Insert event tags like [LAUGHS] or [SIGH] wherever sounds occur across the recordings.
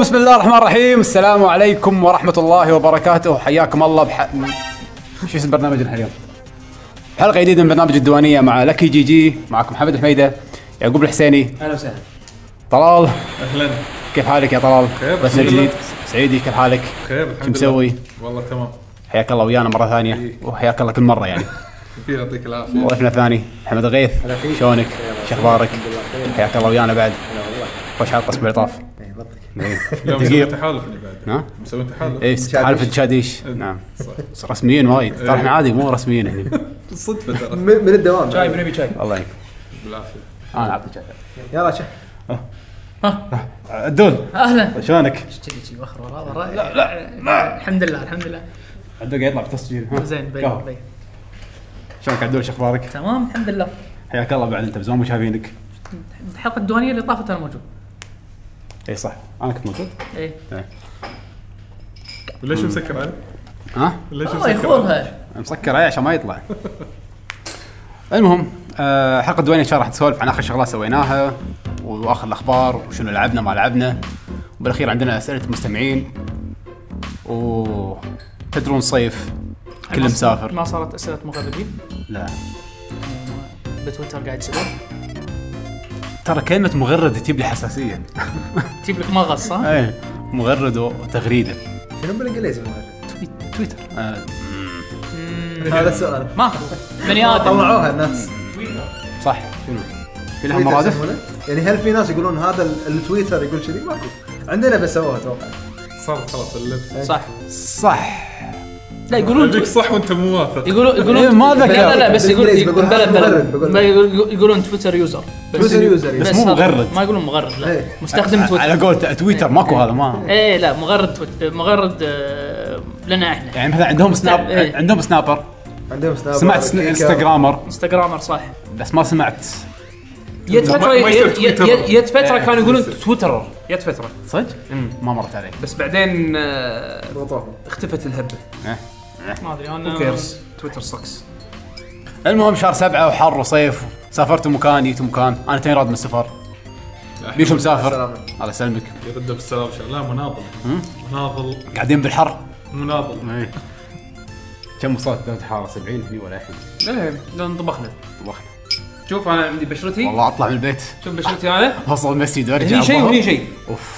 بسم الله الرحمن الرحيم السلام عليكم ورحمة الله وبركاته حياكم الله بح... شو اسم برنامجنا اليوم؟ حلقة جديدة من برنامج الديوانية مع لكي جي جي معكم محمد الحميدة يعقوب الحسيني اهلا وسهلا طلال اهلا كيف حالك يا طلال؟ بخير، بس الحمد لله. جديد سعيدي كيف حالك؟ بخير الحمد شو مسوي؟ والله تمام حياك الله ويانا مرة ثانية حبيبي. وحياك الله كل مرة [LAUGHS] يعني كثير يعطيك العافيه ضيفنا الثاني محمد غيث شلونك؟ شو اخبارك؟ حياك الله ويانا بعد وش حاطة اسم العطاف؟ [LAUGHS] إيه. اليوم مسوي دقيق تحالف اللي بعد ها؟ مسوي تحالف ايه حالف الشاديش نعم صح بس رسميين وايد ترى احنا عادي مو رسميين يعني. هنا صدفه ترى من من الدوام شاي بنبي شاي [LAUGHS] الله يعينك بالعافيه انا اعطيك شاي. يلا شاي عدول اهلا شلونك؟ ايش كذي شي وخر ورا ورا لا لا لا الحمد لله الحمد لله عدول قاعد يطلع بالتسجيل ها؟ زين بين قهوة. بين شلونك عدول شو اخبارك؟ تمام الحمد لله حياك الله بعد انت بزمان مو شايفينك الحلقه الديوانيه اللي طافت انا موجود اي إيه، صح انا كنت موجود ايه وليش مسكر علي؟ ها؟ ليش والله مسكر علي؟ يخوضها مسكر ايه عشان ما يطلع [LAUGHS] المهم آه، حلقه دوينه ان شاء الله راح نسولف عن اخر شغلات سويناها واخر الاخبار وشنو لعبنا ما لعبنا وبالاخير عندنا اسئله المستمعين و تدرون صيف كل مسافر ما صارت اسئله مغربين لا بتويتر قاعد يسوون ترى كلمة مغرد تجيب لي حساسية تجيب لك مغص ها ايه [LAUGHS] مغرد وتغريدة شنو بالانجليزي إيه. المغرب؟ تويت- تويتر آه، هذا السؤال ماكو بني ادم طلعوها الناس صح شنو؟ في لها تويتر مرادف؟ يسمونه؟ يعني هل في ناس يقولون هذا ال- التويتر يقول كذي ماكو عندنا بس سووها اتوقع صار خلاص اللبس صح صح لا يقولون يقولون صح وانت مو واثق يقولون إيه، يقولون ما ذكر. لا لا بس يقولون بالإنجليزي بقول بلا هذا مغرد، بقول. بلا يقول- يقولون تويتر يوزر بس- تويتر يوزر، بس مو هذا- مغرد. ما يقولون مغرد لا إيه. مستخدم تويتر إيه. على قول تويتر ماكو هذا ما ايه لا مغرد تويت- مغرد آه، لنا احنا يعني مثلا عندهم سناب إيه. عندهم سنابر عندهم سناب سمعت كيكة. انستغرامر انستغرامر صح بس ما سمعت يد فتره ما يصير يد- يد- تويتر. يد فتره كانوا يقولون تويتر جت فتره صدق؟ ما مرت عليك بس بعدين آه، ضغطوهم. اختفت الهبه إيه. ما ادري Who انا cares؟ تويتر سكس المهم شهر سبعة وحر وصيف سافرت مكان جيت مكان انا توني راد من السفر بيشو مسافر السلام. الله يسلمك يرد بالسلام شاء الله مناضل مناضل قاعدين بالحر إيه. مناضل كم وصلت درجة حرارة 70 هني ولا الحين لا لان طبخنا طبخنا. شوف انا عندي بشرتي والله اطلع من البيت شوف بشرتي انا اوصل المسجد وارجع هني شيء الظهر. وهني شيء [LAUGHS]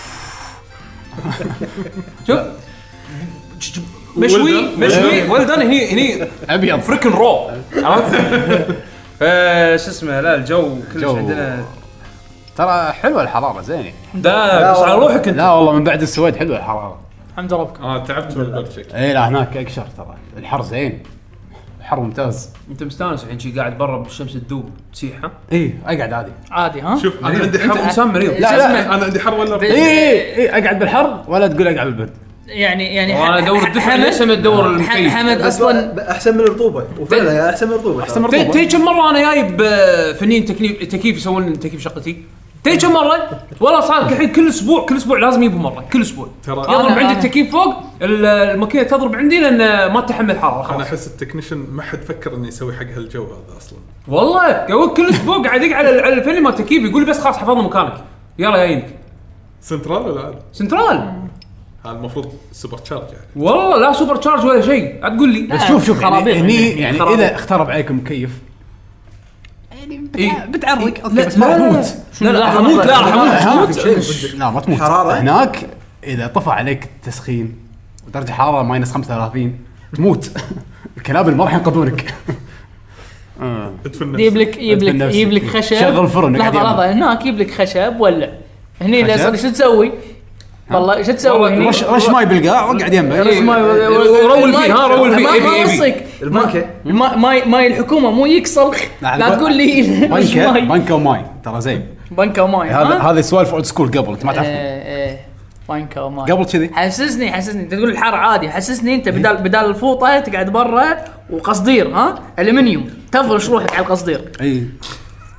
شوف Well مشوي done. مشوي ولدن هني هني ابيض فريكن رو [LAUGHS] عرفت؟ فا آه، شو اسمه لا الجو كلش جو. عندنا ترى حلوه الحراره [LAUGHS] زينه لا بس على روحك انت لا والله من بعد السويد حلوه الحراره الحمد ربك اه تعبت من البرشك اي إيه، لا هناك اقشر ترى الحر زين الحر ممتاز انت مستانس الحين شي قاعد برا بالشمس تذوب تسيح ها؟ اي اقعد إيه، عادي عادي ها شوف انا عندي انت حر انسان مريض لا، لا. اسمع، انا عندي حر ولا بي- إيه، برد؟ اي اي اقعد إيه، بالحر ولا تقول اقعد بالبرد يعني يعني وانا ح- ادور الدفع ليش حمد انا ادور ح- المكيف حمد اصلا احسن من الرطوبه وفعلا يا احسن من الرطوبه احسن من تي- الرطوبه تي كم مره انا جايب آه، فنيين تكنيف تكييف يسوون تكييف شقتي تي كم مره والله صار الحين كل اسبوع كل اسبوع لازم يجيبوا مره كل اسبوع ترى يضرب أنا- عندي أنا- التكييف فوق ال- الماكينه تضرب عندي لان ما تحمل حراره انا خلاص احس التكنيشن ما حد فكر انه يسوي حق هالجو هذا اصلا والله يقول كل اسبوع قاعد يدق على على الفني مال التكييف يقول لي بس خلاص حفظنا مكانك يلا جايينك سنترال ولا عادي؟ سنترال هذا المفروض سوبر تشارج يعني والله لا سوبر تشارج ولا شيء لا تقول لي بس شوف شوف يعني خرابيط. هني يعني خرابيط. اذا اخترب عليكم مكيف يعني بتعرق اوكي لا، بس ما لا، لا، لا. تموت لا لا لحظة، راح اموت لا لحظة. راح لا، اموت ها، تموت. لا ما تموت حرارة؟ هناك اذا طفى عليك التسخين ودرجه حراره ماينس 35 [LAUGHS] تموت الكنابل ما راح ينقذونك آه. ادفن يجيب نفسك لك يجيب أدفن لك نفسي. يجيب لك خشب شغل فرن، قاعد لحظه يعمل. لحظه هناك يجيب لك خشب ولا هني خشب؟ لازم شو تسوي؟ والله شو تسوي؟ هني؟ رش رش ماي بالقاع واقعد يمه رش ماي ورول الماي- فيه ها رول فيه ما- إيبي، ما إيبي. يوصيك المانكا ما- ماي ماي الحكومه مو يكسل لا تقول لي [LAUGHS] رش بنكه ماي بنكه وماي ترى زين بنكه وماي إيه، هذا ها؟ هذه سوالف اولد سكول قبل انت ما تعرف ايه ايه بانكا وماي قبل كذي إيه. حسسني حسسني انت تقول الحر عادي حسسني انت بدال بدال الفوطه تقعد برا وقصدير ها الومنيوم تفرش روحك على القصدير إيه. اي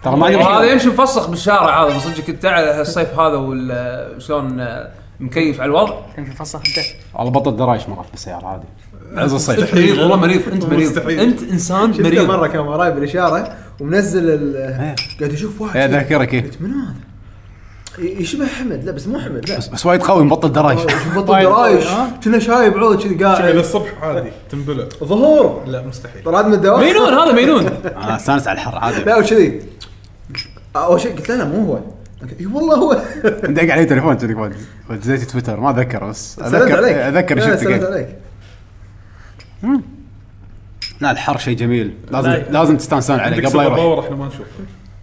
ترى ما وهذا ادري يمشي مفسخ بالشارع هذا صدق انت على الصيف هذا وال- شلون آه، مكيف على الوضع فصح انت والله بطل درايش مرات بالسياره عادي عز الصيف مريض إيه، والله مريض انت مريض مستحيل. انت انسان شفته مريض مره كان إيه. وراي بالاشاره ومنزل ال- قاعد يشوف واحد اذكرك قلت منو هذا؟ يشبه حمد لا بس مو حمد لا بس وايد قوي مبطل درايش [LAUGHS] بطل درايش كنا شايب عود كذي الى قاعد الصبح عادي تنبلع ظهور لا مستحيل طلعت من الدوام مينون هذا مينون انا استانس آه، على الحر عادي لا وكذي اول شيء قلت له لا مو هو قال، اي والله هو دق علي تليفون كذي بعد. دزيت تويتر ما اتذكر بس إيه، سلمت اذكر عليك اذكر لا، لا، شفت سلمت قلت. عليك لا الحر شيء جميل لازم لا. لازم تستانسون عليه عندك قبل لا سوبر يروح باور احنا ما نشوفه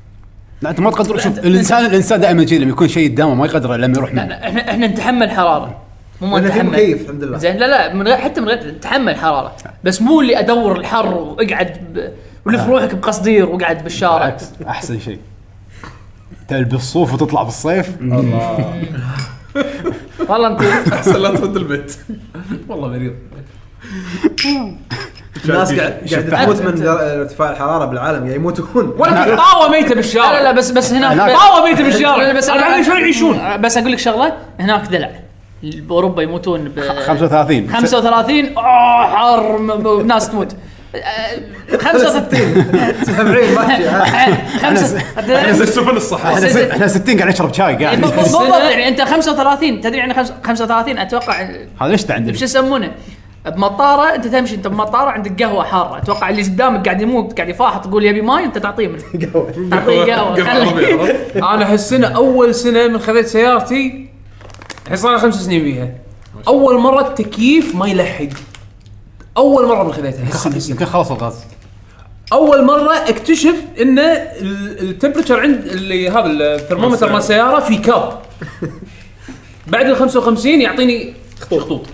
[LAUGHS] لا انت ما تقدر شوف الانسان الانسان دائما جيل لما يكون شيء قدامه ما يقدر الا لما يروح منه احنا احنا نتحمل حراره مو ما لأن في نتحمل مكيف الحمد لله زين لا لا من غير حتى من غير نتحمل حراره بس مو اللي ادور الحر واقعد ب... ولف روحك بقصدير واقعد بالشارع آه. بالعكس احسن شيء تلبس صوف وتطلع بالصيف والله انت احسن لا ترد البيت والله مريض الناس قاعد شفت قاعد تموت أحد. من در- ارتفاع الحراره بالعالم يعني [LAUGHS] يموتون ولا طاوه ميته بالشارع لا لا لا بس بس هناك هناك- طاوه ميته بالشارع بس آه، بس انا شلون يعيشون بس اقول لك شغله هناك دلع باوروبا يموتون ب 35 35 اوه حر م- م- ناس تموت آه، 65 70 ماشي [LAUGHS] ها. احنا خمسة س- سفن يعني الصحراء احنا س- احنا 60 قاعد نشرب شاي قاعد بالضبط يعني انت 35 تدري يعني خمس- 35 اتوقع هذا ليش عندنا آه، شو يسمونه بمطاره انت تمشي انت بمطاره عندك قهوه حاره اتوقع اللي قدامك قاعد يموت قاعد يفاحط تقول يبي ماي انت تعطيه من قهوة. تعطيه قهوه خلي- انا هالسنه اول سنه من خذيت سيارتي الحين صار لي خمس سنين بيها اول مره التكييف ما يلحق اول مره من خذيتها هالسنة. يمكن خلص الغاز اول مره اكتشف ان ال- التمبرتشر عند اللي هذا الثرمومتر مال السياره في كاب [LAUGHS] بعد ال 55 يعطيني خطوط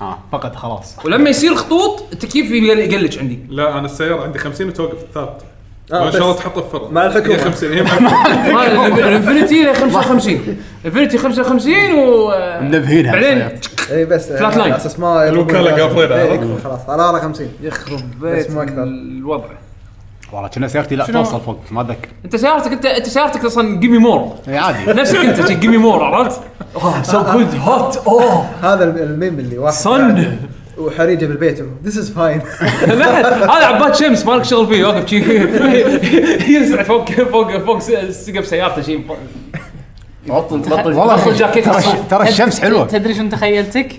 آه. اه فقط خلاص ولما يصير خطوط التكييف يقل- يقلج عندي [LAUGHS] [LAUGHS] لا انا السياره عندي 50 وتوقف ثابته آه، وان شاء الله بس. تحطها في فرن مع الحكومة. هي 50 [LAUGHS] هي مع الحكومة. ما- الانفنتي ل 55 انفنتي 55 و منبهينها بعدين اي إيه، بس فلات لاين. على اساس ما الوكالة قافلين على إيه، طول. يكفي خلاص حراره 50 يخرب بيت بيت بس مو أكثر. الوضع والله كنا سيارتي لا شنو؟ توصل فوق ما اتذكر انت سيارتك انت انت سيارتك اصلا جيمي مور اي [LAUGHS] عادي نفسك انت جيمي مور عرفت؟ Oh, اوه سو جود هوت اوه هذا الم- الميم اللي واحد صن وحريجه بالبيت ذيس از فاين بعد [LAUGHS] هذا عباد شمس مالك شغل فيه واقف شي [LAUGHS] ينزل فوق فوق فوق سقف سيارته شي والله بطل جاكيت ترى- الصوف. ترى الشمس حلوه تدري شنو تخيلتك؟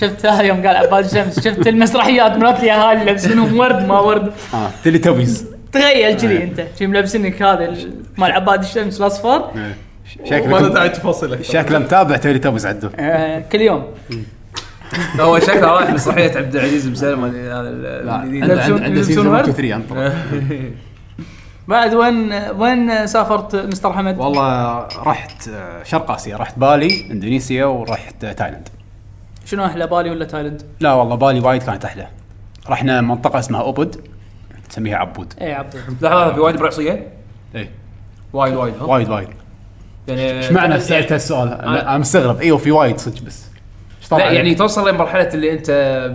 شفتها يوم قال عباد الشمس شفت المسرحيات مالت الاهالي لابسينهم ورد ما ورد اه تيلي توبيز تخيل آه. كذي انت شي ملبسينك هذا ال- مال عباد الشمس الاصفر ما له شكله داعي تفاصيل اكثر شكله متابع تيلي توبيز عدو آه، كل يوم هو شكله رايح مسرحيه عبد العزيز مسلم عنده عنده [LAUGHS] سيزون 1 2 3 انطر بعد وين وين سافرت مستر حمد؟ والله رحت آه، شرق اسيا رحت بالي اندونيسيا ورحت آه، تايلاند شنو احلى بالي ولا تايلند؟ لا والله بالي وايد كانت احلى رحنا منطقه اسمها اوبد تسميها عبود اي إيه، عبد لحظه في وايد برعصيه اي إيه. وايد وايد ها وايد وايد يعني ايش معنى سالت هالسؤال انا أنا مستغرب ايوه في وايد صدق بس إيش طلع إيه. لا عليك؟ يعني توصل لمرحله اللي انت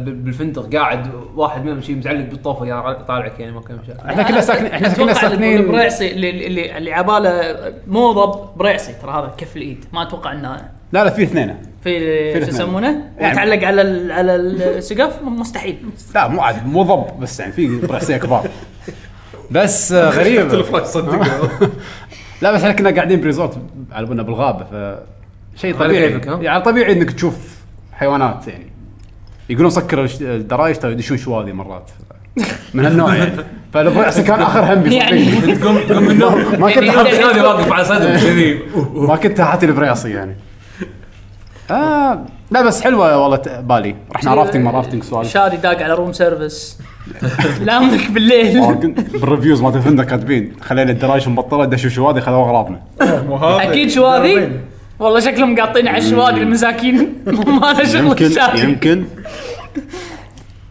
ب- بالفندق قاعد واحد منهم شي مزعلق بالطوفه يا- طالعك يعني ما كان مشاكل احنا كنا ساكنين احنا كنا أتوقع اللي يقول ساكنين برعصي اللي اللي اللي عباله موضب برعصي ترى هذا كف الايد ما اتوقع انه لا لا في اثنين في في شو الاثنين. يسمونه؟ يعني- يتعلق على ال- على السقف مستحيل لا مو عاد مو ضب بس يعني في برعسيه كبار بس [LAUGHS] آه، حتى غريب الفراش صدق لا بس احنا كنا قاعدين بريزورت على بالنا بالغابه ف شيء على طبيعي كيفك، ها؟ يعني طبيعي انك تشوف حيوانات يعني يقولون سكر الش- الدرايش ترى يدشون شوالي مرات من هالنوع يعني فالبرعسي كان اخر همي يعني- صدقني. [LAUGHS] [LAUGHS] قم قم [LAUGHS] من النوم ما كنت يعني- حاط- انا واقف على صدر كذي ما كنت حاطي البرياصي يعني آه لا بس حلوه والله ت- بالي رحنا رافتنج ما رافتنج سوالف شادي داق على روم [LAUGHS] سيرفيس لامك بالليل بالريفيوز مالت الفندق كاتبين خلينا الدرايش مبطله دشوا شوادي خلوا اغراضنا [LAUGHS] مو هذا اكيد شواذي والله شكلهم قاطين على الشواذي المساكين [LAUGHS] ما له شغل يمكن الشاذي يمكن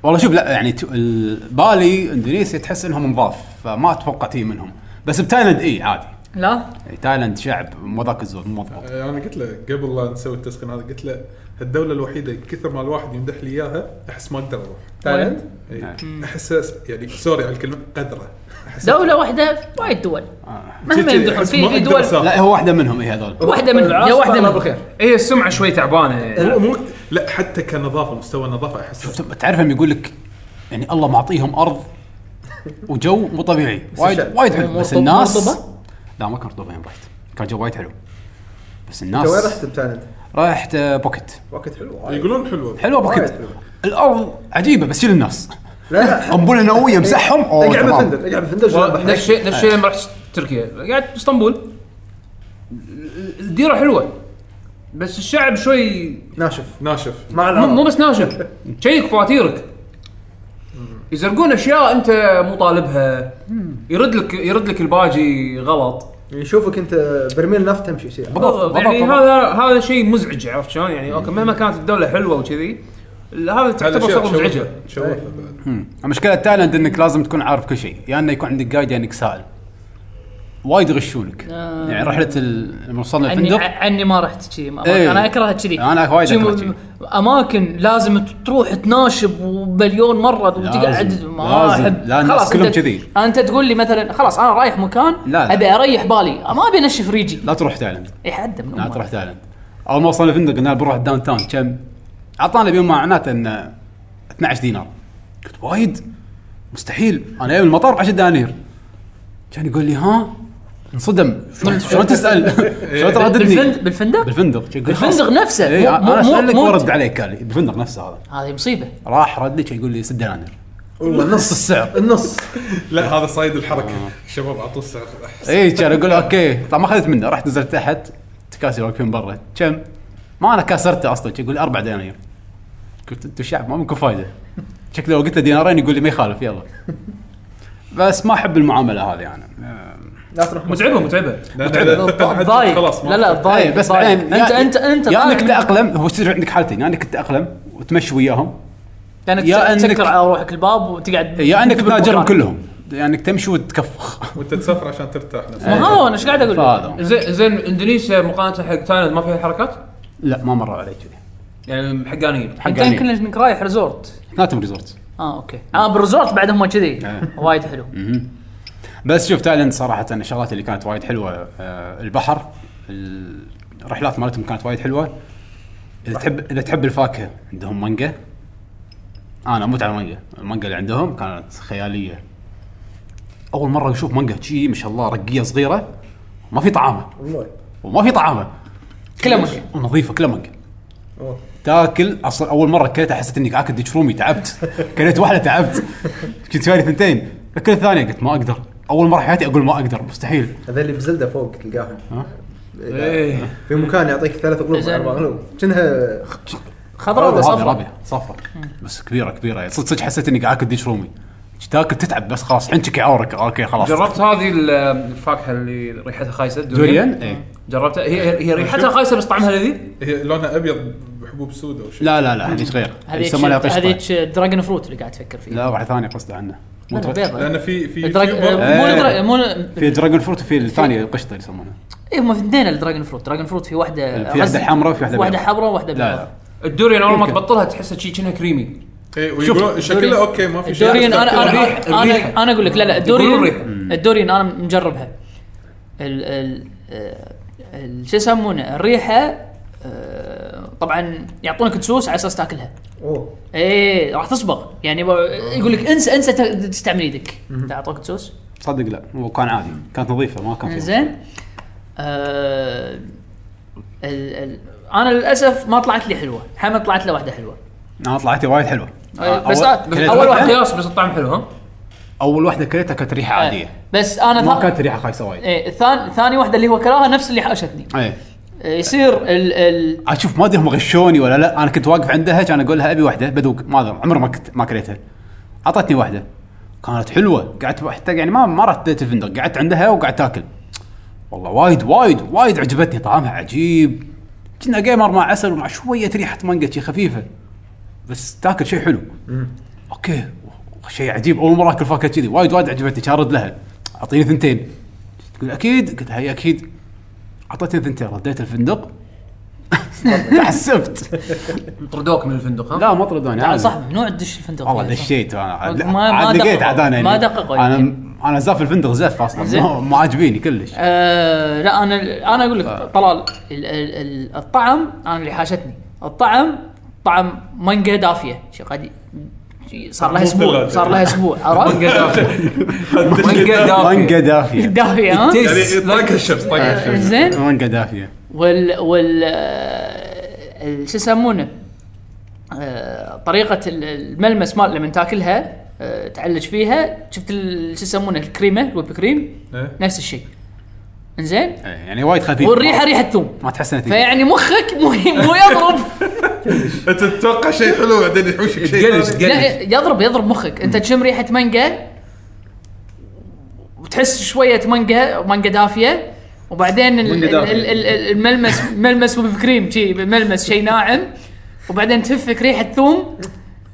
والله شوف لا يعني تو- ال- بالي اندونيسيا تحس انهم نظاف فما اتوقع تي منهم بس بتايلاند اي عادي لا يعني تايلاند شعب مو ذاك الزود مو مضبوط آه، انا قلت له قبل لا نسوي التسخين هذا قلت له الدوله الوحيده كثر ما الواحد يمدح لي اياها احس ما اقدر اروح تايلاند إي. نعم. احس يعني سوري على الكلمه قدره دولة واحدة وايد دول آه. مهما يمدحون أحس في ما في أقدر دول أسافر. لا هو واحده منهم اي هذول واحدة من يا واحدة الله من بالخير هي السمعه إيه، شوي تعبانه يعني. مو مو لا حتى كنظافه مستوى النظافه احس شفت تعرفهم يقول لك يعني الله معطيهم ارض وجو مو طبيعي وايد الشعب. وايد حلو بس مرطب- الناس مرطبة؟ لا ما كان رطوبه يوم رحت كان جو وايد حلو بس انت وين الناس رحت بتايلاند؟ رحت آه، بوكيت وقت حلو وايد. يقولون حلوه حلوه وايد بوكيت حلوة. الارض عجيبه بس شيل الناس لا لا قنبله نوويه مسحهم اوه اقعد تمام بالفندق اقعد بالفندق شلون والله نفس بحرك. الشيء نفس الشيء لما رحت تركيا قعدت باسطنبول الديره حلوه بس الشعب شوي ناشف ناشف مع مو مو العرب بس ناشف شيك فواتيرك يزرقون اشياء انت مو طالبها يرد لك يرد لك الباجي غلط يشوفك انت برميل نفط تمشي شيء بالضبط بالضبط يعني بالضبط. هذا هذا شيء مزعج عرفت شلون يعني اوكي مهما كانت الدوله حلوه وكذي هذا هذا تعتبر شيء شغله تشوه مزعجه له- تشوه له إيه. بعد. مم. مشكله تايلاند انك لازم تكون عارف كل شيء يا انه يكون عندك جايد يا انك سائل وايد يغشونك آه. يعني رحله ال- لما وصلنا عني الفندق عني ما رحت كذي طيب، إيه. انا اكره كذي أنا وايد شي أكره م- شي. اماكن لازم تروح تناشب وبليون مره وتقعد لازم. ما لازم. احب لا، الناس خلاص كلهم أنت- كذي. انت تقول لي مثلا خلاص انا رايح مكان لا، لا. ابي اريح بالي ما ابي انشف ريجي لا تروح تايلاند يحد من لا أمه. تروح تايلاند اول ما وصلنا الفندق قلنا بنروح الداون تاون كم اعطانا بيوم معناته انه 12 دينار قلت وايد مستحيل انا جاي من المطار ب 10 دنانير كان يقول لي ها انصدم [LAUGHS] شلون- شلون تسال شلون بالفند- ترددني بالفندق بالفندق كان يقول بالفندق خلاص. نفسه، إيه، مو- مو- انا اسالك مو- مو- وارد عليك قال لي بالفندق نفسه هذا هذه مصيبه راح رد لي كان يقول لي 6 دنانير والله نص النص السعر النص لا هذا صايد آه. الحركه شباب اعطوه السعر اي إيه، كان اقول له اوكي طبعا ما اخذت منه رحت نزلت تحت تكاسي واقفين برا كم؟ ما انا كاسرته اصلا كان يقول لي 4 دنانير قلت انتم الشعب ما منكم فايده شكله لو قلت له دينارين يقول لي ما يخالف يلا بس ما احب المعامله هذه انا لا تروح متعبه متعبه لا، لا، لا، تقطع حد، [LAUGHS] ضايق خلاص ما لا لا اي ضايق إيه، بس ضايق. بعدين انت يا- انت انت يا طالع انك من- تتاقلم هو يصير عندك حالتين يا انك تتاقلم وتمشي وياهم لانك يا تسكر إنك- على روحك الباب وتقعد إيه، يا انك تناجرهم بالمكان. كلهم يعني تمشي [LAUGHS] وتكفخ وانت تسافر عشان ترتاح نفسك ما هو انا ايش قاعد اقول لك؟ فهذا هو. زين زين اندونيسيا مقارنه حق تايلاند ما فيها حركات لا ما مروا علي كذي يعني حقانيين انت حقاني. يمكن انك رايح ريزورت ناتم ريزورت اه اوكي اه بالريزورت بعد هم كذي إيه. وايد حلو بس شوف تايلاند صراحة الشغلات اللي كانت وايد حلوة آه، البحر الرحلات مالتهم كانت وايد حلوة إذا تحب إذا تحب الفاكهة عندهم مانجا أنا أموت على المانجا المانجا اللي عندهم كانت خيالية أول مرة أشوف مانجا شي ما شاء الله رقية صغيرة ما في طعامة والله وما في طعامة كلها مانجا. ونظيفة كلها مانجا أوه. تاكل اصلا اول مره كليتها حسيت اني اكل ديش رومي تعبت كليت واحده تعبت كنت سوالي ثنتين كل الثانيه قلت ما اقدر اول مره حياتي اقول ما اقدر مستحيل هذا اللي بزلده فوق تلقاهم ها؟ إيه. إذا ايه في مكان يعطيك ثلاث قلوب زين. اربع قلوب كأنها خضراء ولا هذه صفراء؟ رابية صفرة بس كبيره كبيره يعني صدق صدق حسيت اني قاعد اكل ديش رومي كنت تاكل تتعب بس خلاص الحين شكي عورك اوكي خلاص جربت هذه ال- الفاكهه اللي ريحتها خايسه إيه. دوريان اي جربتها هي هي ريحتها خايسه بس طعمها لذيذ هي لونها ابيض بحبوب سودا وشيء لا لا لا هذيك غير هذيك يسمونها قشطه هذيك دراجون فروت اللي قاعد تفكر فيه لا واحده ثانيه قصدي عنها مو لا، آه. درا- بيضة لان في في دراج... يوتيوبر- مو إيه. الدراج- مو في دراجون فروت وفي الثانيه القشطه اللي يسمونها اي هم اثنين الدراجون فروت دراجون فروت في واحده في واحده غزة. حمراء وفي واحده واحده بيضاء. حمراء وواحده لا بيضاء لا الدوريان اول ما يمكن. تبطلها تحسها شي كأنها كريمي إيه، ويقولون شكله اوكي ما في شيء الدوريان انا انا الريح- انا الريحة. انا, أنا اقول لك لا لا يقولون الدوريان الريحة. الدوريان انا مجربها ال ال آه، ال- شو يسمونه الريحه آه، طبعا يعطونك تسوس على اساس تاكلها اوه ايه راح تصبغ يعني ب- يقول لك انسى انسى ت- تستعمل يدك اعطوك تسوس صدق لا هو كان عادي كانت نظيفه ما كان فيها زين آه ال ال انا للاسف ما طلعت لي حلوه حمد طلعت له واحده حلوه انا طلعتي وايد حلوه آه، بس أول- بس كليت أول اول واحد واحدة. قياس بس الطعم حلو ها اول واحده كليتها كانت ريحه آه، عاديه بس انا ما ثا- كانت ريحه خايسه وايد إيه. ايه ثاني ثاني واحده اللي هو كراها نفس اللي حاشتني اي آه، يصير ال ال عاد آه، شوف ما ادري هم غشوني ولا لا انا كنت واقف عندها كان اقول لها ابي واحده بدوق ما ادري عمري ما كنت ما كليتها اعطتني واحده كانت حلوه قعدت حتى يعني ما ما رديت الفندق قعدت عندها وقعدت اكل والله وايد وايد وايد عجبتني طعمها عجيب كنا جيمر مع عسل ومع شويه ريحه مانجا شي خفيفه بس تاكل شيء حلو اوكي شيء عجيب اول مره اكل فاكهه كذي وايد وايد عجبتني كان ارد لها اعطيني ثنتين تقول اكيد قلت لها "إي اكيد اعطيتني ثنتين رديت الفندق [LAUGHS] تعسفت طردوك من الفندق ها لا ما طردوني على عادي. صح ممنوع تدش الفندق والله دشيت انا عاد- ما- ما عاد لقيت دققوا. عاد انا ما يعني- دققوا انا يمكن. انا زاف الفندق زف اصلا زين. ما- ما عاجبيني [LAUGHS] كلش آه لا انا انا اقول لك طلال ال ال ال الطعم انا اللي حاشتني الطعم طعم مانجا دافيه شي قد شي صار لها مو اسبوع ثلاجة. صار لها اسبوع عرفت؟ مانجا [LAUGHS] [LAUGHS] دافي مانجا دافي مانجا دافيه دافيه ها تيست. آه. يعني طاقه إيه، الشمس طاقه الشمس زين مانجا دافيه وال وال آه، شو يسمونه آه، طريقه ال- الملمس مال لما تاكلها آه، تعلج فيها شفت ال- شو يسمونه الكريمه الويب كريم إيه. نفس الشيء انزين إيه، يعني وايد خفيف والريحه ريحه ثوم ما تحس انه ثقيل. فيعني مخك مو مو يضرب انت تتوقع شيء حلو بعدين يحوشك شيء تقلش ثاني. لا تقلش يضرب يضرب مخك انت تشم ريحه مانجا وتحس شويه مانجا مانجا دافيه وبعدين ال- مانجا ال- دافية. ال- ال- الملمس ملمس وبكريم شي ملمس شيء ناعم وبعدين تفك ريحه ثوم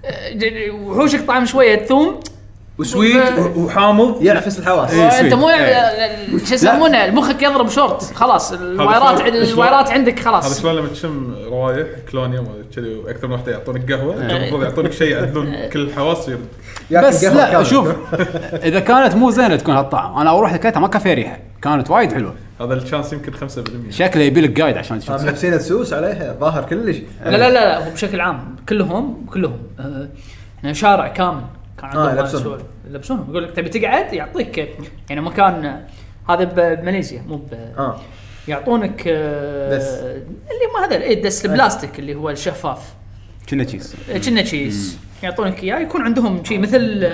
اه، ج- وحوشك طعم شويه ثوم وسويت آه. و- وحامض ينعفس الحواس إيه، انت سويت. مو إيه. شو يسمونه مخك يضرب شورت خلاص الوايرات شلون- الوايرات عندك هذا خلاص شلون لما تشم روايح كلونيا ما كذي واكثر من واحده يعطونك قهوه إيه. المفروض يعطونك شيء آه. يعدلون كل الحواس يرد ياكل بس قهوة لا كاملة. شوف اذا كانت مو زينه تكون هالطعم انا اروح اكلتها ما كان فيها ريحه كانت وايد حلوه هذا الشانس يمكن 5% شكله يبي لك قايد عشان تشوف آه، نفسينا تسوس عليها ظاهر كلش لا لا لا لا هو بشكل عام كلهم كلهم اه، احنا شارع كامل كان عندهم آه، يلبسونهم. سوالف. يلبسونهم يقول لك تبي تقعد يعطيك يعني مكان اه، هذا ب- بماليزيا مو ب اه يعطونك اه، دس. اللي ما هذا ايه آه. الدس البلاستيك اللي هو الشفاف كنا تشيز اه، كنا تشيز يعطونك اياه يكون عندهم شيء مثل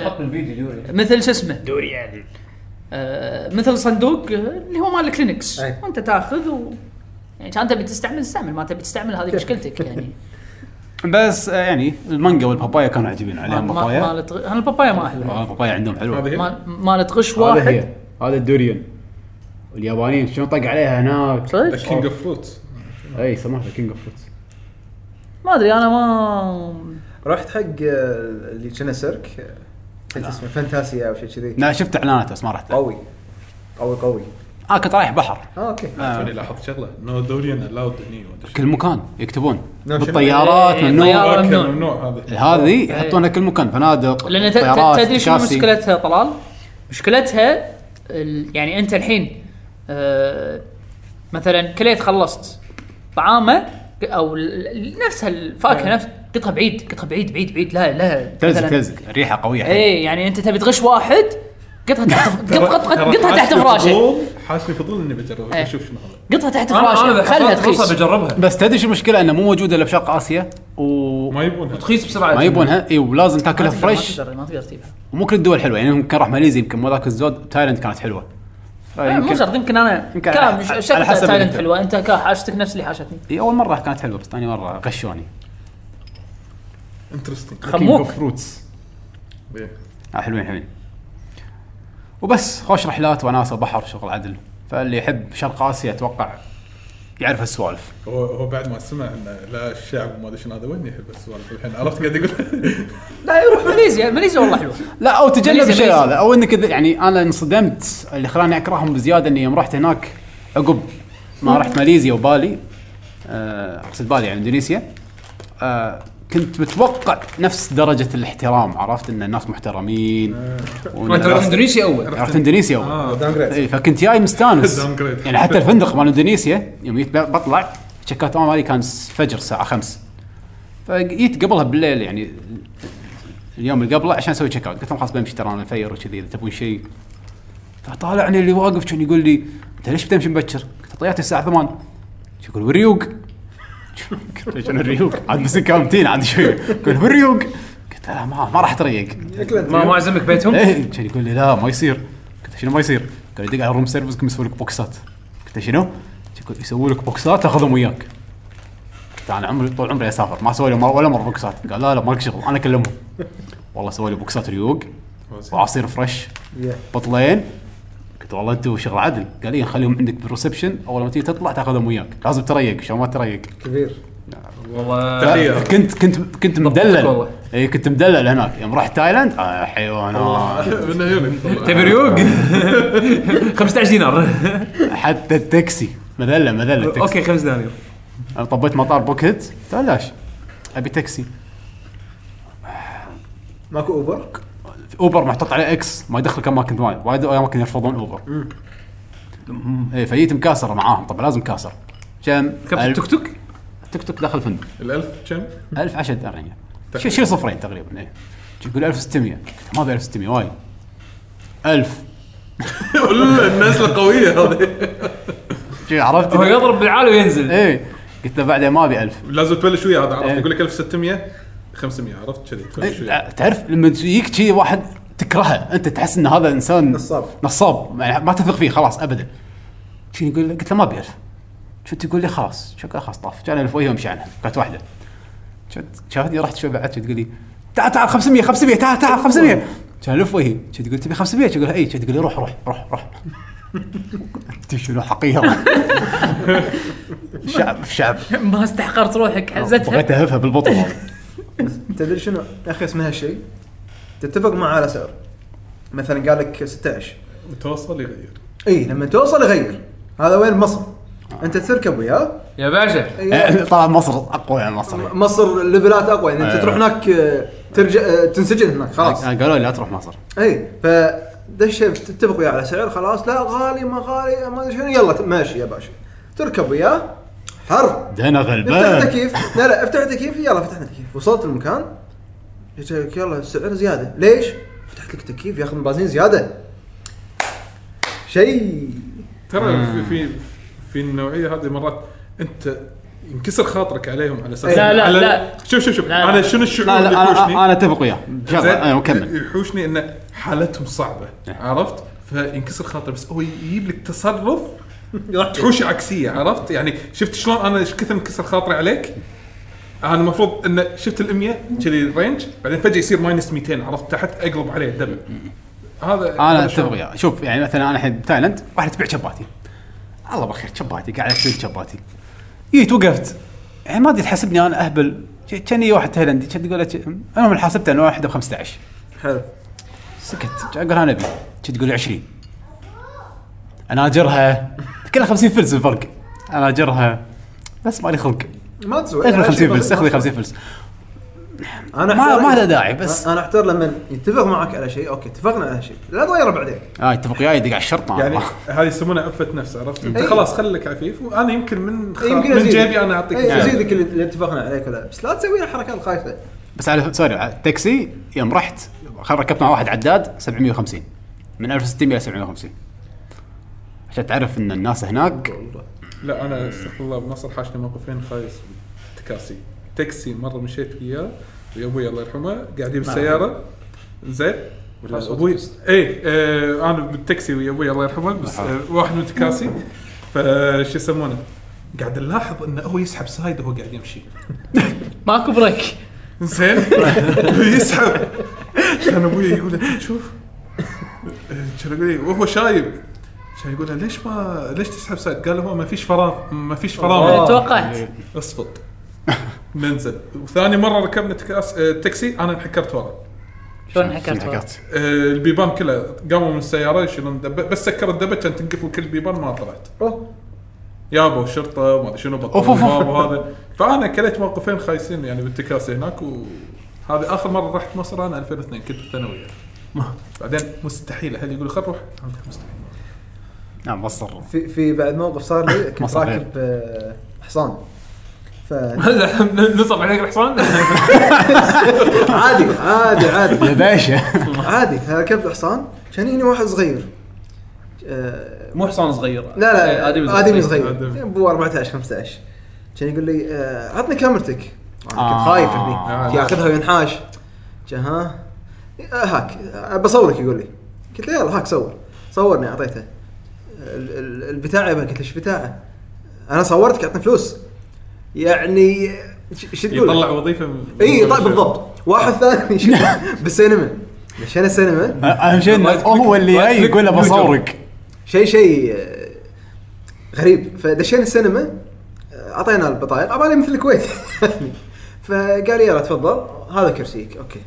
مثل شو اسمه دوريان آه مثل صندوق آه، اللي هو مال الكلينكس أي. وانت تاخذ و يعني كان تبي تستعمل استعمل ما تبي تستعمل هذه [LAUGHS] مشكلتك يعني بس آه، يعني المانجا والبابايا كانوا عاجبين يعني عليهم ما- ما- بابايا مالت غ- انا البابايا ما احبها آه، البابايا عندهم حلوه هذه هي مال- مالت غش هذا واحد هي هذا الدوريون اليابانيين شلون طق عليها هناك صدق؟ ذا كينج اوف فروتس اي سماها كينج اوف فروتس ما ادري انا ما رحت حق آه، اللي كنا سيرك آه، كنت اسمه فانتاسيا او شيء كذي لا شفت اعلانات بس ما رحت قوي قوي قوي اه كنت رايح بحر اه اوكي آه، توني لاحظت شغله نو دوريان الاود هني ما أدري شو. كل مكان يكتبون نعم، شنو؟ بالطيارات إيه، ممنوع طيارة. أوكي، ممنوع. ممنوع هذا هذه يحطونها كل مكان فنادق لان ت- ت- طيارات، تدري شنو تاكسي. مشكلتها طلال؟ مشكلتها ال- يعني انت الحين آه، مثلا كليت خلصت طعامه او ال- ال- نفسها أيوة. الفاكهه نفس قطها بعيد قطها بعيد بعيد بعيد لا لا تلزق تلزق ريحه قويه حيل. اي يعني انت تبي تغش واحد قطها تحت [LAUGHS] ترى- قطها ترى قطها تحت حاشني فراشك فضول- حاشني فضول اني بجربها إيه. بشوف شنو هذا قطها تحت انا انا فراشك اذا خلها خلت فرصه تخيس بجربها بس تدري شو المشكله انه مو موجوده الا بشرق اسيا و ما يبونها تخيس بسرعه ما يبونها اي ولازم ما تاكلها تقدر- ما فريش تقدر- ما تقدر تجيبها ومو كل الدول حلوه يعني يمكن راح ماليزيا يمكن مو ذاك الزود تايلاند كانت حلوه آه، مو شرط يمكن انا يمكن كا- على- مش- على شكلها حسب تايلند الانتر. حلوه انت كا حاجتك نفس اللي حاشتني اي اول مره إيه، كانت حلوه بس ثاني مره غشوني انترستنج خموك. فروتس إيه. آه، حلوين حلوين وبس خوش رحلات وناسه بحر شغل عدل فاللي يحب شرق اسيا اتوقع يعرف هالسوالف هو هو بعد ما سمع انه لا الشعب ما ادري شنو هذا وين يحب السوالف الحين عرفت قاعد يقول [LAUGHS] لا يروح ماليزيا ماليزيا والله حلوه لا او تجنب ماليزيا- الشيء ماليزيا. هذا او انك إذا- يعني انا انصدمت اللي خلاني اكرههم بزياده اني يوم رحت هناك عقب ما رحت ماليزيا وبالي آه، اقصد بالي يعني اندونيسيا آه، كنت متوقع نفس درجه الاحترام عرفت ان الناس محترمين وإن ما انت رحت الناس- اندونيسيا اول رحت اندونيسيا أول. داون جريد اي فكنت جاي مستانس Downgrade. يعني حتى الفندق مال اندونيسيا يوم جيت بطلع تشيكات اون مالي كان فجر الساعه 5 فجيت قبلها بالليل يعني اليوم اللي قبله عشان اسوي تشيك اوت قلت لهم خلاص بمشي ترى انا مفير وكذي اذا تبون شيء فطالعني اللي واقف كان يقول لي انت ليش بتمشي مبكر؟ قلت له، طلعت الساعه 8 شو يقول والريوق [LAUGHS] قلت له، شنو الريوق؟ عاد بس كامتين عاد شوي يقول والريوق قلت له لا ما ما راح تريق ما ما عزمك بيتهم ايه كان يقول لي لا ما يصير قلت له شنو ما يصير؟ قال لي دق على الروم سيرفيس يمكن يسوي لك بوكسات قلت له شنو؟ يقول يسوي لك بوكسات تاخذهم وياك قلت له انا عمري طول عمري اسافر ما سوي لي مر- ولا مره بوكسات قال لا لا مالك شغل انا اكلمهم والله سوى لي بوكسات ريوق وعصير فريش بطلين قلت والله انتم شغل عدل قال لي خليهم عندك بالريسبشن اول ما تيجي تطلع تاخذهم وياك لازم تريق عشان ما تريق كبير والله تحيه كنت كنت كنت والله. مدلل اي كنت مدلل هناك يوم رحت تايلاند آه حيوانات من عيونك [LAUGHS] تبي ريوق 15 دينار حتى التاكسي مذله مذله التاكسي اوكي 5 دنانير انا طبيت مطار بوكيت بلاش ابي تاكسي ماكو اوبر اوبر محطوط عليه اكس ما يدخلك اماكن ثانيه وايد اماكن يرفضون اوبر اي فجيت مكاسر معاهم طبعا لازم كاسر كم كم ألف- إيه. التوك توك تك توك داخل فندق الالف كم؟ 1000 10 دنانير شيل شيل صفرين تقريبا اي يقول 1600 قلت ما ابي 1600 وايد 1000 ولا الناس القويه هذه عرفت هو يضرب بالعالي وينزل اي قلت له بعدين ما ابي 1000 لازم تبلش ويا هذا عرفت إيه. يقول لك 1600 500 عرفت كذي تبلش وياه. إيه، تعرف لما يجيك شي واحد تكرهه انت تحس ان هذا انسان نصاب. نصاب يعني ما تثق فيه خلاص ابدا شي يقول لي- قلت له ما ابي 1000 كنت يقول لي خلاص شكله خلاص طاف كان الف وجهه ومشي عنها كانت واحده كنت شافتني رحت شوي بعد تقول لي تعال تعال 500 500 تعال تعال 500 كان الف وجهي كنت تقول تبي 500 كنت اقول اي كنت تقول لي روح روح روح روح [LAUGHS] انت شنو حقيره [LAUGHS] شعب شعب [LAUGHS] ما استحقرت روحك حزتها بغيت اهفها بالبطن تدري شنو اخيس من هالشيء تتفق معه على سعر مثلا قال لك 16 متوصل يغير اي لما توصل يغير هذا وين مصر انت تركب وياه يا باشا إيه، طبعا مصر اقوى يعني مصر مصر ليفلات اقوى يعني انت أيوة. تروح هناك آه، ترجع آه، تنسجن هناك خلاص آه. قالوا لي لا تروح مصر اي ف دش تتفق وياه على سعر خلاص لا غالي ما غالي ما ادري شنو يلا ماشي يا باشا تركب وياه حر دنا افتح إيه؟ غلبان تكييف لا لا افتح تكييف يلا فتحنا تكييف وصلت المكان جيت لك يلا السعر زياده ليش؟ فتحت لك تكييف ياخذ من بنزين زياده شيء ترى في في في النوعيه هذه مرات انت ينكسر خاطرك عليهم على اساس لا، لا، على- لا. شوف شوف شوف لا، لا. انا شنو الشعور إيه. لا اللي لا يحوشني انا انا اتفق وياه زين؟ شغله انا كمل يحوشني ان حالتهم صعبه عرفت فينكسر خاطر بس هو يجيب لك [LAUGHS] تصرف تحوش عكسيه عرفت يعني شفت شلون انا ايش كثر انكسر خاطري عليك انا المفروض ان شفت ال 100 كذي الرينج بعدين فجاه يصير ماينس 200 عرفت تحت اقلب عليه الدبل هذا انا هذا اتفق شلون. وياه شوف يعني مثلا انا الحين بتايلاند واحد تبيع شباتي الله بالخير شباتي قاعد اسوي شباتي جيت وقفت يعني ما ادري تحسبني انا اهبل كاني واحد تايلندي كنت اقول له انا من حاسبته انه واحد ب 15 حلو سكت اقول انا ابي كنت تقول 20 انا اجرها كلها 50 فلس الفرق انا اجرها بس مالي خلق يعني ما تسوي اخذ 50 فلس اخذ 50 فلس انا ما- أحتار- ما له داعي، بس. انا احتار لما يتفق معك على شيء اوكي اتفقنا على شيء لا تغيره بعدين اه يتفق وياي يدق على الشرطه يعني [LAUGHS] هذه يسمونها عفه نفس عرفت انت إي. خلاص خليك عفيف وانا يمكن من خ... يمكن من أزيد. جيبي انا اعطيك إيه، إياها. ازيدك اللي اللي اتفقنا عليه كذا بس لا تسوي الحركات الخايسه بس على سوري على التاكسي يوم رحت خل- ركبت مع واحد عداد 750 من 1600 ل 750 عشان تعرف ان الناس هناك لا انا استغفر الله بنصر حاشني موقفين خايس تكاسي تاكسي مره مشيت وياه ويا ابوي الله يرحمه قاعدين بالسياره زين ولا ابوي اي آه انا بالتاكسي ويا ابوي الله يرحمه بس آه واحد من التكاسي فشو يسمونه قاعد نلاحظ انه هو يسحب سايد وهو قاعد يمشي ماكو بريك زين [LAUGHS] يسحب كان ابوي يقول له شوف كان يقول لي وهو شايب كان يقول له ليش ما ليش تسحب سايد؟ قال له هو ما فيش فراغ ما فيش فراغ آه، توقعت اصفط ننزل وثاني مره ركبنا تكاس... آه، تاكسي انا انحكرت ورا شلون حكرت حكرت. آه، البيبان كلها قاموا من السياره يشيلون الدبة بس سكر الدبة كان تنقفل كل بيبان ما طلعت أوه. يابا وشرطه وما ادري شنو أوف، بطلوا أوف، أوف. الباب وهذا فانا كليت موقفين خايسين يعني بالتكاسي هناك وهذه اخر مره رحت مصر انا 2002 كنت بالثانويه بعدين مستحيل اهلي يقولوا خل نروح أنا قلت مستحيل نعم مصر في في بعد موقف [LAUGHS] صار لي كنت مصر غير. راكب آه، حصان ف هلا [LAUGHS] نصب عليك الحصان عادي عادي يا [LAUGHS] عادي باشا [LAUGHS] عادي ركبت حصان كان يجيني واحد صغير آه، مو حصان صغير لا لا ادمي ادمي صغير يعني آدمي. ابو 14 15 كان يقول لي آه، عطني كاميرتك انا آه. كنت خايف آه. ابني ياخذها وينحاش كان ها آه، هاك آه، بصورك يقول لي قلت له يلا هاك صور صورني اعطيته ال- ال- البتاعه يبا قلت له ايش بتاعه؟ انا صورتك اعطني فلوس يعني ش- شو تقول؟ يطلع وظيفه من- اي طيب بالضبط واحد ثاني [LAUGHS] شو- بالسينما مشينا السينما اهم شيء إنه هو اللي جاي يقول له بصورك شيء شيء آه، غريب فدشينا السينما آه، اعطينا البطايق عبالي مثل الكويت [LAUGHS] يعني. فقال لي يلا تفضل هذا كرسيك اوكي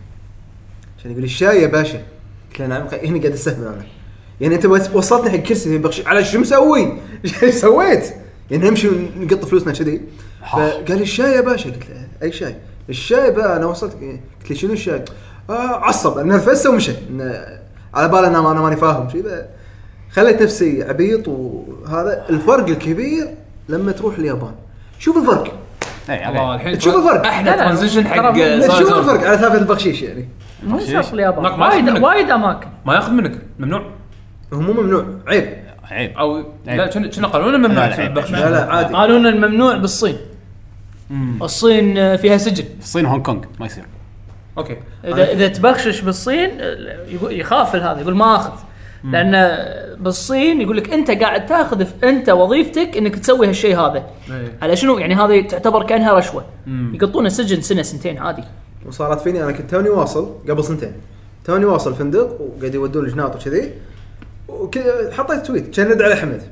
عشان يقول لي الشاي يا باشا قلت له نعم قال، هنا قاعد استهبل انا يعني انت بس- وصلتني حق كرسي يعني بخش على شو مسوي؟ [LAUGHS] شو سويت؟ يعني نمشي ونقط فلوسنا كذي فقال لي الشاي يا باشا قلت له اي شاي؟ الشاي بقى انا وصلت قلت له شنو الشاي؟ آه عصب نرفزه ومشى إنه على باله انا انا ماني فاهم شي بقى. خليت نفسي عبيط وهذا الفرق الكبير لما تروح اليابان شوف الفرق إي، الله إيه، عليك. الحين تشوف الفرق. احلى لا، لا. ترانزيشن حق ترى صار- شوف صار. الفرق على سالفه البخشيش يعني مو شرط اليابان هناك ما وايد يخدمك. وايد اماكن ما ياخذ منك ممنوع هو مو ممنوع عيب عيب او لا كنا كنا قانونا ممنوع لا، لا، عيب. بخش- لا لا عادي قانونا ممنوع بالصين الصين آه، فيها سجن الصين هونغ كونغ ما يصير اوكي اذا اذا تبخشش بالصين آه، يقول يخاف هذا يقول ما اخذ لان آه، بالصين يقول لك انت قاعد تاخذ في- انت وظيفتك انك تسوي هالشيء هذا إيه. على شنو يعني هذه تعتبر كانها رشوه يقطونه سجن سنه سنتين عادي وصارت فيني انا كنت توني واصل قبل سنتين توني واصل فندق وقاعد يودون جناط وكذي وكذا حطيت تويت كان ند على حمد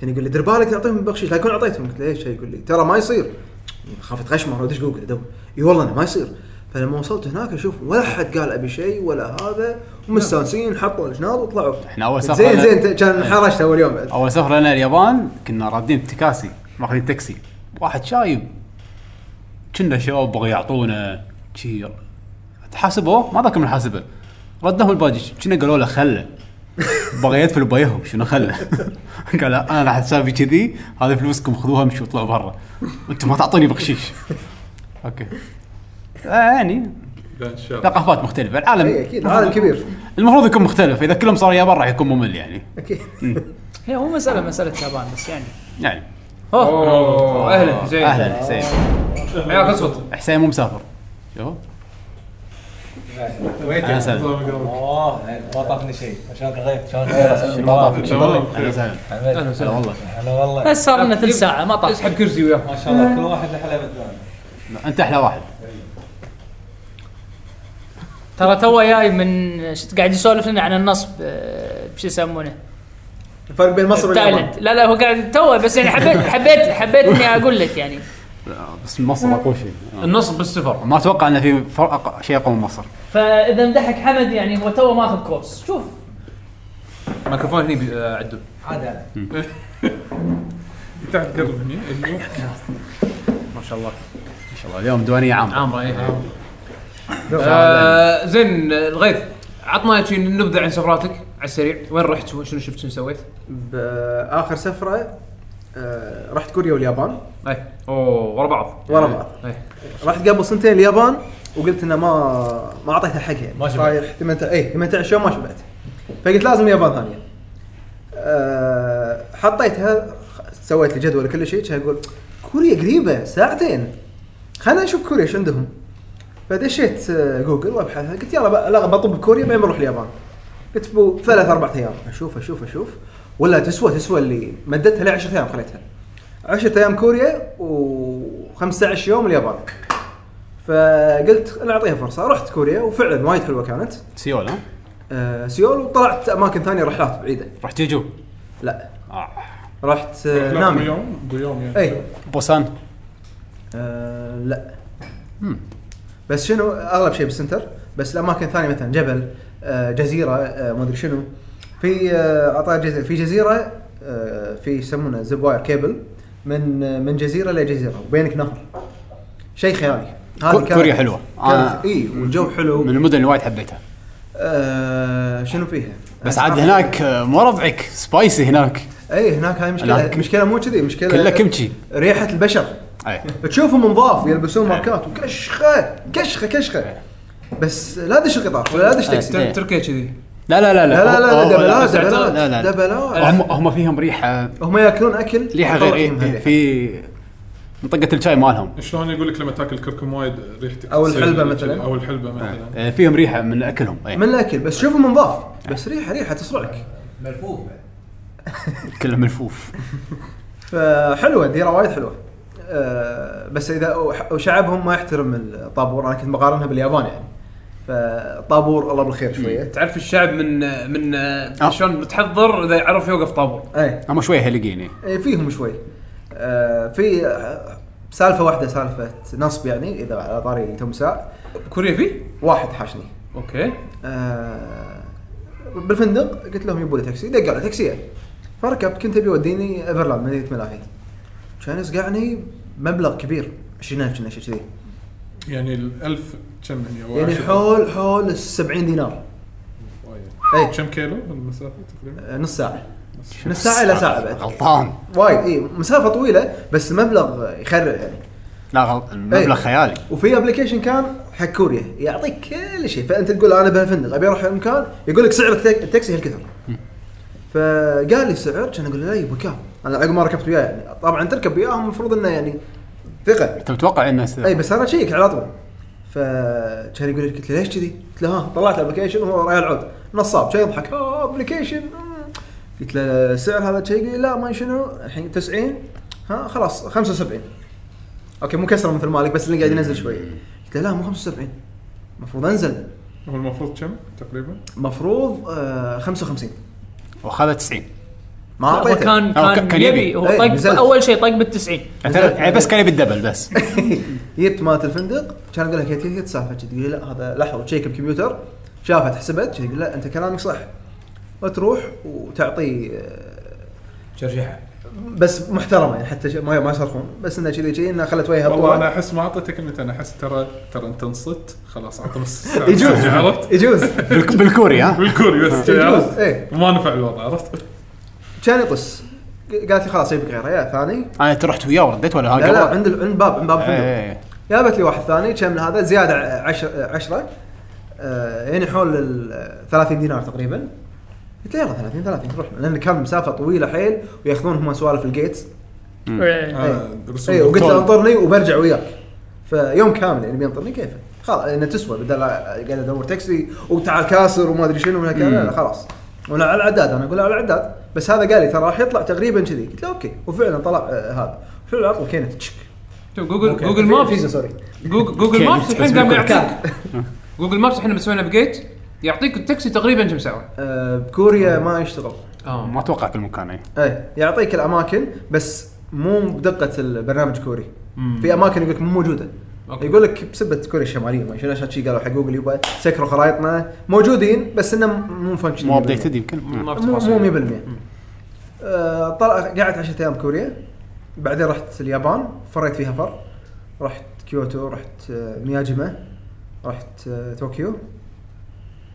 كان يقول لي دير بالك تعطيهم بخشيش لا يكون اعطيتهم قلت له ايش يقول لي ترى ما يصير خاف اتغشمر وادش جوجل ادور اي والله انا ما يصير فلما وصلت هناك اشوف ولا حد قال ابي شيء ولا هذا ومستانسين حطوا الجناط وطلعوا إحنا أول سفرة زين ل- إيه. زين كان انحرجت اول يوم بعد اول سفره لنا اليابان كنا رادين بتكاسي ماخذين تاكسي واحد شايب كنا شباب بغوا يعطونا شي تحاسبوه ما ذاك من حاسبه ردهم الباجي كنا قالوا له خله بغى يدفل بيهم شنو خله [LAUGHS] قال انا على حسابي كذي هذه فلوسكم خذوها مشوا اطلعوا برا انتم ما تعطوني بخشيش [LAUGHS] اوكي آه يعني لا ان شاء الله ثقافات مختلفه اي العالم اكيد عالم إيه، كبير المفروض يكون مختلف اذا كلهم صاروا يابان راح يكون ممل يعني اكيد هي مو مساله مساله يابان بس يعني يعني اوه اوه اهلا حسين اهلا حسين عيالك اسود حسين مو مسافر شوف اهلا وسهلا وطفني شيء شلون غيرت شلون شنو وضعك؟ شنو تمام. وضعك؟ اهلا وسهلا اهلا هلا وسهلا والله هلا والله بس صار لنا ثلث ساعه ما طاف اسحب كرسي وياه ما شاء الله كل واحد احلى من الثاني انت احلى واحد ترى تو جاي من شت- قاعد يسولف لنا عن النصب آه، بشو يسمونه الفرق بين مصر واليابان تايلند لا لا هو قاعد تو بس يعني حبيت حبيت حبيت اني اقول لك يعني بس مصر اقوى شيء النصب بالصفر ما اتوقع انه في فرق شيء اقوى من مصر فاذا مدحك حمد يعني هو تو ماخذ كورس شوف ميكروفون هني بي- آه، عدل عادي عادي تحت قرب هني أيوه. ما شاء الله ما شاء الله اليوم دوانية عام عامره ايه آه، زين آه، الغيث عطنا شي نبذه عن سفراتك على السريع وين رحت شنو شفت شنو سويت؟ باخر سفره آه، رحت كوريا واليابان اي اوه ورا بعض ورا بعض اي رحت قبل سنتين اليابان وقلت انه ما ما اعطيتها حقها يعني ما شبعت. صاير 18 اي 18 يوم ما شبعت فقلت لازم اليابان ثانيه أه حطيتها خ- سويت لي جدول كل شيء كان اقول كوريا قريبه ساعتين خلينا نشوف كوريا ايش عندهم فدشيت آه، جوجل وابحثها قلت يلا بقى- لا بطب كوريا بعدين بروح اليابان قلت بو ثلاث اربع ايام اشوف اشوف اشوف ولا تسوى تسوى اللي مدتها ل 10 ايام خليتها 10 ايام كوريا و15 يوم اليابان فقلت لا اعطيها فرصه رحت كوريا وفعلا وايد حلوه كانت سيول ها آه، سيول وطلعت اماكن ثانيه رحلات بعيده رحت جيجو لا آه. رحت آه، لا نامي إيه. بيوم بيوم يعني اي بوسان آه، لا مم. بس شنو اغلب شيء بالسنتر بس الاماكن الثانيه مثلا جبل آه، جزيره آه، ما ادري شنو في آه، عطاء جزيره في جزيره آه، في يسمونه زب واير كيبل من آه، من جزيره لجزيره وبينك نهر شيء خيالي هذه كو- كوريا حلوة. آه. كانت اي والجو حلو من المدن اللي وايد حبيتها آه شنو فيها؟ بس عاد هناك آه، مو ربعك سبايسي هناك اي هناك هاي مشكله هناك. المشكله مو كذي مشكله كله كمشي ريحه البشر اي تشوفهم نظاف يلبسون ماركات وكشخه كشخه كشخه بس لا دش القطار ولا دش تاكسي إيه. تر- تركيا كذي لا لا لا لا لا لا أوه، دبلات بس أعتقد- لا لا دبلات لا دبلات هم هم فيهم ريحه هم ياكلون اكل ريحه يطلع غير فيهم إيه، هالريحة. في منطقه الشاي مالهم شلون يقول لك لما تاكل كركم وايد ريحتك أو تصير الحلبة كذي، مثلاً. او الحلبه مثلا آه، فيهم ريحه من إيه، اكلهم اي من الاكل بس شوفهم نظاف بس ريحه ريحه تصرعك ملفوف بعد كله ملفوف فحلوه ديره وايد حلوه أه بس اذا وح- وشعبهم ما يحترم الطابور انا كنت بقارنها باليابان يعني فطابور الله بالخير شويه تعرف الشعب من من آه. شلون متحضر اذا عرف يوقف طابور اي هم شوي هلقين إيه. إيه، فيهم شوي آه، في آه، سالفه واحده سالفه نصب يعني اذا على طاري تمساح كوريا في؟ واحد حاشني اوكي آه، بالفندق قلت لهم يبوا لي تاكسي دق على تاكسيه فركبت كنت ابي يوديني ايفرلاند مدينه ملاهي كان يصقعني مبلغ كبير 20000 كنا شيء كذي يعني الألف كم هي واحد. يعني حول حول ال 70 دينار وايد. اي كم كيلو المسافه تقريبا؟ آه، نص ساعه نص ساعه الى ساعه بعد غلطان وايد اي مسافه طويله بس مبلغ يخرع يعني لا غلط المبلغ إيه. خيالي وفي ابلكيشن كان حق كوريا يعطيك كل شيء فانت تقول انا بهالفندق ابي اروح المكان يقول لك سعر التك- التاكسي هالكثر فقال لي سعر كان اقول له "إيه، لا يبا كم انا عقب ما ركبت وياه يعني طبعا تركب وياهم المفروض انه يعني ثقه انت متوقع انه س- اي بس انا اشيك على طول فكان يقول لي قلت له ليش كذي؟ قلت له ها طلعت الابلكيشن وهو ريال عود نصاب شي يضحك اه ابلكيشن قلت له سعر هذا شي يقول لي لا ما شنو الحين 90 ها خلاص 75 اوكي مو كسره مثل مالك بس اللي قاعد ينزل شوي قلت له لا مو 75 المفروض انزل هو المفروض كم تقريبا؟ المفروض آه 55 وخذ 90 إيه. ما هو اعطيته كان أو كان كان يبي. يبي هو إيه، طق نزلت. اول شيء طق بال 90 نزلت. يعني بس كان يبي الدبل بس [LAUGHS] إيه. جبت مالت الفندق كان اقول لك كيف كيف السالفه كذي تقول لي لا هذا لحظه تشيك الكمبيوتر شافت حسبت كذي تقول لا انت كلامك صح وتروح وتعطي آه، ترجيحه بس محترمه يعني حتى شي- ما ما يصرخون بس انه كذي كذي انه خلت وجهها والله انا طوال. احس ما اعطيتك انت انا احس ترى ترى انت انصت خلاص اعطي نص ساعة. [LAUGHS] يجوز [LAUGHS] عرفت؟ يجوز بالك- بالكوري ها بالكوري بس يجوز ايه ما نفع الوضع عرفت؟ كان يطس قالت لي خلاص يبك غيره يا ثاني انا أنت رحت وياه ورديت ولا ها لا لا قبل؟ عند ال- عند باب عند باب الفندق إيه. جابت لي واحد ثاني كان هذا زياده 10 10 يعني حول ال 30 دينار تقريبا قلت له يلا 30 30 روح لان كان مسافه طويله حيل وياخذون هم سوالف الجيتس إيه. آه، رسوم اي وقلت طول. له انطرني وبرجع وياك فيوم كامل يعني بينطرني كيفه خلاص انه تسوى بدل قاعد ادور تاكسي وتعال كاسر وما ادري شنو وهكذا لا لا، خلاص ولا على العداد انا اقول له على العداد بس هذا قال لي ترى راح يطلع تقريبا كذي قلت له اوكي وفعلا طلع آه، هذا فعلا عطل كينه تشك شوف جوجل جوجل مابس إيه، سوري جوجل جوجل كيف مابس الحين قام بالكوري. يعطيك جوجل مابس احنا مسوي نافيجيت يعطيك التاكسي تقريبا كم ساعه؟ آه، بكوريا ما يشتغل اه آه، ما اتوقع كل مكان اي ايه يعطيك الاماكن بس مو بدقه البرنامج كوري في اماكن يقول لك مو موجوده أوكي. أوكي. يقول لك بسبه كوريا الشماليه ما شنو عشان شي قالوا حق جوجل يبا سكروا خرائطنا موجودين بس انه مو فانكشن مو ابديتد يمكن مم. إيه، ما في مو تفاصيل. مو 100% آه، طلع قعدت 10 ايام كوريا بعدين رحت اليابان فريت فيها فر رحت كيوتو رحت آه، مياجمه رحت آه، طوكيو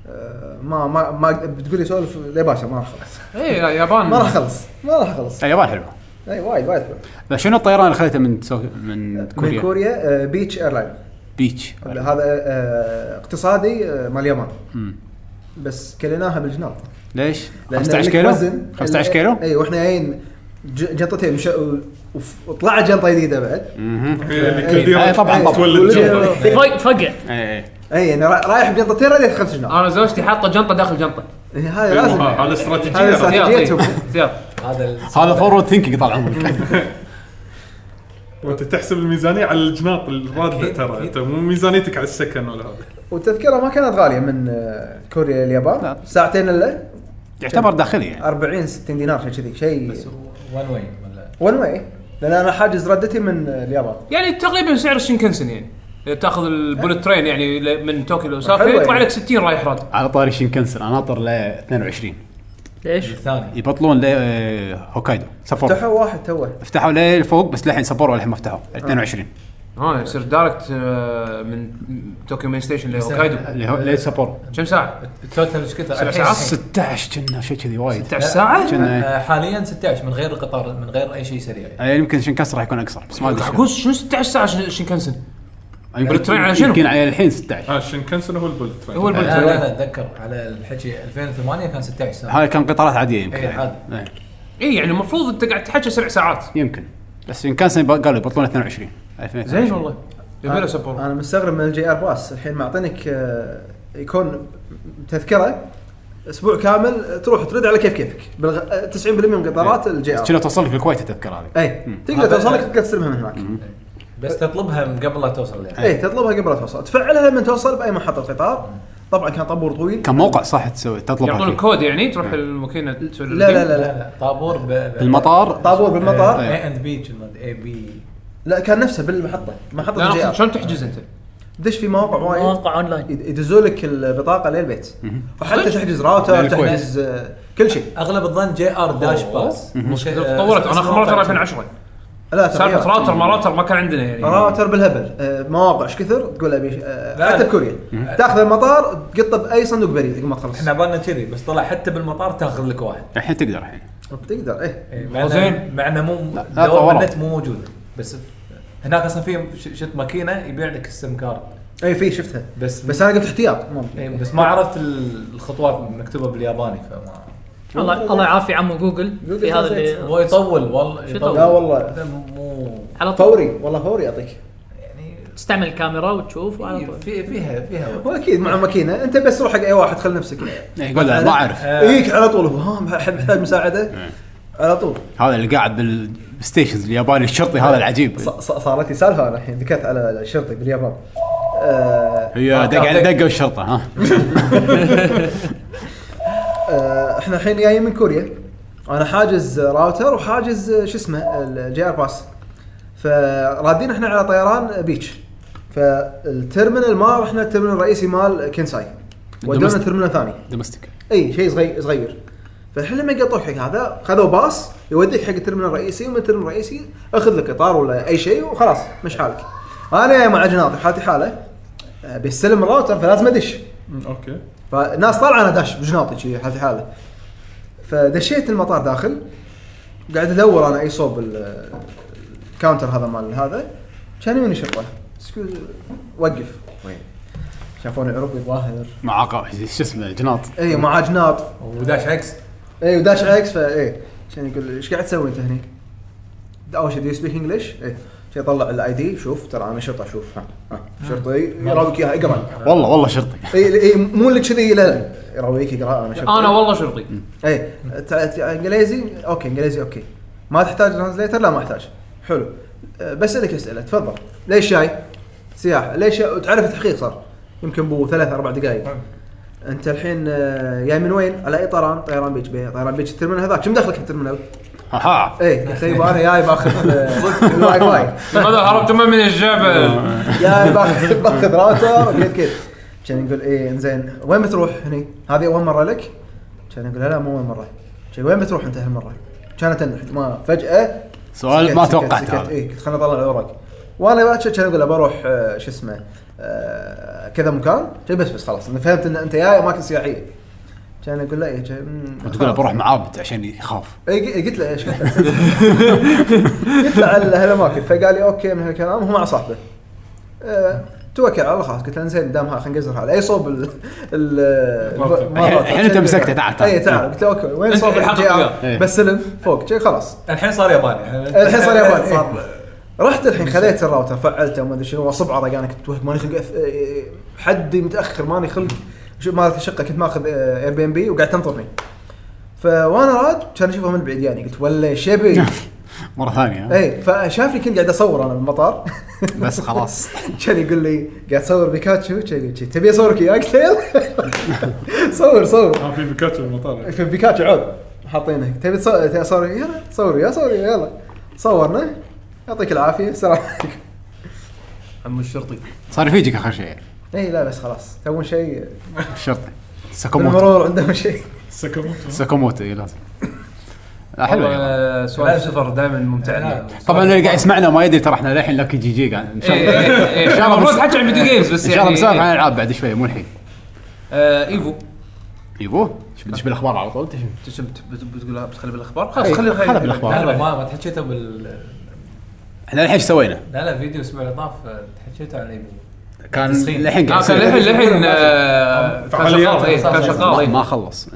آه، ما ما ما بتقول لي سولف ليه باشا ما راح اخلص اي لا إيه، يابان ما راح اخلص ما راح اخلص اليابان حلوه اي إيه، وايد وايد حلو. لا، شنو الطيران اللي خذيته من سو... من كوريا؟ من كوريا آه، بيتش ايرلاين بيتش هذا آه، اقتصادي آه، مال اليابان مم. بس كليناها بالجناب ليش؟ لأن 15 إنك كيلو؟ وزن- إيه. 15 كيلو؟ اي واحنا جايين ج- جنطتين مش... وف- وطلعت جنطه جديده بعد مهم. يعني إيه. كل ديره إيه، طبعاً، طبعاً. تولد جنب. ولد- فق- فقع اي اي اي يعني را- رايح بجنطتين رديت خمس جناب آه. انا زوجتي حاطه جنطه داخل جنطه إيه، هذا إيه، لازم أيوة. هذا استراتيجيه هذا عرفت؟ استراتيجية. ثياب جيت طيب. هو. ثياب هذا ال- هذا فورورد ثينكينج طال عمرك [LAUGHS] وانت تحسب الميزانيه على الجناط الرادة أكيد، ترى أكيد. انت مو ميزانيتك على السكن ولا هذا والتذكره ما كانت غاليه من آه، كوريا لا. اليابان ساعتين الا يعتبر داخلي يعني 40 60 دينار شيء كذي بس شيء وان واي ولا ون واي لان انا حاجز ردتي من آه، اليابان يعني تقريبا سعر الشينكنسن يعني إذا تاخذ البولت ترين يعني ل- من طوكيو لاوساكا حلوة يطلع يعني. لك 60 رايح راد على طاري شينكنسن انا ناطر ل 22 ليش؟ الثاني يبطلون ل آه، هوكايدو فتحوا سفر واحد توه فتحوا ليه فوق بس للحين سبوروا للحين ما فتحوا 22 اه يصير دايركت آه، من طوكيو مين ستيشن لهوكايدو ليه سبوروا كم ساعه؟ التوتال ايش كثر؟ سبع الحين- ساعات؟ 16 كنا شيء كذي وايد 16 ساعه؟ كنا آه، حاليا 16 من غير القطار من غير اي شيء سريع يعني. آه، يمكن شينكنسن راح يكون اقصر بس ما ادري شنو. معقول شنو 16 ساعه شن- شينكنسن؟ يمكن- الترين على شنو؟ يمكن على الحين 16 اه الشنكنسن هو البولت ترين هو البولت لا لا ترين لا اتذكر على الحكي 2008 كان 16 ساعه هاي كان قطارات عاديه يمكن آه. إيه، عادي. إيه، اي يعني المفروض انت قاعد تحكي سبع ساعات يمكن بس شينكنسن يب- قالوا يبطلون 22 زين 2022 والله يبي له سبورت انا مستغرب من الجي ار باس الحين معطينك آه، يكون تذكره اسبوع كامل تروح ترد على كيف كيفك بالغ... آه، 90% من قطارات الجي ار كنا توصل لك الكويت التذكره هذه اي تقدر هذا- توصلك تقدر تستلمها من هناك بس تطلبها من قبل لا توصل يعني اي تطلبها قبل لا توصل تفعلها لما توصل باي محطه قطار طبعا كان طابور طويل كان موقع صح تسوي تطلب يعطونك فيه. كود يعني تروح الماكينه تسوي له لا لا لا لا لا لا طابور ب... ب- بالمطار طابور بالمطار اي اند بي اي بي لا كان نفسه بالمحطه محطه لا الجي أقصد ار شلون تحجز انت؟ دش في مواقع وايد مواقع اونلاين يد- يدزوا لك البطاقه للبيت وحتى تحجز راوتر للكويت. تحجز آه، كل شيء اغلب الظن جي ار داش باس آه، تطورت انا اخر مره ترى 2010 لا تغيير. سالفه راوتر ما راوتر ما كان عندنا يعني راوتر بالهبل آه، مواقع ايش كثر تقول ابي آه، لا. حتى بكوريا تاخذ المطار تقطه باي صندوق بريد قبل ما تخلص احنا بالنا كذي بس طلع حتى بالمطار تاخذ لك واحد الحين تقدر الحين تقدر ايه إيه، مع إنه- زين. مع انه مو لا، لا، دوام طوروا. النت مو موجود بس هناك اصلا في ش- شت ماكينه يبيع لك السم كارد اي إيه، في شفتها بس بس انا قلت احتياط ما- إيه، بس ما عرفت ال- الخطوات مكتوبه بالياباني فما الله الله يعافي عمو جوجل في هذا اللي هو يطول والله شو يطول يطول؟ لا والله هذا مو على طول فوري والله فوري يعطيك يعني استعمل الكاميرا وتشوف وعلى إيه، في- طول في فيها فيها وقت. هو اكيد مع ماكينه انت بس روح حق اي واحد خل نفسك إيه، يقول له ما اعرف آه، يجيك على طول هو ها محتاج محتاج مساعده إيه. على طول هذا اللي قاعد بالستيشنز الياباني الشرطي هذا العجيب ص- ص- صارت لي سالفه انا الحين دكت على الشرطي باليابان آه، هي دق على دقه والشرطه ها آه، احنا الحين جايين من كوريا انا حاجز راوتر وحاجز آه، شو اسمه الجي ار باس فرادين احنا على طيران بيتش فالترمينال ما احنا الترمينال الرئيسي مال كينساي ودونا دومست- ترمينال ثاني دومستيك اي شيء صغير صغير فالحين لما يقطوك حق هذا خذوا باص يوديك حق الترمينال الرئيسي ومن الترمينال الرئيسي اخذ لك قطار ولا اي شيء وخلاص مش حالك انا مع جناطي حالتي حاله آه، بيستلم الراوتر فلازم ادش مم، اوكي فالناس طالعه انا داش بجناطي شي حالتي حاله فدشيت المطار داخل قاعد ادور انا اي صوب ال- الكاونتر هذا مال هذا كان يوني شرطه سكو- وقف شافوني عربي ظاهر معاق شو اسمه جناط اي مع جناط وداش عكس اي وداش عكس فا اي عشان يقول لي، ايش قاعد تسوي انت هني؟ اول شيء دو سبيك انجلش؟ اي إيه. شي طلع الاي دي شوف ترى انا شرطه شوف ها ها شرطي يراويك اياها اقرا والله والله شرطي اي اي إيه، مو اللي كذي لا لا يراويك اقرا انا شرطي انا والله شرطي اي إيه، تع- تع- انجليزي اوكي انجليزي اوكي ما تحتاج ترانزليتر لا ما احتاج حلو أه، بسالك اسئله تفضل ليش جاي؟ سياحه ليش تعرف تحقيق صار يمكن بو ثلاث اربع دقائق انت الحين أه، جاي من وين؟ على اي طيران؟ طيران بيج بي طيران بيج الترمينال هذاك كم دخلك الترمينال؟ إيه، ها اي قلت له، يبا انا جاي باخذ أه، الواي فاي [LAUGHS] هذا هربت من آه. الجبل جاي باخذ باخذ راوتر وكذا كذا كان يقول ايه انزين وين بتروح هني؟ هذه اول مره لك؟ كان يقول لا لا مو اول مره كان وين بتروح انت هالمره؟ كانت أن- ما فجاه سؤال سكت- ما سكت- توقعت سكت. هذا ايه قلت خليني اطلع الورق وانا باكر كان اقول له بروح آه، شو اسمه آه، كذا مكان كان بس بس خلاص انا فهمت ان انت جاي اماكن سياحيه كان اقول له ايه كان- مم، وتقول له بروح معابد عشان يخاف اي إيه، قلت [LAUGHS] له ايش قلت له؟ قلت له على هالاماكن فقال لي اوكي من هالكلام هو مع صاحبه أه، توكل على الله خلاص قلت له زين دامها خلينا نقزرها على اي صوب ال ال المرات. الحين أنت مسكته، تعال، تعال. اي إيه، تعال قلت له اوكي وين أنت صوب اللي حاطط الجي آر؟ إيه. بسلم فوق شي خلاص الحين صار ياباني الحين صار ياباني، إيه. [LAUGHS] صار رحت الحين خذيت الراوتر فعلته وما ادري شنو واصب على انا كنت وهم- ماني خلق أف- إيه، حدي متاخر ماني خلق شو مالت الشقه كنت ماخذ اير بي ام بي وقاعد تنطرني فوانا راد كان اشوفه من بعيد يعني قلت ولا شبي مره ثانيه اي فشافني كنت قاعد اصور انا بالمطار [LAUGHS] بس خلاص كان يقول لي قاعد اصور بيكاتشو كان يقول لي، تبي اصورك اياه قلت له يلا. [LAUGHS] صور صور ها آه، في بيكاتشو بالمطار في بيكاتشو عود حاطينه تبي تصور تبي اصور وياه؟ يلا صور وياه، صور وياه، يلا صورنا يعطيك العافيه السلام عليكم عم الشرطي صار يفيجك اخر شيء اي إيه، لا بس خلاص تبون شيء الشرطي ساكوموتو المرور عندهم شيء [LAUGHS] ساكاموتو ساكوموتو إيه، لازم لا، حلوه اليابان. والله سؤال السفر دائما ممتع آه. لنا طبعا اللي قاعد يسمعنا ما يدري ترى احنا للحين لكي جي جي قاعد ان شاء إيه، الله إيه، إيه، إن شاء الله المفروض تحكي عن الفيديو جيمز بس ان شاء الله يعني بنسولف إيه. عن الالعاب بعد شوي مو الحين آه، ايفو يبوه ايش بدش بالاخبار على طول تشم تسم- بت- بت- بتقولها بتخلي بالاخبار إيه، خلاص خلي خلي بالأخبار. لا لا ما ما تحكيته بال احنا الحين ايش سوينا؟ لا لا فيديو الاسبوع اللي طاف تحكيته عن ايفل كان تسخين. الحين آه، قاعد كان يسوي. للحين للحين آه، كان شغال فعاليات. إيه، كان شغال ما- إيه. ما خلص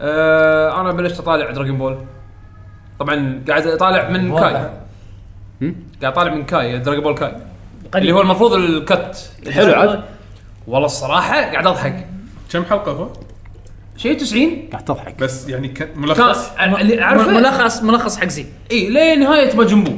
آه، انا بلشت اطالع دراجون بول طبعا قاعد اطالع من كاي والله. هم؟ قاعد اطالع من كاي دراجون بول كاي اللي هو المفروض الكت حلو عاد والله الصراحه قاعد اضحك كم حلقه هو؟ شيء 90 قاعد تضحك بس يعني كان كان آه، ملخص اللي اعرفه ملخص ملخص حق زي اي لنهايه ماجنبو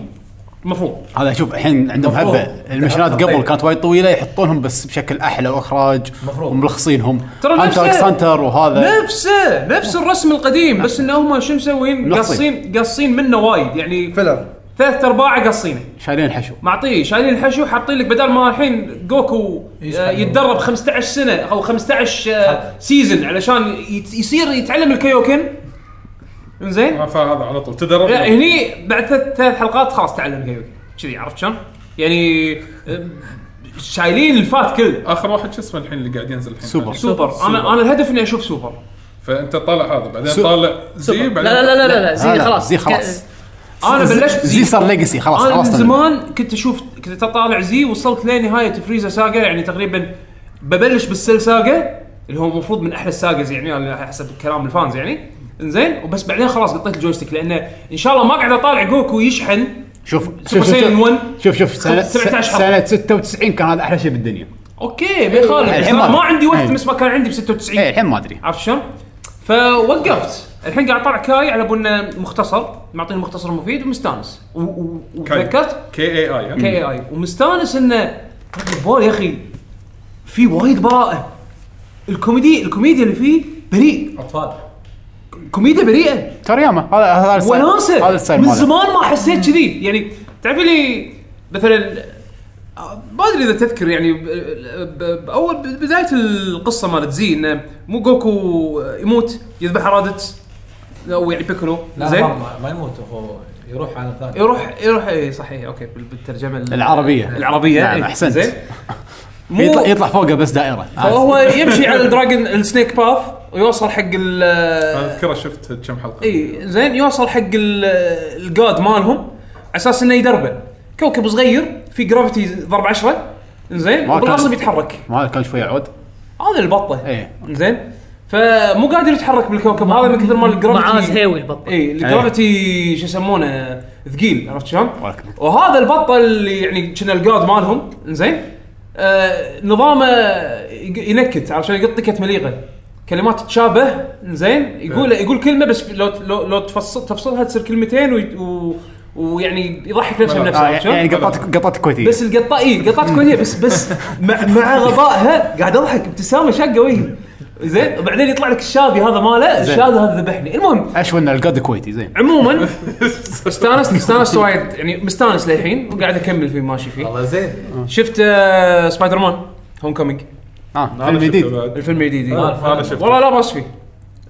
المفروض هذا شوف الحين عندهم مفروض. هبه المشينات تحطهم قبل طيب. كانت وايد طويله يحطونهم بس بشكل احلى واخراج مفروض. وملخصينهم ترى هانتر نفسه- اكس هانتر وهذا نفسه نفس الرسم القديم بس ان هم شو مسوين؟ ملخصين. قاصين قاصين منه وايد يعني فيلر ثلاث ارباعه قاصينه شايلين حشو معطيه شايلين الحشو حاطين لك بدل ما الحين جوكو آه، يتدرب 15 سنه او 15 آه، سيزن علشان يت- يصير يتعلم الكيوكن زين آه، فهذا على طول تدرب لا هني بعد ثلاث ثلاث حلقات خلاص تعلم كيوكن كذي عرفت شلون؟ يعني آه، شايلين الفات كله اخر واحد شو اسمه الحين اللي قاعد ينزل الحين سوبر. سوبر انا انا الهدف اني اشوف سوبر فانت طالع هذا بعدين سو- طالع زي لا بعدين لا لا لا لا لا زي لا، خلاص زي خلاص. ك- انا بلشت زي صار ليجسي خلاص انا آه، من خلاص زمان كنت اشوف كنت اطالع زي وصلت لنهايه فريزا ساجا يعني تقريبا ببلش بالسيل ساجا اللي هو المفروض من احلى الساجز يعني على حسب كلام الفانز يعني انزين وبس بعدين خلاص قطيت الجويستيك لانه ان شاء الله ما قاعد اطالع جوكو يشحن شوف سوبر شوف- سايلن شوف- 1. شوف شوف سنه 17 حلقة. سنه 96 كان هذا احلى شيء بالدنيا اوكي ما يخالف الحين ما- ما عندي وقت إيه. مثل ما كان عندي ب 96 ايه الحين ما ادري عرفت شلون؟ فوقفت الحين قاعد اطالع كاي على بنا مختصر معطيني مختصر مفيد ومستانس و- و- وتذكرت كي اي اي كي اي اي ومستانس انه راكب بول يا اخي في وايد براءه الكوميدي الكوميديا اللي فيه بريء اطفال كوميديا بريئه ترى ياما هذا هذا الستايل- وناسه هذا الستايل من ماله. زمان ما حسيت كذي يعني تعرف اللي مثلا آه، ما ادري اذا تذكر يعني ب- ب- باول ب- بدايه القصه مالت زي انه مو جوكو يموت يذبح رادت او يعني بيكولو لا زين زين ما يموت هو يروح عالم ثاني يروح يروح اي صحيح اوكي بال- بالترجمه ال- العربية. العربيه نعم، إيه، أحسنت. زين مو يطلع يطلع فوقه بس دائره فهو يمشي على الدراجن السنيك باث ويوصل حق ال اذكره شفت كم حلقه إيه. اي زين يوصل حق ال- الجاد مالهم على اساس انه يدربه كوكب صغير في جرافيتي ضرب 10 زين ما كان- وبالغصب يتحرك ما هذا كان شوي عود هذا البطه إيه. زين فمو قادر يتحرك بالكوكب هذا من كثر ما الجرافيتي معاه زهيوي البطة. اي الجرافيتي شو يسمونه ثقيل عرفت شلون؟ ولا كلمة. وهذا البطه اللي يعني كنا الجاد مالهم زين آه نظامه يق- ينكت عرفت شلون يقط تكت مليغه كلمات تتشابه زين يقول يقول كلمه بس لو لو, لو تفصل تفصلها تصير كلمتين وي- و ويعني يضحك نفسه ملل. بنفسه آه، عرفت شلون؟ يعني قطات قطات كويتيه بس القطه اي قطات كويتيه بس بس مع, مع غبائها قاعد اضحك ابتسامه شاقه وجهي زين وبعدين يطلع لك الشاذي هذا ماله الشاذي هذا ذبحني المهم اشوى ان القاد كويتي زين [LAUGHS] عموما استانست استانست وايد يعني مستانس للحين وقاعد اكمل فيه ماشي فيه والله زين شفت آه، سبايدر مان هوم كومينج اه فيلم هذا جديد شفته بعد. الفيلم الجديد إيه. آه، هذا شفته آه. والله لا باس فيه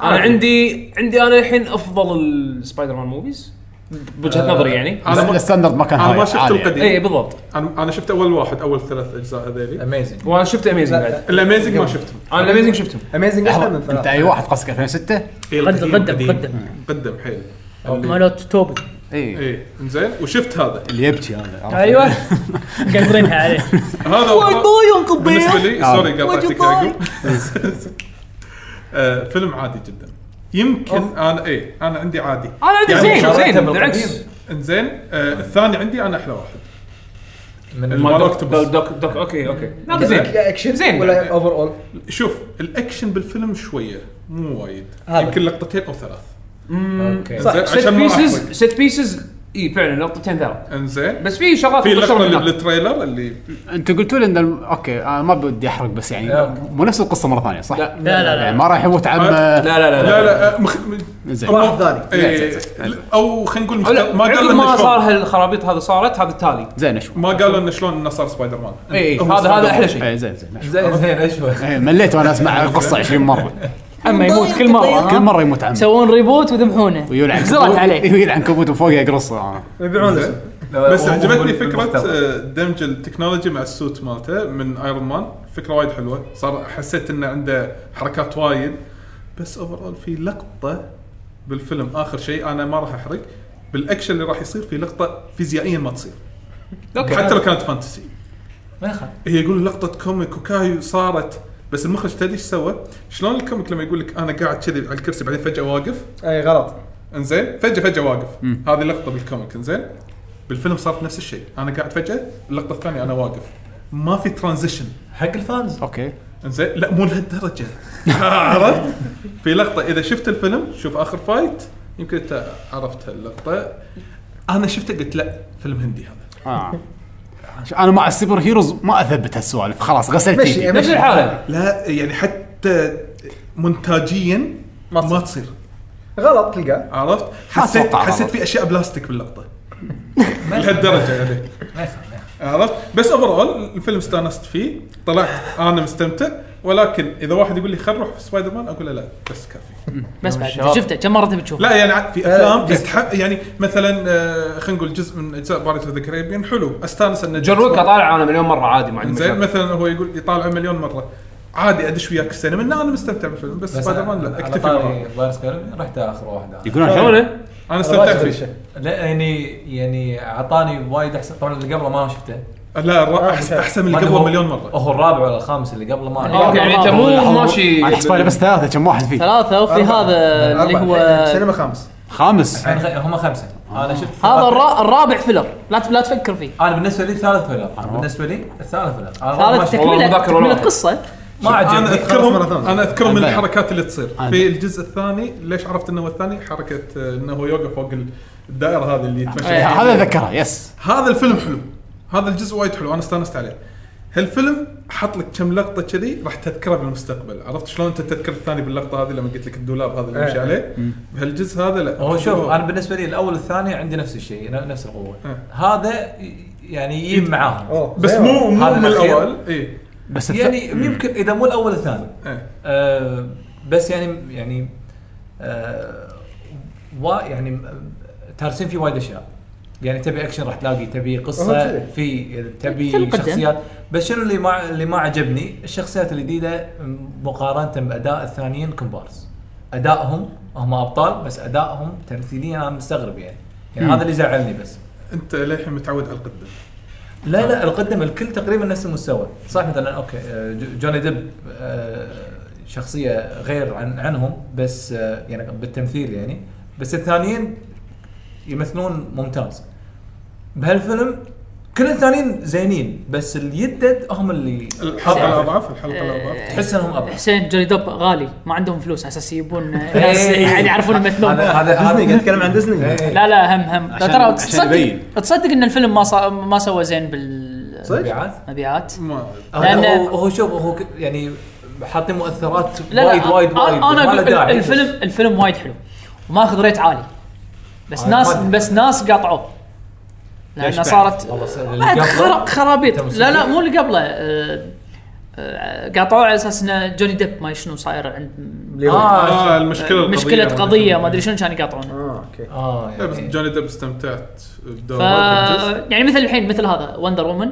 انا عندي عندي انا الحين افضل السبايدر مان موفيز آه. بوجهه نظري يعني أنا ما- الستاندرد ما كان انا هاي ما شفت عالي يعني. اي القديم بالضبط انا أنا شفت اول واحد اول ثلاث اجزاء هذيلي اميزنج وانا شفت اميزنج بعد الاميزنج ما شفتهم انا الاميزنج شفتهم يعني اميزنج احلى من لحظة، انت ثلاثة اي واحد قصدك 2006 إيه، قدم القديم قدم قديم. قدم قدم حيل مالوت توبي اي اي زين وشفت هذا اللي يبكي هذا عرفت؟ ايوه [LAUGHS] قادرينها عليه هذا وايد هو- باي ينقب بالنسبه لي آه. سوري قاطعتك What you يا يعقوب [LAUGHS] آه، فيلم عادي جدا يمكن انا ايه انا عندي عادي انا عندي يعني زين مقارنة زين بالقديم. بالعكس انزين آه، الثاني عندي انا احلى واحد من المال اوكتوبس دوك دوك اوكي اوكي لا زين زين لا اكشن زين. زين ولا اوفر اول شوف الاكشن بالفيلم شويه مو وايد هذا. يمكن لقطتين او ثلاث اوكي صح. عشان ست ما راح بيسز أحرق. ست بيسز اي فعلا لقطتين ثلاث انزين بس في شغلات في مختصرة لقطه اللي منها. بالتريلر اللي انتوا قلتوا لي ان الم- اوكي انا ما بدي احرق بس يعني أوكي. مو نفس القصه مره ثانيه صح؟ لا. لا لا يعني لا ما راح يموت عم لا، لا لا لا لا لا لا آه، مخ... م- زين واحد ثاني إيه، او خلينا نقول لا مخت- ما عقب قالوا ما انه صار شلون هالخرابيط هذه صارت هذا التالي زين اشوف ما قالوا انه شلون انه صار سبايدر مان اي هو إيه، هذا هذا سبايدر احلى شيء اي زين زين أشوف. زين زين [LAUGHS] اشوف إيه، مليت وانا اسمع القصه 20 مره اما يموت كل مره ها؟ كل مره يموت عم يسوون ريبوت ويذبحونه ويولع زرعت عليه ويلعن كبوت وفوقه يقرصه آه. يبيعون زين. بس عجبتني فكره آه، دمج التكنولوجي مع السوت مالته من ايرون مان فكره وايد حلوه صار حسيت انه عنده حركات وايد بس اوفرول في لقطه بالفيلم اخر شيء انا ما راح احرق بالاكشن اللي راح يصير في لقطه فيزيائيا ما تصير اوكي حتى لو كانت فانتسي ما يخالف هي يقول لقطه كوميك وكايو صارت بس المخرج تدري ايش سوى؟ شلون الكوميك لما يقول لك انا قاعد كذي على الكرسي بعدين فجاه واقف اي غلط انزين فجاه فجاه واقف هذه لقطه بالكوميك انزين بالفيلم صارت نفس الشيء انا قاعد فجاه اللقطه الثانيه انا واقف ما في ترانزيشن حق الفانز اوكي انزين لا مو لهالدرجه [LAUGHS] عرفت في لقطه اذا شفت الفيلم شوف اخر فايت يمكن انت عرفت اللقطه انا شفته قلت لا فيلم هندي هذا آه. شو- انا مع السوبر هيروز ما اثبت هالسوالف خلاص غسلت مشي، إيدي. إيه. نفس الحاله لا يعني حتى منتاجيا ما تصير, ما تصير. غلط تلقاه عرفت حسيت أتوقع حسيت غلط. في اشياء بلاستيك باللقطه لهالدرجه يعني ما يخالف عرفت بس اوفرول الفيلم استانست فيه طلعت انا مستمتع ولكن اذا واحد يقول لي خل نروح في سبايدر مان اقول له لا بس كافي بس بعد أنت شفته كم مره تبي تشوفه لا يعني في افلام يستحق يعني مثلا آه، خلينا نقول جزء من اجزاء بارت اوف ذا كاريبيان حلو استانس انه جروك طالع انا مليون مره عادي ما عندي زين مشاكل. مثلا هو يقول يطالع مليون مره عادي ادش وياك السينما إن انا مستمتع بالفيلم بس, بس سبايدر مان إيه. لا اكتفي بالرعب. رحت اخر واحده يقولون حلو شلونه؟ انا استمتعت فيه لا يعني يعني اعطاني وايد احسن طبعا اللي قبله ما شفته لا الرابع احسن احسن من اللي قبله مليون مره هو الرابع ولا الخامس اللي قبله ما أدري. اوكي يعني انت مو ماشي انا احسب بس ثلاثه كم واحد فيه ثلاثة وفي أربعة. هذا أربعة. إيه، اللي هو سينما خامس خامس الحين خ- هم خمسه آه. انا شفت هذا الرا- الرابع فيلر لا ت- لا تفكر فيه انا بالنسبه لي الثالث آه. فيلر بالنسبه لي الثالث فيلر أنا ما ثالث شفت- والله تكملة مذاكر ولا تكملة واحد. قصة ما انا عجبني خلاص مرة اذكرهم ثانية. انا اذكرهم من أنا باين. الحركات اللي تصير أنا في باين. الجزء الثاني ليش عرفت انه هو الثاني حركه آه، انه هو يوقف فوق الدائره هذه اللي إيه. يتمشى هذا ذكره يس هذا الفيلم حلو هذا الجزء وايد حلو انا استانست عليه هالفيلم حط لك كم لقطه كذي راح تذكرها بالمستقبل عرفت شلون انت تذكر الثاني باللقطه هذه لما قلت لك الدولاب هذا اللي إيه. يمشي عليه بهالجزء هذا لا هو شوف انا بالنسبه لي الاول والثاني عندي نفس الشيء ن- نفس القوه إيه. هذا ي- يعني يجيب معاهم بس آه، مو مو أيوه. هذا من إيه. الأخير. الاول اي بس الث- يعني يمكن اذا مو الاول الثاني إيه. آه، بس يعني يعني آه، وا يعني م- تارسين فيه وايد اشياء يعني تبي اكشن راح تلاقي تبي هو قصه كذي. في في تبي القدم. شخصيات بس شنو اللي ما اللي ما عجبني الشخصيات الجديده مقارنه باداء الثانيين كومبارس ادائهم هم ابطال بس ادائهم تمثيليا انا مستغرب يعني يعني مم. هذا اللي زعلني بس انت للحين متعود على القدم لا لا القدم الكل تقريبا نفس المستوى صح مثلا اوكي آه، جو- جوني ديب آه، شخصيه غير عن عنهم بس آه، يعني بالتمثيل يعني بس الثانيين يمثلون ممتاز بهالفيلم كل الثانيين زينين بس اللي يدد هم اللي الحلقه أضعف. الاضعاف الحلقه الاضعاف تحس انهم ابرع حسين جوني دوب غالي ما عندهم فلوس على اساس يبون ناس إيه. يعني يعرفون يمثلون هذا هذا ديزني قاعد هذا- اتكلم عن ديزني إيه. لا لا هم هم عشان- ترى عشان تصدق يبين. تصدق ان الفيلم ما صا... ما سوى زين بال صدق؟ مبيعات مبيعات ما إيه. هو لأن- هو- هو شوف هو ك- يعني حاطين مؤثرات لا لا وايد وايد أنا- وايد انا ما له اقول داعي. الفيلم الفيلم وايد حلو وماخذ ريت عالي بس آه، ناس ما- بس نس قاطعوه ليش لانه بعد؟ صارت والله س- اللي بعد قبله- خرا- خرابيط تم لا لا سجل. مو اللي قبله آه، آه، قاطعوه على اساس انه جوني ديب ما شنو صاير عند آه، اه المشكله القضية. مشكله قضيه ما ادري شنو كانوا يقاطعونه اه اوكي اه لا بس يعني- جوني ديب استمتعت ف بدور الجزء. يعني مثل الحين مثل هذا وندر وومن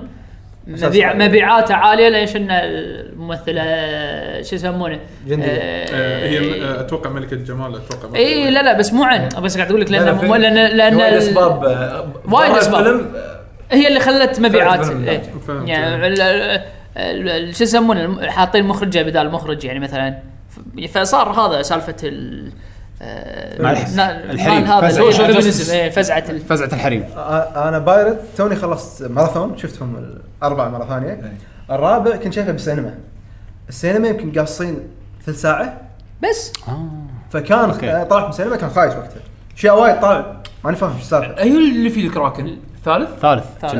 أساس مبيع عالي. مبيعاته عاليه ليش ان الممثله آه، شو يسمونه؟ جندية. آه، هي آه، اتوقع ملكه الجمال اتوقع ما اي إيه، لا لا بس مو عن بس قاعد اقول لك لان لا، في- مو- لان لان في وايد ال- اسباب آه، وايد برا أسباب. الفيلم، آه، هي اللي خلت مبيعات فعلاً إيه. بالنتائج. فهمت. يعني ال- ال- ال- شو يسمونه الم- حاطين مخرجه بدال مخرج يعني مثلا ف- فصار هذا سالفه ال آه، مع الح- نا- الحريم. مال هذا فزعة- social feminism، إيه، فزعه ال- فزعه الحريم آه، انا بايرت توني خلصت ماراثون شفتهم الاربع مره ثانيه الرابع كنت شايفه بالسينما السينما يمكن قاصين ثلث ساعه بس آه. فكان أوكي. انا طلعت من السينما كان خايس وقتها اشياء وايد طالع ماني فاهم شو السالفه هي أيوه، اللي فيه الكراكن الثالث ثالث كنا.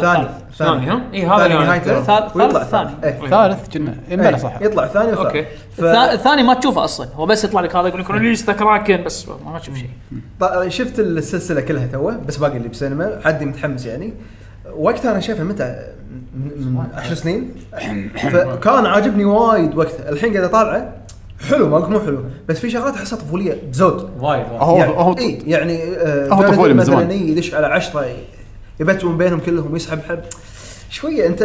ثاني ثالث ثاني ها اي هذا ثاني اللي أنا- نهايته ثالث- ويطلع ثالث- ثاني ثاني. إيه. ثالث كنا امبلا صح إيه، يطلع ثاني وثالث أوكي. الثا- ف... الثاني ما تشوفه اصلا هو بس يطلع لك هذا يقول لك ريليس ذا كراكن بس ما ما تشوف شيء ط- شفت السلسله كلها توه بس باقي اللي بالسينما حدي متحمس يعني وقتها انا شايفه متى من من 10 سنين فكان عاجبني وايد وقتها الحين قاعد اطالعه حلو ما اقول مو حلو بس في شغلات احسها طفوليه بزود وايد آه، آه، وايد. هو يعني هو اي يعني آه، هو جوني طفولي ديب من زمان. مثلا إي، يدش على عشرة يبتون بينهم كلهم ويسحب حب شويه انت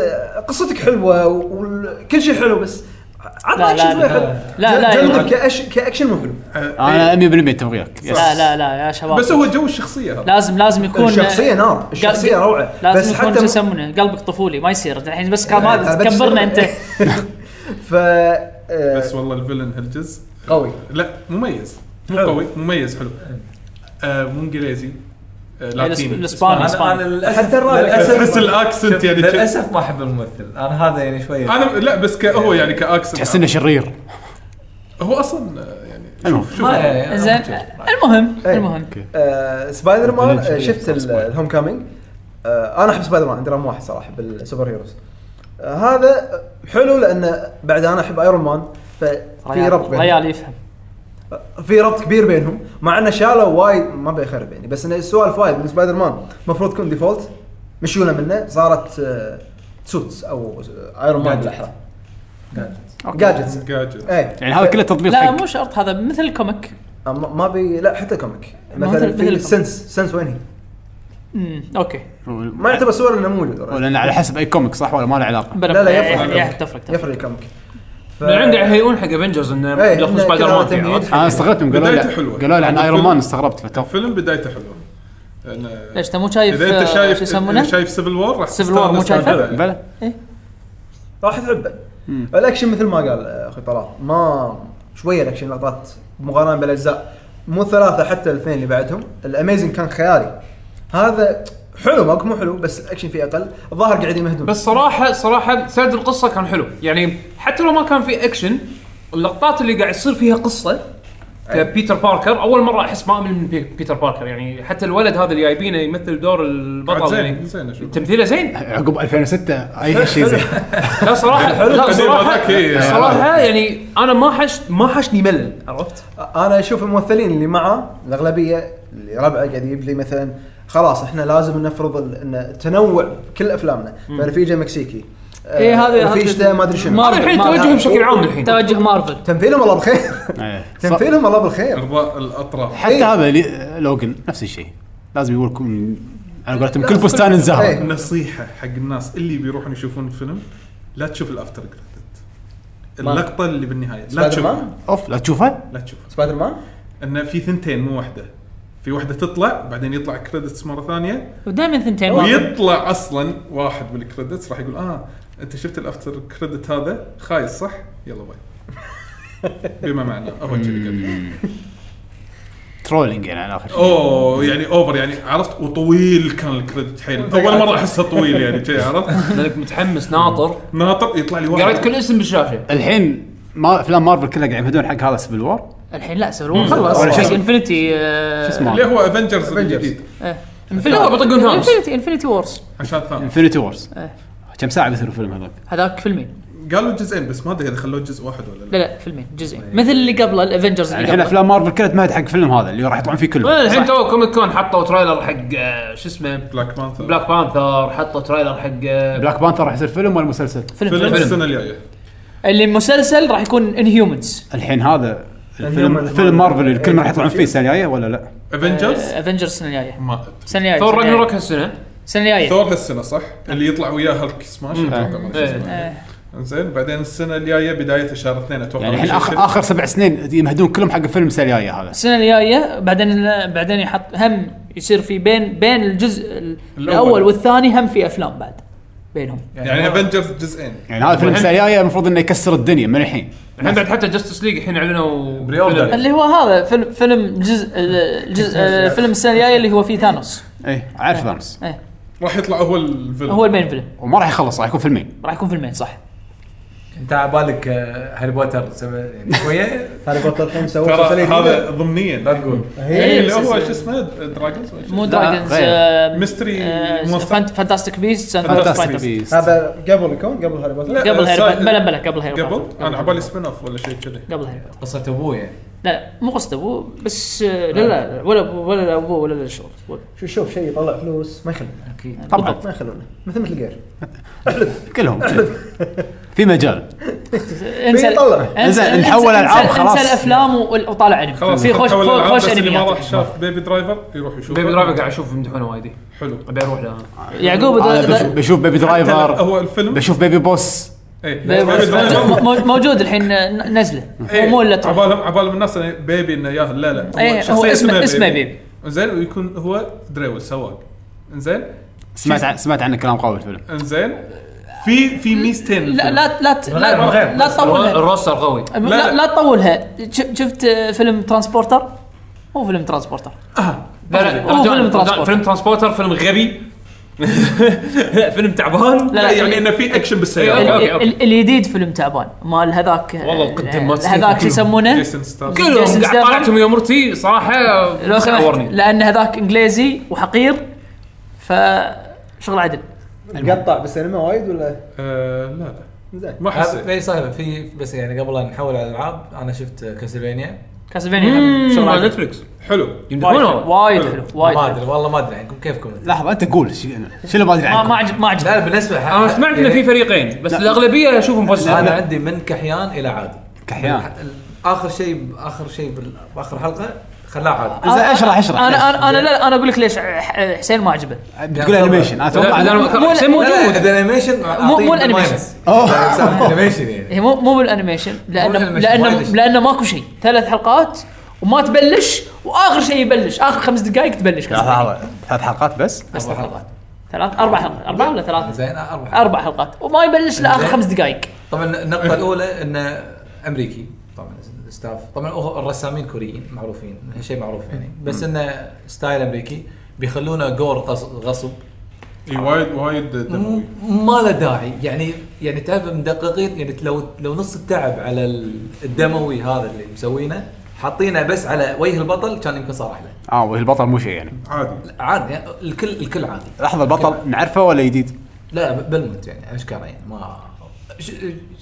قصتك حلوه وكل شيء حلو بس لا، عطنا لا، اكشن شويه لا. حلو لا، لا، جوني يعني- ديب كأش- كاكشن مو حلو انا 100% اتفق وياك يس. لا لا لا يا شباب بس هو جو الشخصيه هذا لازم لازم يكون الشخصية نار، الشخصية قل- روعة. لازم بس يكون حتى- شو يسمونه قلبك طفولي ما يصير الحين بس كم- أنا بس- إيه. كبرنا انت ف بس آه، والله الفيلن هالجزء قوي لا مميز مو حلو. قوي مميز حلو آه مو انجليزي آه لاتيني الاسباني انا انا الاسباني للاسف حتى الرابع. تحس للاسف الاكسنت يعني ك- للاسف ما احب الممثل انا هذا يعني شويه انا لا بس ك- هو يعني تحس انه كاكسنت شرير هو اصلا آه، يعني المهم ما يعني آه، زين المهم إيه. المهم آه، سبايدر مان آه، شفت شوية. ال- الهوم كامينج آه، انا احب سبايدر مان عندي رقم واحد صراحه بالسوبر هيروز آه، هذا حلو لانه بعد انا احب ايرون مان ففي ريال- ربط بينهم ريال يفهم في ربط كبير بينهم مع انه شالوا وايد ما بيخرب يعني بس انه السوالف وايد من سبايدر مان المفروض تكون ديفولت مشونا منه صارت آه، سوتس او آه، ايرون مان Gadgets. بالاحرى أوكي. جادجتس جاجل اي يعني هذا كله تطبيق لا حق مو شرط هذا مثل الكوميك ما ما بي لا حتى كوميك ما مثلا مثل- مثل في الكوميك. سنس سنس وين هي؟ امم اوكي ما يعتبر صور انه موجود already. لان على حسب اي كوميك صح ولا ما له علاقه بلا لا، لا، بلا، يفرق يعني- الكوميك. يعني تفرق تفرق يفرق الكوميك ف... من عندي يهيئون حق افنجرز انه إيه، يدخلون إنه سبايدر كلام مان فيه، تمهيد. عرفت؟ انا استغربت قالوا لي بدايته حلوة. قالوا لي عن الفيلم- ايرون مان استغربت فتوقع الفيلم بدايته حلوه لأن- ليش انت مو شايف اذا انت آه، شايف شو يسمونه؟ إذا شايف سيفل وور راح Civil War مو شايفه؟ بلى راح تحبه الاكشن مثل ما قال آه، اخوي طلال ما شويه الاكشن لقطات مقارنه بالاجزاء مو ثلاثه حتى الاثنين اللي بعدهم الاميزنج كان خيالي هذا حلو ماكو مو حلو بس الاكشن فيه اقل الظاهر قاعد يمهدون بس صراحه صراحه سرد القصه كان حلو يعني حتى لو ما كان في اكشن اللقطات اللي قاعد يصير فيها قصه كبيتر باركر اول مره احس ما امل من بي- بيتر باركر يعني حتى الولد هذا اللي جايبينه يمثل دور عاد البطل زين يعني زين اشوف تمثيله زين عقب 2006 اي شيء زين لا [LAUGHS] صراحه لا القديم صراحه هذاك، إيه. صراحه يعني انا ما حش ما حشني ملل عرفت؟ انا اشوف الممثلين اللي معه الاغلبيه اللي ربعه قاعد يجيب لي مثلا خلاص احنا لازم نفرض ال- ان التنوع كل افلامنا فرفيجه مكسيكي آه، إيه، هذا- هذا- رفيجته ما ادري شنو مارفل. انا الحين ما- توجههم بشكل عام الحين توجه مارفل تمثيلهم الله بالخير إيه. ص- تمثيلهم الله بالخير ارضاء الاطراف حتى إيه. هذا لي- لوجن نفس الشيء لازم يقول لكم على قولتهم كل فستان إيه. انزهر نصيحه حق الناس اللي بيروحون يشوفون الفيلم لا تشوف الافتر كريدت اللقطه اللي بالنهايه لا سبايدر تشوفها مان اوف لا تشوفه لا تشوفها سبايدر مان انه في ثنتين مو واحده في واحده تطلع بعدين يطلع كريدتس مره ثانيه ودائما ثنتين مارفل. ويطلع اصلا واحد بالكريدتس راح يقول اه انت شفت الافتر كريدت هذا خايس صح؟ يلا باي [LAUGHS] بما معناه هو كذي قال. ترولينج يعني على اخر شيء اوه يعني اوفر يعني عرفت وطويل كان الكريدت حيل اول مره احسه طويل يعني كذي عرفت لانك متحمس ناطر ناطر يطلع لي واحد قريت يعني كل اسم بالشاشه الحين ما افلام مارفل كلها قاعد يمهدون حق هذا سيفل وور الحين لا سووا خلص ولا شو اسمه؟ انفنتي شو اسمه؟ إيه. اللي هو افنجرز الجديد لا، بيطقون هامس. انفنتي انفنتي وورز عشان ثانوس انفنتي وورز إيه. كم ساعه بيصير الفيلم هذاك؟ هذاك فيلمين قالوا جزئين بس ما ادري اذا خلوه جزء واحد ولا لا لا لا فيلمين جزئين مثل اللي قبله الافنجرز يعني اللي الحين قبله افلام مارفل كلها تمهد حق الفيلم هذا اللي راح يطلعون فيه كلهم الحين صح؟ تو كوميك كون حطوا تريلر حق آه، شو اسمه بلاك بانثر بلاك بانثر حطوا تريلر حق آه، بلاك بانثر راح يصير فيلم ولا مسلسل؟ فيلم, فيلم فيلم. السنه الجايه اللي المسلسل راح يكون انهيومنز الحين هذا الفيلم اليوم فيلم الفيلم- مارفل الكل راح يطلعون فيه إيه. السنه الجايه ولا لا؟ افنجرز افنجرز السنه الجايه ما السنه الجايه ثور السنة الجاية. راجنروك هالسنه السنه الجايه ثور هالسنه صح؟ اللي يطلع وياه هالك سماش اتوقع ما شو اسمه. إيه. زين بعدين السنه الجايه بدايه شهر اثنين اتوقع يعني الحين راح اخر يصير. اخر سبع سنين يمهدون كلهم حق الفيلم السنه الجايه هذا السنه الجايه بعدين بعدين يحط هم يصير في بين بين الجزء ال- الاول والثاني هم في افلام بعد بينهم يعني افنجرز جزئين يعني هذا الفيلم السنه الجايه المفروض انه يكسر الدنيا من الحين الحين بعد حتى جاستس ليج الحين اعلنوا بري أوردر. فيلم. اللي هو هذا فيلم فيلم جزء الجزء آه، فيلم السنه الجايه اللي هو فيه ثانوس ايه عارف ثانوس إيه. راح يطلع هو الفيلم هو المين فيلم وما راح يخلص راح يكون فيلمين راح يكون فيلمين صح انت على بالك آه، هاري بوتر سب- يعني شويه هاري بوتر الحين سووا ترى مسلسل جديد. هذا ضمنيا لا تقول إيه، إيه، اللي هو سلسلة. شو اسمه دراجونز ولا شو مو اسمه؟ Ah, دراجونز غير. آه، ميستري آه، موثق. فانت- فانتاستيك بيست اند فانتاستيك فانتاستيك بيست. فايترز بيست. هذا قبل يكون قبل هاري بوتر لا، قبل سا- هاري بوتر- بلا بلا قبل هاري قبل بوتر. انا على بالي سبين اوف ولا شيء كذي قبل هاري بوتر. قصه ابوه يعني لا لا مو قصد ابوه بس آه، لا لا ولا أبوه ولا ابوه ولا لا آه، شغل ولا- شو شوف شيء يطلع فلوس ما يخلونه أكيد. طبعا ما يخلونه مثل مثل جير كلهم في [LAUGHS] مجال انسى بيطلع. انسى- انزين، انسى- نحول انسى- ألعاب، خلاص. انسى الافلام و- وطالع انمي خلاص في خوش حول الألعاب، خوش بس اللي ما راح انميات شاف بيبي درايفر يروح يشوفه بيبي درايفر قاعد اشوف مدحونه وايد حلو ابي اروح له أنا. يعقوب أنا آه، إذا- إذا- بشوف- بشوف بيبي حتى درايفر هو الفيلم بشوف بيبي بوس إيه، بيبي بيبي درايفر مو- مو- موجود الحين آه، ن- نزله إيه. هو مو الا تروح عبالهم عبالهم الناس إنه بيبي انه ياهل لا لا إيه، هو شخصية اسمه- اسمه بيبي. زين ويكون هو دريول سواق زين سمعت عن- سمعت عنه كلام قوي الفيلم انزين في في ميزتين لا لا لا ت- غير- لا غير. لا تطولها الروستر قوي لا لا تطولها ش- شفت آه، فيلم ترانسبورتر هو فيلم ترانسبورتر لا لا هو رجال- فيلم رجال- ترانسبورتر. فيلم ترانسبورتر فيلم غبي [LAUGHS] لا فيلم تعبان لا، لا لا، يعني ال- انه في اكشن ال- بالسياره أوكي، ال- أوكي. ال- الجديد فيلم تعبان مال هذاك والله القدم ما آه، تستهلك هذاك شو كلهم. يسمونه؟ جيسون ستاثام كلهم جيسون قاعد ستاثام. طالعتهم يوم مرتي صراحه لو سمحت صورني. لان هذاك انجليزي وحقير ف شغل عدل قطع بالسينما وايد ولا آه، لا لا زين ما هذا- حسيت اي صح في بس يعني قبل أن نحول على الالعاب انا شفت آه، كاسلفينيا كاسلفينيا شغل على عدل نتفلكس حلو وايد يمدحونه حلو، وايد حلو وايد ما حلو. ادري والله ما ادري عنكم كيفكم لحظه انت قول شو شو اللي ما ادري ما ما عنه عجب ما عجب لا بالنسبه حق انا سمعت انه في فريقين بس الاغلبيه اشوفهم فزوا انا عندي من كحيان الى عادي يعني كحيان اخر شيء اخر شيء بال- باخر حلقه خلاه عادي زين اشرح اشرح انا انا انا لا انا اقول لك ليش ح- حسين ما عجبه بتقول انيميشن انا اتوقع مو- حسين مو- موجود لا، لا، الانيميشن مو- مو الانيميشن. [LAUGHS] أوه. الانيميشن يعني هي مو مو بالانيميشن لانه بالأنيميشن، لانه وايد أشياء. لانه ماكو شيء ثلاث حلقات وما تبلش واخر شيء يبلش اخر خمس دقائق تبلش ثلاث حلقات ثلاث حلقات بس بس ثلاث حلقات ثلاث اربع حلقات اربع ولا ثلاث زين اربع اربع حلقات وما يبلش لاخر زين. خمس دقائق طبعا النقطه الاولى انه امريكي طبعا الستاف طبعا هو الرسامين كوريين معروفين شيء معروف يعني بس انه ستايل امريكي بيخلونه جور غص- غصب اي وايد وايد دموي ما له داعي يعني يعني تعرف مدققين يعني لو لو نص التعب على ال- الدموي هذا اللي مسوينه حاطينه بس على وجه البطل كان يمكن صارح له اه والبطل مو شيء يعني عادي عادي يعني الكل الكل عادي لحظه البطل نعرفه ولا جديد؟ لا بالمت يعني اشكاله يعني ما ش-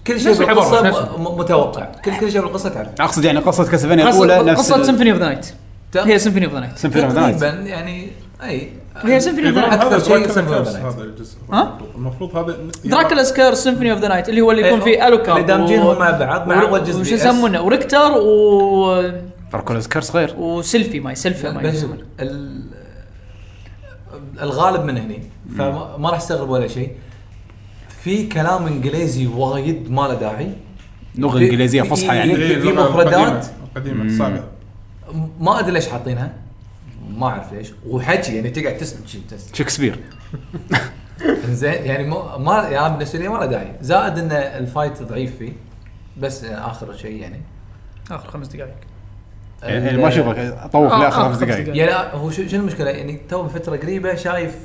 كل شيء نفس العبارة، بالقصه نفس- م- م- متوقع كل كل شيء بالقصه تعرفه اقصد يعني قصه كاسلفينيا الاولى قصه نفس قصة ال- سيمفوني اوف ذا نايت هي سيمفوني اوف ذا نايت سيمفوني أوف ذا نايت. تقريبا يعني اي هي سيمفوني اوف ذا نايت أكثر هذا شيء Dracula يسمى Curse Black. هذا الجزء ها؟ المفروض هذا دراكولا سكير سيمفوني اوف ذا نايت اللي هو اللي يكون فيه الوكارد إيه، اللي دامجينهم مع بعض مع اول جزء وش DS. يسمونه وريكتر و... دراكولا سكير صغير وسيلفي ماي سيلفي ما بس يسمونه ال- الغالب من هني فما ما راح استغرب ولا شيء في كلام انجليزي وايد ما له داعي لغه في- انجليزيه في- فصحى يعني في- في اللغة مفردات. القديمة- القديمه السابقه ما ادري ليش حاطينها ما اعرف ليش وحكي يعني تقعد تسمع شيء بس. شكسبير زين يعني مو- ما يعني بالنسبه لي ما له داعي زائد ان الفايت ضعيف فيه بس اخر شيء يعني اخر خمس دقائق يعني ما اشوفك طوف آه، لاخر آه، خمس خمس دقائق دقايق. يعني هو شو شنو المشكله يعني تو من فتره قريبه شايف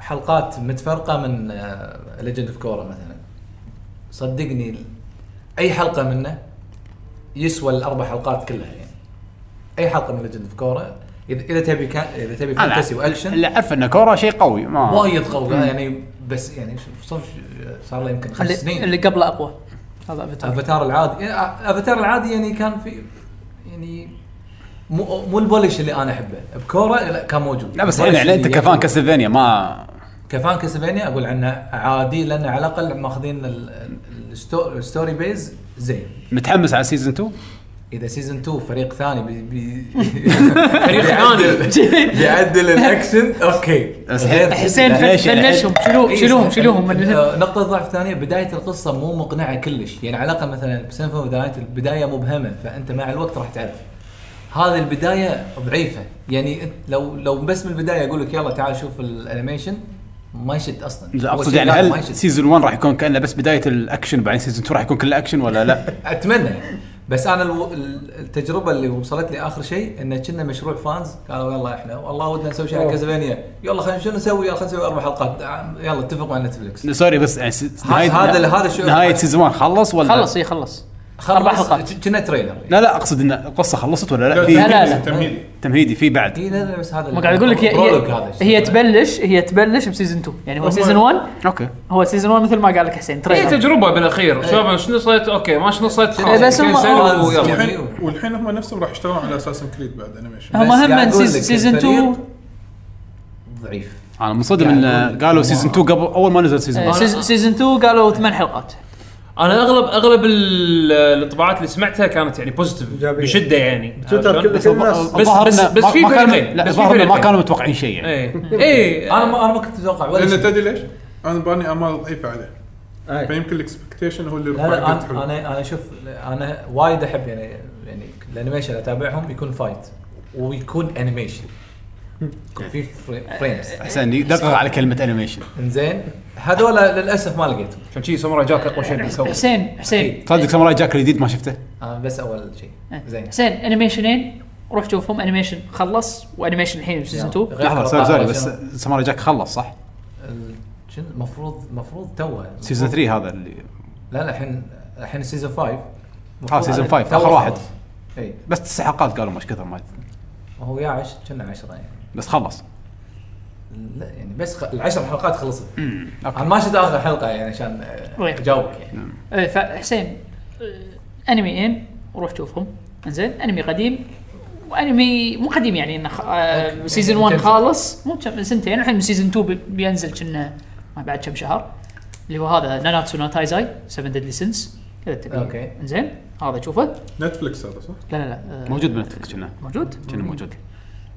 حلقات متفرقه من آه، ليجند اوف كورا مثلا صدقني ال- اي حلقه منه يسوى الاربع حلقات كلها يعني اي حلقه من ليجند اوف كورا اذا إذا تبي كا- اذا تبي أنا فانتسي واكشن اللي عارف ان كورا شيء قوي ما وايد قوي يعني بس يعني شوف صار صار له يمكن خمس اللي, سنين اللي قبله اقوى هذا طيب. افاتار افاتار العادي يعني افاتار العادي يعني كان في يعني مو مو البولش اللي انا احبه بكوره لا كان موجود لا بس الحين يعني انت كفان كاسلفينيا ما كفان كاسلفينيا اقول عنه عادي لان على الاقل ماخذين ال- ال- الستو- الستوري بيز زين متحمس على سيزون 2 اذا سيزون 2 فريق ثاني بي [LAUGHS] بي فريق ثاني. بيعدل- بيعدل الاكشن اوكي بس غير- حسين لا، ليش فن- فنشهم شيلوهم شيلوهم شيلوهم من آه، نقطة ضعف ثانية بداية القصة مو مقنعة كلش، يعني على الأقل مثلا بسيمفون اوف ذا نايت البداية مبهمة فأنت مع الوقت راح تعرف. هذه البداية ضعيفة، يعني أنت لو لو بس من البداية أقول لك يلا تعال شوف الأنيميشن ما يشد أصلا. لا، أول اقصد شيء يعني لا، ما هل يشد. سيزون 1 راح يكون كانه بس بدايه الاكشن بعدين سيزون 2 راح يكون كله اكشن ولا لا؟ [LAUGHS] اتمنى يعني. بس انا الو- ال- التجربه اللي وصلت لي اخر شيء انه كنا مشروع فانز قالوا يلا احنا والله ودنا نسوي شيء على كازافينيا يلا خلينا شنو نسوي يلا خلينا نسوي اربع حلقات آه، يلا اتفقوا على نتفلكس سوري بس يعني س- هذا- هذا- هذا الشيء- نهايه سيزون 1 خلص ولا خلص اي خلص اربع حلقات كنا تريلر يعني. لا لا اقصد ان القصه خلصت ولا لا؟ في لا، لا، لا. تمهيدي تمهيدي في بعد إي، إيه، لا لا بس هذا ما قاعد اقول لك هي برولوج هي, هذا هي تبلش هي تبلش بسيزون 2 يعني هو سيزون 1 اوكي هو سيزون 1 مثل ما قال لك حسين هي تريلر تجربه بالاخير شوف ايش نصيت اوكي ما ايش نصيت خلاص إيه، بس هم- كل سنة آه. ويلا. والحين والحين هم نفسهم راح يشتغلون على اساسن كريد بعد انيميشن بس هم هم قاعد أقول سيز- لك سيزون الفريق 2 ضعيف انا منصدم يعني ان أقول- قالوا سيزون 2 قبل اول ما نزل سيزون 1 آه، سيز- سيزون 2 قالوا ثمان حلقات انا اغلب اغلب ال- الانطباعات اللي سمعتها كانت يعني بوزيتيف إيجابية. بشده يعني تويتر كل كل الناس بس- الظاهر بس- إنه بس ما- في ما كانوا- فريقين. لا بس في الظاهر إنه ما فريقين. كانوا متوقعين شيء يعني إيه. اي اي انا ما انا ما كنت اتوقع ولا لان شيء. تدري ليش؟ انا باني امال ضعيفه عليه أي. فيمكن الاكسبكتيشن هو اللي لا لا رفع الجد انا حلو انا انا شوف انا وايد احب يعني يعني الانيميشن اللي اتابعهم يكون فايت ويكون انيميشن يكون في فري- فريمز احسن يدقق على كلمه انيميشن انزين هذول للاسف ما لقيتهم عشان شي ساموراي جاك اقوى شيء بيسوي حسين حسين صدق ساموراي جاك الجديد ما شفته آه بس اول شيء إيه. زين حسين انيميشنين روح شوفهم انيميشن خلص وانيميشن الحين بسيزون 2 غير لحظه سوري حلقات سوري عشان بس ساموراي جاك خلص صح؟ ال- شنو المفروض المفروض توه سيزون 3 هذا اللي لا لا الحين الحين سيزون 5 آه، سيزون فايف، آخر واحد. اي بس تسع حلقات قالوا مش كثر ما هو يا عش كنا 10 يعني بس خلص لا يعني بس خ... العشر حلقات خلصت أوكي. انا ما شفت اخر حلقه يعني عشان آه، وين؟ اجاوبك يعني إيه، فحسين آه، انميين روح شوفهم انزين انمي قديم وانمي مو قديم يعني انه خ... آه أوكي. سيزون يعني 1 كم- خالص مو كم سنتين الحين سيزون 2 بي- بينزل كنا ما بعد كم شهر اللي هو هذا ناناتسو نو تايزاي 7 ديدلي سينس اذا تبي أوكي. انزين هذا شوفه نتفلكس هذا صح؟ لا لا لا آه، موجود بنتفلكس كنا موجود كنا موجود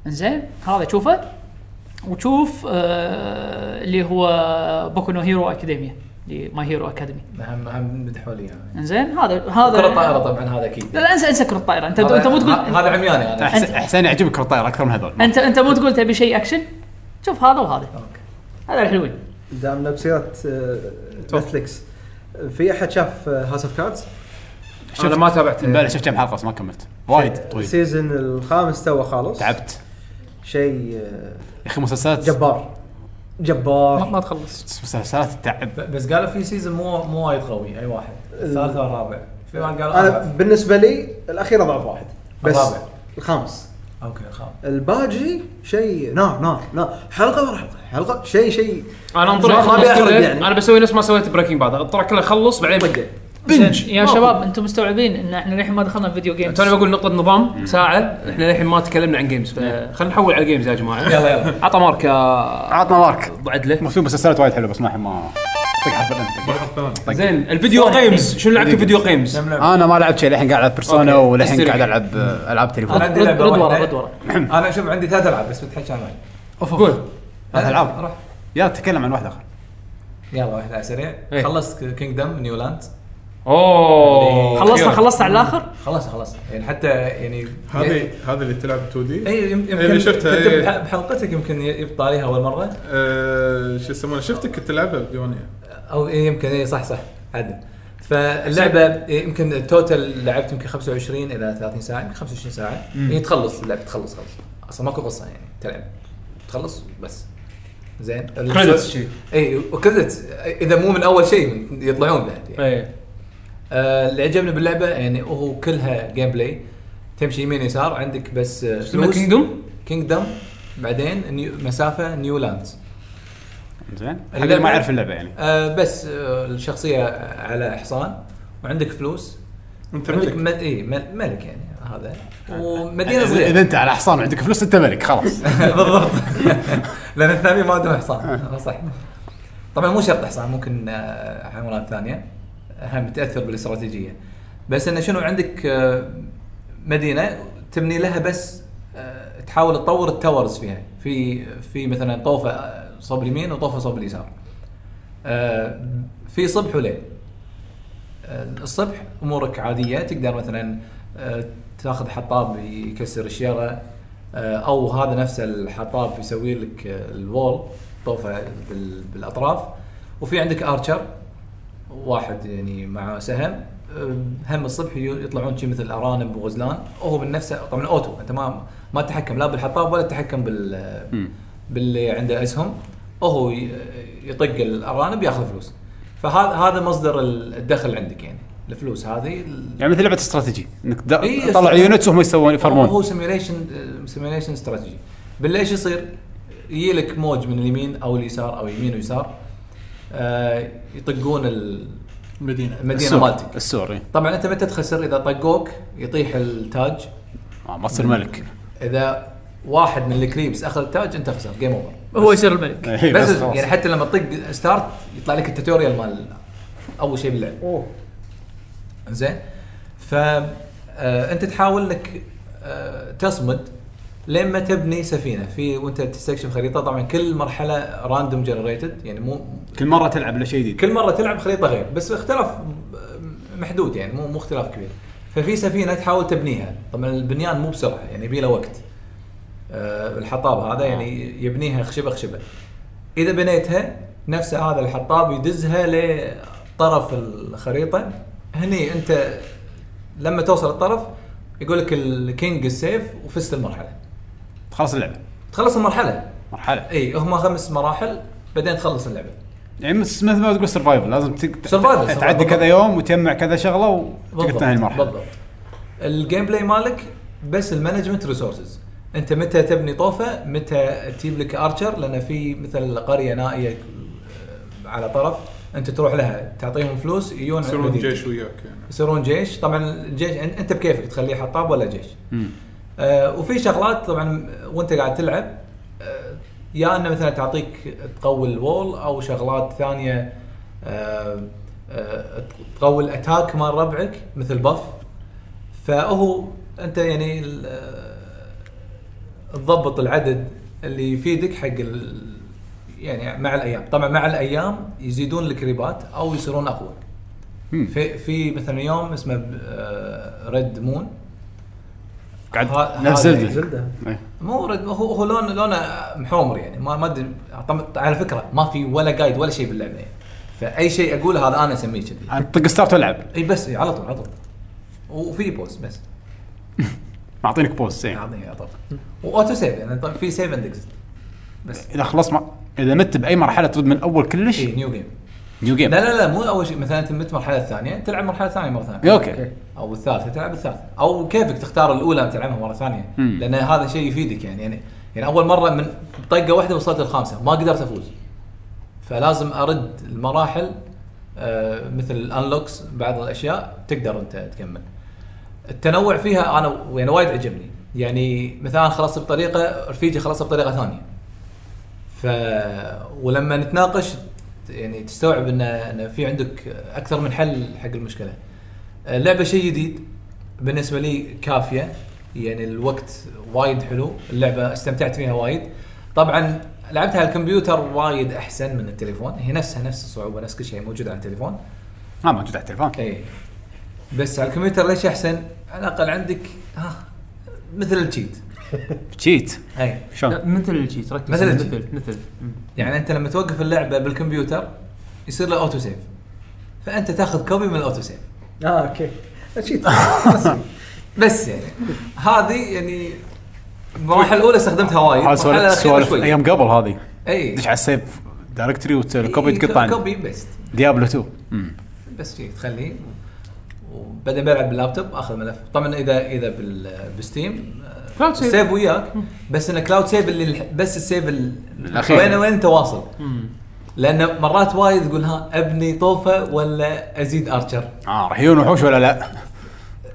انزين هذا شوفه وتشوف آه اللي هو بوكو نو هيرو اكاديميا لماي هيرو اكاديمي هم هم مدحوا لي اياها انزين هذا هذا كرة طائرة طبعا هذا اكيد لا لا انسى انسى كره الطائره انت هذا- انت مو تقول هذا عمياني انا أنت- أحس- حسين يعجبك كرة الطائرة اكثر من هذول انت انت مو تقول تبي شيء اكشن شوف هذا وهذا أوكي. هذا الحلوين دام نفسيات نتفلكس في احد شاف آه، هاوس اوف كاردز؟ انا ما تابعت امبارح شفت كم حلقة بس ما كملت وايد طويل السيزون الخامس تو خالص تعبت شيء آه، يا اخي مسلسلات جبار ما, جبار ما تخلص مسلسلات تعب ب- بس قالوا في سيزون مو مو وايد قوي اي واحد أه. الثالث او الرابع في واحد قال انا أربعة. بالنسبه لي الاخير اضعف واحد بس آه. الرابع. الخامس اوكي خلاص الباجي شيء نار نار نار حلقه ورا حلقه حلقه شيء شيء انا انطر ما- ما اخلص أبي أحرق كله يعني. انا بسوي نفس ما سويت بريكنج بعد اضطر كله اخلص بعدين طقه بنج يا شباب انتم مستوعبين ان احنا للحين ما دخلنا في فيديو جيمز توني بقول نقطة نظام ساعة احنا للحين ما تكلمنا عن جيمز فخلينا نحول على جيمز يا جماعة يلا يلا عطى ماركة عطنا مارك عدله في مسلسلات وايد حلوة بس ما ما طق حرف الأنت. زين الفيديو جيمز شنو لعبت فيديو جيمز؟ كم لعبة؟ انا ما لعبت شيء للحين قاعد العب بيرسونا أوكي. وللحين قاعد استريح. العب آه، العاب تليفون أنا عندي لعبة رد ورا واحدة. رد ورا انا شوف عندي ثلاث العاب بس بتحكي عنها قول ثلاث ألعاب. روح يا تتكلم عن واحد اخر يلا واحدة على سريع إيه. خلصت كينجدم نيولاند اوه خلصنا خلصت على الاخر خلصت خلصت يعني حتى يعني هذه هذه اللي تلعب 2 دي اي يم- إيه، اللي يمكن شفتها، كنت إيه. بح- بحلقتك يمكن ي- يبطى عليها اول مره آه، شو يسمونه شفتك كنت تلعبها بديوانيه او إيه، يمكن اي صح صح عدل فاللعبه إيه، يمكن التوتال لعبت يمكن 25 الى 30 ساعه يمكن 25 ساعه هي يعني تخلص اللعبه تخلص خلص اصلا ماكو قصه يعني تلعب تخلص بس زين كريدتس شي. اي وكريدتس اذا مو من اول شيء من- يطلعون بعد إيه. يعني ايه آه، اللي عجبني باللعبه يعني هو كلها جيم بلاي تمشي يمين يسار عندك بس آه، اسمه فلوس كينجدوم كينجدم بعدين نيو مسافه نيو لاند زين حق اللي اللعبة- ما يعرف اللعبه يعني آه بس آه الشخصيه على حصان وعندك فلوس انت عندك ملك مد... إيه مل- ملك يعني هذا ومدينه إذا- اذا صغيره انت على حصان وعندك فلوس انت ملك [LAUGHS] خلاص بالضبط لان الثاني ما عندهم حصان صح طبعا مو شرط حصان ممكن آه، حيوانات ثانيه هم تاثر بالاستراتيجيه بس انه شنو عندك آه، مدينه تبني لها بس آه، تحاول تطور التاورز فيها في في مثلا طوفه آه، صوب اليمين وطوفه صوب اليسار آه، في صبح وليل آه، الصبح امورك عاديه تقدر مثلا آه، تاخذ حطاب يكسر الشيره آه، او هذا نفسه الحطاب يسوي لك آه، الوول طوفه بال- بالاطراف وفي عندك ارشر واحد يعني مع سهم آه، هم الصبح يو- يطلعون شي مثل ارانب وغزلان وهو من نفسه طبعا اوتو انت ما ما تتحكم لا بالحطاب ولا تتحكم بال مم. باللي عنده اسهم وهو ي- يطق الارانب ياخذ فلوس فهذا هذا مصدر الدخل عندك يعني الفلوس هذه يعني مثل لعبه استراتيجي انك دا- إيه، تطلع استراتيجي. يونتس وهم يسوون هو يفرمون سيميوليشن سيميوليشن استراتيجي بالله ايش يصير؟ يجي لك موج من اليمين او اليسار او يمين ويسار آه يطقون ال- مدينه المدينه السور. مالتك السور إيه. طبعا انت متى تخسر اذا طقوك يطيح التاج آه، ما تصير ملك اذا واحد من الكريبس اخذ التاج انت خسر جيم اوفر هو يصير [LAUGHS] الملك إيه، بس, خلاص. يعني حتى لما تطق ستارت يطلع لك التوتوريال مال اول شيء باللعب اوه زين ف آه، انت تحاول انك آه، تصمد لما تبني سفينه في وانت تستكشف خريطه طبعا كل مرحله راندوم جنريتد يعني مو كل مره تلعب له شيء جديد كل مره تلعب خريطه غير بس اختلاف م- محدود يعني مو مو اختلاف كبير ففي سفينه تحاول تبنيها طبعا البنيان مو بسرعه يعني يبي له وقت آه، الحطاب هذا يعني يبنيها خشبه خشبه اذا بنيتها نفس هذا الحطاب يدزها لطرف الخريطه هني انت لما توصل الطرف يقول لك الكينج السيف وفزت المرحله تخلص اللعبه تخلص المرحله مرحله اي هم خمس مراحل بعدين تخلص اللعبه يعني مس- مثل ما تقول سرفايفل لازم تق- Survival، تع- survival. تعدي كذا يوم وتجمع كذا شغله وتقدر بالضبط، تنهي المرحله بالضبط الجيم بلاي مالك بس المانجمنت ريسورسز انت متى تبني طوفه متى تجيب لك ارشر لان في مثل قريه نائيه آه، على طرف انت تروح لها تعطيهم فلوس يجون يصيرون مدينتك. جيش وياك يعني يصيرون جيش طبعا الجيش أن- انت بكيفك تخليه حطاب ولا جيش مم. آه وفي شغلات طبعا وانت قاعد تلعب آه يا انه مثلا تعطيك تقوي الوول او شغلات ثانيه آه آه تقوي الاتاك مال ربعك مثل بف فهو انت يعني ال- آه، تضبط العدد اللي يفيدك حق ال- يعني مع الايام طبعا مع الايام يزيدون الكريبات او يصيرون اقوى مم. في في مثلا يوم اسمه ريد مون قاعد ها- نفس هذا زلده زلده إيه. مو رد هو هو لون لونه محومر يعني ما ما ادري طم- على فكره ما في ولا جايد ولا شيء باللعبه يعني فاي شيء اقوله هذا انا اسميه كذي عاد طق ستارت والعب اي بس إي على طول على طول وفي بوس بس معطينك إيه. بوز زين عظيم على طول واوتو سيف يعني طب في سيف اند اكزت بس اذا خلص ما اذا مت باي مرحله ترد من اول كلش اي نيو جيم نيو جيم إيه، لا لا لا مو اول شيء مثلا انت مت مرحله ثانيه تلعب مرحله ثانيه مره ثانيه اوكي او الثالثه تلعب الثالثه او كيفك تختار الاولى تلعبها مره ثانيه مم. لان هذا شيء يفيدك يعني يعني يعني اول مره من طقه واحده وصلت الخامسه ما قدرت افوز فلازم ارد المراحل آه، مثل الانلوكس بعض الاشياء تقدر انت تكمل التنوع فيها انا و- يعني وايد عجبني يعني مثلا خلصت بطريقه رفيجي خلصت بطريقه ثانيه ف ولما نتناقش يعني تستوعب ان ان في عندك اكثر من حل حق المشكله اللعبه آه، شيء جديد بالنسبه لي كافيه يعني الوقت وايد حلو اللعبه استمتعت فيها وايد طبعا لعبتها على الكمبيوتر وايد احسن من التليفون هي نفسها نفس الصعوبه نفس كل شيء موجود على التليفون ما موجود على التليفون اي بس على الكمبيوتر ليش احسن على الاقل عندك ها مثل التشيت تشيت اي آه. شلون؟ مثل الشيء ركز مثل مثل الشيء. مثل مثل مم. يعني انت لما توقف اللعبه بالكمبيوتر يصير له اوتو سيف فانت تاخذ كوبي من الاوتو سيف اه اوكي شيت بس يعني هذه يعني المراحل الاولى استخدمتها وايد هذا طيب، المرحلة سوالف الأخيرة سوالف شوي. إيه. ايام قبل هذه اي دش على السيف دايركتري وتسوي له كوبي إي، تقطع كوبي بيست ديابلو 2 مم. بس شيء تخليه وبعدين بلعب باللابتوب اخذ ملف طبعا اذا اذا بال- بالستيم آه، كلاود سيف. سيف وياك بس انه كلاود سيف اللي الح- بس السيف ال- الأخير. وين وين انت واصل مم. لان مرات وايد تقول ها ابني طوفه ولا ازيد ارشر اه راح يجون وحوش ولا لا؟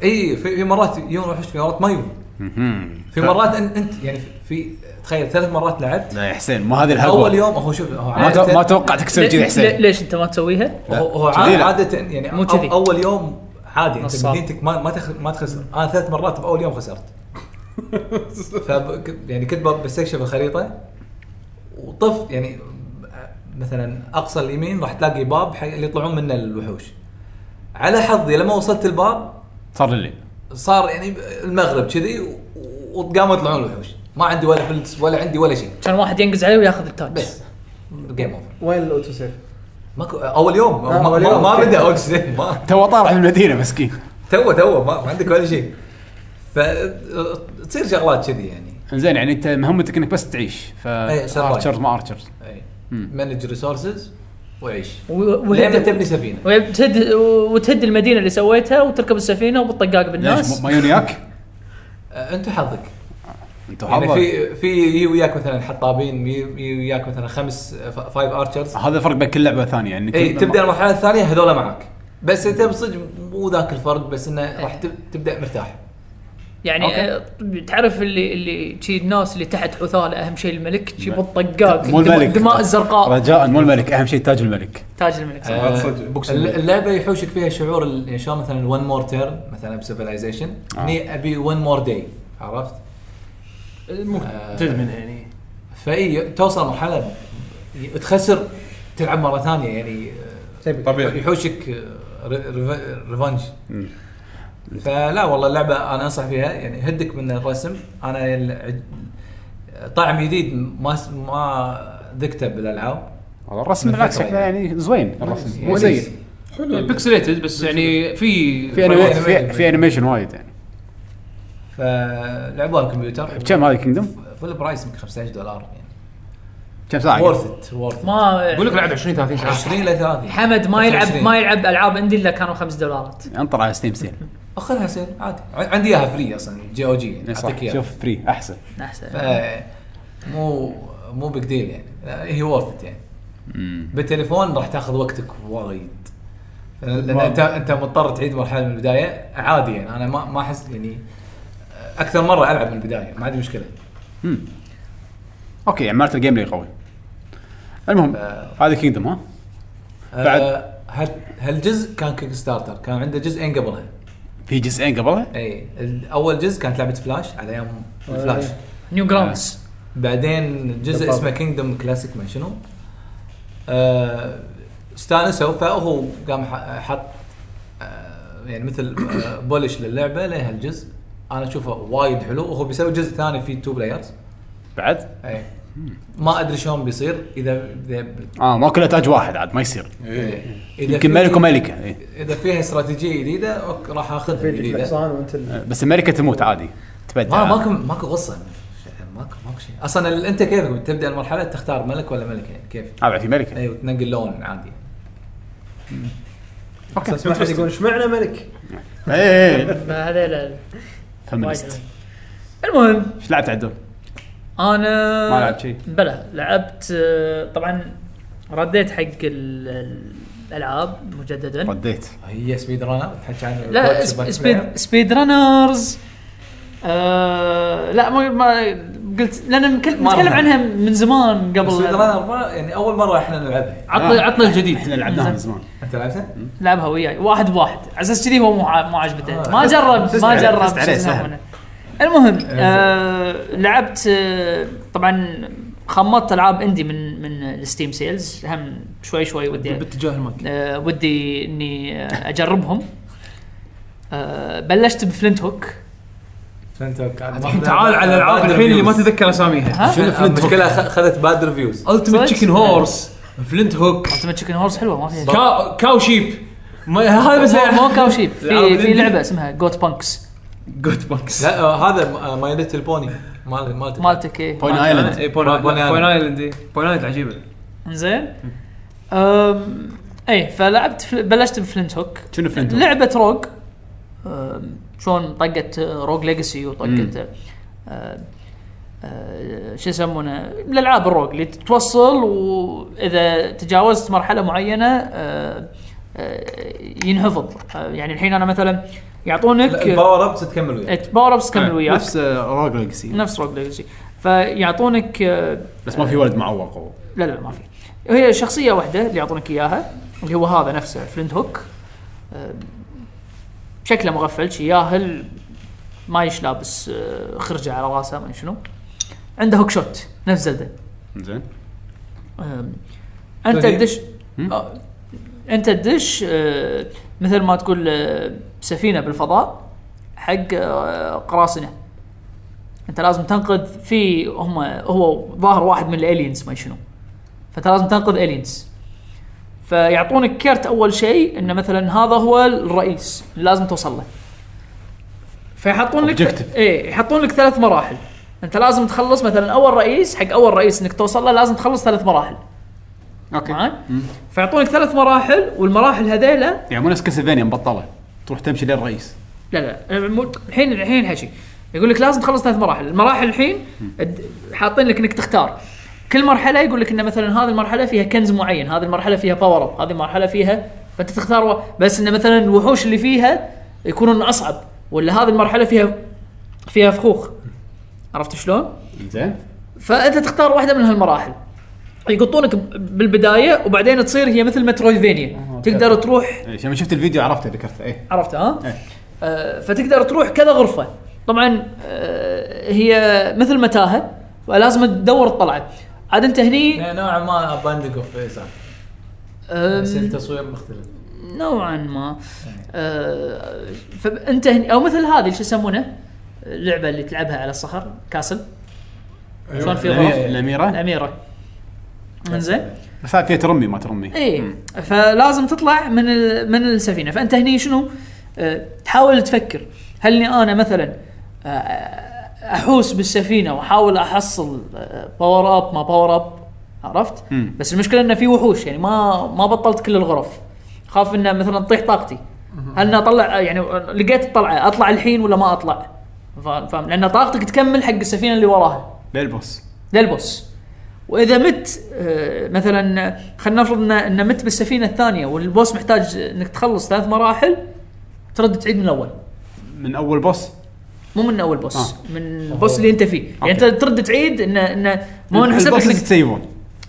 اي في في مرات يوم وحش في مرات ما يوم مهم. في ف- مرات انت, انت يعني في- في تخيل ثلاث مرات لعبت لا يا حسين مو هذه الهبوه اول يوم هو شوف هو ما تو- عادة- ما توقعتك تسوي كذي لي- لي- حسين ليش انت ما تسويها؟ لا. هو هو كذي لا. عاده يعني مو مو كذي. اول يوم عادي انت نصاب. مدينتك ما ما تخ- ما تخسر انا ثلاث مرات باول يوم خسرت فب ك- يعني كنت ب- بستكشف الخريطه وطفت يعني مثلا اقصى اليمين راح تلاقي باب حق اللي يطلعون منه الوحوش على حظي لما وصلت الباب صار الليل صار يعني المغرب كذي و- وقاموا يطلعون الوحوش ما عندي ولا فلس ولا عندي ولا شيء كان واحد ينقز عليه وياخذ التاتش بس جيم اوفر وين الاوتو سيف؟ ماكو اول يوم ما, آه، ما, أول يوم. ما بدا اول شيء [LAUGHS] ما تو طالع من المدينه مسكين تو تو ما, ما عندك ولا شيء فتصير شغلات كذي يعني زين يعني انت مهمتك انك بس تعيش ف إيه، survive. ارشرز ما ارشرز اي مم. مانج ريسورسز إيه. وعيش و- لين وتهد تبني سفينه وتهد وتهد المدينه اللي سويتها وتركب السفينه وبالطقاق ليش يعني بالناس ما يجون وياك؟ آه، انت حظك انت يعني وحظك في في يجي وياك مثلا حطابين يجي وياك مثلا خمس فايف ارشرز هذا الفرق بين كل لعبه ثانيه يعني اي كل- تبدا المرحله الثانيه هذول معك بس انت بصدق مو ذاك الفرق بس انه راح تب- تبدا مرتاح يعني أوكي. آه، تعرف اللي اللي شي الناس اللي تحت حثاله اهم شيء الملك شي بالطقاق مو الملك. دماء الزرقاء رجاء مو الملك اهم شيء تاج الملك تاج الملك صح. عاد صدق. آه، بوكس الل- الملك. اللعبه يحوشك فيها شعور ال- يعني شلون مثلا ون مور تيرن مثلا بسيفلايزيشن آه. هني ابي ون مور داي عرفت؟ آه. تدمن يعني فاي توصل مرحله ي- تخسر تلعب مره ثانيه يعني آه، طبيعي يحوشك آه، ر- ريف- ريفنج فلا والله اللعبه انا انصح فيها يعني هدك من الرسم انا ال- طعم جديد ما س- ما ذقته بالالعاب والله الرسم بالعكس شكله يعني زوين الرسم مو يعني سيء حلو بيكسليتد بس يعني في في فرق. أنيمي- في- في انيميشن وايد يعني فلعبوها على الكمبيوتر بكم هذه كينجدوم؟ فول برايس يمكن 15 دولار يعني كم ساعه؟ وورث ات وورث ما اقول لك لعب 20 30 ساعه 20 ل 30 حمد ما يلعب 25. ما يلعب العاب اندي الا كانوا خمس دولارات انطر على ستيم سيل اخذها سيل عادي ع- عندي اياها فري اصلا جي او جي يعني اعطيك إيه، صح اياها شوف فري احسن احسن ف- مو مو بيج ديل يعني لا، هي وورث يعني مم. بالتليفون راح تاخذ وقتك وايد لان واو. انت انت مضطر تعيد مرحله من البدايه عادي يعني انا ما ما احس يعني اكثر مره العب من البدايه ما عندي مشكله مم. اوكي يعني مالت الجيم لي قوي المهم ف- هذه كينجدوم ها؟ بعد- آه، هال هالجزء كان كيك ستارتر كان عنده جزئين قبلها في جزئين قبلها اي ال- اول إيه، جزء كانت لعبه فلاش على ايام الفلاش نيو جراوندز بعدين جزء بالضبط. اسمه كينجدوم كلاسيك ما شنو آه، استانسوا فهو قام ح- حط آه، يعني مثل آه، بولش للعبه لهالجزء انا اشوفه وايد حلو وهو بيسوي جزء ثاني فيه تو بلايرز بعد؟ اي إيه. ما ادري شلون بيصير اذا اذا اه ما كله تاج واحد عاد ما يصير إيه. إيه. اذا يمكن في- ملك وملكه إيه. اذا فيها استراتيجيه جديده أوك، راح اخذها فيجيك جديده الحصان وانت ال- بس الملكه تموت عادي ما آه. تبدع آه، ماكو ماكو غصه ماكو ماكو شيء اصلا ال- انت كيف تبدا المرحله تختار ملك ولا ملكه يعني كيف اه بعد في ملكه اي وتنقل لون عادي اساس ما حد يقول ايش معنى ملك؟ ايه هذيلا فيمنست المهم ايش لعبت عدول؟ انا ما لعبت شيء. بلى لعبت آه، طبعا رديت حق ال- ال- الالعاب مجددا رديت هي سبيد رانر تحكي عن لا الكوتش باك سب- بلاير. سبيد سبيد رانرز آه لا ما ما قلت لان مكل- ما نتكلم لها. عنها من زمان قبل سبيد رانر ما- يعني اول مره احنا نلعبها عطنا آه. عطنا الجديد احنا لعبناها من زمان انت لعبتها؟ لعبها وياي واحد بواحد على اساس كذي هو مو ع- مو عاجبته آه. ما جرب فزت ما عليه- جرب فزت شو عليه يسمونه. سهل. المهم آه لعبت آه طبعا خمطت العاب اندي من من الستيم سيلز هم شوي شوي ودي باتجاه المايك آه ودي اني آه، اجربهم آه بلشت بفلنت هوك الحين تعال على الالعاب الحين اللي ما تذكر اساميها ها آه، المشكله أخ- اخذت باد ريفيوز التيمت صدق؟ تشيكن هورس فلنت هوك التيمت تشيكن هورس حلوه ما فيها كاو كاو شيب ما- هذا بس مو- مو كاو شيب في الألعاب في الإندي. لعبه اسمها جوت بانكس جود بوكس لا آه، هذا ماي ليتل بوني مال مالتك آه، مالتك ايه بوين ايلاند اي بون بون آيلاند. بون ايلاند إي. بون ايلاند عجيبه زين أم... ايه فلعبت فل... بلشت بفلنت هوك شنو فلنت هوك؟ لعبه روج أم... شلون طقت روج ليجاسي وطقت أم... أه، شو يسمونه من الالعاب الروج اللي توصل واذا تجاوزت مرحله معينه أه، أه، ينهفض أه، يعني الحين انا مثلا يعطونك الباور ابس تكمل وياه باور ابس تكمل وياك نعم. نفس روج ليجسي نفس روج ليجاسي فيعطونك أه، بس ما في ولد معوق و- لا لا ما في هي شخصيه واحده اللي يعطونك اياها اللي هو هذا نفسه فلنت هوك أه، شكله مغفل شي ياهل ما يش لابس أه، خرجه على راسه ما أدري شنو عنده هوك شوت نفس زلده زين أم، انت طيب. تدش آه، انت تدش آه، مثل ما تقول آه، سفينه بالفضاء حق آه، قراصنه انت لازم تنقذ في هم هو ظاهر واحد من الالينز ما شنو فانت لازم تنقذ الينز فيعطونك كرت اول شيء انه مثلا هذا هو الرئيس اللي لازم توصل له فيحطون لك Objective. ايه يحطون لك ثلاث مراحل انت لازم تخلص مثلا اول رئيس حق اول رئيس انك توصل له لازم تخلص ثلاث مراحل اوكي معاي؟ فيعطونك ثلاث مراحل والمراحل هذيلا يعني مو نفس كاسلفينيا مبطله تروح تمشي للرئيس لا لا مو- الحين الحين هالشيء يقول لك لازم تخلص ثلاث مراحل، المراحل الحين الد- حاطين لك انك تختار كل مرحله يقول لك ان مثلا هذه المرحله فيها كنز معين، هذه المرحله فيها باور اب، هذه المرحله فيها فانت تختار و- بس ان مثلا الوحوش اللي فيها يكونون اصعب ولا هذه المرحله فيها فيها فخوخ عرفت شلون؟ زين فانت تختار واحده من هالمراحل يقطونك ب- بالبدايه وبعدين تصير هي مثل مترويدفينيا تقدر تروح إيش، لما شفت الفيديو عرفته ذكرته ايه عرفت ها؟ إيه. آه فتقدر تروح كذا غرفه طبعا آه هي مثل متاهه فلازم تدور الطلعه عاد انت هني نوعا ما باندنج اوف فيزا آم، بس التصوير مختلف نوعا ما آه فانت هني او مثل هذه شو يسمونه؟ اللعبه اللي تلعبها على الصخر كاسل شلون في غرف الأميرة- الاميره الاميره انزين بس هذا فيها ترمي ما ترمي اي مم. إيه. فلازم تطلع من ال- من السفينه فانت هني شنو؟ آه، تحاول تفكر هل اني انا مثلا آه، احوس بالسفينه واحاول احصل آه، باور اب ما باور اب عرفت؟ مم. بس المشكله انه في وحوش يعني ما ما بطلت كل الغرف خاف انه مثلا تطيح طاقتي هل اني اطلع يعني لقيت الطلعه اطلع الحين ولا ما اطلع؟ فا- فاهم لان طاقتك تكمل حق السفينه اللي وراها للبوس للبوس واذا مت آه، مثلا آه، خلينا نفرض ان ان مت بالسفينه الثانيه والبوس محتاج انك تخلص ثلاث مراحل ترد تعيد من الاول من اول بوس مو من اول بوس آه. آه. من البوس اللي انت فيه يعني انت أوكي. ترد تعيد انه انه مو انحسب لك البوس انك تسيفون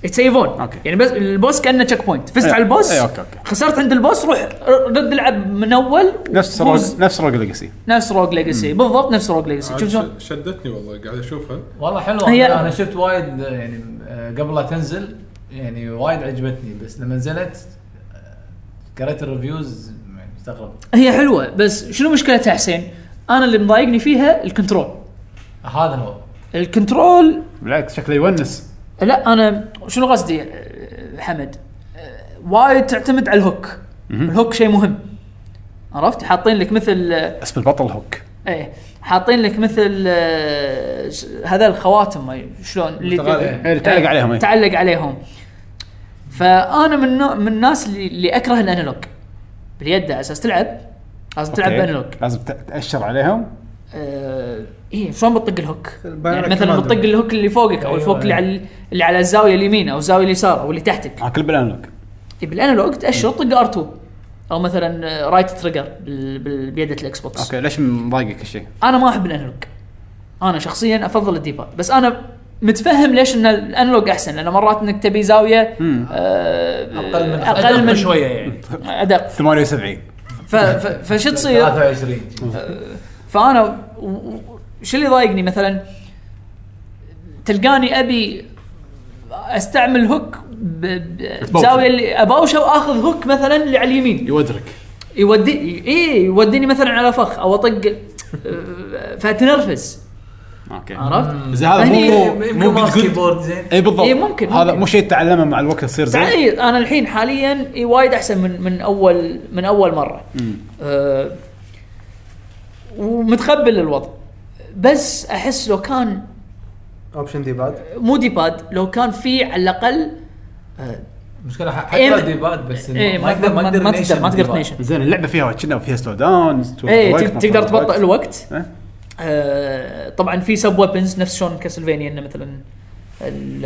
تسيفون أوكي. يعني بس البوس كانه تشيك بوينت فزت إيه. على البوس إيه، أوكي، أوكي. خسرت عند البوس روح رد العب من اول نفس وفوز. روج نفس روج ليجسي نفس روج ليجاسي بالضبط نفس روج ليجاسي شوف شلون عاد شدتني والله قاعد اشوفها والله حلوه هي- انا شفت وايد يعني آه، يعني، قبل لا تنزل يعني وايد عجبتني بس لما نزلت آه، قريت الريفيوز يعني استغرب هي حلوه بس شنو مشكلتها حسين؟ انا اللي مضايقني فيها الكنترول هذا هو الكنترول بالعكس شكله يونس لا انا شنو قصدي أه، حمد أه، وايد تعتمد على الهوك الهوك شيء مهم عرفت حاطين لك مثل أه، اسم البطل هوك ايه حاطين لك مثل أه، س- هذا الخواتم ما شلون اللي متغلغل. إيه، اللي تعلق إيه، عليهم، إيه. تعلق عليهم فانا من نوع- من الناس اللي, اللي اكره الانالوج باليد على اساس تلعب لازم تلعب أوكي. بانالوج لازم ت- تاشر عليهم آه، ايه شلون بتطق الهوك؟ يعني البايونيك مثلا كوماندو. بتطق الهوك اللي فوقك او أيوه، أيوة، الفوق اللي أيوة. على اللي على الزاويه اليمين او الزاويه اليسار او اللي تحتك ها آه، كل بالانالوج إيه، بالانالوج تاشر طق ار2 او مثلا آه، رايت تريجر بال- بال- بيدة الاكس بوكس اوكي ليش مضايقك هالشيء؟ انا ما احب الانالوج انا شخصيا افضل الديباد بس انا متفهم ليش ان الانالوج احسن لان مرات انك تبي زاويه مم. آه، اقل من اقل من شويه يعني ادق 78 ف- ف- فشو تصير؟ 23 فانا و- و- شو اللي ضايقني مثلا تلقاني ابي استعمل هوك بزاويه اللي اباوشه واخذ هوك مثلا اللي على اليمين يودرك يودي اي يوديني مثلا على فخ او اطق فتنرفز اوكي عرفت؟ زين هذا هني- مو يمكن ماوس كيبورد زين اي بالضبط إيه، ممكن، هذا ممكن. مو شيء تتعلمه مع الوقت يصير زين تعال انا الحين حاليا إي وايد احسن من من اول من اول مره مم. أه ومتقبل الوضع بس احس لو كان اوبشن دي باد مو دي باد لو كان في على آه، الاقل مشكله ح- إيه، حتى لو ديباد بس إنه إيه، ما تقدر ما تقدر ما تقدر, ما تقدر تنيشن زين اللعبه فيها كنا فيها سلو داون ايه تق- تقدر تبطئ الوقت إيه. آه، طبعا في سب ويبنز نفس شلون كاسلفينيا انه مثلا ال- [LAUGHS] ال-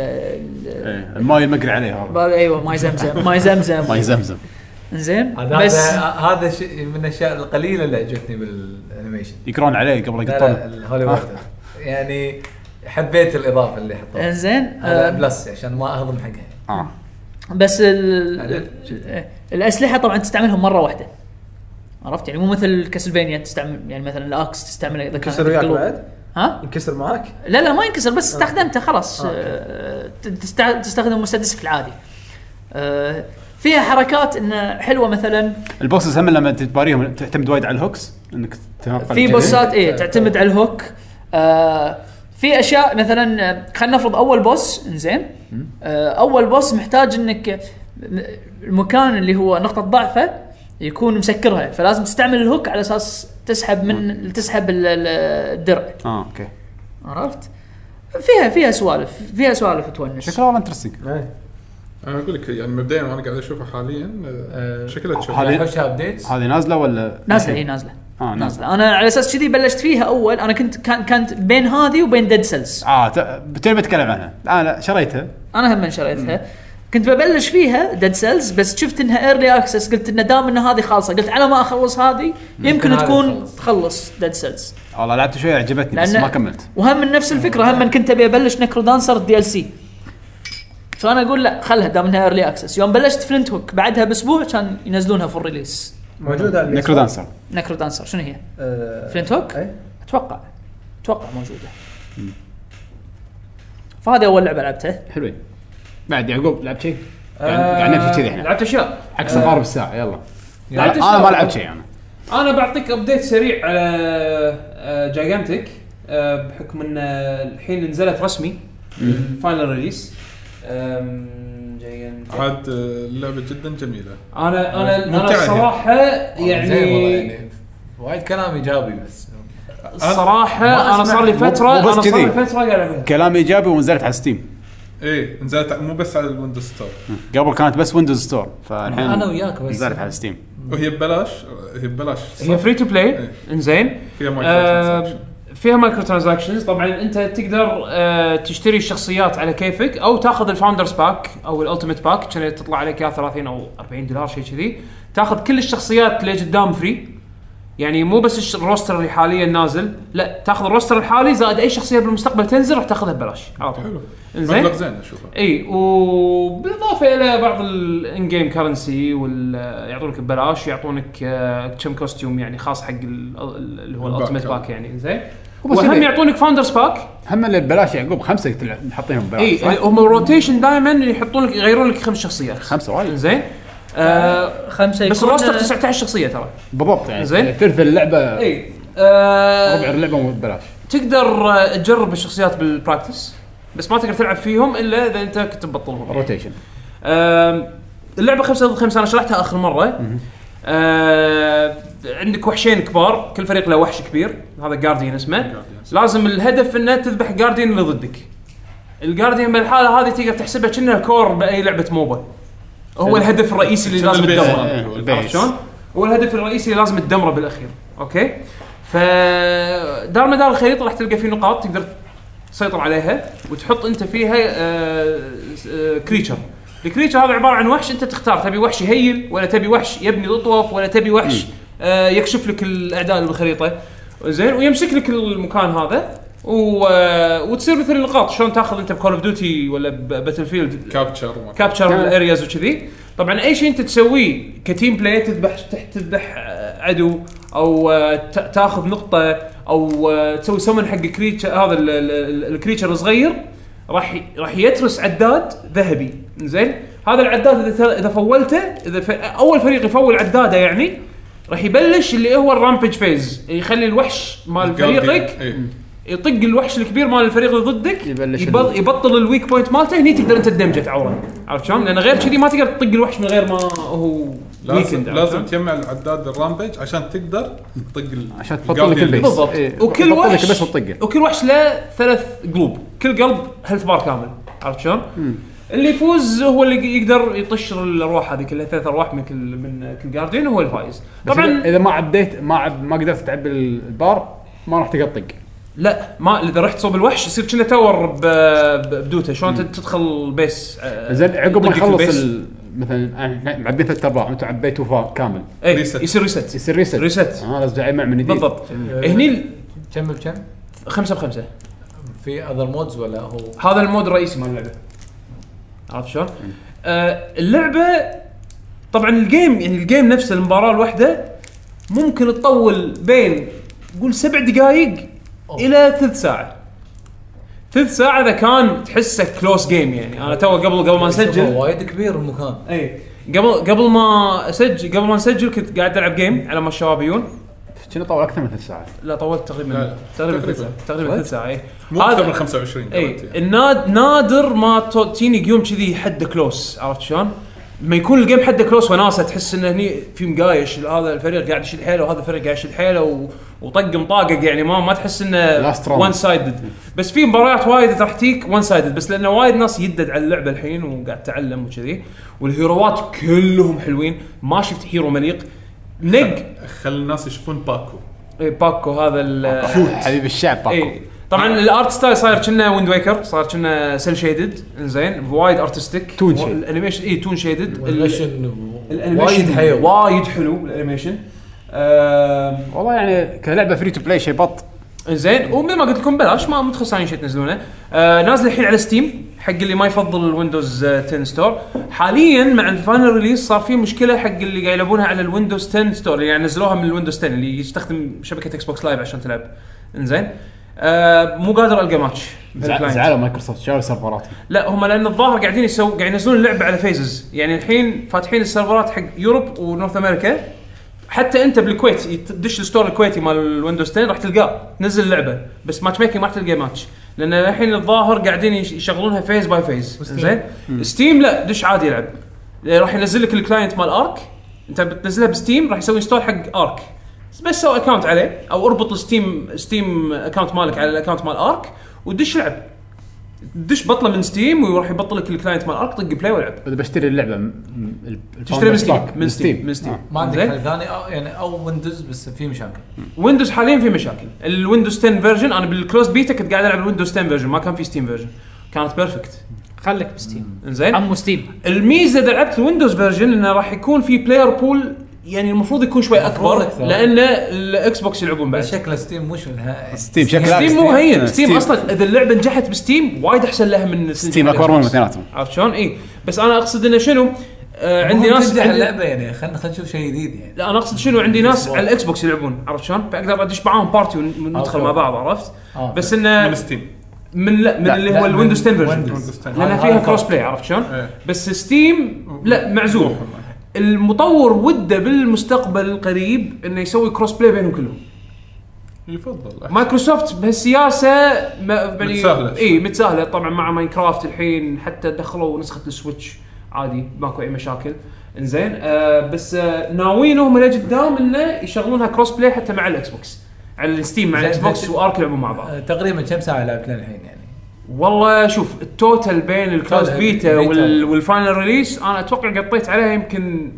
إيه، الماي المقري عليه هذا بال- ايوه ماي زمزم ماي ماي زمزم زمزم زين هذا بس آه. هذا شيء من الاشياء القليله اللي عجبتني بالانيميشن يقرون عليه قبل آه. لا لا يقطون الهوليوود يعني حبيت الاضافه اللي حطوها زين هذا آه، بلس عشان ما اهضم حقها اه بس ال- هذا- آه، الاسلحه طبعا تستعملهم مره واحده عرفت يعني مو مثل كاسلفينيا تستعمل يعني مثلا الاكس تستعمله اذا كان ينكسر عندك وياك قلوب. بعد ها؟ ينكسر معاك لا لا ما ينكسر بس استخدمته خلاص آه، أوكي. آه، تست- تستخدم مسدسك العادي آه، فيها حركات انه حلوه مثلا البوسز هم لما تباريهم تعتمد وايد على الهوكس انك تنقل في كذي. بوسات ايه تعتمد على الهوك آه، في اشياء مثلا خلينا نفرض اول بوس انزين آه، اول بوس محتاج انك المكان اللي هو نقطه ضعفه يكون مسكرها فلازم تستعمل الهوك على اساس تسحب من تسحب ال- ال- الدرع اه اوكي عرفت؟ فيها فيها سوالف فيها سوالف تونس شكله والله انترستنج إيه. انا اقول لك يعني مبدئيا وانا قاعد اشوفه حاليا آه، شكله تشوف هذه- احوش ابديتس هذه نازله ولا نازله هي نازله اه نازله نازله انا على اساس كذي بلشت فيها اول انا كنت كان كانت بين هذه وبين ديد سيلز اه ت- بتبي بتكلم عنها انا شريتها انا هم شريتها كنت ببلش فيها ديد سيلز بس شفت انها ايرلي اكسس قلت ان دام ان هذه خالصه قلت على ما اخلص هذه يمكن هذه تكون تخلص. تخلص ديد سيلز والله لعبت شويه عجبتني بس لأن- ما كملت وهم من نفس الفكره هم من كنت ابي ابلش نكرو دانسر الدي ال سي فانا اقول لا خلها دام انها ايرلي اكسس يوم بلشت فلنت هوك بعدها باسبوع كان ينزلونها في الريليس موجود على نيكرو دانسر نكرو دانسر شنو هي؟ فلنت فلنت هوك؟ اي اتوقع اتوقع موجوده فهذه اول لعبه لعبتها حلوين بعد يعقوب لعبت شيء؟ قاعد آه، قاعد نمشي كذي احنا لعبت اشياء حق سفار بالساعه يلا لا، لعبت انا ما شلون؟ لعبت شيء انا انا بعطيك ابديت سريع آه، على جايجانتك بحكم ان آه، الحين نزلت رسمي الفاينل ريليس جايجانتك عاد آه، اللعبه جدا جميله انا انا انا يعني. ممتعة هي. الصراحه زين والله يعني يعني وايد كلام ايجابي بس الصراحه انا صار لي مو- فتره مو بس انا صار لي كذي. فتره قاعد ألعبها. كلام ايجابي ونزلت على ستيم ايه نزلت مو بس على الويندوز ستور قبل كانت بس ويندوز ستور فالحين أنا وياك بس. نزلت على ستيم وهي ببلاش هي ببلاش هي فري تو بلاي إيه. انزين فيها مايكرو آه، ترانزاكشن. فيها مايكرو ترانزاكشنز طبعا انت تقدر آه، تشتري الشخصيات على كيفك او تاخذ الفاوندرز باك او الالتيميت باك كان تطلع عليك يا 30 او 40 دولار شيء كذي تاخذ كل الشخصيات اللي قدام فري يعني مو بس الش- الروستر اللي حاليا نازل لا تاخذ الروستر الحالي زائد اي شخصيه بالمستقبل تنزل راح تاخذها ببلاش على طول حلو إنزين. مبلغ زين اشوفه اي وبالاضافه الى بعض الان جيم كرنسي وال يعطونك ببلاش يعطونك آه، كم كوستيوم يعني خاص حق ال- ال- اللي هو الباك. الالتيميت باك يعني زين هو بس وهم كذا. يعطونك فاوندرز باك هم اللي ببلاش يعقوب خمسه تلع- حاطينهم ببلاش اي آه، صح؟ يعني هم الروتيشن دائما يحطون لك يغيرون لك خمس شخصيات خمسه وايد زين آه طيب، خمسه بس يكون- الروستر 19 شخصيه ترى بالضبط يعني زين. ثلث اللعبه اي ربع آه اللعبه مو ببلاش تقدر آه، تجرب الشخصيات بالبراكتس بس ما تقدر تلعب فيهم الا اذا انت كنت مبطلهم روتيشن آم، اللعبه خمسة ضد خمسة انا شرحتها اخر مره آه، عندك وحشين كبار كل فريق له وحش كبير هذا جارديان اسمه لازم الهدف انه تذبح جارديان اللي ضدك الجارديان بالحاله هذه تقدر تحسبها كأنه كور باي لعبه موبا هو الهدف الرئيسي اللي لازم البيز. إيه، هو تدمره البيز. عرفت شلون؟ هو الهدف الرئيسي اللي لازم تدمره بالاخير اوكي ف دار مدار الخريطه راح تلقى فيه نقاط تقدر تسيطر عليها وتحط انت فيها آه، كريتشر الكريتشر هذا عباره عن وحش انت تختار تبي وحش يهيل ولا تبي وحش يبني الاطواف ولا تبي وحش آه، يكشف لك الاعداء اللي بالخريطه زين ويمسك لك المكان هذا و... آه، وتصير مثل النقاط شلون تاخذ انت بكول اوف ديوتي ولا باتل فيلد كابتشر وما- كابتشر الارياز وكذي طبعا اي شيء انت تسويه كتيم بلاي تذبح تحت تذبح آه، عدو او آه، تا- تاخذ نقطه او آه، تسوي سمن حق كريتشر هذا ال- ال- ال- الكريتشر الصغير راح ي- راح يترس عداد ذهبي زين هذا العداد اذا ت- اذا فولته اذا ف... اول فريق يفول عداده يعني راح يبلش اللي هو الرامبج فيز يخلي الوحش مال فريقك إيه. يطق الوحش الكبير مال الفريق اللي ضدك يبلش يبل ال- يبطل الويك بوينت مالته هني تقدر انت تدمجه تعوره عرفت شلون؟ لان غير كذي ما تقدر تطق الوحش من غير ما هو لازم ويكند لازم تجمع العداد الرامبج عشان تقدر تطق ال- عشان تبطل لك البيس بالضبط إيه، وكل تبطل لك وحش بس الطقه وكل وحش له ثلاث قلوب كل قلب هيلث بار كامل عرفت شلون؟ اللي يفوز هو اللي يقدر يطش الارواح هذه كلها ثلاث ارواح من كل من كل جاردين وهو الفايز بس طبعا إذا- اذا ما عديت ما عب ما قدرت تعبي البار ما راح تقدر تطق لا ما اذا رحت صوب الوحش يصير كنا تاور ب- ب- بدوته شلون تدخل بيس آه، زين عقب ما يطقك يخلص البيس. ال- آه، مثلا احنا معبين ثلاث ارباع انتم عبيتوا فا- كامل ايه ريست. يصير ريست يصير ريست ريست. اه لازم اجمع من جديد بالضبط هني ال- كم بكم؟ خمسة بخمسة في اذر مودز ولا هو هذا المود الرئيسي مال اللعبة عرفت شلون؟ آه اللعبة طبعا الجيم يعني الجيم نفسه المباراة الواحدة ممكن تطول بين قول سبع دقائق الى ثلث ساعة ثلث ساعة اذا كان تحسه كلوس جيم يعني انا تو قبل قبل ما اسجل وايد كبير المكان اي قبل قبل ما اسجل قبل ما نسجل كنت قاعد العب جيم على ما الشباب يجون كنا طول اكثر من ثلاث ساعات لا طولت لا، لا. تقريبا تقريبا ثلث ساعة تقريبا ثلث ساعة إيه. اي مو اكثر من 25 اي الناد نادر ما تو- تجيني يوم كذي حده كلوس عرفت شلون؟ لما يكون الجيم حده كلوس وناسه تحس انه هني في مقايش هذا الفريق قاعد يشد حيله وهذا الفريق قاعد يشد حيله و... وطق مطاقق يعني ما ما تحس انه Last round. وان سايدد بس في مباريات وايد راح تجيك وان سايدد بس لانه وايد ناس يدد على اللعبه الحين وقاعد تعلم وكذي والهيروات كلهم حلوين ما شفت هيرو مليق نق خلي الناس يشوفون باكو إيه، باكو هذا ال حبيب الشعب باكو اي طبعا الارت ستايل صاير كنا ويند ويكر صار كنا سيل شيدد زين وايد ارتستيك تون shaded. الانيميشن اي إيه، تون شيدد والانيميشن الانيميشن وايد حيو وايد حلو الانيميشن آم، والله يعني كلعبه فري تو بلاي شيء بط زين ومثل ما قلت لكم بلاش ما مو تخسرين شيء تنزلونه آه نازل الحين على ستيم حق اللي ما يفضل الويندوز آه، 10 ستور حاليا مع الفاينل ريليس صار في مشكله حق اللي قاعد يلعبونها على الويندوز 10 ستور اللي يعني نزلوها من الويندوز 10 اللي يستخدم شبكه اكس بوكس لايف عشان تلعب انزين آه مو قادر القى ماتش زع- بالكلاينت. زعلوا مايكروسوفت شالوا سيرفراتهم لا هم لان الظاهر قاعدين يسو قاعدين ينزلون اللعبه على فيزز يعني الحين فاتحين السيرفرات حق يوروب ونورث امريكا حتى انت بالكويت يت- تدش الستور الكويتي مال الويندوز 10 راح تلقاه تنزل اللعبه بس ماتش ميكنج ما راح تلقى ماتش لان الحين الظاهر قاعدين يش- يشغلونها فيز باي فيز زين ستيم لا دش عادي يلعب راح ينزل لك الكلاينت مال ارك انت بتنزلها بستيم راح يسوي ستور حق ارك بس سوي اكونت عليه او اربط الستيم ستيم اكونت مالك على الاكونت مال ارك ودش العب دش بطله من ستيم وراح يبطل لك الكلاينت مال ارك طق بلاي والعب اذا بشتري اللعبه م- م- ال- تشتري من الفاوندر ستيم ستاك. من ستيم من آه. ستيم آه. ما عندك زين؟ حل ثاني أو يعني او ويندوز بس في مشاكل ويندوز حاليا في مشاكل الويندوز 10 فيرجن انا بالكلوز بيتا كنت قاعد العب الويندوز 10 فيرجن ما كان في ستيم فيرجن كانت بيرفكت خليك بستيم زين عمو ستيم الميزه اذا لعبت الويندوز فيرجن انه راح يكون في بلاير بول يعني المفروض يكون شوي المفروض اكبر أكثر. لان الاكس بوكس يلعبون بعد بس شكل ستيم مش منها ستيم شكلها ستيم مو هين آه، ستيم اصلا اذا اللعبه نجحت بستيم وايد احسن لها من ستيم اكبر من مثلا اثنيناتهم إيه. عرفت شلون؟ اي بس انا اقصد انه شنو؟ آه، آه عندي ناس ترجع عندي اللعبه يعني خلينا خلينا نشوف شيء جديد يعني لا انا اقصد شنو عندي ناس على الاكس بوكس يلعبون عرفت شلون؟ فاقدر ادش معاهم بارتي وندخل أوكي. مع بعض عرفت؟ آه. بس انه من ستيم من لا من لا، اللي لا، هو من الويندوز 10 فيرجن Windows آه، 10. لانها هذا- فيها هذا كروس فرق. بلاي عرفت شلون؟ إيه. بس ستيم لا معزول المطور وده بالمستقبل القريب انه يسوي كروس بلاي بينهم كلهم يفضل أحسن. مايكروسوفت بهالسياسه ما يعني متساهلة. اي متساهله طبعا مع ماينكرافت الحين حتى دخلوا نسخه السويتش عادي ماكو اي مشاكل انزين آه بس آه ناويين هم لقدام انه يشغلونها كروس بلاي حتى مع الاكس بوكس على الستيم مع زين، الاكس بوكس بس- وارك يلعبون مع بعض آه، تقريبا كم ساعه لعبت لنا الحين يعني والله شوف التوتال بين الكلاس توتال بيتا بيتا. وال والفاينل ريليس انا اتوقع قطيت عليها يمكن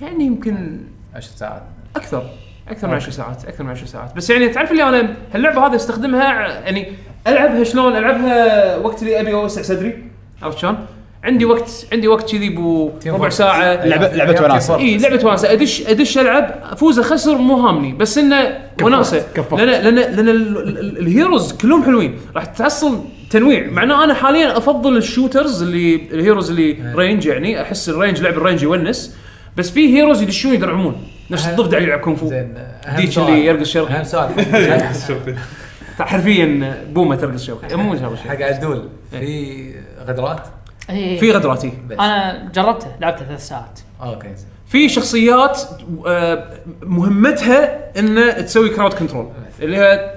يعني يمكن 10 ساعات اكثر اكثر من 10 ساعات اكثر من 10 ساعات بس يعني تعرف اللي انا هاللعبه هذه استخدمها ع- يعني العبها شلون العبها وقت اللي ابي اوسع صدري عرفت شلون؟ عندي وقت عندي وقت كذي بو ربع فورتريس. ساعه لعبة- أيام- لعبة إيه، أيام وناسة. كيف اي لعبه وناسه ادش ادش العب افوز اخسر مو هامني بس انه وناسه لان لان لان ال- ال- ال- الهيروز كلهم حلوين راح تحصل تنويع مع انه انا حاليا افضل الشوترز اللي الهيروز اللي رينج يعني احس الرينج لعب الرينج يونس بس في هيروز يدشون يدرعمون نفس الضفدع اللي يلعب كونغ فو زين آه، أهم ديتش سؤال. اللي يرقص شرقي اهم [LAUGHS] سؤال شوفي. حرفيا بومه ترقص شرقي مو هذا الشيء حق عدول إيه. في غدرات في غدراتي انا إيه. جربته لعبته ثلاث ساعات اوكي زين. في شخصيات آه، مهمتها ان تسوي كراود كنترول اللي هي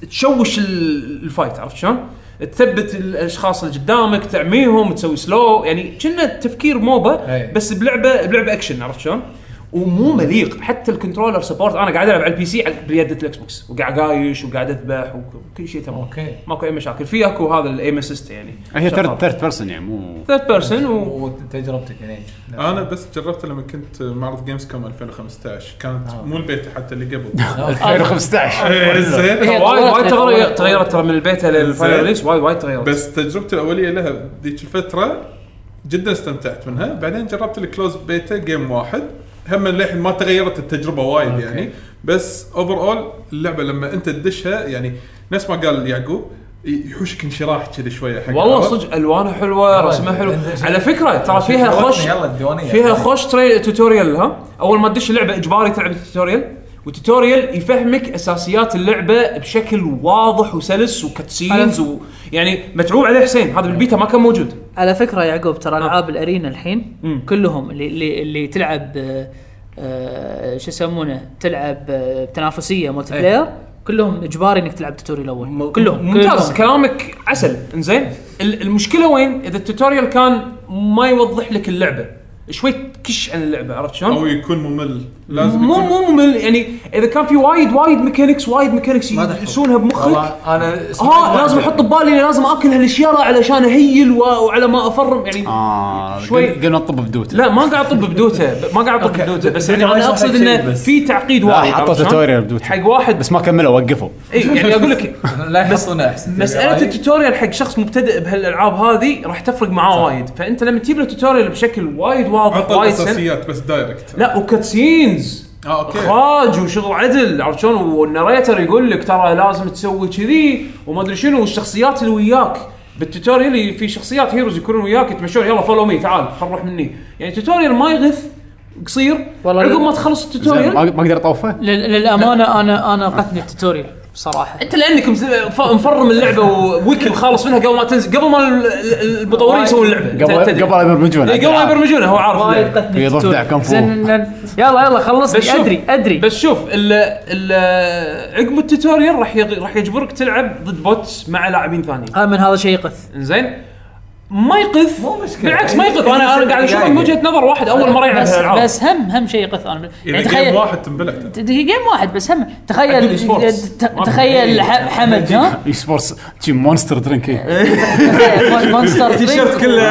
ت- تشوش ال- الفايت عرفت شلون؟ تثبت الاشخاص اللي قدامك تعميهم تسوي سلو يعني كنا تفكير موبا أي. بس بلعبه بلعبه اكشن عرفت شلون؟ ومو مليق حتى الكنترولر سبورت انا قاعد العب على البي سي على- بيده الاكس بوكس وقاعد قايش وقاعد اذبح وكل شيء تمام اوكي ماكو اي مشاكل في اكو هذا الايم اسيست يعني هي ثيرد ثيرد بيرسون يعني مو ثيرد بيرسون و وتجربتك يعني آه، انا بس جربته لما كنت معرض جيمز كوم 2015 كانت آه. مو البيت حتى اللي [LAUGHS] قبل 2015 إيه، زين هي وايد وايد تغيرت- تغير- تغيرت- تغيرت ترى من البيت للفاينل زين. ريليس وايد وايد تغيرت بس تجربتي الاوليه لها ذيك الفتره جدا استمتعت منها بعدين جربت الكلوز بيتا جيم واحد هم للحين ما تغيرت التجربه وايد أوكي. يعني بس اوفر اول اللعبه لما انت تدشها يعني نفس ما قال يعقوب يحوشك انشراح كذي شويه حق والله العرض. صدق الوانها حلوه والله رسمها حلو عندها شيء. على فكره ترى فيها شوفتنا، خوش يلا الديوانية. فيها خوش تري... توتوريال ها اول ما تدش اللعبه اجباري تلعب التوتوريال وتوتوريال يفهمك اساسيات اللعبه بشكل واضح وسلس وكاتسينز و... يعني متعوب عليه حسين هذا بالبيتا ما كان موجود على فكره يعقوب ترى العاب الارينا الحين نعم. مم. كلهم اللي اللي, اللي تلعب آه، آه، شو يسمونه تلعب آه، تنافسيه ملتي بلاير إيه. كلهم اجباري انك تلعب توتوريال الاول كلهم ممتاز كلهم. كلامك عسل انزين ال- المشكله وين اذا التوتوريال كان ما يوضح لك اللعبه شوي تكش عن اللعبه عرفت شلون؟ او يكون ممل لازم مو يكون مو ممل يعني اذا كان في وايد وايد ميكانكس وايد ميكانكس ما تحفظ. يحسونها بمخك والله آه، انا اه لازم احط ببالي إني لازم اكل هالشيره علشان اهيل و- وعلى ما افرم يعني آه. اه شوي. شوي قلنا نطب بدوت لا ما قاعد اطب بدوته ما قاعد اطب أوكي. بدوته بس بدوتة يعني ما انا يشرح لك اقصد شيء انه بس. في تعقيد لا، وايد حطوا عرفت شلون؟ توتوريال بدوته. حق واحد بس ما كملوا وقفوا اي يعني اقول لك لا يحصلونه احسن مساله التوتوريال حق شخص مبتدئ بهالالعاب هذه راح تفرق معاه وايد فانت لما تجيب له توتوريال بشكل وايد واضح عطى وايد سهل الاساسيات بس دايركت لا وكاتسينز اه اوكي اخراج وشغل عدل عرفت شلون والناريتر يقول لك ترى لازم تسوي كذي وما ادري شنو والشخصيات اللي وياك بالتوتوريال ي- في شخصيات هيروز يكونون وياك يتمشون يلا فولو مي تعال خل نروح مني يعني التوتوريال ما يغث قصير والله عقب لا. ما تخلص زين، ما التوتوريال ما اقدر اطوفه لل- للامانه انا انا قتني التوتوريال بصراحه انت لانك مز- ف- مفرم اللعبه وويكي وخالص منها قبل ما تنزل قبل ما ال- ال- المطورين يسوون اللعبه قبل أنت تدري. قبل لا يبرمجونه إيه، قبل ما يبرمجونها هو عارف اللعبة. وايد قتني في ضفدع التوتوريال. كان فوق. زين، لن- يلا يلا خلصني بس شوف- ادري ادري بس شوف ال ال عقب التوتوريال راح يغ- راح يجبرك تلعب ضد بوتس مع لاعبين ثانيين آه، من هذا شيء يقث زين ما يقف مو مشكلة. بالعكس ما يقف انا يعني انا قاعد اشوفه يعني. من وجهه نظر واحد اول مره يلعب بس, هالالعاب بس هم هم شيء يقث انا يعني اذا جيم يعني واحد تنبلع ت- جيم واحد بس هم أكيد تخيل إيسبورتس. ت- تخيل ح- حمد ها اي سبورتس شي مونستر درينك إيه. تخيل [LAUGHS] مونستر درينك. [LAUGHS] التيشيرت كله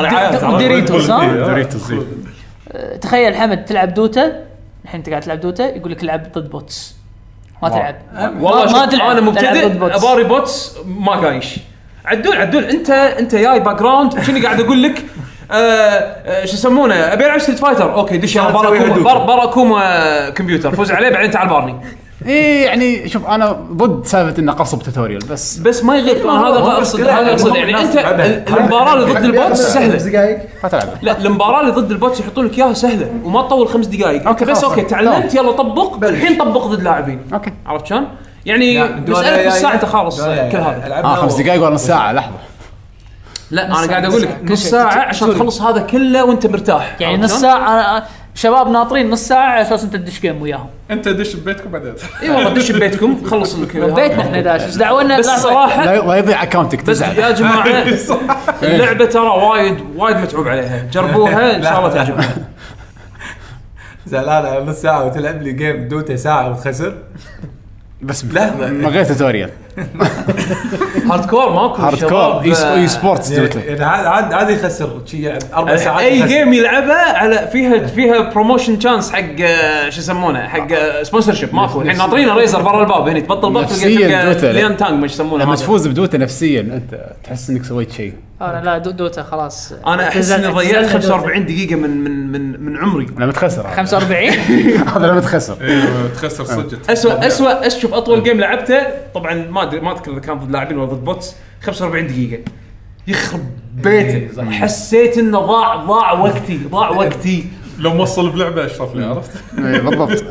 رعايات عرفت؟ ودوريتوس ها دوريتوس، إيه. تخيل حمد تلعب دوتا الحين انت قاعد تلعب دوتا يقول لك العب ضد بوتس ما واو. تلعب والله ما شوف تلعب. انا مبتدئ تلعب ضد بوتس. اباري بوتس ما قايش عدول عدول انت انت جاي باك جراوند شنو قاعد اقول لك [LAUGHS] آه، آه، شو يسمونه ابي العب ستريت فايتر اوكي دش يلا تسوي باراكوما هدوء. بار- باراكوما كمبيوتر فوز عليه بعدين تعال بارني اي يعني شوف انا ضد سالفه انه قصب توتوريال بس بس ما [LAUGHS] يغير هذا مو ما اقصد مشكلة. هذا اقصد يعني الناس انت تلعبها. ال- المباراه اللي ضد [LAUGHS] البوتس خمس سهله دقائق ما تلعبه لا المباراه اللي ضد البوتس يحطون لك اياها سهله وما تطول خمس دقائق أوكي، اوكي بس خلاص. اوكي تعلمت يلا طبق الحين طبق ضد لاعبين اوكي عرفت شلون؟ يعني آه، مساله نص ساعه خالص كل هذا اه خمس دقائق ولا نص ساعه لحظه لا انا قاعد اقول لك نص نص ساعة. ساعه عشان تخلص هذا كله وانت مرتاح يعني عرفت نص شلون؟ ساعه شباب ناطرين نص ساعه على اساس انت تدش جيم وياهم إيه، انت دش ببيتكم بعدين اي إيه والله دش ببيتكم خلص [LAUGHS] لك بيتنا احنا داش ايش دعونا بس لحظة. صراحه لا لا يضيع اكونتك بس تزعل يا [LAUGHS] جماعه اللعبه ترى وايد وايد متعوب عليها جربوها ان شاء الله [LAUGHS] تعجبكم زعلان على نص ساعه وتلعب لي جيم دوتا ساعه وتخسر بس لحظة. من غير توتوريال هارد كور ماكو هارد كور شباب. إي س- اي سبورتس E- دوتا يعني عاد عاد- عاد يخسر شي يلعب اربع ساعات اي يخسر. جيم يلعبها على فيها فيها بروموشن تشانس حق آه، شو يسمونه حق سبونسر شيب ماكو الحين ناطرين ريزر برا الباب هني تبطل بط نفسياً دوتا. ليان تانج ما يسمونه لما هذا. تفوز بدوتا نفسيا انت تحس انك سويت شيء انا لا دو- دوتا خلاص انا احس اعتزلنا- اني ضيعت اعتزلنا دوتا. 45 دقيقه من من من من عمري لما تخسر هذا. [LAUGHS] [LAUGHS] 45 هذا لما [LAUGHS] تخسر ايوه آه. تخسر صدق اسوء اسوء اشوف اطول جيم لعبته طبعا ما ادري ما اذكر اذا كان ضد لاعبين ولا ضد بوتس 45 دقيقه يخرب بيته حسيت انه ضاع ضاع وقتي ضاع وقتي لو موصل بلعبه اشرف لي عرفت؟ إي، بالضبط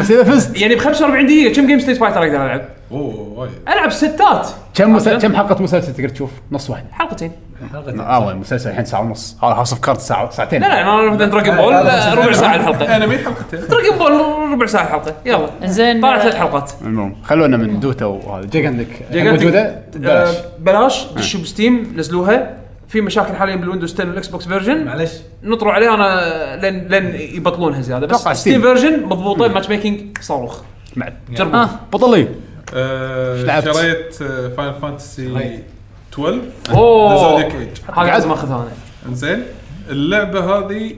بس اذا فزت يعني ب 45 دقيقه كم جيم ستيت فايتر اقدر العب؟ اوه وايد العب ستات كم مسل- كم حلقه مسلسل تقدر تشوف؟ نص واحد حلقتين اه المسلسل الحين ساعه ونص هاوس اوف كارد ساعه ساعتين لا لا انا مثلا دراجون بول آه، ربع ساعه الحلقه انا مين حلقتين دراجون بول ربع ساعه الحلقه يلا انزين طلعت ثلاث حلقات المهم خلونا من دوتا وهذا جيجندك جيجندك. موجوده بلاش آه، بلاش دشوا بستيم نزلوها في مشاكل حاليا بالويندوز 10 والاكس بوكس فيرجن معلش نطروا عليه انا لين لين يبطلونها زياده بس أتوقع ستيم ستيم. فيرجن مضبوطين ماتش ميكنج صاروخ بعد جربوا آه. بطلي لعبت؟ آه، شريت آه، فاين فانتسي 12 اوه زودياك ايج هذا لازم اخذها انا انزين اللعبه هذه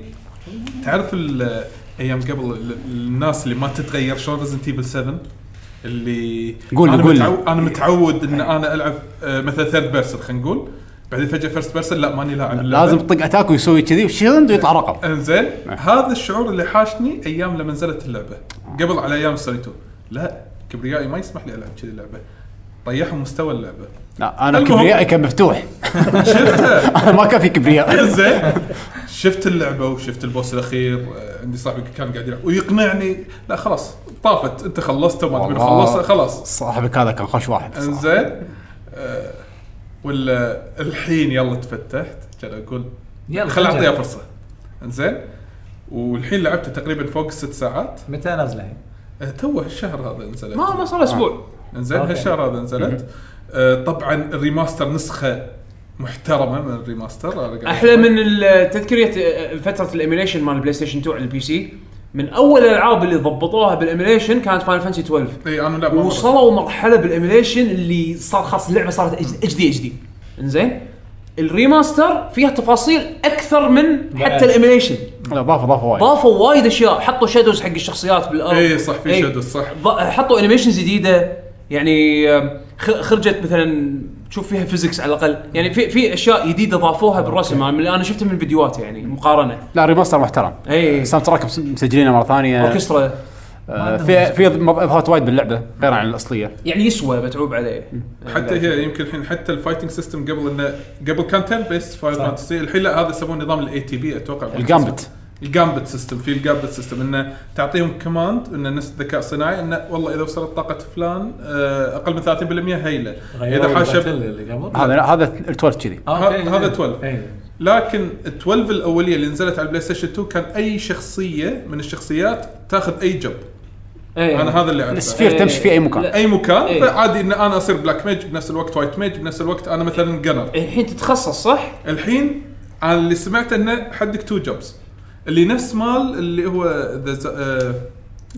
تعرف ال- ايام قبل ال- الناس اللي ما تتغير شلون ريزنت ايفل 7 اللي قول لي، انا قول لي. متعود انا متعود ان انا العب آه، مثلا ثيرد بيرسون خلينا نقول بعدين فجاه فيرست بيرسون لا ماني لاعب اللعبة. لازم تطق اتاك ويسوي كذي وشيلند ويطلع رقم انزين نعم. هذا الشعور اللي حاشني ايام لما نزلت اللعبه قبل على ايام سوني 2 لا كبريائي ما يسمح لي العب كذي اللعبه طيحوا مستوى اللعبه لا انا المهم. كبريائي كان مفتوح [LAUGHS] شفته ما كان في [LAUGHS] كبرياء زين شفت اللعبه وشفت البوس الاخير آه، عندي صاحبي كان قاعد يلعب ويقنعني لا خلاص طافت انت خلصت وما تبي والله. خلصت خلاص صاحبك هذا كان خوش واحد صراحة. انزين آه، ولا الحين يلا تفتحت كان اقول يلا خل خلنا. اعطيها فرصه انزين والحين لعبته تقريبا فوق الست ساعات متى نازله هي؟ آه، توه الشهر هذا نزلت ما ما صار لها اسبوع انزين أوكي. هالشهر هذا نزلت آه، طبعا الريماستر نسخه محترمه من الريماستر أنا قاعد احلى من ال- تذكرية آه، فتره الايميليشن مال البلاي ستيشن 2 على البي سي من اول الالعاب اللي ضبطوها بالايميليشن كانت فاينل فانسي 12 اي انا إيه، لا ما مرة. وصلوا مرحله بالايميليشن اللي صار خلاص اللعبه صارت اتش دي اتش دي انزين الريماستر فيها تفاصيل اكثر من حتى الايميليشن لا ضافه ضافه وايد ضافوا وايد اشياء حطوا شادوز حق الشخصيات بالارض اي إيه، صح في إي. شادو صح ض- حطوا انيميشنز جديده يعني آم، خ- خرجت مثلا تشوف فيها فيزكس على الاقل يعني في في اشياء جديده ضافوها بالرسم أنا- اللي انا شفتها من الفيديوهات يعني مقارنه لا ريماستر محترم إيه. اي ساوند تراك مس- مسجلينه مره ثانيه اوركسترا آه، في في مب- اضافات وايد باللعبه غير عن الاصليه يعني يسوى متعوب عليه حتى هي يمكن الحين حتى الفايتنج سيستم قبل انه قبل كان تيرن بيست فاير فانتسي الحين لا هذا يسمون نظام الاي تي بي اتوقع الجامبت الجامبت سيستم في الجامبت سيستم انه تعطيهم كوماند انه نفس الذكاء الصناعي انه والله اذا وصلت طاقه فلان آه، اقل من 30% هيله اذا حاشب اللي قبل هذا هذا ال 12 كذي آه، أوكي. ه- آه، هذا 12. إيه. لكن 12 الاوليه اللي نزلت على البلاي ستيشن 2 كان اي شخصيه من الشخصيات تاخذ اي جب إيه. انا هذا اللي اعرفه السفير تمشي في اي مكان آه، لا. اي مكان إيه. فعادي ان انا اصير بلاك ميج بنفس الوقت وايت ميج بنفس الوقت انا مثلا جنر الحين تتخصص صح؟ الحين انا اللي سمعت انه حدك تو جوبز اللي نفس مال اللي هو ذا ز... آه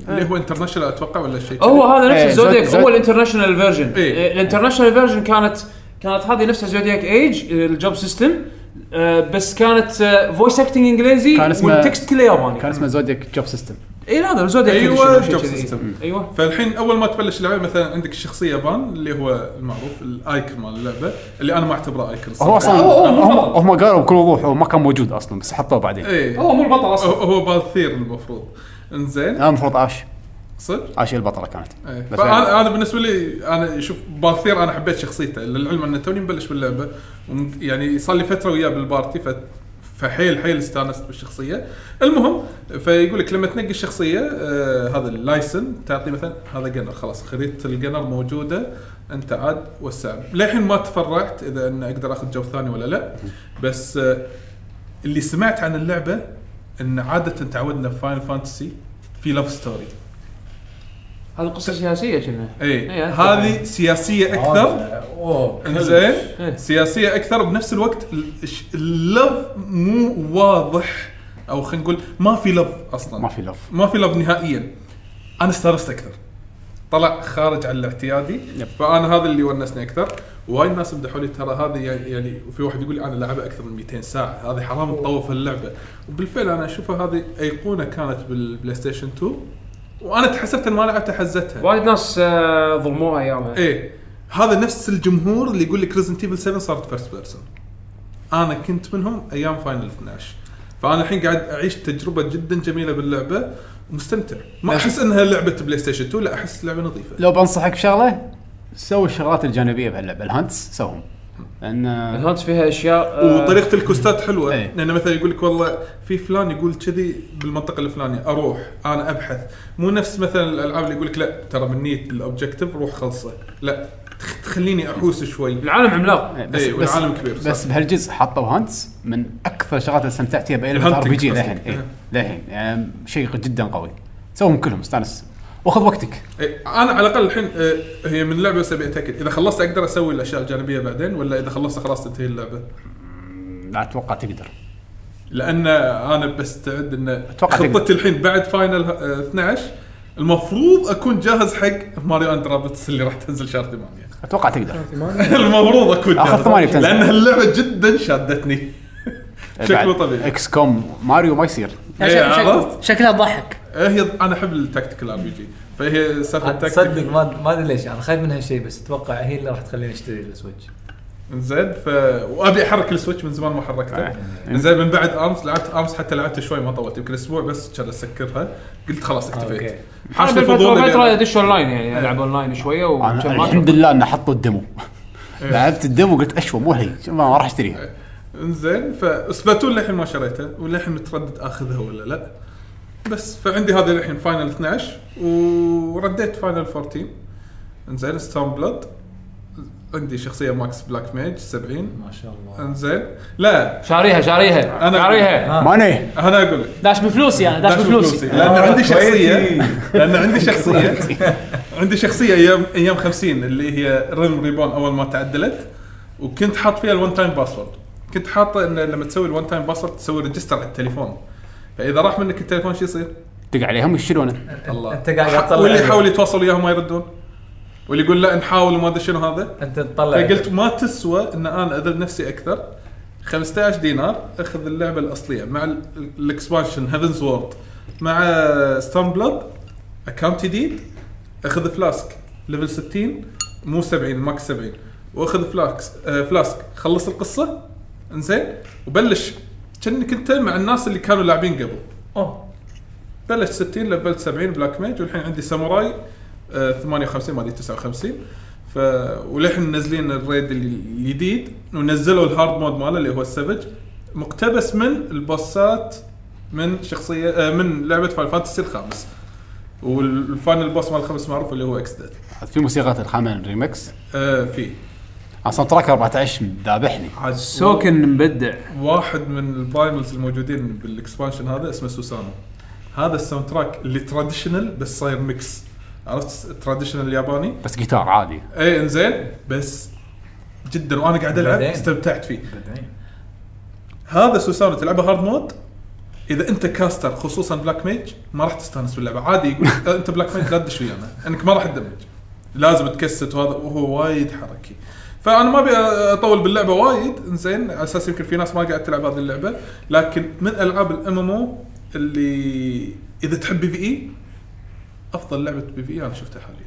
اللي هو انترناشونال اتوقع ولا شيء هو هذا نفس إيه، الزودياك زود- هو زود- الانترناشونال فيرجن إيه. الانترناشونال فيرجن كانت كانت هذه نفسها زودياك ايج الجوب سيستم آه، بس كانت آه، فويس اكتنج انجليزي كان اسمه- والتكست كله ياباني كان اسمه زودياك جوب سيستم اي لا هذا زودياك أيوة، Edition أو شيء job كذي. system. ايوه فالحين اول ما تبلش اللعبه مثلا عندك الشخصيه يابان اللي هو المعروف الايكون مال اللعبه اللي انا ما اعتبره ايكون هو اصلا هو- هو هم بطل. هم قالوا بكل وضوح هو ما كان موجود اصلا بس حطوه بعدين ايه هو مو البطل هو- اصلا هو بالثير المفروض انزين انا المفروض اش صدق؟ عاشي البطله كانت إيه. بس فانا انا بالنسبه لي انا شوف بالثير انا حبيت شخصيته للعلم ان توني مبلش باللعبه وم- يعني صار لي فتره وياه بالبارتي ف فحيل حيل استانست بالشخصيه المهم فيقول لك لما تنقي الشخصيه آه هذا اللايسن تعطي مثلا هذا جنر خلاص خريطه الجنر موجوده انت عاد وسع للحين ما تفرعت اذا ان اقدر اخذ جو ثاني ولا لا بس آه اللي سمعت عن اللعبه ان عاده تعودنا في فاينل فانتسي في لاف ستوري هذه قصه سياسيه شنو اي إيه، هذه سياسيه اكثر آه، اوه انزين إيه. سياسيه اكثر بنفس الوقت ال- الش- اللف مو واضح او خلينا نقول ما في لف اصلا ما في لف ما في لف نهائيا انا استانست اكثر طلع خارج عن الاعتيادي يب. فانا هذا اللي ونسني اكثر وايد ناس مدحوا لي ترى هذه يعني- يعني وفي واحد يقول لي انا لعبها اكثر من 200 ساعه هذه حرام تطوف اللعبه وبالفعل انا اشوفها هذه ايقونه كانت بالبلاي ستيشن 2 وانا تحسبت ان ما لعبتها حزتها وايد ناس آه، ظلموها ايامها ايه هذا نفس الجمهور اللي يقول لك ريزنت ايفل 7 صارت فيرست بيرسون انا كنت منهم ايام فاينل 12 فانا الحين قاعد اعيش تجربه جدا جميله باللعبه مستمتع ما احس انها لعبه بلاي ستيشن 2 لا احس لعبه نظيفه لو بنصحك بشغله سوي الشغلات الجانبيه بهاللعبه الهانتس سوهم لان الهانت فيها اشياء آه، وطريقه الكوستات حلوه إيه. لان مثلا يقول لك والله في فلان يقول كذي بالمنطقه الفلانيه اروح انا ابحث مو نفس مثلا الالعاب اللي يقول لك لا ترى من نيت الاوبجيكتيف روح خلصه لا تخ- تخليني احوس شوي العالم عملاق إيه، إيه، والعالم كبير، صح. بس بهالجزء حطوا هانتس من اكثر الشغلات اللي استمتعت فيها باي لعبه ار الهانتنج بي جي قصدك، للحين إيه. إيه، للحين يعني شيء جدا قوي سوهم كلهم استانس وخذ وقتك إيه، انا على الاقل الحين آه، هي من لعبه بس ابي اتاكد اذا خلصت اقدر اسوي الاشياء الجانبيه بعدين ولا اذا خلصت خلاص تنتهي اللعبه لا اتوقع تقدر لان انا بستعد ان أتوقع خطتي تقدر. الحين بعد فاينل آه، 12 المفروض اكون جاهز حق ماريو اند رابتس اللي راح تنزل شهر 8 اتوقع تقدر [LAUGHS] المفروض اكون آخر جاهز ثمانية بتنزل. إيه، لان اللعبه جدا شادتني بشكل طبيعي اكس كوم ماريو ما يصير لا، إيه، شك- شك- عرفت؟ شكلها تضحك آه، هي انا احب التكتيكال ار بي جي فهي سالفه آه، تصدق التكتيك ما ما ادري ليش انا خايف من هالشيء بس اتوقع هي اللي راح تخليني اشتري السويتش زين ف وابي احرك السويتش من زمان ما حركته يعني آه. زين من بعد امس لعبت امس حتى لعبت شوي ما طولت يمكن اسبوع بس كان اسكرها قلت خلاص اكتفيت اوكي حاشني فتره الفضول فتره إني- ادش اون لاين يعني العب اون لاين شويه أنا وكان ما الحمد لله انه حطوا الدمو لعبت الدمو قلت اشوى مو هي ما ما راح اشتريها انزين فسباتون للحين ما شريته وللحين متردد اخذها ولا لا بس فعندي هذا الحين فاينل 12 ورديت فاينل 14 انزين ستون بلاد عندي شخصيه ماكس بلاك ميج 70 ما شاء الله انزين لا شاريها شاريها أنا- شاريها ماني انا اقول لك داش بفلوسي انا داش داش بفلوسي لان عندي شخصيه كويتي. لان عندي شخصيه [LAUGHS] عندي شخصيه ايام ايام 50 اللي هي ريم ريبون اول ما تعدلت وكنت حاط فيها الون تايم باسورد كنت حاطه ان لما تسوي الون تايم باسورد تسوي ريجستر على التليفون فاذا راح منك التليفون شو يصير؟ دق عليهم يشيلونه الله أنت قاعد ح- تطلع واللي عيني. يحاول يتواصل وياهم ما يردون واللي يقول لا نحاول وما ادري شنو هذا انت تطلع فقلت ما تسوى ان انا اذل نفسي اكثر 15 دينار اخذ اللعبه الاصليه مع ال- الاكسبانشن هيفنز وورد مع ستون بلاد اكونت جديد اخذ فلاسك ليفل 60 مو 70 ماكس 70 واخذ فلاسك آه فلاسك خلص القصه انزين وبلش كأنك انت مع الناس اللي كانوا لاعبين قبل اوه بلش 60 لفلت 70 بلاك ميج والحين عندي ساموراي آه 58 ما ادري 59 ف وللحين منزلين الريد ال- الجديد ونزلوا الهارد مود ماله اللي هو السفج مقتبس من البوسات من شخصيه آه من لعبه فاين فانتسي الخامس والفاينل بوس مال الخامس معروف اللي هو اكس ديد في موسيقى الخامن ريمكس آه في اصلا تراك 14 ذابحني عاد سوكن مبدع واحد من البرايملز الموجودين بالاكسبانشن هذا اسمه سوسانو هذا الساوند تراك اللي تراديشنال بس صاير ميكس عرفت تراديشنال الياباني بس جيتار عادي اي انزين بس جدا وانا قاعد العب بعدين. استمتعت فيه إيه. هذا سوسانو تلعبه هارد مود اذا انت كاستر خصوصا بلاك ميج ما راح تستانس باللعبه عادي يقول [LAUGHS] لك انت بلاك ميج لا تدش ويانا انك ما راح تدمج لازم تكست وهذا وهو وايد حركي فانا ما ابي اطول باللعبه وايد انزين على اساس يمكن في ناس ما قاعد تلعب هذه اللعبه لكن من العاب الام ام او اللي اذا تحب بي في اي افضل لعبه بي في اي انا شفتها حاليا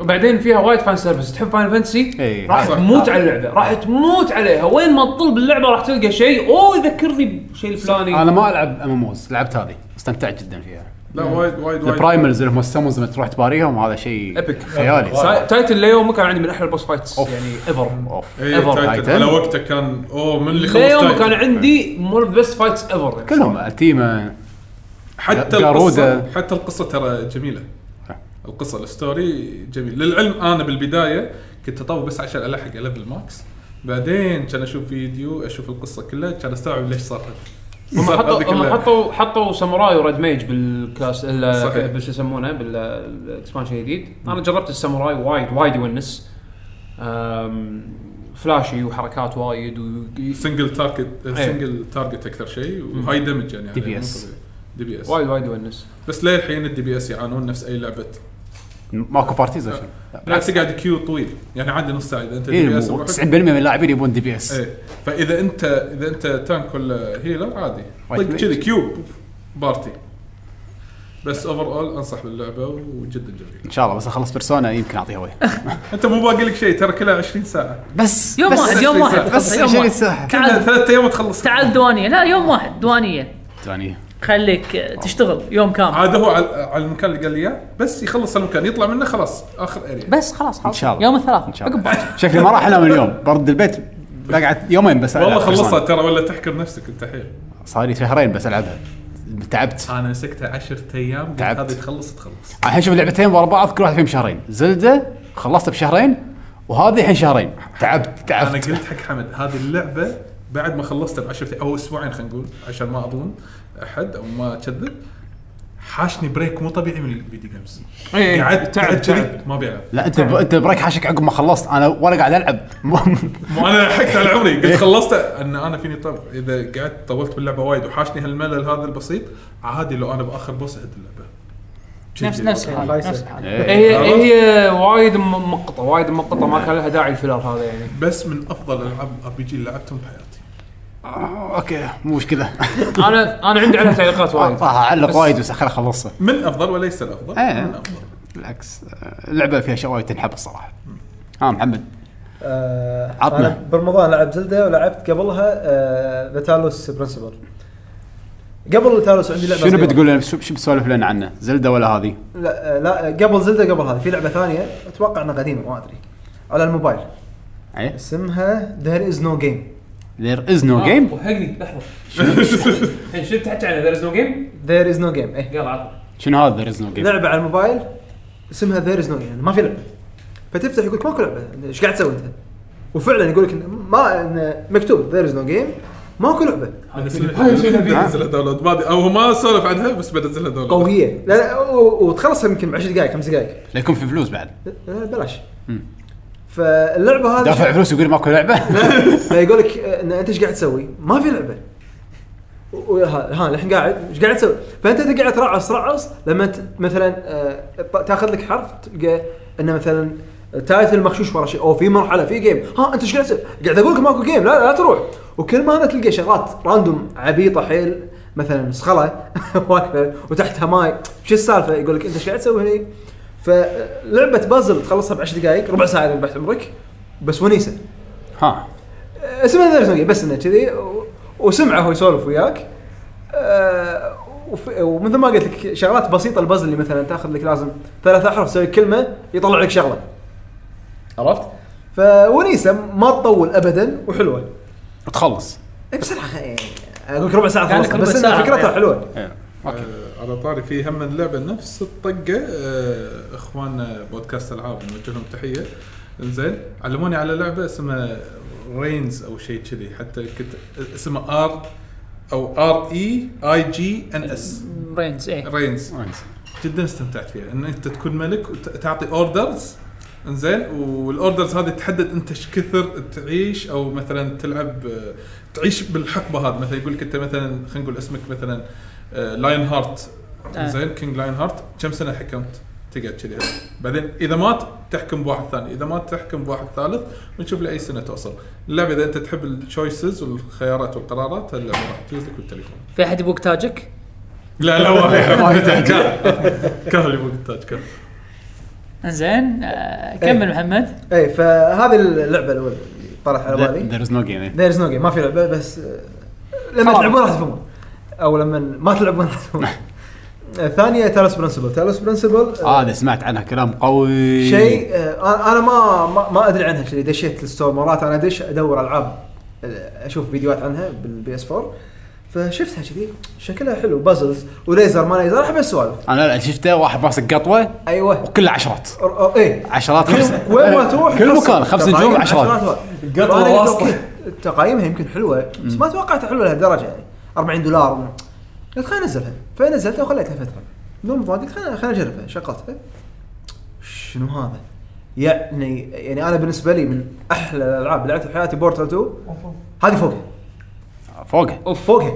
وبعدين فيها وايد فان سيرفيس تحب فاين فانتسي إيه. راح صح. تموت على اللعبه راح تموت عليها وين ما تطل باللعبه راح تلقى شيء اوه يذكرني بشيء الفلاني انا ما العب ام لعبت هذه استمتعت جدا فيها لا وايد وايد وايد البرايملز اللي هم السمونز لما تروح تباريهم هذا شيء Epic. خيالي سا- تايتن ليوم كان عندي من احلى البوس فايتس أوف. يعني ايفر اوف اي Ever إيه، تايتن Titan. على وقته كان اوه من اللي ليوم خلص كان كان عندي مور ذا بيست فايتس ايفر كلهم التيمه حتى جارودة. القصه حتى القصه ترى جميله القصه الستوري جميل للعلم انا بالبدايه كنت اطور بس عشان الحق ليفل ماكس بعدين كان اشوف فيديو اشوف القصه كلها كان استوعب ليش صار هذا هم صار هذا حطوا هم كله. حطوا حطوا ساموراي وريد ميج بالكاس ال- صحيح. بال- شو يسمونه بال- بالاكسبانشن الجديد انا جربت الساموراي وايد وايد يونس أم، فلاشي وحركات وايد و... سنجل تارجت أي. سنجل تارجت اكثر شيء وهاي دمج يعني دي بي عليه، مو إس. طبيعي. دي بي اس وايد وايد يونس بس للحين الدي بي اس يعانون نفس اي لعبه ماكو بارتيز ولا شيء لا. بالعكس قاعد كيو طويل يعني عادي نص ساعه اذا انت دي إيه، بي اس مو- 90% من اللاعبين يبون دي بي اس ايه فاذا انت اذا انت تانك ولا هيلر عادي وايد طق ميت. كذي كيوب بارتي بس اوفر اول انصح باللعبه وجدا جميله ان شاء الله بس اخلص بيرسونا يمكن اعطيها وجه انت مو باقي لك شيء ترى كلها 20 ساعه بس يوم بس- واحد يوم واحد بس خلاص، يوم عشان واحد يتساحل كلها تعال ثلاث ايام تخلص تعال دوانيه لا يوم واحد دوانيه ثاني خليك آه، تشتغل يوم كامل عاد هو على على المكان اللي قال لي اياه بس يخلص المكان يطلع منه خلاص اخر اريا بس خلاص إن خلاص شاء الله. يوم الثلاث إن شاء الله. عقب بعض. شكلي ما راح انام اليوم برد البيت بقعد يومين بس ألعب والله بيرسونا. خلصها ترى ولا تحكر نفسك انت حيل صار لي شهرين بس العبها تعبت انا مسكتها 10 ايام قلت تعبت. هذه تخلص تخلص الحين شوف لعبتين ورا بعض كل واحد فيهم شهرين زلده خلصتها بشهرين وهذه الحين شهرين تعبت انا تعبت قلت حق حمد هذه اللعبه بعد ما خلصتها ب 10 او اسبوعين خلينا نقول عشان ما اظلم احد او ما اكذب حاشني بريك مو طبيعي من الفيديو جيمز إيه، قعدت قعدت كذي ما بيلعب لا انت انت بريك حاشك عقب ما خلصت انا ولا قاعد العب مو انا لحقت على عمري قلت خلصت ان انا فيني طب اذا قعدت طولت باللعبه وايد وحاشني هالملل هذا البسيط عادي لو انا باخر بوس اهد اللعبه نفس نفس الحال، الله نفس يسعدك. الحال. إيه. هي هي وايد م- مقطه وايد مقطه ما كان لها داعي الفيلر هذا يعني بس من افضل العاب ار بي جي اللي لعبتهم بحياتي آه، اوكي مو مشكله انا انا عندي عليها [LAUGHS] تعليقات وايد راح اعلق وايد بس خل اخلصها من افضل وليس الافضل إيه. من افضل بالعكس آه، اللعبه فيها اشياء وايد تنحب الصراحه ها محمد آه، عطنا. أنا برمضان لعبت زلدة ولعبت قبلها ذا تالوس برنسبل قبل تالوس عندي لعبه شنو صغيرة. بتقول لنا شو شو بتسولف لنا عنه زلده ولا هذه لا آه، لا آه، قبل زلدة قبل هذا في لعبه ثانيه اتوقع انها قديمه ما ادري على الموبايل ايه اسمها ذير از نو جيم there is آه. no game وهقني لحظه الحين شو تحكي عنه ذير از نو جيم ذير از نو جيم ايه يلا عطنا شنو هذا there is no game لعبه على الموبايل اسمها ذير از نو جيم يعني ما في لعبه فتفتح يقول لك ماكو لعبه ايش قاعد تسوي انت؟ وفعلا يقول لك إن- ما إن مكتوب ذير از نو جيم ماكو لعبه بنزلها داونلود ما أدري- او ما سولف عنها بس بنزلها داونلود قويه لا لا و- وتخلصها يمكن ب 10 دقائق 5 دقائق ليكون في فلوس بعد [LAUGHS] لا، بلاش فاللعبه هذه دافع فلوس يقول ماكو لعبه فيقول لك آه، ان انت ايش قاعد تسوي؟ ما في لعبه و- وها- ها الحين قاعد ايش قاعد تسوي؟ فانت تقعد ترعص ترعص لما ت- مثلا آه، ط- تاخذ لك حرف تلقى انه مثلا تايتل مخشوش ورا شيء او في مرحله في جيم ها انت ايش قاعد تسوي؟ قاعد اقول لك ماكو جيم لا لا تروح وكل ما انا تلقى شغلات راندوم عبيطه حيل مثلا [LAUGHS] صخله واقفه وتحتها ماي شو السالفه؟ يقول لك انت ايش قاعد تسوي هني؟ فلعبه بازل تخلصها بعشر دقائق ربع ساعه اذا ذبحت عمرك بس ونيسه [LAUGHS] ها اسمه ذا زنقي بس انه كذي و- وسمعه هو يسولف وياك آه، وف- ومثل ما قلت لك شغلات بسيطه البازل اللي مثلا تاخذ لك لازم ثلاث احرف تسوي كلمه يطلع لك شغله عرفت؟ فونيسه ما تطول ابدا وحلوه وتخلص إي بسرعه خ- يعني اقول لك ربع ساعه كان لك خلصت ربع بس ساعة. إن فكرتها إيه. حلوه إيه. اوكي آه، على طاري في هم اللعبه نفس الطقه آه، اخواننا بودكاست العاب نوجه لهم تحيه زين علموني على لعبه اسمها رينز او شيء كذي حتى كنت اسمها ار او ار اي اي جي ان اس برينز ايه رينز جدا استمتعت فيها ان انت تكون ملك وتعطي اوردرز انزين والاوردرز هذه تحدد انت ايش كثر تعيش او مثلا تلعب آه، تعيش بالحقبه هذه مثلا يقول لك انت مثلا خلينا نقول اسمك مثلا آه، لاين هارت آه. زين كينج لاين هارت كم سنه حكمت تقعد كذي بعدين اذا مات تحكم بواحد ثاني اذا مات تحكم بواحد ثالث ونشوف لاي سنه توصل اللعبه اذا انت تحب التشويسز والخيارات والقرارات اللعبه راح تجوز لك بالتليفون في احد يبوك تاجك؟ لا لا [LAUGHS] ما يحتاج كهل يبغى التاج كهل زين آه، كمل محمد اي إيه، فهذه اللعبه الاولى اللي طرح على بالي there is no game ذير از نو جيم ما في لعبه بس آه، لما خلاص. تلعبون راح تفهمون او لما ما تلعبون راح تفهمون الثانيه تالوس برنسبل تالوس برنسبل اه انا سمعت عنها كلام قوي شيء آه، انا ما ما- ما ادري عنها كذي دشيت الستور مرات انا ادش ادور العاب آه، اشوف فيديوهات عنها بالبي اس 4 فشفتها كذي شكلها حلو بازلز وليزر ما ليزر احب السوالف انا لا شفته واحد ماسك قطوه ايوه وكلها عشرات أر- أر- ايه عشرات خمس- أه، كل وين ما تروح كل تحصل مكان خمس نجوم تقايم عشرات واحد. قطوة فأنا قلت واصلة. أوكي، تقايمها يمكن حلوه بس ما توقعتها حلوه لهالدرجه يعني 40 دولار قلت خليني انزلها فنزلتها وخليتها فتره نوم فاضي قلت خليني خليني اجربها شغلتها شنو هذا؟ يعني يعني انا بالنسبه لي من احلى الالعاب اللي لعبتها في حياتي بورتال 2 هذه فوقها فوقها فوقها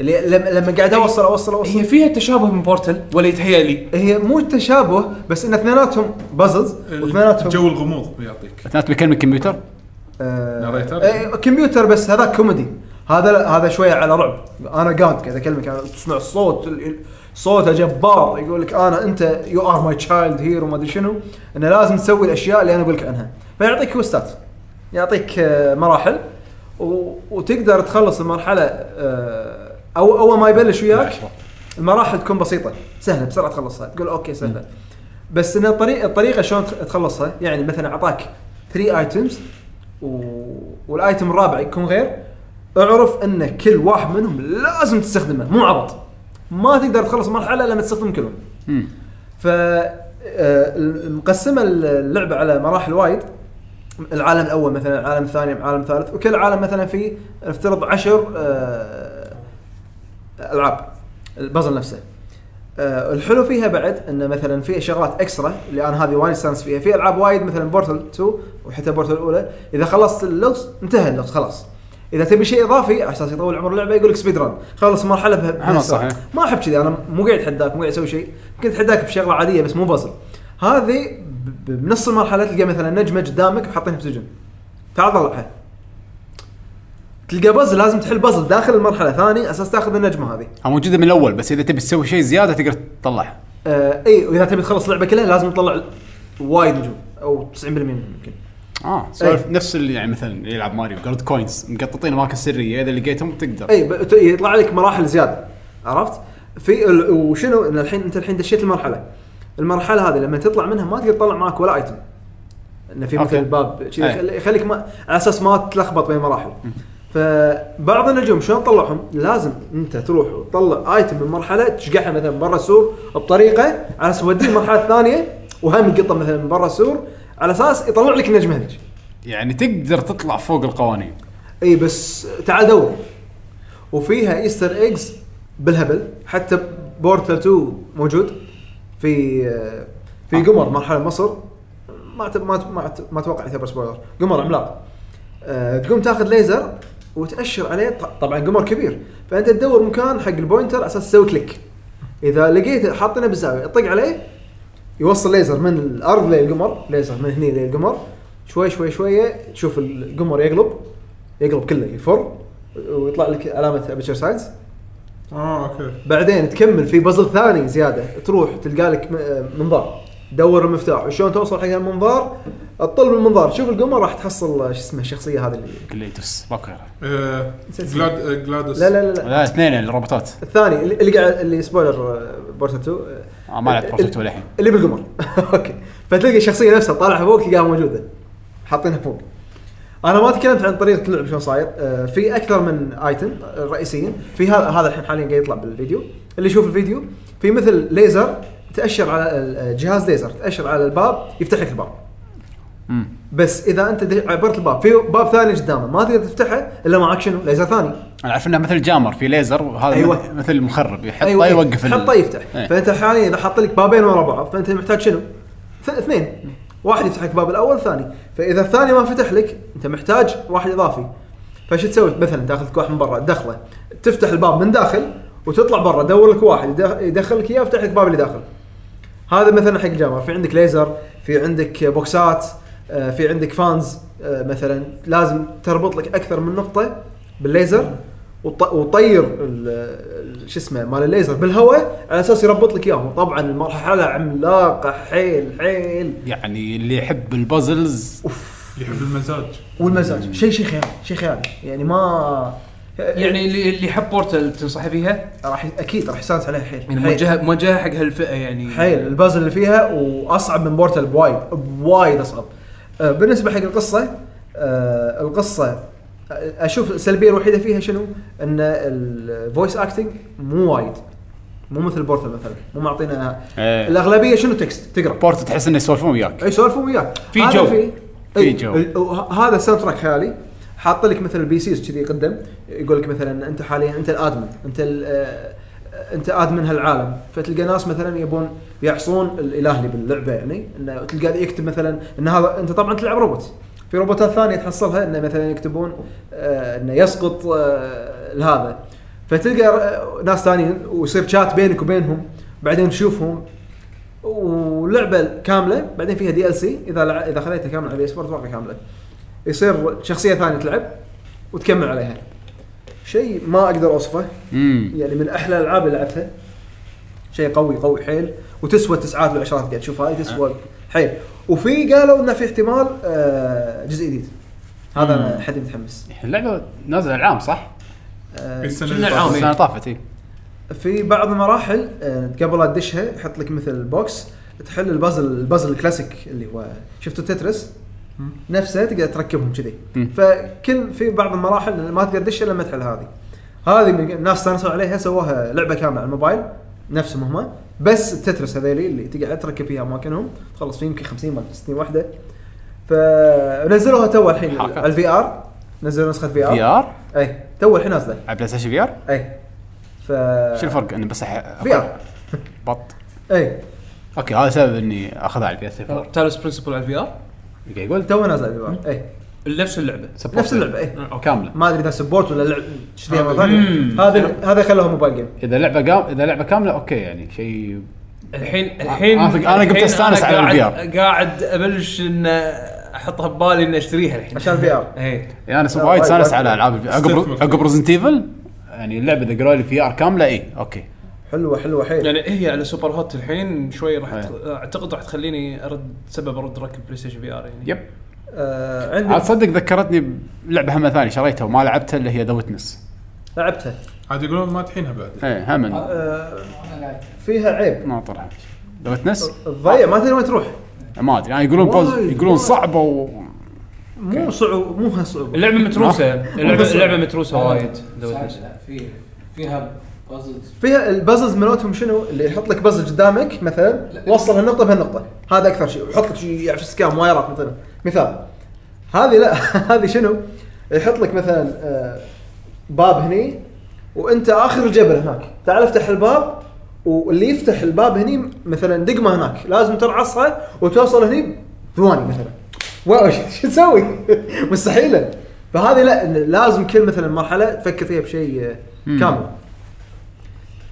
اللي لما لما قاعد اوصل اوصل اوصل هي فيها تشابه من بورتل ولا يتهيأ لي هي مو تشابه بس ان اثنيناتهم بازلز واثنيناتهم جو الغموض يعطيك اثناء مكان الكمبيوتر ناريتر؟ آه كمبيوتر بس هذا كوميدي هذا هذا شويه على رعب انا قاعد قاعد اكلمك أنا تسمع الصوت ال- ال- صوته جبار يقول لك انا انت يو ار ماي تشايلد هير وما ادري شنو انه لازم تسوي الاشياء اللي انا اقول لك عنها فيعطيك كوستات يعطيك آه، مراحل و- وتقدر تخلص المرحله آه، او اول ما يبلش وياك المراحل تكون بسيطه سهله بسرعه تخلصها تقول اوكي سهله بس ان الطريقه الطريقه شلون تخ- تخلصها يعني مثلا اعطاك 3 ايتمز و... والايتم الرابع يكون غير اعرف ان كل واحد منهم لازم تستخدمه مو عرض ما تقدر تخلص مرحله لما تستخدم كلهم مم. ف آه، مقسمه اللعبه على مراحل وايد العالم الاول مثلا العالم الثاني العالم الثالث وكل عالم مثلا فيه آه، نفترض 10 العاب البازل نفسه آه، الحلو فيها بعد انه مثلا في شغلات اكسترا اللي انا هذه وايد سانس فيها في العاب وايد مثلا بورتل 2 وحتى بورتل الاولى اذا خلصت اللغز انتهى اللغز خلاص اذا تبي شيء اضافي على اساس يطول عمر اللعبه يقول لك سبيد ران خلص مرحله بها- بها أنا سرعة. صحيح. ما احب كذي انا مو قاعد اتحداك مو قاعد اسوي شيء كنت اتحداك بشغله عاديه بس مو بازل هذه ب- ب- بنص المرحله تلقى مثلا نجمه قدامك وحاطينها بسجن تعال طلعها تلقى بازل لازم تحل بازل داخل المرحله ثاني اساس تاخذ النجمه هذه ها موجوده من الاول بس اذا تبي تسوي شيء زياده تقدر تطلعها آه اي واذا تبي تخلص اللعبه كلها لازم تطلع وايد نجوم او 90% منهم يمكن إيه. اه سوالف نفس اللي يعني مثلا يلعب ماريو جولد كوينز مقططين اماكن سريه اذا لقيتهم تقدر اي إيه، ب- ت- يطلع لك مراحل زياده عرفت؟ في ال- وشنو ان الحين انت الحين دشيت المرحله المرحله هذه لما تطلع منها ما تقدر تطلع معك ولا ايتم انه في أوكي. مثل باب شي أي. يخلي- يخليك ما على اساس ما تلخبط بين المراحل فبعض النجوم شلون تطلعهم؟ لازم انت تروح وتطلع ايتم من مرحله تشقحها مثلا برا السور بطريقه على اساس توديه المرحله الثانيه وهم يقطه مثلا من برا السور على اساس يطلع لك النجمه هذيك يعني تقدر تطلع فوق القوانين اي إيه بس تعال دور وفيها ايستر ايجز بالهبل حتى بورتال 2 موجود في في قمر مرحله مصر ما ت- ما ت- ما ت- ما اتوقع يعتبر سبويلر قمر عملاق آه، تقوم تاخذ ليزر وتاشر عليه ط- طبعا قمر كبير فانت تدور مكان حق البوينتر على اساس تسوي كليك اذا لقيته حاطينه بالزاويه طق عليه يوصل ليزر من الارض للقمر ليزر من هني للقمر شوي شوي شويه تشوف القمر يقلب يقلب كله يفر ويطلع لك علامه ابيتشر ساينس اه اوكي بعدين تكمل في بازل ثاني زياده تروح تلقى لك م- آه، منظار دور المفتاح وشلون توصل حق المنظار تطل من المنظار شوف القمر راح تحصل آه، شو اسمه الشخصيه هذه اللي كليتوس ما بغيرها آه، جلاد آه، جلادس لا لا لا, لا. لا اثنين الروبوتات الثاني اللي اللي قاعد اللي سبويلر آه، بورتا 2 آه، ما لعبت بورتا 2 للحين. اللي بالقمر [LAUGHS] اوكي فتلقى الشخصيه نفسها طالعه فوق تلقاها موجوده حاطينها فوق انا ما تكلمت عن طريقه اللعب شلون صاير آه، في اكثر من ايتم رئيسيين في هذا هذا الحين حاليا قاعد يطلع بالفيديو اللي يشوف الفيديو في مثل ليزر تاشر على ال- آه، جهاز ليزر تاشر على الباب يفتح لك الباب مم. بس اذا انت د- عبرت الباب في باب ثاني قدامه ما تقدر تفتحه الا معك شنو ليزر ثاني انا عارف انه مثل جامر في ليزر وهذا أيوة. مثل مخرب يحطه يوقف ال- حطه أيوة، يفتح إيه. فانت حاليا اذا حط لك بابين ورا بعض فانت محتاج شنو؟ ث- اثنين واحد يفتح لك باب الاول ثاني فاذا الثاني ما فتح لك انت محتاج واحد اضافي فشو تسوي مثلا تاخذ لك واحد من برا تدخله تفتح الباب من داخل وتطلع برا دور لك واحد يدخ- يدخل لك اياه ويفتح لك باب اللي داخل هذا مثلا حق جامعة في عندك ليزر في عندك بوكسات آه، في عندك فانز آه، مثلا لازم تربط لك اكثر من نقطه بالليزر وط- وطير ال- ال- شو اسمه مال الليزر بالهواء على اساس يربط لك اياهم طبعا المرحله عملاقه حيل حيل يعني اللي يحب البازلز يحب المزاج والمزاج شيء شيء خيالي شيء خيالي يعني ما يعني اللي اللي يحب بورتل تنصح فيها راح اكيد راح يستانس عليها حيل يعني حيل. موجهه موجهه حق هالفئه يعني حيل البازل اللي فيها واصعب من بورتال بوايد بوايد اصعب آه، بالنسبه حق القصه آه، القصه اشوف السلبيه الوحيده فيها شنو؟ ان الفويس اكتنج مو وايد مو مثل بورتال مثلا مو معطينا إيه. الاغلبيه شنو تكست تقرا بورت تحس انه يسولفون وياك اي سولفوا وياك في هذا جو. في في إي، جو. ال- وه- هذا الساوند تراك خيالي حاط لك مثلا البي سيز كذي قدام يقول لك مثلا انت حاليا انت الادمن انت ال- آه، انت ادمن هالعالم فتلقى ناس مثلا يبون يعصون الاله اللي باللعبه يعني انه تلقى يكتب مثلا ان هذا انت طبعا تلعب روبوت في روبوتات ثانيه تحصلها انه مثلا يكتبون آه، انه يسقط آه، لهذا فتلقى آه، ناس ثانيين ويصير شات بينك وبينهم بعدين تشوفهم ولعبه كامله بعدين فيها دي ال سي اذا لع... اذا خذيتها كامله على الاي اتوقع كامله يصير شخصيه ثانيه تلعب وتكمل عليها شيء ما اقدر اوصفه امم يعني من احلى الالعاب اللي لعبتها شيء قوي قوي حيل وتسوى التسعات والعشرات قاعد تشوف هاي تسوى حيل وفي قالوا انه في احتمال آه جزء جديد هذا انا حد متحمس اللعبه نازله العام صح؟ آه في السنه شنو اللي العام؟ طافت. السنه طافت إيه. اي في بعض المراحل آه، قبل لا تدشها يحط لك مثل بوكس تحل البازل البازل الكلاسيك اللي هو شفتوا تترس نفسه تقدر تركبهم كذي مم. فكل في بعض المراحل ما تقدر تدشها الا لما تحل هذه هذه من- الناس استانسوا عليها سووها لعبه كامله على الموبايل نفسهم هم بس التترس هذيلي اللي تقعد تركب فيها اماكنهم تخلص فيه يمكن 50 ولا 60 وحده فنزلوها تو الحين حركات. على الفي ار نزلوا نسخه في ار في ار اي إيه، تو الحين نازله على بلاي ستيشن في ار اي ف شو الفرق؟ انه بس أح- في ار بط اي اوكي هذا سبب اني اخذها على البي اس 4 آه. تالس برنسبل على الفي ار يقول تو نازل الفي اي نفس اللعبه support. نفس اللعبه اي كامله ما ادري اذا سبورت ولا لعب شذي مره مم. ثانيه هذا هذا خلوها موبايل جيم اذا لعبه قام اذا لعبه كامله اوكي يعني شيء الحين الحين أنا- أنا قمت الحين أستانس على قاعد- الVR. قاعد ابلش ان احطها ببالي ان اشتريها الحين عشان في ار اي يعني انا صراحة لا، وايد وايد- استانس وايد. على العاب الفي- عقب استثمر. عقب ريزنت ايفل يعني اللعبه اذا قالوا لي في إيه، ار كامله اي اوكي حلوه حلوه حيل يعني هي على سوبر هوت الحين شوي راح إيه. تخ- اعتقد راح تخليني ارد سبب ارد راكب بلاي ستيشن في ار يعني يب آه عاد عندي تصدق ذكرتني بلعبه هم ثانيه شريتها وما لعبتها اللي هي ذا ويتنس لعبتها عاد يقولون ما تحينها بعد ايه هم آه فيها عيب ناطرها ذا ويتنس تضيع ما تدري وين تروح ما ادري يعني يقولون بوز وايد، يقولون وايد. صعبه و مو صعوبه مو هالصعوبه اللعبه متروسه اللعبه اللعبه متروسه وايد في فيها بازلز فيها البازلز مالتهم شنو اللي يحط لك بازل قدامك مثلا وصل هالنقطه بهالنقطه هذا اكثر شيء يحط لك شيء يعني يعفس كام وايرات مثلا مثال هذه لا [LAUGHS] هذه شنو يحط لك مثلا آه، باب هني وانت اخر الجبل هناك تعال افتح الباب واللي يفتح الباب هني مثلا دقمه هناك لازم ترعصها وتوصل هني ثواني مثلا واو [LAUGHS] شو تسوي؟ مستحيله فهذه لا لازم كل مثلا مرحله تفكر فيها بشيء آه، كامل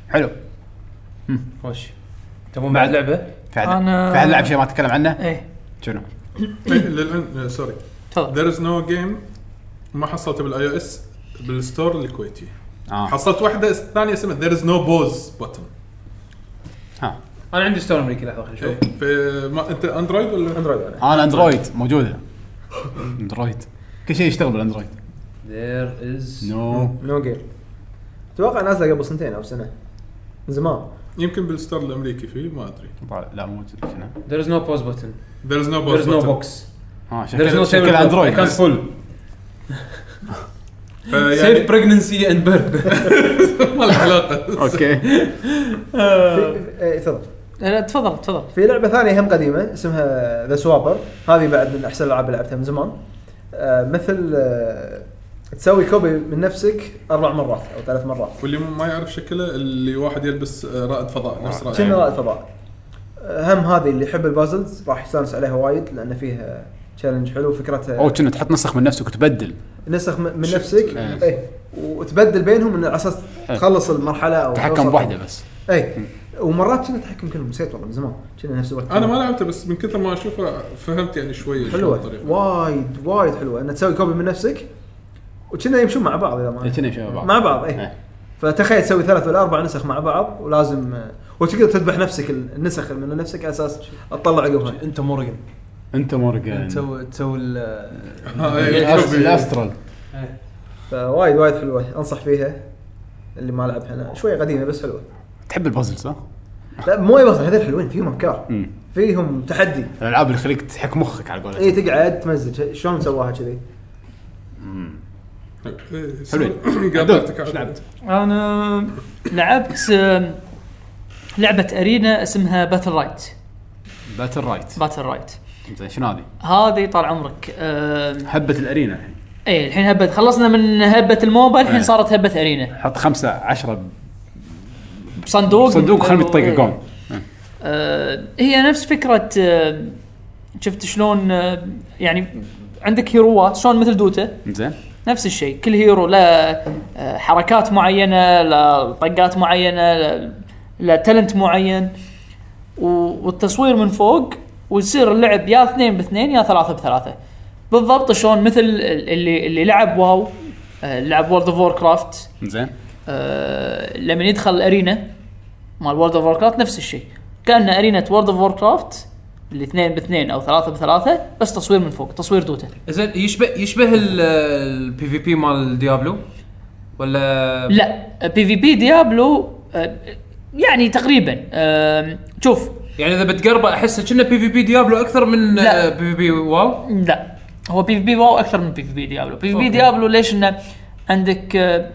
حلو خوش تبون بعد لعبه؟ في عاد أنا- في عاد لعب شيء ما تكلم عنه ايه شنو؟ طيب، للعلم سوري تفضل ذير از نو جيم ما حصلته بالاي او اس بالستور الكويتي آه. اه حصلت واحده ثانيه اسمها ذير از نو بوز بوتن ها انا عندي ستور امريكي لحظه خلينا إيه. نشوف ما انت اندرويد ولا اندرويد انا انا اندرويد موجوده اندرويد كل شيء يشتغل بالاندرويد There is نو نو جيم اتوقع نازله قبل سنتين او سنه من زمان يمكن بالستور الامريكي فيه ما ادري طالع- لا مو موجود شنو؟ there is no pause button ذير از نو there بوز is no box اه there is no شكل شكل اندرويد كان [LAUGHS] فل سيف يعني pregnancy and birth [LAUGHS] ما له علاقه اوكي آه. في- إيه، تفضل لا لا تفضل تفضل في لعبه ثانيه هم قديمه اسمها ذا سوابر هذه بعد من احسن الالعاب اللي لعبتها من زمان آه، مثل آه، تسوي كوبي من نفسك اربع مرات او ثلاث مرات واللي ما يعرف شكله اللي واحد يلبس آه، رائد فضاء نفس رائد كنا رائد فضاء آه، هم هذه اللي يحب البازلز راح يستانس عليها وايد لان فيها تشالنج حلو او فكرتها كنا تحط نسخ من نفسك وتبدل نسخ من من شفت. نفسك إيه. إيه، وتبدل بينهم إن على اساس تخلص المرحله او توصل- تحكم بواحده بس اي إيه. ومرات كنا تحكم كلهم نسيت والله من زمان كنا نفس الوقت انا ما لعبته بس من كثر ما اشوفه فهمت يعني شوي شلون حلوه الطريقة. وايد وايد حلوه ان تسوي كوبي من نفسك وكنا يمشون مع بعض اذا إيه، ما كنا يشوفون بعض مع بعض اي إيه. فتخيل تسوي ثلاث ولا اربع نسخ مع بعض ولازم آه، وتقدر تذبح نفسك ال- النسخ من نفسك على اساس تطلع عقبها انت مورجن انت مورجان تسوي تسوي ال- [LAUGHS] آه، إيه، الأس- كوبي. الاسترال فوايد وايد حلوه انصح فيها اللي ما لعبها انا شوي قديمه بس حلوه تحب البازلز ها؟ لا مو اي بس هذول حلوين فيهم افكار امم فيهم تحدي الالعاب اللي خليك تحك مخك على إيه. قولتك اي تقعد تمزج شلون سواها كذي إيه، حلوين [LAUGHS] قابلتك عدول، إيش لعبت؟ انا لعبت آم، لعبه ارينا اسمها باتل رايت باتل رايت باتل رايت زين شنو هذه؟ هذه طال عمرك آم، هبه الارينا الحين ايه الحين هبه خلصنا من هبه الموبا الحين إيه. صارت هبه ارينا حط خمسة عشرة بصندوق صندوق خلهم إيه. يطققون آه، هي نفس فكره آه، شفت شلون آه، يعني عندك هيروات شلون مثل دوتا زين نفس الشيء كل هيرو له آه، حركات معينه له طقات معينه له- له تالنت معين و- والتصوير من فوق ويصير اللعب يا اثنين باثنين يا ثلاثه بثلاثه بالضبط شلون مثل اللي اللي لعب واو آه، لعب وورد اوف وور كرافت زين آه، لما يدخل الارينا مال وورد اوف كرافت نفس الشيء كان ارينا وورد اوف كرافت الاثنين باثنين او ثلاثه بثلاثه بس تصوير من فوق تصوير دوتا زين يشبه يشبه البي في بي مال ديابلو ولا لا بي في بي ديابلو آه، يعني تقريبا آم، شوف يعني اذا بتقربه احسه كنا بي في بي ديابلو اكثر من لا. بي في بي واو لا هو بي في بي واو اكثر من بي في بي ديابلو بي في بي أوكي. ديابلو ليش انه عندك آه،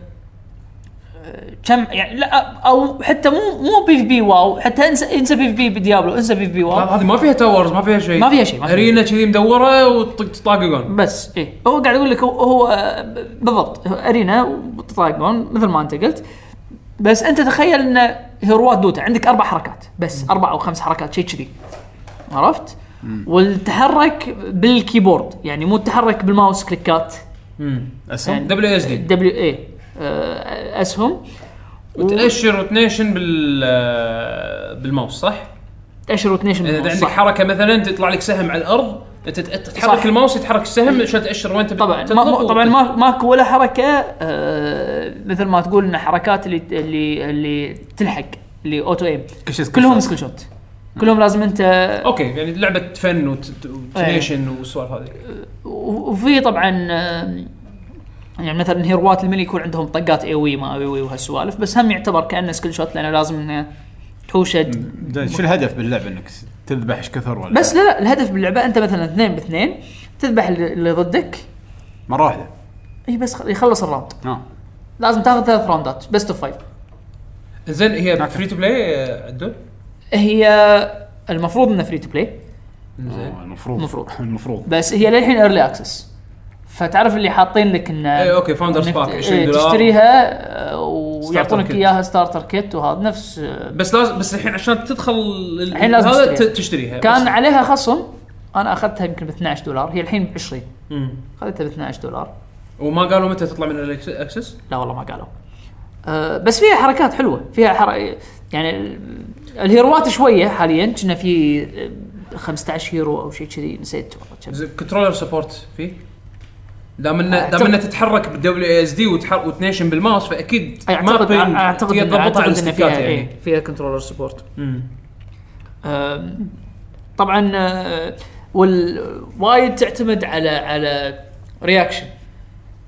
آه، كم يعني لا او حتى مو مو بي في بي واو حتى انسى انسى بي في بي بديابلو انسى بي في بي واو هذه ما فيها تاورز ما فيها شيء ما فيها شيء، ما فيها ارينا كذي مدوره وتطاققون بس ايه هو قاعد اقول لك هو, هو آه، بالضبط هو ارينا وتطاقون مثل ما انت قلت بس انت تخيل ان هيروات دوتا عندك اربع حركات بس اربع او خمس حركات شيء كذي عرفت؟ والتحرك بالكيبورد يعني مو التحرك بالماوس كليكات يعني. اسهم دبليو اس دي دبليو اي آه، اسهم وتاشر وتنيشن بال آه، بالماوس صح؟ تاشر وتنيشن اذا بالماوس، عندك صح. حركه مثلا تطلع لك سهم على الارض انت تت- تتحرك صح. الماوس يتحرك السهم عشان تاشر وين تبي طبعا ما تطلق ما- و- طبعا ما ماكو ولا حركه آه، مثل ما تقول ان حركات اللي اللي اللي تلحق اللي اوتو ايم كل شيء سكيل كلهم شوت. سكيل شوت كلهم لازم انت اوكي يعني لعبه فن وت- إيه. وتنيشن والسوالف هذه و- وفي طبعا آه، يعني مثلا هيروات الملي يكون عندهم طقات اي وي ما اي وي وهالسوالف بس هم يعتبر كانه سكيل شوت لانه لازم انه تحوشه زين شو الهدف باللعبه انك تذبح ايش كثر ولا بس لا لا الهدف باللعبه انت مثلا اثنين باثنين تذبح اللي اللي ضدك مره واحده اي بس خ- يخلص الراوند اه لازم تاخذ ثلاث راوندات بيست اوف فايف زين هي فري تو بلاي عدول هي المفروض انها فري تو بلاي زين آه، المفروض المفروض. [LAUGHS] المفروض بس هي للحين ايرلي اكسس فتعرف اللي حاطين لك انه اي اوكي فاوندرز إنك باك ت- 20 إيه، دولار تشتريها آه، ويعطونك كيت. اياها ستارتر كيت وهذا نفس آه، بس لازم بس الحين عشان تدخل ال- الحين لازم هذا تشتريها. ت- تشتريها كان بس. عليها خصم انا اخذتها يمكن ب 12 دولار هي الحين ب 20 مم. اخذتها ب 12 دولار وما قالوا متى تطلع من الاكسس لا والله ما قالوا أه بس فيها حركات حلوه فيها حر... يعني ال- الهيروات شويه حاليا كنا في آه، 15 هيرو او شيء كذي نسيت والله كم. كنترولر سبورت فيه دام انه أعتقد- دام انه تتحرك بالدبليو اس دي وتنيشن بالماوس فاكيد اعتقد mapping اعتقد إن- تضبطها اعتقد ان فيها بالستيكات يعني. يعني إيه فيها كنترولر سبورت مم. أم، طبعا أه، وال- وايد تعتمد على على رياكشن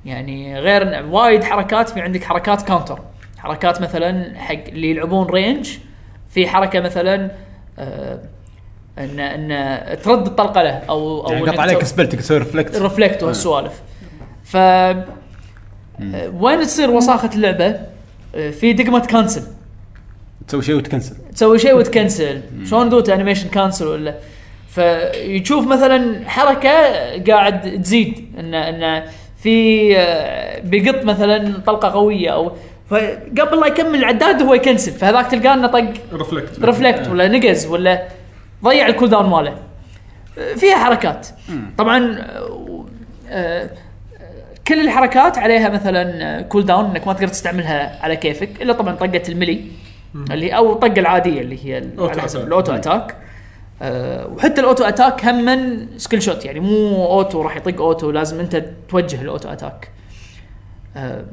يعني غير إن- وايد حركات في عندك حركات كاونتر حركات مثلا حق اللي يلعبون رينج في حركه مثلا أه، ان ان ترد الطلقه له او او يعني إنك قطع عليك تسوي- سبلتك تسوي ريفلكت رفلكت وهالسوالف ف أه، وين تصير وساخه اللعبه؟ أه، في دقمه كانسل تسوي شيء وتكنسل تسوي شيء وتكنسل شلون دوت انيميشن كانسل ولا فيشوف مثلا حركه قاعد تزيد انه انه في آه، بيقط مثلا طلقه قويه او فقبل لا يكمل العداد هو يكنسل فهذاك تلقاه انه طق رفلكت رفلكت ولا نقز ولا ضيع الكول داون ماله آه، فيها حركات طبعا آه، آه، كل الحركات عليها مثلا كول داون انك ما تقدر تستعملها على كيفك الا طبعا طقه الملي اللي او الطقه العاديه اللي هي ال- أوتو على حسب أتاك. الاوتو اتاك آه، وحتى الاوتو اتاك هم من سكيل شوت يعني مو اوتو راح يطق اوتو لازم انت توجه الاوتو اتاك آه،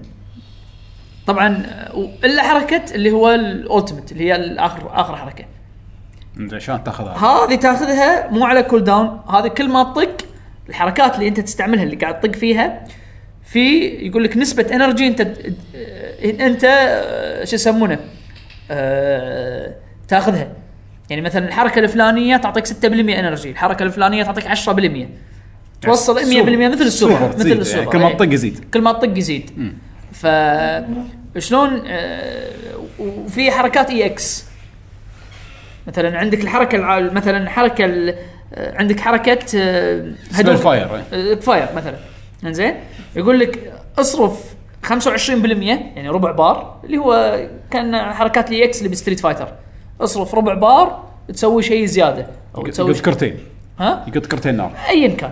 طبعا آه، و- الا حركه اللي هو الالتيميت اللي هي اخر اخر حركه زين شلون تاخذها هذه تاخذها مو على كول داون هذه كل ما تطق الحركات اللي انت تستعملها اللي قاعد تطق فيها في يقول لك نسبه انرجي انت انت آه، شو يسمونه آه، تاخذها يعني مثلا الحركه الفلانيه تعطيك 6% انرجي الحركه الفلانيه تعطيك 10% توصل 100% مثل السوبر مثل تصير، السوبر يعني كل ما إيه. تطق يزيد كل ما تطق يزيد ف شلون آه، وفي حركات اي اكس مثلا عندك الحركه الع... مثلا الحركه ال... آه، عندك حركه آه، سبيل فاير إيه. آه، فاير مثلا انزين يقول لك اصرف 25% يعني ربع بار اللي هو كان حركات الاي اكس اللي بستريت فايتر اصرف ربع بار تسوي شيء زياده او تسوي يقط كرتين ها يقط كرتين نار ايا كان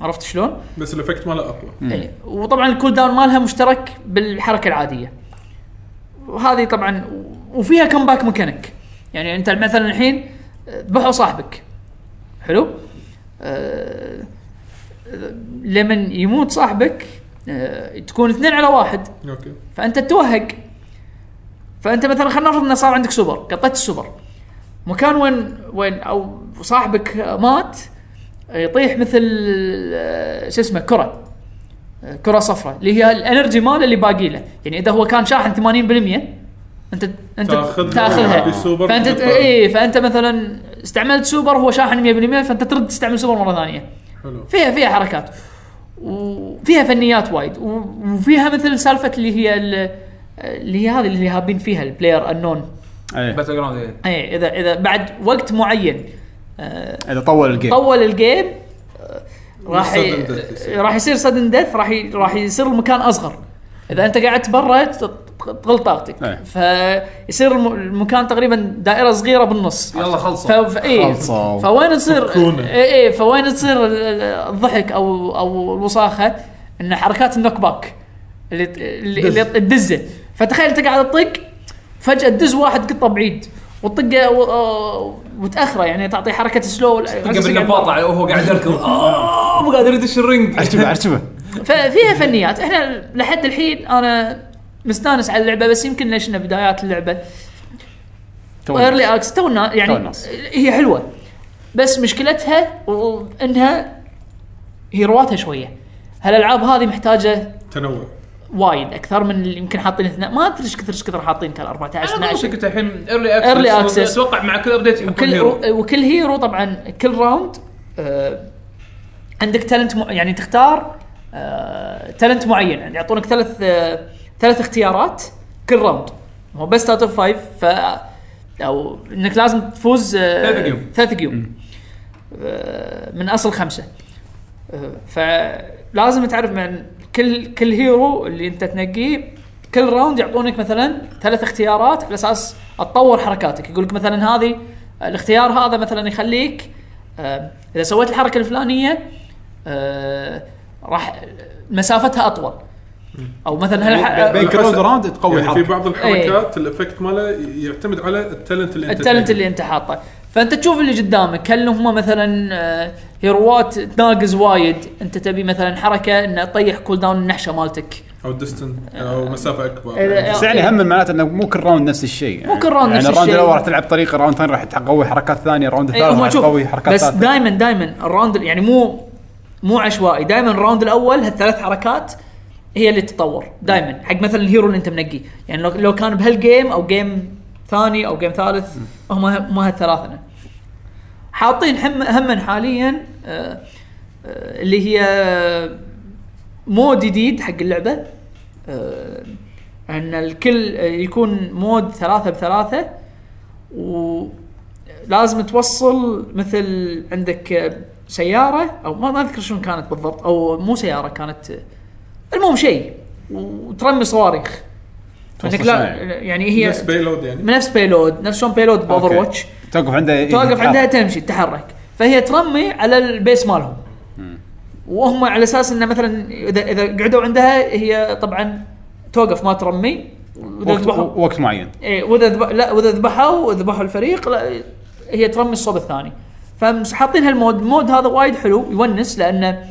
عرفت شلون؟ بس الافكت ماله اقوى إيه. وطبعا الكول داون مالها مشترك بالحركه العاديه وهذه طبعا وفيها كمباك ميكانيك يعني انت مثلا الحين ذبحوا صاحبك حلو أه لمن يموت صاحبك أه تكون اثنين على واحد اوكي فانت تتوهق فانت مثلا خلينا نفرض انه صار عندك سوبر قطيت السوبر مكان وين وين او صاحبك مات يطيح مثل آه، شو اسمه كره آه، كره صفراء اللي هي الانرجي ماله اللي باقي له يعني اذا هو كان شاحن 80% انت انت تاخذها تاخذها بسوبر فانت تقطعها. اي فانت مثلا إيه، استعملت سوبر هو شاحن 100% فانت ترد تستعمل سوبر مره ثانيه حلو فيها فيها حركات وفيها فنيات وايد و- وفيها مثل سالفه اللي هي ال- اللي هي هذه اللي هابين فيها البلاير انون إيه. باتل جراوند إيه. اي اذا اذا بعد وقت معين آه، اذا طول الجيم طول الجيم آه، راح ي- Sudden death يصير. راح يصير سدن ديث راح ي- راح يصير المكان اصغر اذا انت قعدت برا ت- ت- تغل طاقتك إيه. فيصير الم- المكان تقريبا دائره صغيره بالنص يلا ف... خلصوا ف... إيه. خلصوا. فوين تصير فكونا. إيه إيه فوين تصير ال- ال- الضحك او او الوساخه ان حركات النوك باك اللي اللي, اللي الدزه فتخيل انت قاعد تطق فجاه تدز واحد قطه بعيد وتطقه و... آه، وتاخره يعني تعطي حركه سلو قبل نباطع وهو قاعد [LAUGHS] يركض آه، مو قادر يدش الرنج عرشبه عرشبه ففيها فنيات احنا لحد الحين انا مستانس على اللعبه بس يمكن ليش إنه بدايات اللعبه ايرلي اكس تونا تو يعني الناس. هي حلوه بس مشكلتها و- انها هي رواتها شويه هالالعاب هذه محتاجه تنوع وايد اكثر من اللي يمكن حاطين اثنين ما ادري ايش كثر ايش كثر حاطين كان 14 انا 12 كنت الحين ايرلي اكسس Early access. آه، اتوقع مع كل ابديت يكون وكل هيرو وكل هيرو طبعا كل راوند آه، عندك تالنت مع- يعني تختار تالنت معين يعني يعطونك ثلاث آه، ثلاث اختيارات كل راوند هو بس اوت اوف فايف ف او انك لازم تفوز آه، ثلاث قيوم. ثلاث قيوم آه، من اصل خمسه آه، فلازم تعرف من كل كل هيرو اللي انت تنقيه كل راوند يعطونك مثلا ثلاث اختيارات على اساس تطور حركاتك يقول لك مثلا هذه آه، الاختيار هذا مثلا يخليك آه، اذا سويت الحركه الفلانيه آه، راح مسافتها اطول او مثلا هالح- بين كل حسب- راوند تقوي يعني في الحرب إيه. بعض الحركات الافكت ماله يعتمد على التالنت اللي انت آه، التالنت تلاقيه. اللي انت حاطه فانت تشوف اللي قدامك هل هم مثلا آه، هيروات تناقز وايد انت تبي مثلا حركه انه تطيح كول داون النحشه مالتك او ديستنت او مسافه اكبر إذا- بس يعني هم معناته انه مو كل راوند نفس الشيء يعني. مو كل راوند يعني نفس الراوند الشيء. الاول راح تلعب طريقه الراوند الثاني راح تقوي حركات ثانيه الراوند إيه، الثالث هم راح شوف تقوي حركات بس ثالثه دائما دائما الراوند يعني مو مو عشوائي دائما الراوند الاول هالثلاث حركات هي اللي تتطور دائما حق مثلا الهيرو اللي انت منقيه يعني لو لو كان بهالجيم او جيم ثاني او جيم ثالث هم هم هالثلاثه حاطين هم هم حاليا آه، آه، اللي هي مود جديد حق اللعبه آه، ان الكل آه، يكون مود ثلاثة بثلاثة ولازم توصل مثل عندك آه، سيارة او ما ما اذكر شنو كانت بالضبط او مو سيارة كانت آه، المهم شيء وترمي صواريخ توصل انك لا شنو يعني هي نفس بايلود يعني نفس بيلود نفس شلون بيلود باوفر أوكي. واتش توقف إيه، عنده توقف عندها تمشي تتحرك فهي ترمي على البيس مالهم وهم على اساس انه مثلا اذا اذا قعدوا عندها هي طبعا توقف ما ترمي واذا وقت, ذبحوا وقت معين إيه، واذا ذب... لا واذا ذبحوا ذبحوا الفريق لا هي ترمي الصوب الثاني فحاطين هالمود المود هذا وايد حلو يونس لانه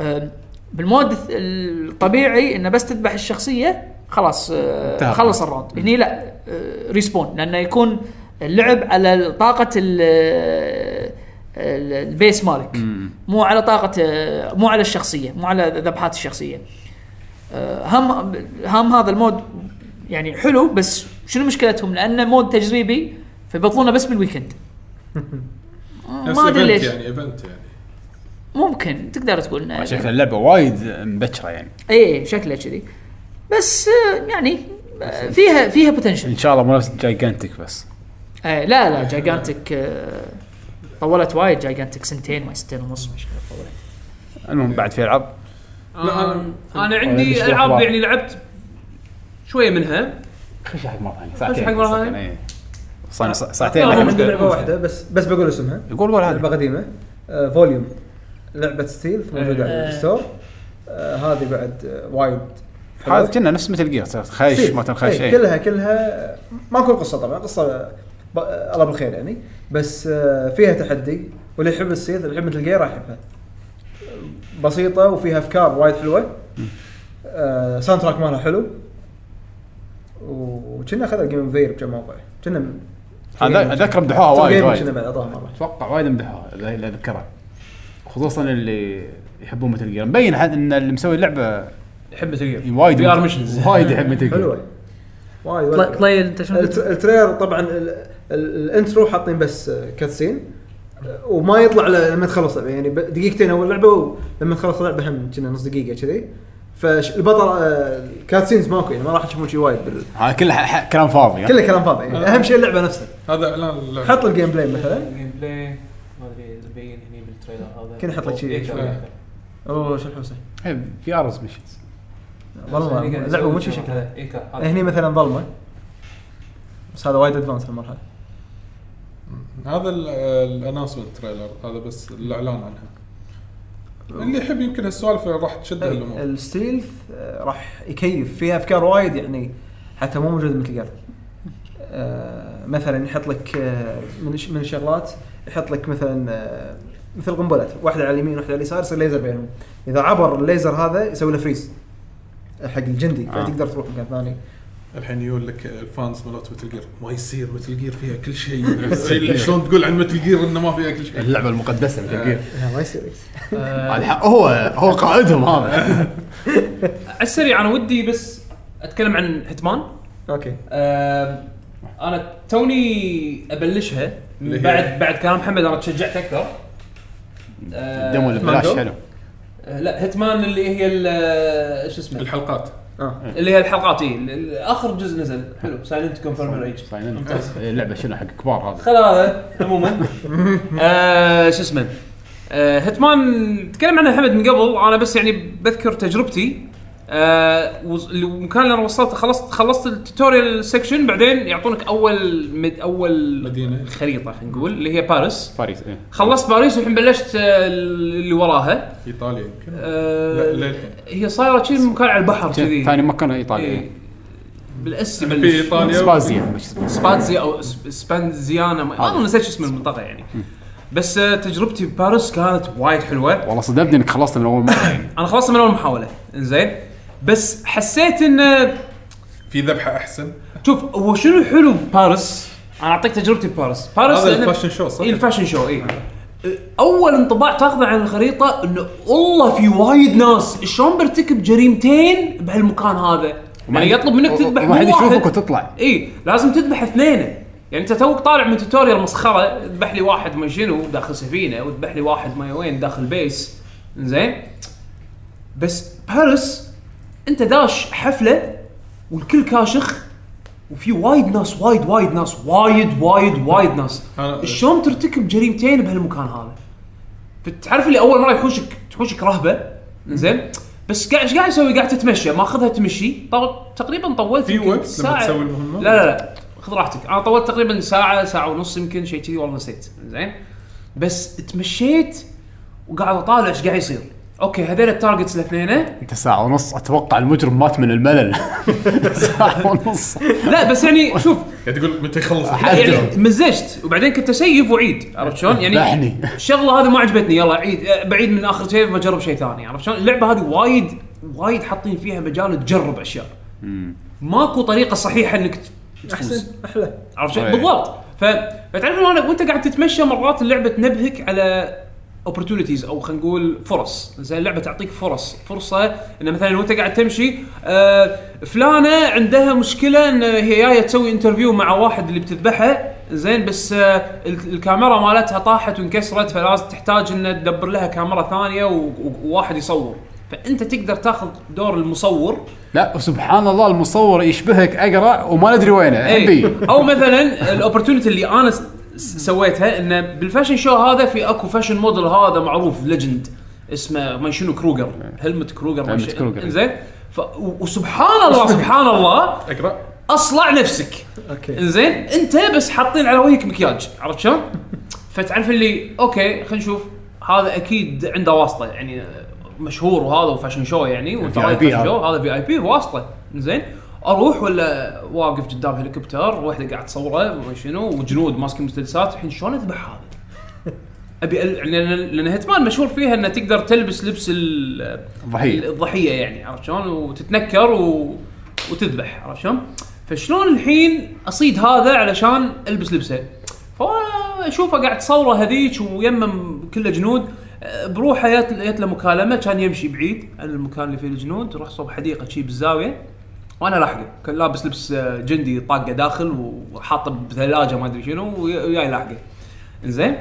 آم، بالمود الث- الطبيعي انه بس تذبح الشخصيه خلاص آه، انتهى. خلص الراوند هني لا آه، ريسبون لانه يكون اللعب على طاقه ال- ال- آه، البيس مالك مو على طاقه آه، مو على الشخصيه مو على ذبحات الشخصيه آه، هم هم هذا المود يعني حلو بس شنو مشكلتهم؟ لانه مود تجريبي فيبطلونه بس [LAUGHS] بالويكند. آه، نفس ما ادري ايفنت ليش يعني ايفنت يعني ممكن تقدر تقول انه شكل اللعبه وايد مبكره يعني اي شكله كذي بس آه، يعني آه، فيها فيها بوتنشل [LAUGHS] ان شاء الله مو نفس جايجانتك بس آه، لا لا جايجانتك آه، طولت وايد جايجانتك سنتين ما سنتين ونص مش عارف طولت المهم بعد في العاب لا، انا أنا- آه، انا أنا آه، عندي بشوف العاب واحد. يعني لعبت شويه منها خش حق مره ثانيه خش حق مرة ساعتين. ثانية. إيه. صار- صار- ساعتين أنا إحنا عندي مشكلة. مشكلة. لعبه واحده بس بس بقول اسمها يقول قول لعبه هذا قديمه آه، فوليوم لعبه ستيل موجوده إيه. على الستور آه، هذه بعد آه، وايد هذا كنا نفس مثل جير خايش ستيل. ما خايش إيه، اي كلها كلها آه، ماكو قصه طبعا قصه ب- آه، الله بالخير يعني بس آه، فيها تحدي واللي يحب السيل اللي يحب مثل جير راح يحبها آه، بسيطه وفيها افكار وايد حلوه آه، ساوند تراك مالها حلو وكنا اخذها جيم اوف بكم موقع كنا هذا اذكر مدحوها وايد كنا وايد بعد اعطاها مره اتوقع وايد مدحوها اذا إذا اذكرها خصوصا اللي يحبون مثل جير مبين حد ان اللي مسوي اللعبه يحب تغيير وايد VR missions. وايد يحب مثل جير حلوه وايد وايد حلوة. طليل انت شنو الت- التريلر طبعا ال- ال- الانترو حاطين بس آه، كاتسين آه، وما يطلع إلا لما تخلص اللعبه يعني ب- دقيقتين اول لعبه ولما تخلص اللعبه هم كنا نص دقيقه كذي فالبطل الكاتسينز ماكو يعني ما راح تشوفون شيء وايد بال... هذا كله ح- ح- كلام فاضي كله كلام فاضي يعني اهم شيء اللعبه نفسها هذا اعلان اللعبه حط الجيم بلاي مثلا الجيم بلاي ما ادري إذا مبين هني بالتريلر هذا كنا حط لك شيء إيه، شوي. شوي. اوه شو الحوسه إيه، في ارز مشنز والله يعني قاعد اللعبه يسوي مو شي شيء شكلها هذا. إيه، كا- هذا. هني مثلا ظلمه بس هذا وايد ادفانس المرحله هذا الانونسمنت تريلر هذا بس الاعلان عنها اللي يحب يمكن هالسوالف راح إيه. تشده الامور الستيلث آه، راح يكيف فيها افكار وايد يعني حتى مو موجوده مثل قبل آه، مثلا يحط لك آه، من الش- من الشغلات يحط لك مثلا آه، مثل قنبلات واحده على اليمين واحده على اليسار يصير ليزر بينهم اذا عبر الليزر هذا يسوي له فريز حق الجندي آه. فتقدر تروح مكان ثاني الحين يقول لك الفانز مالت متل جير ما يصير متل جير فيها كل شيء شلون تقول عن متل جير انه ما فيها كل شيء اللعبه المقدسه مثل جير لا ما يصير هذا آه، ح- هو هو قائدهم هذا [LAUGHS] على السريع انا ودي بس اتكلم عن هيتمان اوكي آم، انا توني ابلشها من اللي هي- بعد بعد كلام محمد انا تشجعت اكثر آه، الدمو اللي ببلاش مانجو؟ حلو آه، لا هيتمان اللي هي ال- آه، شو اسمه الحلقات اه اللي هي الحلقات اي ال- ال- اخر جزء نزل حلو سايلنت كونفيرم ايج ممتاز. اللعبه إيه، شنو حق كبار هذا خل هذا [LAUGHS] عموما آه، شو اسمه آه، هيتمان تكلم عنه حمد من قبل انا بس يعني بذكر تجربتي آه، وز- المكان اللي انا وصلت خلصت خلصت التوتوريال سيكشن بعدين يعطونك اول مد اول مدينة. خريطه خلينا نقول اللي هي باريس باريس ايه خلصت باريس والحين بلشت آه، اللي وراها ايطاليا يمكن آه، لا، للحين. هي صايره شي مكان على البحر كذي ثاني مكان ايطاليا إيه. إيه. بالاسي في بلش. إيطاليا. سبازيا مش سبازيا. سبانزي او سب- سبانزيانا ما والله نسيت شو اسم المنطقه يعني بس آه، تجربتي بباريس كانت وايد حلوه والله صدمتني انك خلصت من اول مره يعني انا خلصت من اول محاوله انزين بس حسيت ان في ذبحه احسن شوف هو شنو الحلو بباريس انا اعطيك تجربتي بباريس باريس هذا لأن- الفاشن شو صح؟ إيه الفاشن شو اي اول انطباع تاخذه عن الخريطه انه والله في وايد ناس شلون برتكب جريمتين بهالمكان هذا وما يعني حد- يطلب منك تذبح وما حد مو واحد. يشوفك وتطلع اي إيه، لازم تذبح اثنين يعني انت توك طالع من توتوريال مسخره اذبح لي واحد ما شنو داخل سفينه واذبح لي واحد ما وين داخل بيس زين بس باريس انت داش حفله والكل كاشخ وفي وايد ناس وايد وايد ناس وايد وايد وايد ناس أنا- شلون ترتكب جريمتين بهالمكان هذا تعرف اللي اول مره يحوشك تحوشك رهبه زين بس قاعد ايش قاعد اسوي؟ قاعد تتمشى ماخذها تمشي طو- تقريبا طولت في يمكن وقت لما ساعة. تسوي المهمة؟ لا لا لا خذ راحتك انا طولت تقريبا ساعه ساعه ونص يمكن شيء كذي والله نسيت زين بس تمشيت وقاعد اطالع ايش قاعد يصير اوكي هذول التارجتس الاثنين انت ساعه ونص اتوقع المجرم مات من الملل [LAUGHS] ساعه ونص لا بس يعني شوف قاعد تقول متى يخلص يعني مزجت وبعدين كنت اسيف واعيد عرفت شلون؟ يعني ذبحني الشغله هذه ما عجبتني يلا عيد أه، بعيد من اخر شيء بجرب شيء ثاني عرفت شلون؟ اللعبه هذه وايد وايد حاطين فيها مجال تجرب اشياء. ماكو طريقه صحيحه انك ت- تفوز احسن احلى عرفت شلون؟ أي. بالضبط ف... فتعرف إنه انا وانت قاعد تتمشى مرات اللعبه تنبهك على اوبورتونيتيز او خلينا نقول فرص زين اللعبه تعطيك فرص فرصه ان مثلا وانت قاعد تمشي آه، فلانه عندها مشكله ان هي جايه تسوي انترفيو مع واحد اللي بتذبحه زين بس آه، ال- الكاميرا مالتها طاحت وانكسرت فلازم تحتاج ان تدبر لها كاميرا ثانيه و- و- وواحد يصور فانت تقدر تاخذ دور المصور لا وسبحان الله المصور يشبهك اقرع وما ندري وينه اي حبي او مثلا الاوبرتونيتي اللي انا س- س- سويتها انه بالفاشن شو هذا في اكو فاشن موديل هذا معروف ليجند اسمه ما شنو كروجر هلمت كروجر ما هلمت شي- كروجر. انزين ف... و- وسبحان [LAUGHS] الله سبحان الله اقرا اصلع نفسك اوكي انزين انت بس حاطين على وجهك مكياج عرفت شلون؟ فتعرف اللي اوكي خلينا نشوف هذا اكيد عنده واسطه يعني مشهور وهذا وفاشن شو يعني وانت في رايح آي بي فاشن هذا. شو هذا في اي بي واسطه زين اروح ولا واقف قدام هليكوبتر وحده قاعد تصوره وما شنو وجنود ماسكين مسدسات الحين شلون اذبح هذا؟ ابي أل- لان لان هيتمان مشهور فيها انه تقدر تلبس لبس ال- الضحية. الضحيه يعني عرفت شلون وتتنكر و... وتذبح عرفت شلون؟ فشلون الحين اصيد هذا علشان البس لبسه؟ فانا اشوفه قاعد تصوره هذيك ويمه كله جنود أه، بروحه جت جت له مكالمه كان يمشي بعيد عن المكان اللي فيه الجنود راح صوب حديقه شي بالزاويه وانا لاحقه كان لابس لبس آه، جندي طاقه داخل وحاطه بثلاجه ما ادري شنو وي- وياي لاحقه انزين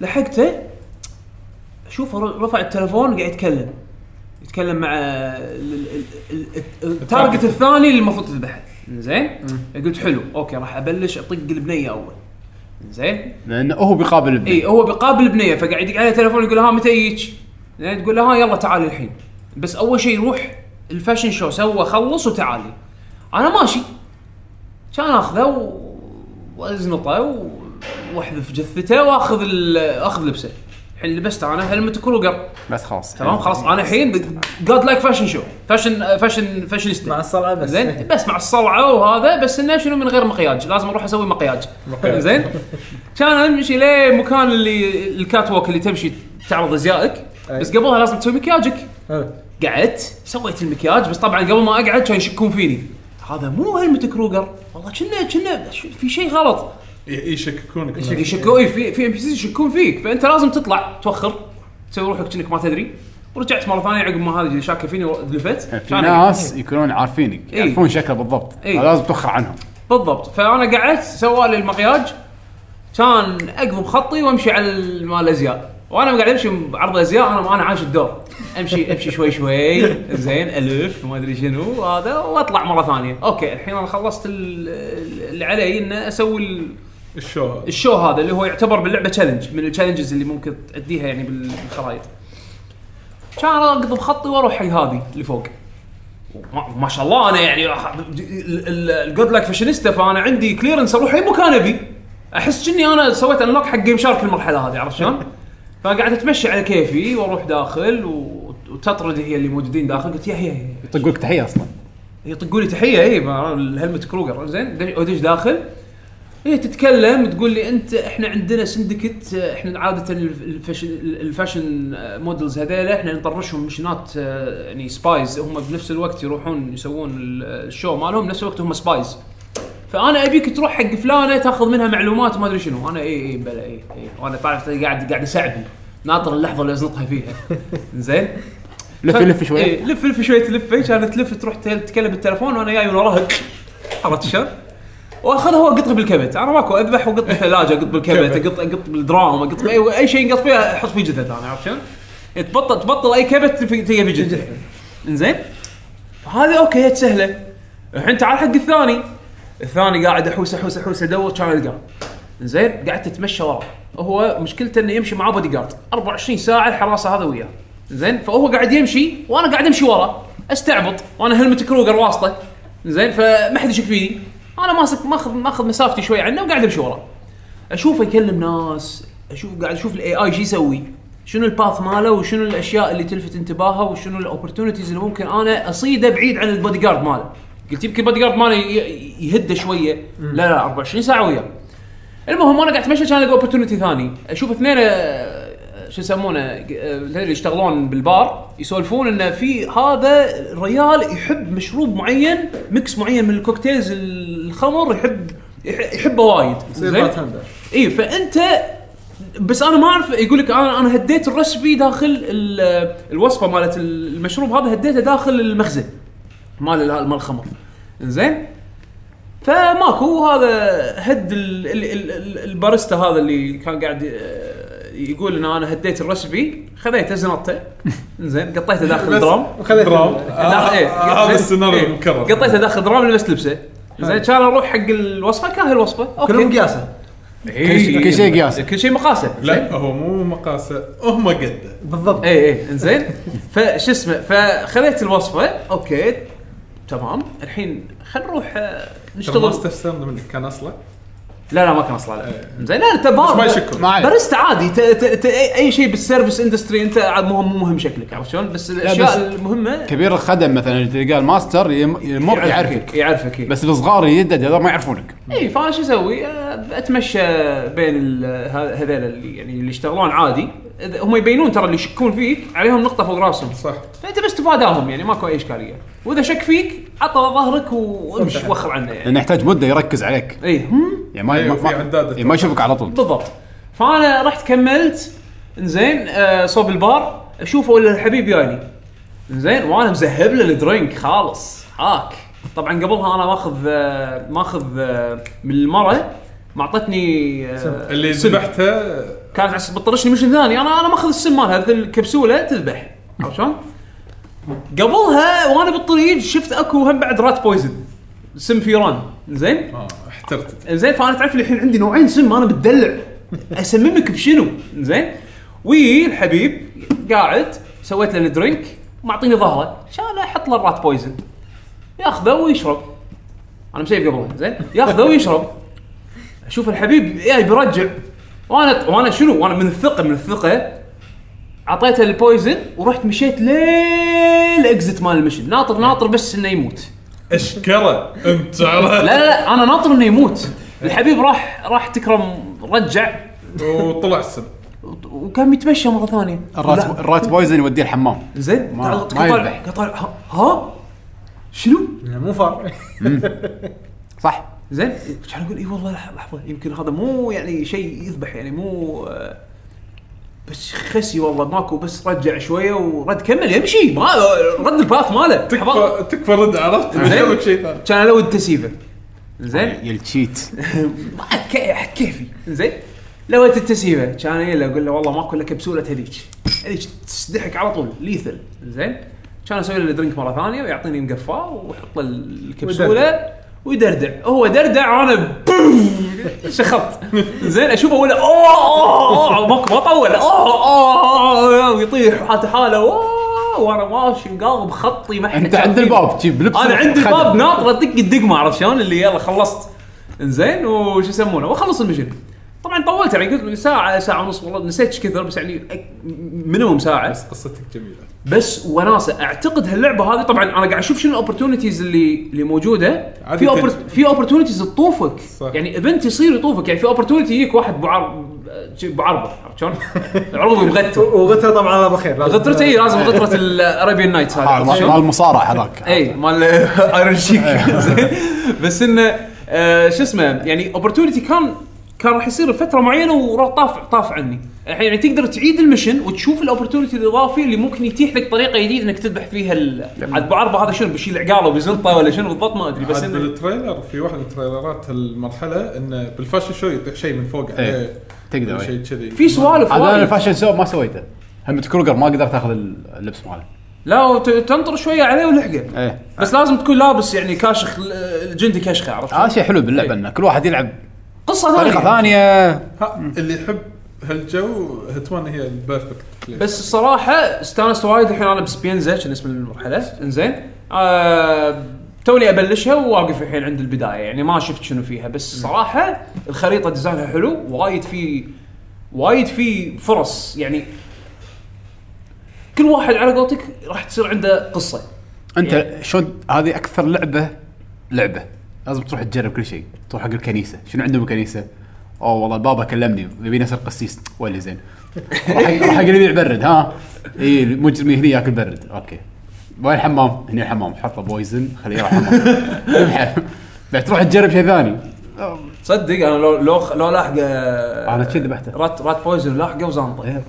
لحقته اشوفه ر- رفع التلفون قاعد يتكلم يتكلم مع ال- ال- ال- ال- التارجت الثاني اللي المفروض تذبحه زين قلت حلو اوكي راح ابلش اطق البنيه اول زين لانه هو بيقابل ابنه اي إيه، هو بيقابل بنيه فقاعد يدق عليه تليفون يقول له ها متى يجيك؟ زين تقول له ها يلا تعالي الحين بس اول شيء روح الفاشن شو سوى خلص وتعالي انا ماشي كان اخذه و... وازنطه و... واحذف جثته واخذ ال... اخذ لبسه الحين لبسته انا هلمت كروجر بس خلاص تمام خلاص انا الحين جاد لايك فاشن شو فاشن فاشن فاشنيستا مع الصلعه بس إيه. زين بس مع الصلعه وهذا بس انه شنو من غير مقياج لازم اروح اسوي مقياج زين كان امشي ليه مكان اللي الكات ووك اللي تمشي تعرض ازيائك بس قبلها لازم تسوي مكياجك آه، قعدت سويت المكياج بس طبعا قبل ما اقعد كانوا يشكون فيني هذا مو هلمت كروجر والله كنا كنا في شيء غلط ي- يشككونك يشكون إيه، في في ام بي سيز يشكون فيك فانت لازم تطلع توخر تسوي روحك كأنك ما تدري ورجعت مره ثانيه عقب ما هذا اللي شاكه فيني لفت يعني في إيه. ناس يكونون عارفينك إي. يعرفون شكله بالضبط إي. لازم توخر عنهم بالضبط فانا قعدت سوى لي المقياج كان اقلب خطي وامشي على ال- مال الازياء وانا قاعد امشي بعرض الازياء انا انا عايش الدور امشي امشي شوي شوي [LAUGHS] زين الف ما ادري شنو هذا واطلع مره ثانيه اوكي الحين انا خلصت ال- ال- اللي علي ان اسوي ال- الشو الشو هذا اللي هو يعتبر باللعبه تشالنج من التشالنجز اللي ممكن تاديها يعني بال- بالخرائط. كان اقضي بخطي واروح حق هذه اللي فوق. ما, ما شاء الله انا يعني الجود لايك فاشينيستا فانا عندي كليرنس اروح اي مكان ابي. احس اني انا سويت انلوك حق جيم شارك المرحله هذه عرفت شلون؟ فقعدت اتمشى على كيفي واروح داخل و- وتطرد هي اللي موجودين داخل قلت يا هي هي يطق لك تحيه اصلا يطقوا لي تحيه اي إيه، ما- الهلمت كروجر زين دش- ادش داخل هي تتكلم تقول لي انت احنا عندنا سندكت اه، احنا عاده الف- الفاشن الفاشن اه، مودلز هذيلا احنا نطرشهم مشنات اه، يعني سبايز هم بنفس الوقت يروحون يسوون ال- الشو مالهم نفس الوقت هم سبايز فانا ابيك تروح حق فلانه تاخذ منها معلومات وما ادري شنو انا اي اي بلا اي اي وانا طالع قاعد قاعد اسعبي ناطر اللحظه اللي ازنطها فيها [LAUGHS] زين لف لف شوي ايه لف لف شوي تلف إيه، كانت تلف تروح تل- تكلم بالتليفون وانا جاي من وراها عرفت شلون؟ واخذها هو قط بالكبت انا ماكو اذبح وقط بالثلاجه قط بالكبت قط قط بالدراهم قط اي اي شيء قط فيها احط فيه جثث انا عرفت شلون؟ إيه، تبطل تبطل اي كبت في- تلقى فيه جثث انزين هذه اوكي هي سهله الحين تعال حق الثاني الثاني قاعد احوس احوس احوس ادور كان القاه زين قعدت اتمشى وراه هو مشكلته انه يمشي معاه بودي جارد 24 ساعه الحراسه هذا وياه زين فهو قاعد يمشي وانا قاعد امشي وراه استعبط وانا هلمت كروجر واسطه زين فما حد يشك فيني انا ماسك ماخذ ماخذ مسافتي شوي عنه وقاعد امشي وراه اشوفه يكلم ناس اشوف قاعد اشوف الاي اي شو يسوي شنو الباث ماله وشنو الاشياء اللي تلفت انتباهه وشنو الاوبرتونيتيز اللي ممكن انا اصيده بعيد عن البودي جارد ماله قلت يمكن البودي جارد ماله ي- يهده شويه لا لا 24 ساعه وياه المهم انا قاعد اتمشى كان الاقي اوبرتونيتي ثاني اشوف اثنين آه، شو يسمونه آه، اللي يشتغلون بالبار يسولفون انه في هذا الريال يحب مشروب معين ميكس معين من الكوكتيلز الخمر يحب يح- يحبه وايد يصير زين؟ بارتندر. اي فانت إيه، بس انا ما اعرف يقول لك انا انا هديت الرسبي داخل ال- الوصفه مالت المشروب هذا هديته داخل المخزن مال ال- مال الخمر زين فماكو هذا هد ال- ال- ال- ال- الباريستا هذا اللي كان قاعد آه، يقول ان انا هديت الرسبي خذيته زنطته زين قطيته داخل درام وخليت داخل- إيه، آه، هذا زين، السيناريو آه. إيه، المكرر. قطيته داخل درام لبست لبسه زين كان اروح حق الوصفه كان هي الوصفه اوكي كلهم قياسه كل شيء- كل شيء قياس. إيه، كل شيء مقاسه زين؟ إيه، لا هو مو مقاسه هم قده بالضبط اي اي انزين فش اسمه فخذيت الوصفه اوكي تمام الحين خلينا نروح آه، ترى ما نشتغل استفسرنا منك كان اصله لا لا ما كان اصلا لا زين لا انت بار بس ما يشكون. إيه. ما عليك. باريستا عادي ت... ت... ت... اي أي شيء بالسيرفس اندستري انت عاد مو مو مهم شكلك عرفت شلون بس بس- الاشياء المهمه كبير الخدم مثلا اللي تلقاه الماستر يم- يمر يعرفك يعرفك إي. بس الصغار يدد هذول ما يعرفونك اي فانا شو اسوي؟ آه، اتمشى بين ال- ه- هذيل اللي يعني اللي يشتغلون عادي إذا- هم يبينون ترى اللي يشكون فيك عليهم نقطه فوق راسهم صح فانت بس تفاداهم يعني ماكو اي اشكاليه واذا شك فيك عطى ظهرك وامشي وخر عنه يعني لانه يحتاج مده يركز عليك اي هم يعني ما أيوة، ما- في عداد إيه، ما يشوفك على طول بالضبط فانا رحت كملت انزين آه صوب البار اشوفه ولا الحبيب جاني انزين وانا مزهب له الدرينك خالص هاك طبعا قبلها انا ماخذ آه ماخذ آه من المره معطتني آه اللي سم. ذبحته كانت عس- بتطرشني مش ثاني انا انا ماخذ السم مالها مثل الكبسوله تذبح عرفت شلون؟ قبلها وانا بالطريق شفت اكو هم بعد رات بويزن سم فيران زين اه احترت زين فانا تعرف لي الحين عندي نوعين سم انا بتدلع اسممك بشنو زين وي الحبيب قاعد سويت له الدرينك معطيني ظهره عشان احط له الرات بويزن ياخذه ويشرب انا مسيب قبله زين ياخذه ويشرب اشوف الحبيب جاي بيرجع وانا وانا شنو وانا من الثقه من الثقه اعطيته البويزن ورحت مشيت للاكزت مال المشن ناطر ناطر بس انه يموت اشكره انت لا على لا [LAUGHS] لا انا ناطر انه يموت الحبيب راح راح تكرم رجع وطلع السم وكان يتمشى مره ثانيه الرات الرات بويزن يوديه الحمام زين ما- قاعد ما طالع يذبح. قاعد طالع ها- ها شنو؟ مو فار [LAUGHS] صح زين كان اقول اي والله لح- لحظه يمكن هذا مو يعني شيء يذبح يعني مو آه، بس خسي والله ماكو بس رجع شويه ورد كمل يمشي ما رد الباث ماله حبط. تكفى تكفى رد عرفت زين. مسوي شيء ثاني كان الود تسيفه زين يا التشيت ما عاد كي- عاد كيفي زين لو انت التسيبه كان يلا اقول له والله ماكو الا كبسوله هذيك هذيك تسدحك على طول ليثل زين كان اسوي له درينك مره ثانيه ويعطيني مقفاه واحط له الكبسوله ويدردع هو دردع وانا بوم، شخط زين اشوفه ولا اوه اوه أوه، ماكو ما طول اوه أوه، اوه ويطيح حاله حاله أوه، وانا ماشي مقاضب خطي ما إحنا انت عند شايفينه. الباب تجيب لبس انا عند خدم. الباب ناطر ادق الدقمه عرفت شلون اللي يلا خلصت انزين وش يسمونه واخلص المشن طبعا طولت يعني قلت من ساعه ساعه ونص والله نسيت ايش كثر بس يعني أك- مينيموم ساعه بس قصتك جميله بس وناسه اعتقد هاللعبه هذه طبعا انا قاعد اشوف شنو الاوبرتونيتيز اللي اللي موجوده في عادة. أوبر... في اوبرتونيتيز تطوفك صح. يعني ايفنت يصير يطوفك يعني في اوبرتونيتي يجيك واحد بعرض بعرضه عرفت شلون؟ [LAUGHS] عرضه [LAUGHS] بغته وغتره طبعا الله بخير لازم- [LAUGHS] غترته إي، لازم غتره الارابيان نايتس هذه آه، عرفت شلون؟ مال المصارع هذاك اي مال [LAUGHS] ايرون شيك [LAUGHS] زين بس انه آه، شو اسمه يعني اوبرتونيتي كان كان راح يصير فتره معينه وراح طاف طاف عني الحين يعني تقدر تعيد المشن وتشوف الاوبرتونيتي الاضافي اللي ممكن يتيح لك طريقه جديده انك تذبح فيها ال- عاد ابو عربه هذا شنو بيشيل عقاله وبيزنطه ولا شنو بالضبط ما ادري بس بس انه بالتريلر في واحد من تريلرات المرحله انه بالفاشن شو يطيح شيء من فوق عليه تقدر، ولا إيه. شيء كذي في سوالف هذا انا وايد. الفاشن شو ما سويته همت كروجر ما قدرت اخذ اللبس ماله لا وت- تنطر شويه عليه ولحقه ايه بس لازم تكون لابس يعني كاشخ الجندي كشخه عرفت هذا شيء حلو باللعبه إيه. انه كل واحد يلعب قصه ثانيه طريقه ثانيه ها، اللي يحب هالجو هتمان هي البيرفكت بلاي. بس الصراحه استانست وايد الحين انا بسبينزا كان اسم المرحله انزين آه توني ابلشها وواقف الحين عند البدايه يعني ما شفت شنو فيها بس الصراحه الخريطه ديزاينها حلو وايد في وايد في فرص يعني كل واحد على قولتك راح تصير عنده قصه إيه. انت شلون هذه اكثر لعبه لعبه لازم تروح تجرب كل شيء تروح حق الكنيسه شنو عندهم الكنيسه اوه والله البابا كلمني يبيني اصير قسيس ولا زين راح حق- راح حق اللي يبيع برد ها اي المجرمي هني ياكل برد اوكي وين [LAUGHS] الحمام؟ هني الحمام حط له بويزن خليه يروح الحمام تبحر بعد تروح تجرب شيء ثاني صدق انا لو لو لو لاحقه انا كذي ذبحته رات رات بويزن لاحقه وزانطه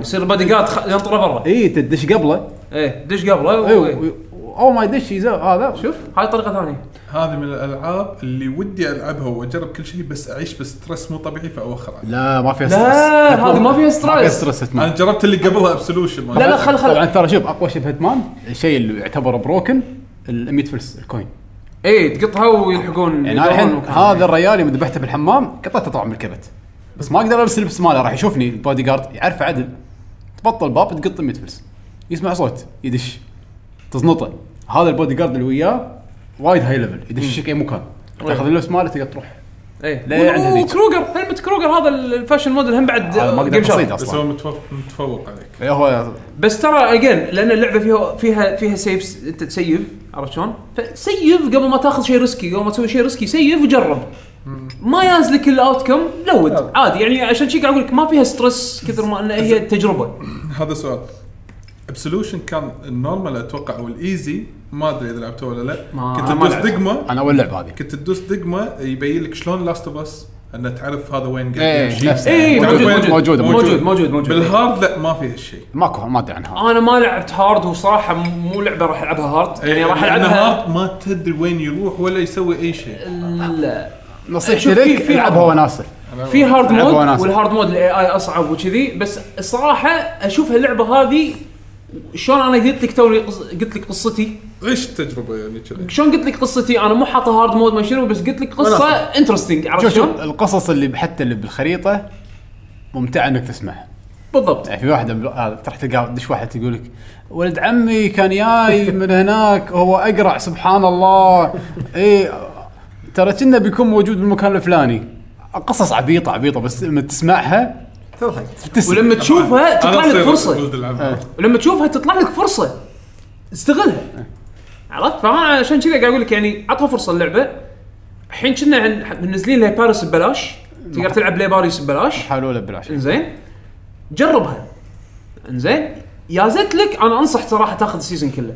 يصير بادي جارد خ- ينطره برا اي تدش قبله ايه دش قبله و- اي اول ما يدش يزو- هذا شوف هاي طريقه ثانيه هذه من الالعاب اللي ودي العبها واجرب كل شيء بس اعيش بستريس مو طبيعي فاواخر عليه لا ما فيها لا، هذه ما فيها ستريس. ما فيها ستريس هتمان انا جربت اللي قبلها ابسولوشن لا لا خل طبعا خل ترى شوف اقوى شيء بهتمان الشيء اللي يعتبر بروكن ال 100 فلس الكوين ايه تقطها ويلحقون يعني انا الحين يدورون هذا الريال يوم ذبحته بالحمام قطعته طبعا من الكبت بس ما اقدر البس اللبس ماله راح يشوفني البودي جارد يعرفه عدل تبطل باب تقط 100 فلس يسمع صوت يدش تزنطه هذا البودي جارد اللي وياه وايد هاي ليفل يدش شك اي مكان تاخذ اللبس ماله تقدر تروح ايه لا عند هذيك. وكروجر هلمت كروجر هذا الفاشن موديل هم بعد هذا ما اقدر جيم شارك. اصيده بس هو اصلا متفوق, متفوق عليك إيه هو بس ترى اجين لان اللعبه فيها فيها فيها سيفز انت تسيف عرفت شلون؟ فسيف قبل ما تاخذ شيء ريسكي قبل ما تسوي شيء ريسكي سيف وجرب ما يازلك الاوت كم لود عادي يعني عشان شي قاعد اقول لك ما فيها ستريس كثر ما انها هي تجربه هذا سؤال ابسولوشن كان النورمال اتوقع او الايزي ما ادري اذا لعبته ولا لا ما- كنت أنا ما تدوس لعبت. دقمه انا اول لعبه هذه كنت تدوس دقمه يبين لك شلون لاست اوف اس ان تعرف هذا وين إيه، يمشي. نفسه. اي تعرف وين- موجود موجودة، موجود موجود موجود موجود بالهارد لا ما في هالشيء ماكو ما ادري عنها انا ما لعبت هارد وصراحه مو لعبه راح العبها هارد يعني راح لأن العبها هارد ما تدري وين يروح ولا يسوي اي شيء لا نصيحتي شوف، في- لك في العبها عرض. وناسه في هارد ألعبها مود وناسة. والهارد مود الاي اي اصعب وكذي بس الصراحه اشوف هاللعبه هذه شلون انا قلت لك توني قص- قلت لك قصتي غش تجربه يعني كذا شلون قلت لك قصتي انا مو حاطه هارد مود ما شنو بس قلت لك قصه انترستنج عرفت شوف شوف شلون؟ القصص اللي حتى اللي بالخريطه ممتعه انك تسمعها بالضبط يعني في واحده بل- آه، تروح تلقى دش واحد تقول لك ولد عمي كان جاي من هناك هو اقرع سبحان الله اي آه، ترى كنا بيكون موجود بالمكان الفلاني قصص عبيطه عبيطه بس لما تسمعها توحد تبتسم ولما تشوفها تطلع لك فرصه إيه. فرصه ولما تشوفها تطلع لك فرصه استغلها عرفت فانا عشان كذا قاعد اقول لك يعني عطها فرصه اللعبه الحين كنا عن- منزلين لها باريس ببلاش تقدر تلعب لها باريس ببلاش حلوله بالعشاء انزين جربها انزين يا زت لك انا انصح صراحه تاخذ السيزون كله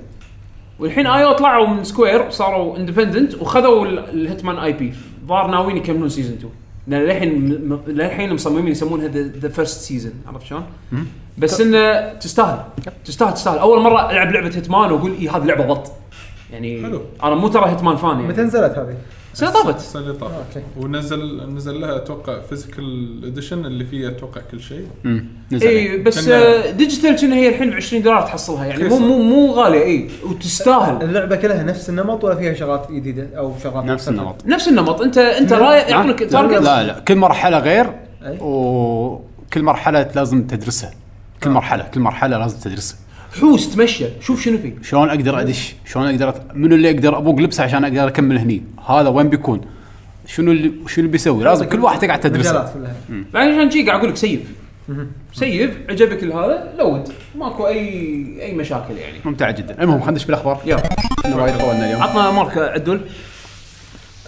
والحين ايو طلعوا من سكوير صاروا اندبندنت وخذوا ال- الهيتمان اي بي ظهر ناويين يكملون سيزون 2 لان للحين م- م- للحين مصممين يسمونها ذا فيرست سيزون عرفت شلون؟ بس انه تستاهل تستاهل تستاهل اول مره العب لعبه هيتمان واقول اي هذه لعبه بط يعني حلو. انا مو ترى هيتمان فان متى يعني نزلت هذه؟ سنه طافت السنه اللي طافت ونزل نزل لها اتوقع فيزيكال اديشن اللي فيه اتوقع كل شيء اي بس كنا- آه، ديجيتال كنا هي الحين ب 20 دولار تحصلها يعني مو رخيصة. مو مو غاليه اي وتستاهل اللعبه كلها نفس النمط ولا فيها شغلات جديده او شغلات نفس النمط نفس النمط انت انت رايح نعم؟ آه، يعطونك تارجت لا لا كل مرحله غير أي. وكل مرحله لازم تدرسها آه. كل مرحله كل مرحله لازم تدرسها حوس تمشى شوف شنو فيه شلون اقدر ادش؟ شلون اقدر أت... منو اللي اقدر ابوق لبسه عشان اقدر اكمل هني؟ هذا وين بيكون؟ شنو اللي شنو اللي بيسوي؟ لازم كل واحد تقعد تدرسه. مجالات كلها فعشان شي قاعد اقول لك سيف سيف عجبك هذا لود ماكو اي اي مشاكل يعني ممتع جدا، المهم خلينا ندش بالاخبار. يلا إحنا وايد طولنا اليوم. عطنا مارك عدول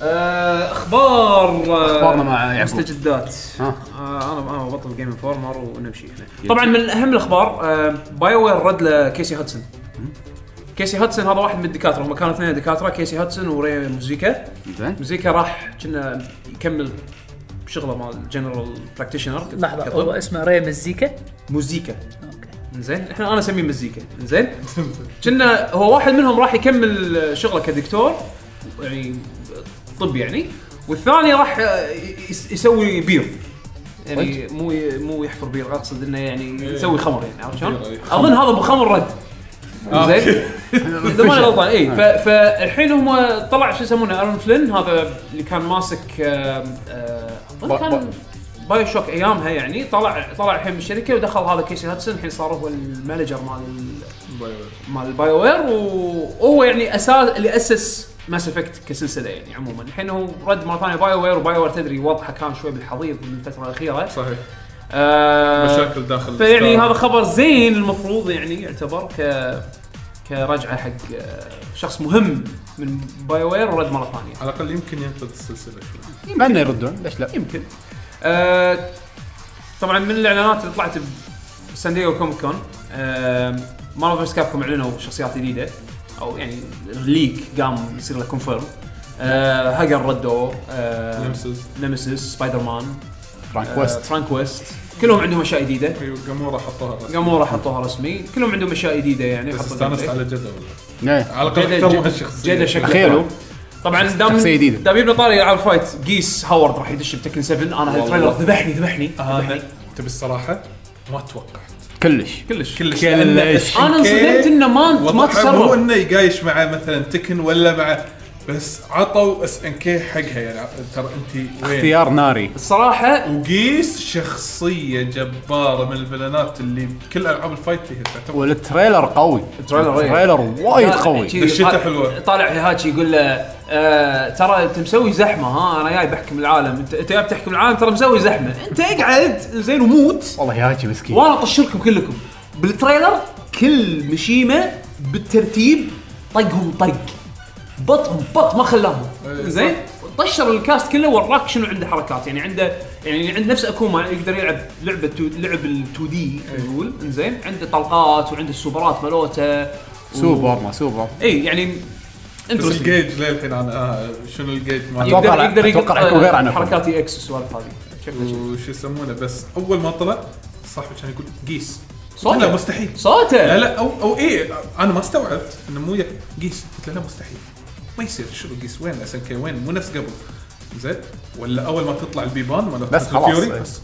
آه، اخبار آه، أخبارنا مع يعقوب. مستجدات ها. آه، انا انا بطل جيم انفورمر ونمشي احنا طبعا من اهم الاخبار آه، باي وير رد لكيسي هاتسون كيسي هاتسون هذا واحد من الدكاتره هم كانوا اثنين دكاتره كيسي هاتسون وري موزيكا [LAUGHS] زين. موزيكا راح كنا يكمل شغله مال جنرال براكتيشنر لحظه هو اسمه ري مزيكا موزيكا اوكي زين احنا انا اسميه مزيكا زين كنا هو واحد منهم راح يكمل شغله كدكتور يعني طب يعني والثاني راح يس- يسوي بير يعني مو ي- مو يحفر بير اقصد انه يعني يسوي خمر يعني عرفت شلون؟ بير، أي. اظن هذا بخمر رد زين اذا ماني غلطان اي ف- فالحين هم طلع شو يسمونه ارون فلين هذا اللي كان ماسك آم، آه، با- با- اظن كان بايو شوك ايامها يعني طلع طلع الحين من الشركه ودخل هذا كيسي هاتسون الحين صار هو المانجر مال ال- مال البايو وير وهو يعني اساس اللي اسس ماس افكت كسلسله يعني عموما الحين هو رد مره ثانيه بايو وير وبايو وير تدري وضعه كان شوي بالحضيض من الفتره الاخيره صحيح آه، مشاكل داخل فيعني الستار. هذا خبر زين المفروض يعني يعتبر ك كرجعه حق آه، شخص مهم من بايو وير ورد مره ثانيه على الاقل يمكن ينتهي السلسله شوي مع انه يردون ليش لا؟ يمكن آه طبعا من الاعلانات اللي طلعت بسان دييغو كوميك كون آه مارفل فيرس كابكم اعلنوا شخصيات جديده او يعني ليك قام يصير له كونفيرم آه، هاجر ردو آه، نمسز نمسيس سبايدر مان فرانك آه، ويست فرانك ويست كلهم عندهم اشياء جديده قموره أيوه، حطوها قاموا راح حطوها رسمي كلهم عندهم اشياء جديده يعني بس حطوا استانست gameplay. على جده والله آه. إيه. على الاقل جدا اهتموا جدا هالشخصيه جدا شكله تخيلوا. حلو. طبعا دام شخصية جديدة. دام جبنا طاري العاب فايت جيس هاورد راح يدش بتكن 7 انا هالتريلر ذبحني ذبحني ذبحني. هذا تبي الصراحه ما توقعت كلش كلش كلش كلش انا انصدمت انه ما ما هو تسرب انه يقايش مع مثلا تكن ولا مع بس عطوا اس ان كي حقها يعني ترى انت وين اختيار ناري الصراحه وقيس شخصية جبارة من الفلانات اللي كل العاب الفايت فيها تعتبر والتريلر قوي التريلر إيه. التريلر وايد قوي شي- دشيته طالع- حلوة. طالع هيهاتشي يقول له آه ترى انت مسوي زحمه ها انا جاي بحكم العالم انت انت جاي بتحكم العالم ترى مسوي زحمه انت اقعد زين وموت والله يا هاتشي مسكين إيه. وانا اطشركم كلكم بالتريلر كل مشيمه بالترتيب طقهم طق بطهم بط ما خلاهم إيه. زين طشر الكاست كله وراك شنو عنده حركات يعني عنده يعني عند نفس اكوما يقدر يلعب لعبه تو- لعب ال 2 إيه. دي نقول زين عنده طلقات وعنده السوبرات مالوته و- سوبر ما سوبر اي يعني بس الجيج للحين انا آه شنو الجيج مالها أتوقع- يقدر يقدر أتوقع حيكون غير عن أكوما. حركات اكس والسوالف هذه شكله شيء. وش يسمونه بس اول ما طلع صاحبي كان يقول قيس لا صوته مستحيل صوته لا لا او او ايه انا ما استوعبت انه مو يك- قيس قلت له لا مستحيل ما يصير شنو قيس وين اس ان كي وين مو نفس قبل زين ولا اول ما تطلع البيبان ولا بس Fast and خلاص، Fury، إيه. بس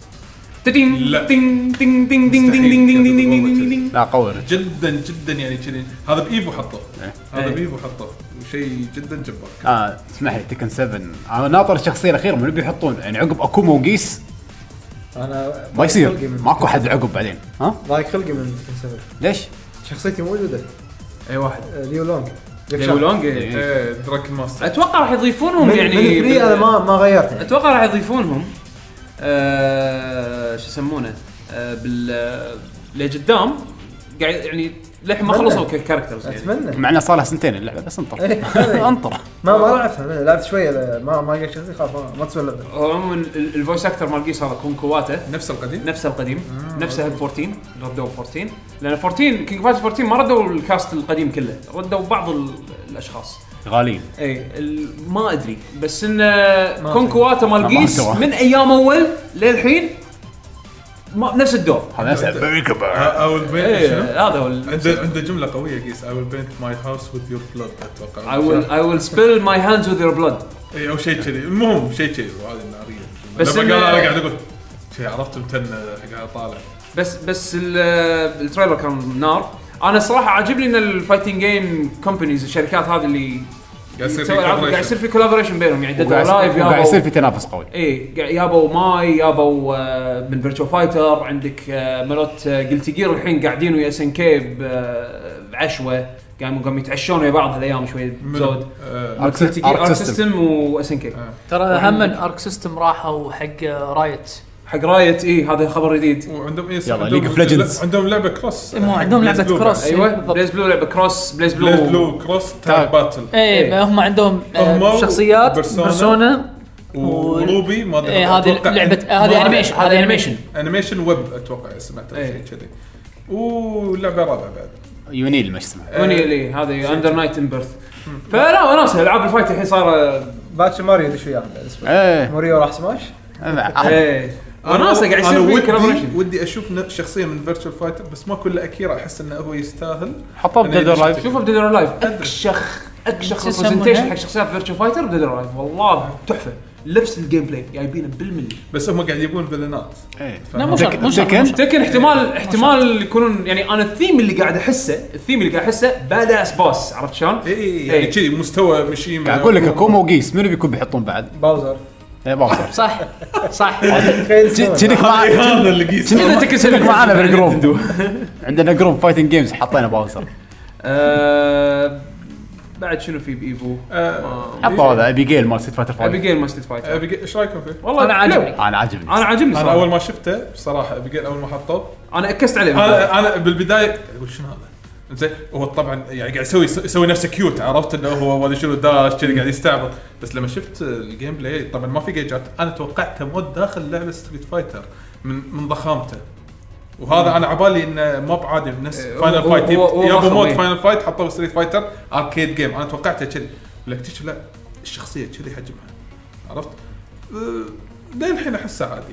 تدين لا. تين تين تين تين تين تين تين تين تين تين تين تين. لا قوي الرجل. جدا جدا يعني كذي هذا بايفو حطه إيه. هذا إيه. بايفو حطه شيء جدا جبار اه اسمح لي تكن 7 انا ناطر الشخصيه الاخيره من اللي بيحطون يعني عقب اكوما وقيس انا ما ضايق يصير خلقي من- ماكو حد عقب بعدين ها ضايق خلقي من Tekken Seven. ليش؟ شخصيتي موجوده اي واحد آه، ليو لونج ليو لونج إيه. ايه آه. دراكن ماستر اتوقع راح يضيفونهم يعني يعني من free انا ما ما غيرت يعني. اتوقع راح يضيفونهم آه، شو يسمونه آه، بال آه، لقدام قاعد يعني للحين ما أتمنى. خلصوا ككاركترز يعني اتمنى مع انه صار لها سنتين اللعبه بس انطر [LAUGHS] إيه. انطر ما ما لعبتها أنا لعبت شويه لا- ما ما قلت شخصيتي خلاص ما- ما تسوى اللعبه هو عموما ال- الفويس اكتر مال جيس هذا كون كواته نفس القديم نفسه القديم آه. نفسه ال 14 ردوا 14 لان 14 كينج فايتر 14 ما ردوا الكاست القديم كله ردوا بعض ال- الاشخاص غاليين اي إيه، ال- ما ادري بس ان كون أدري. كواتا مال ما جيس أدري. من ايام اول للحين ما نفس الدور هذا نفسه آه، I will إيه. paint ايه إيه، شنو؟ هذا هو ال- عنده عنده جملة قوية قيس I will paint my house with your blood اتوقع I will I will spill my hands with your blood اي او إيه، شيء كذي المهم شيء كذي وهذه النارية الجملة. بس لما إن- إيه. قال انا قاعد اقول شي عرفت متن قاعد اطالع بس بس ال- التريلر كان نار انا صراحه عاجبني ان الفايتنج جيم كومبانيز الشركات هذه اللي قاعد يصير في تسوي ألعاب، قاعد يصير collaboration. في كولابوريشن بينهم يعني ديد لايف وقاعد يصير في تنافس قوي ايه قاعد- يابوا ماي يابوا آه، من فيرتشو فايتر عندك آه، مالوت قلت جير الحين قاعدين ويا اس ان كي آه، بعشوه قاموا قاموا يتعشون ويا بعض هالايام شوي من- زود آه، ارك قلت جير ارك سيستم واس ان كي ترى هم ارك سيستم راحوا حق رايت حق رايت ايه هذا خبر جديد وعندهم اي يلا، League of Legends. إيه، عندهم لعبة كروس إيه، مو عندهم لعبه كروس ايوه بالضبط. بليز بلو لعبه كروس بليز بليز بلو بلو كروس تاج. تاج باتل ايه هم عندهم آه، هم شخصيات وبيرسونا. بيرسونا وروبي ما ادري ايه إيه، هذه أتوقع لعبه آه، هذه ما- انيميشن هذه هذه انيميشن انيميشن ويب اتوقع سمعت إيه. شيء كذي ولعبه رابعه بعد يونيل ما اسمه اوني لي آه، هذه اندر نايت ان بيرث فلا وناسه العاب الفايت الحين صار باتش ماريو يدش وياه بالنسبة لي. ايه ماريو راح سماش أه. ايه وناسه قاعد يصير في ودي, كولابوريشن ودي اشوف ن- شخصيه من فيرتشوال فايتر بس ما كله اكيرا احس انه هو يستاهل حطوه أنا بديد إذا لايف شفت- شوفه بديد اور لايف اكشخ اكشخ شو يسمونها؟ ريبرزنتيشن حق شخصيات فيرتشو فايتر بديد اور لايف والله تحفه لبس الجيم بلاي جايبينه بالملي بس هم قاعد يبون فيلنات ايه لا مو شرط مو شرط مو تكن؟ شرط. تكن احتمال احتمال يكونون يعني انا الثيم اللي قاعد احسه الثيم اللي قاعد احسه باداس بوس عرفت شلون؟ اي إيه. يعني كذي مستوى مشيمة قاعد اقول لك [LAUGHS] اكوما وقيس منو بيكون بيحطون بعد؟ باوزر ايه [LAUGHS] باوزر صح صح تخيل ج- سماش. جنك معنا هذا اللي قيس كذا تكن سبب. معنا [LAUGHS] بالجروب عندنا جروب فايتنج جيمز حطينا باوزر آه، بعد شنو في بايفو؟ آه، آه، حطوا هذا ابي جيل مال ست فايتر ابي فايف جيم ما ستيت فايتر ايش رايكم فيه؟ والله أنا عاجبني. حلو. انا عاجبني انا عاجبني انا اول صراحه ما شفته بصراحه ابيجيل اول ما حطوه انا اكست عليه انا انا بالبدايه قاعد اقول شنو هذا؟ زين هو طبعا يعني قاعد يسوي يسوي نفسه كيوت عرفت انه هو ما ادري شنو داش كذي قاعد يستعبط بس لما شفت الجيم بلاي طبعا ما في جيجات انا توقعته مود داخل لعبه ستريت فايتر من من ضخامته وهذا انا عبالي انه ما بعادي نفس إيه، فاينل هو- فايت هو- هو يابو ضخم، مود إيه. فاينل فايت حطوه ستريت فايتر اركيد جيم انا توقعته كذي ولا اكتشف لا الشخصيه كذي حجمها عرفت؟ أه، للحين احسه عادي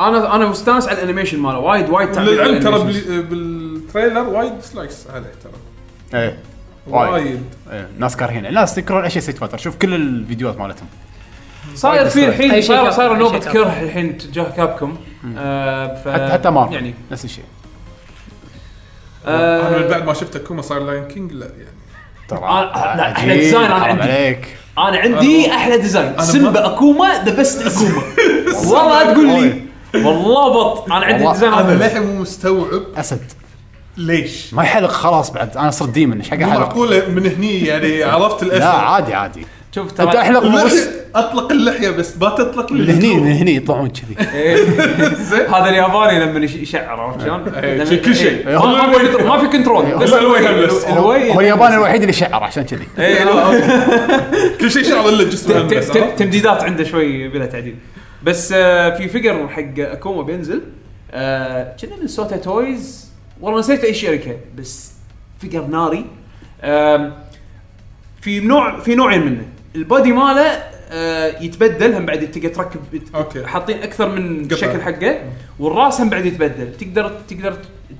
انا انا مستانس على الانيميشن ماله وايد وايد تعبير يعني للعلم ترى بال- الأنيميشن. بالتريلر وايد سلايكس عليه ترى ايه وايد. وايد إيه، ناس كارهين الناس تكرر اي شيء سيت فايتر شوف كل الفيديوهات مالتهم صاير في الحين أي شيء صاير كاب- صاير أي نوبه شيء كاب. كره الحين تجاه كابكم آه ف... حتى حتى مارفل يعني يعني نفس الشيء انا من آه بعد ما شفت اكوما صار لاين كينج لا يعني ترى آه، لا، أحلى عجيب، ديزاين أنا حرام عندي. عليك انا عندي احلى ديزاين سيمبا اكوما ذا بيست اكوما والله لا تقول لي والله بط انا عندي والله ديزاين انا هذا. للحين مو مستوعب اسد ليش؟ ما يحلق خلاص بعد انا صرت ديمن ايش حق مو احلق معقوله من هني [LAUGHS] يعني عرفت لا الاسد عادي عادي شوف انت ترى احلق بس اطلق اللحيه بس ما تطلق من لي هني [LAUGHS] من هني يطلعون كذي هذا الياباني لما يش- يشعر عرفت شلون؟ إيه، لما- كل شيء. إيه، ما- ما في- ما في كنترول إيه، بس بس الوجه بس. الوي هو الياباني الوحيد اللي شعر عشان كذي إيه، لا، كل شيء شعر الا جسمه ت- بس، ت- ت- عرفت؟ تمديدات عنده شوي بلا تعديل بس آه، في فيجر حق اكوما بينزل آه، كنا من سوتا تويز والله نسيت اي شركه بس فيجر ناري آم، في نوع في نوعين منه البادي ماله آه، يتبدل هم بعد تقدر تركب أوكي. حاطين اكثر من قطع. شكل حقه والراس هم بعد يتبدل تقدر تقدر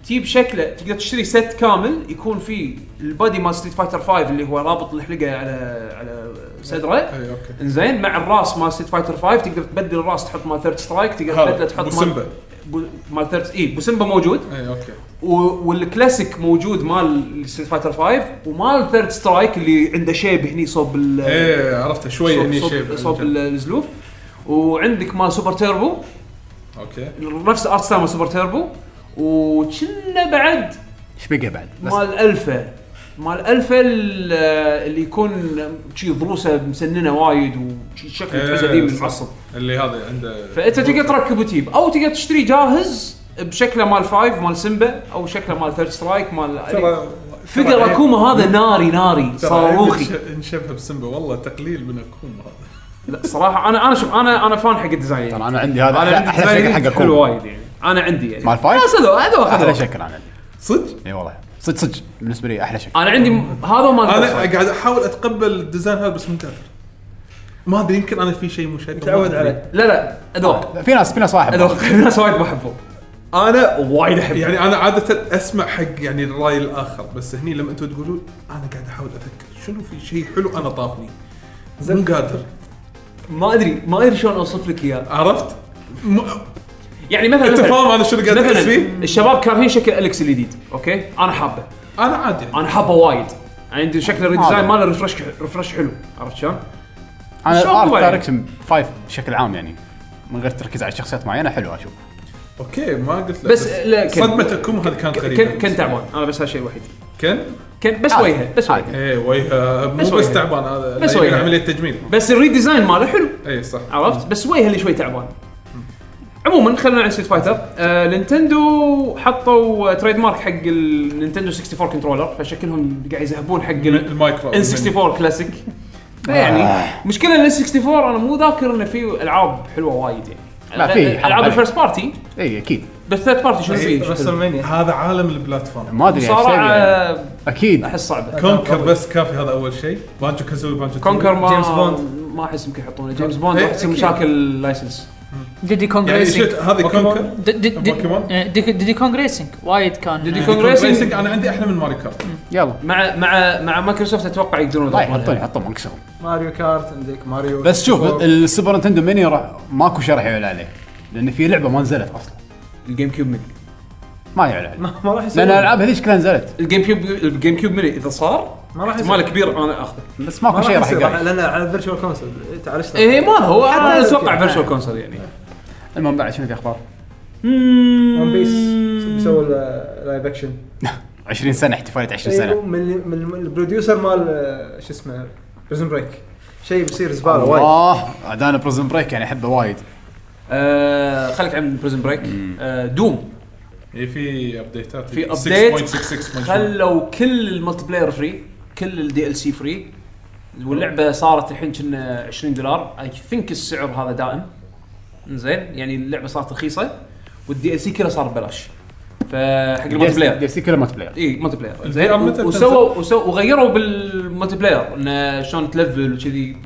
تجيب شكله تقدر تشتري ست كامل يكون فيه البادي مال ستريت فايتر 5 اللي هو رابط الحلقه على على صدره اي اوكي انزين مع الراس مال ستيت فايتر 5 تقدر تبدل الراس تحط مال ثيرد سترايك تقدر هذا، تبدله تحط مال بوسمبا. بو- مال ثيرد اي بوسمبا موجود اي اوكي آه. و- والكلاسيك موجود مال ستيت فايتر 5 ومال ثيرد سترايك اللي عنده شيب هني صوب ال اي عرفته شوي صوب- إيه، هني صوب- شيب صوب ال- الزلوف وعندك مال سوبر تيربو اوكي نفس ارت ستايل مال سوبر تيربو وكنا بعد ايش بقى بعد بس مال الفا مال الفا ال- اللي يكون شي ضروسه مسننه وايد وشكله إيه، تحسه ديم صح. معصب اللي هذا عنده فانت تقدر تركب وتجيب او تقدر تشتري جاهز بشكله مال فايف مال سيمبا او شكله مال ثيرد سترايك مال ترى فقر ترى- اكوما هذا ناري ناري ترى صاروخي إنش- انشبه بسمبا والله تقليل من اكوما هذا لا صراحه انا انا شوف انا انا فان حق الديزاين يعني. ترى انا عندي هذا انا احلى عندي احلى ديزاين شكل حق حلو اكون وايد يعني انا عندي يعني مال فايف؟ بس هذا هذا احلى واحد. شكل انا عندي صدق؟ اي والله صدق صدق بالنسبه لي احلى شكل انا عندي م- هذا مال انا الفايف. قاعد احاول اتقبل الديزاين هذا بس مو قادر ما ادري يمكن انا في شيء مو شايفه تعود عليه لا لا ادوار في ناس في ناس واحد ادوار [LAUGHS] الناس وايد ما احبه انا وايد احبه يعني انا عاده اسمع حق يعني الراي الاخر بس هني لما انتم تقولون انا قاعد احاول افكر شنو في شيء حلو انا طافني مو قادر ما ادري ما ادري شلون اوصف لك اياه عرفت؟ م- يعني مثلا انت مثلاً- فاهم انا شنو قاعد احس مثلا فيه؟ الشباب كارهين شكل الكس الجديد اوكي انا حابه انا عادي يعني. انا حابه وايد عندي شكل الريديزاين عادي. ماله ريفرش ريفرش حلو عرفت شلون؟ انا شلون الارت طبعاً؟ يعني؟ دايركشن فايف بشكل عام يعني من غير تركيز على شخصيات معينه حلوه اشوف اوكي ما قلت لا بس- لا، كان- صدمه اكوما هذه كانت غريبه كان كان تعبان انا بس هالشيء الوحيد كان كان بس عادي. وجهه بس عادي. وجهه ايه وجهه مو بس بس, وجهه. تعبان هذا بس يعني وجهه. عمليه تجميل بس الريديزاين ماله حلو اي صح عرفت بس وجهه اللي شوي تعبان عموما خلينا عن ستريت فايتر آه، نينتندو حطوا آه، تريد مارك حق النينتندو 64 كنترولر فشكلهم قاعد يذهبون حق الم- ال- المايكرو ان 64 كلاسيك يعني آه. مشكله ان 64 انا مو ذاكر انه في العاب حلوه وايد يعني لا، في حرام العاب عليك. الفيرست بارتي اي اكيد بس ثيرد بارتي شنو إيه، في؟ هذا عالم البلاتفورم ما ادري ايش صراحه يعني. اكيد احس صعبه كونكر بس كافي هذا اول شيء بانجو كازوي بانجو تيوي. كونكر ما جيمس بوند. ما احس يمكن يحطونه جيمس بوند إيه، راح تصير أكيد. مشاكل لايسنس ديدي كونغ يعني ريسنج شفت هذه كونكر يعني د- د- د- بوكيمون؟ آه، ديدي- ديدي كونغ ريسنج وايد كان ديدي آه، كونغ ريسنج ريسنج انا عندي احلى من ماري كارت يلا مع مع مع مايكروسوفت اتوقع يقدرون طيب يضبطونها. حطوني حطهم انكسرهم ماريو كارت عندك ماريو بس شوف 64. السوبر نتندو ميني راح- ماكو شرح يعلى عليه لان في لعبه ما نزلت اصلا الجيم كيوب ميني ما يعلى عليه ما ما راح يصير لان الالعاب هذيك كلها نزلت الجيم كيوب الجيم كيوب ميني اذا صار ما راح احتمال يصير كبير انا اخذه بس ما ماكو شيء راح راح يصير راح- يقال لان على الفيرتشوال كونسول تعالجت ايه ما هو انا حتى اتوقع كيوب. فيرتشوال كونسول يعني المهم بعد شنو في اخبار؟ ون بيس بيسووا لايف اكشن 20 سنه احتفاليه 20 ايوه أيوه، سنه من من من البروديوسر مال آه، شو اسمه بريزن بريك شيء بيصير زباله وايد الله عاد انا بريزن بريك يعني احبه وايد آه خليك عن بريزن بريك آه دوم اي إيه، في ابديتات في ابديت 6.66 خلوا كل الملتي بلاير فري كل الدي ال سي فري واللعبه صارت الحين كنا 20 دولار اي ثينك السعر هذا دائم زين يعني اللعبه صارت رخيصه والدي ال سي كله صار ببلاش فحق الملتي بلاير دي سي كله ملتي بلاير اي ملتي بلاير ال زين VR متى وسووا وسووا وغيروا بالملتي بلاير انه شلون تلفل وكذي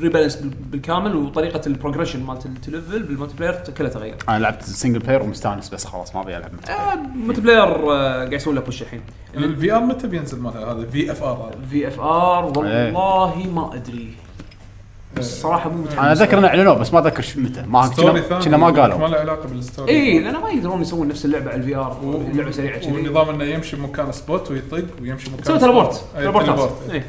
ريبالانس بال- بالكامل وطريقه البروجريشن مالت التلفل بالمالتي بلاير كلها تغير انا لعبت سنجل بلاير ومستانس بس خلاص ما ابي العب آه، ملتي بلاير آه، قاعد يسوون له بوش الحين الفي ار يعني متى بينزل مالها هذا الفي اف ار هذا في اف ار إيه. والله ما ادري بس صراحه مو متحمس انا اتذكر انه اعلنوه بس ما اتذكر شو- متى ما ستوري آه، كنا ثاني كنا ما ما قالوا له علاقه بالستوري اي لان إيه، ما يقدرون يسوون نفس اللعبه على الفي ار اللعبه سريعه كذي والنظام انه يمشي مكان سبوت ويطق ويمشي مكان تسوي سبوت. تلبورت أي، تلبورتات تليبورت. إيه.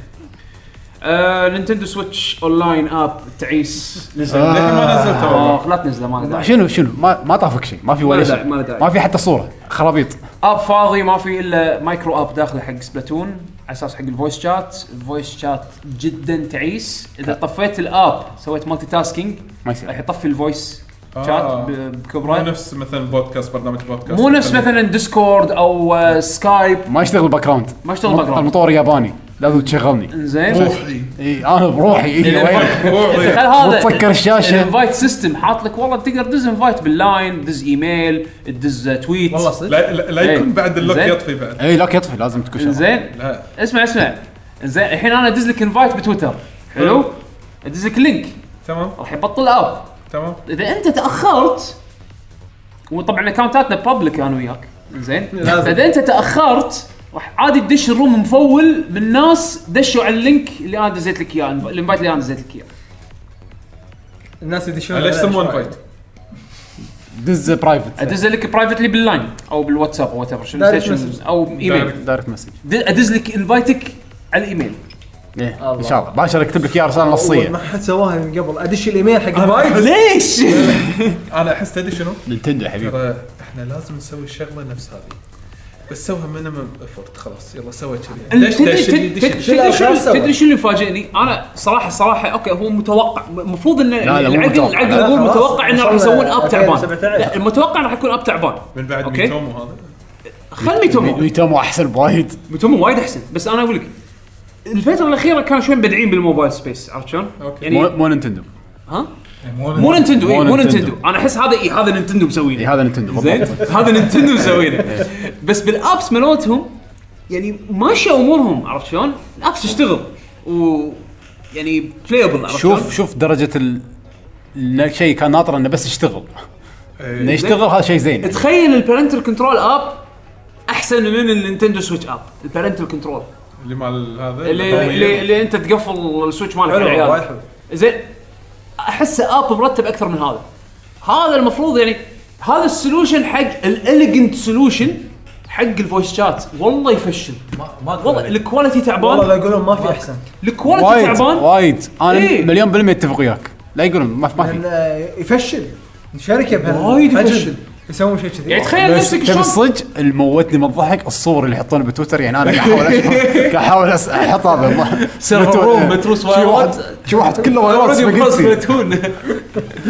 آه، نينتندو سويتش اونلاين اب تعيس نزل لكن ما [LAUGHS] نزل تو لا تنزله ما له داعي آه، شنو شنو ما ما طافك شيء ما في ما ولا له داعي، شيء ما له داعي. ما في حتى صوره خرابيط اب فاضي ما في الا مايكرو اب داخله حق سبلاتون على اساس حق الفويس شات الفويس شات جدا تعيس اذا طفيت الاب سويت مالتي تاسكينج ما راح يصير يطفي الفويس آه. شات ب- مو بكبره نفس مثلا بودكاست برنامج بودكاست مو نفس مثلا ديسكورد او آه، سكايب ما يشتغل باك جراوند ما يشتغل باك جراوند. المطور ياباني لازم تشغلني زين روحي اي انا بروحي اي وينك روحي خل هذا وتسكر الشاشه الانفايت سيستم حاط لك والله تقدر تدز انفايت باللاين تدز ايميل تدز تويت والله صدق لا لا- لا يكون إيه. بعد اللوك زين. يطفي بعد اي لك يطفي لازم تكون شغال. زين لا اسمع اسمع زين الحين انا ادز لك انفايت بتويتر حلو ادز لك لينك تمام راح يبطل اب تمام اذا انت تاخرت وطبعا اكونتاتنا بابليك انا وياك زين لازم. اذا انت تاخرت راح عادي تدش الروم مفول من ناس دشوا على اللينك اللي انا دزيت لك اياه الانفايت اللي انا دزيت لك اياه الناس يدشون ليش على شوي. سموه انفايت؟ دز برايفت ادز لك برايفتلي باللاين او بالواتساب او وات Direct ايفر message. او ايميل Direct. دايركت مسج د- ادز لك انفايتك على الايميل إيه. ايه ان شاء الله باشر اكتب لك اياها رساله نصيه ما حد سواها من قبل ادش الايميل حق الفايت ليش؟ انا احس تدري شنو؟ نينتندو يا إيه. حبيبي ترى احنا لازم نسوي الشغله نفس هذه بس سوها مينيمم افورت خلاص يلا سوي كذي تدري ليش ليش تدري- ليش- تدري ليش شنو- شو الأخبار تدري شنو اللي فاجئني؟ انا صراحه صراحه اوكي هو متوقع م- المفروض ان لا، مو العقل متوقع. العقل لا، يقول خلاص. متوقع انه راح وصلنا يسوون اب تعبان 2017. لا المتوقع راح يكون اب تعبان من بعد أوكي. ميتومو هذا خل ميتومو ميتومو احسن بوايد ميتومو وايد احسن بس انا اقول لك الفتره الاخيره كانوا شوي مبدعين بالموبايل سبيس عرفت شلون؟ أوكي. مو يعني مو نينتندو ها؟ مو نينتندو إيه، مو مو نينتندو. نينتندو انا احس هذا إيه هذا نينتندو مسوينه اي هذا نينتندو زين بالضبط هذا نينتندو مسوينه بس بالابس مالتهم يعني ماشيه امورهم عرفت شلون؟ الابس تشتغل و يعني بلايبل عرفت شوف شلون؟ شوف درجه ال إن الشيء كان ناطر انه بس يشتغل إيه، انه يشتغل هذا شيء زين تخيل البارنتال كنترول اب احسن من النينتندو سويتش اب البارنتال كنترول اللي مال هذا اللي, اللي, اللي انت تقفل السويتش مالك على طيب. حلو وايد العيال حلو زين احسه اب مرتب اكثر من هذا هذا المفروض يعني هذا السولوشن حق الاليجنت سولوشن حق الفويس شات والله يفشل ما- ما أقول والله عليك. الكواليتي تعبان والله لا يقولون ما في احسن الكواليتي وايد تعبان وايد انا إيه. مليون بالمية اتفق وياك لا يقولون ما ما لأن آه، في يفشل شركه بهال- وايد فجل يفشل. يسوون شيء كذي يعني تخيل بس نفسك تبي شلون الصدق اللي موتني من الضحك الصور اللي يحطونها بتويتر يعني انا [LAUGHS] قاعد احاول أش- قاعد احاول أس- احط هذا سيرفر روم، متروس شي واحد شي واحد كله وايرات سباجيتي سبلاتون [LAUGHS]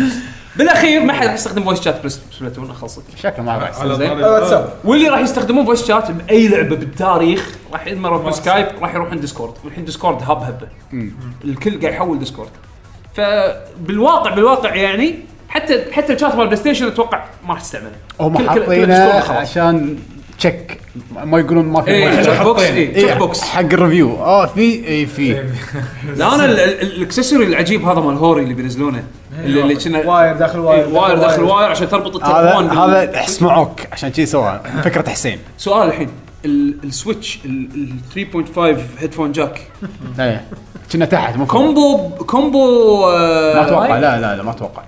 بالاخير ما حد راح يستخدم فويس شات بس سبلاتون اخلصك شكله ما راح يصير. على زين. طاري واتساب واللي راح يستخدمون فويس شات باي لعبه بالتاريخ راح اما يروح سكايب راح يروح عند ديسكورد والحين ديسكورد هب هبه الكل قاعد يحول ديسكورد فبالواقع بالواقع يعني حتى حتى الشات مال بلاي ستيشن اتوقع ما راح تستعمله كل- هم كل- كل ديسكورد حاطينه خلاص. عشان تشيك ما يقولون ما في ايه تشيك بوكس ايه إيه، تشيك بوكس حق الريفيو اه في اي إيه، في لا انا ال- ال- الاكسسوري العجيب هذا مال هوري اللي بينزلونه إيه، اللي اللي كنا واير داخل واير واير داخل واير عشان تربط هذا التليفون بال- هذا سمعوك عشان كذي سواه فكره حسين سؤال الحين ال- السويتش ال ال 3.5 هيدفون جاك ايه كنا تحت مو فوق. كومبو كومبو آه، ما اتوقع لا لا لا ما اتوقع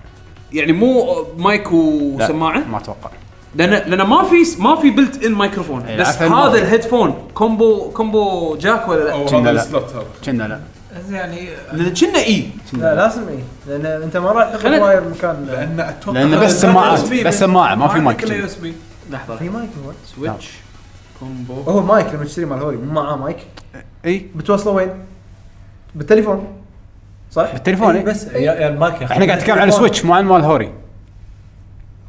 يعني مو مايك لا، وسماعه ما اتوقع لان لان ما في ما في بلت ان مايكروفون إيه، بس عفوا، ما هذا في. الهيدفون كومبو كومبو جاك ولا لا؟ او كنا آه، هذا لا. السلوت هذا كنا لا يعني لان كنا اي لا لازم اي لان انت ما راح تاخذ خلنا- واير مكان لان اتوقع لأن بس آه، سماعات بس سماعه ما في مايك نعم. كله جديد. يو اس بي لحظه في مايك هو سويتش Oh, كومبو هو مايك لما تشتري مال هوري مو معاه مايك اي بتوصله وين؟ بالتليفون صح؟ بالتليفون، إي، إي. بس إي، يا يا الماك يا اخي احنا قاعد نتكلم عن السويتش مو عن مال هوري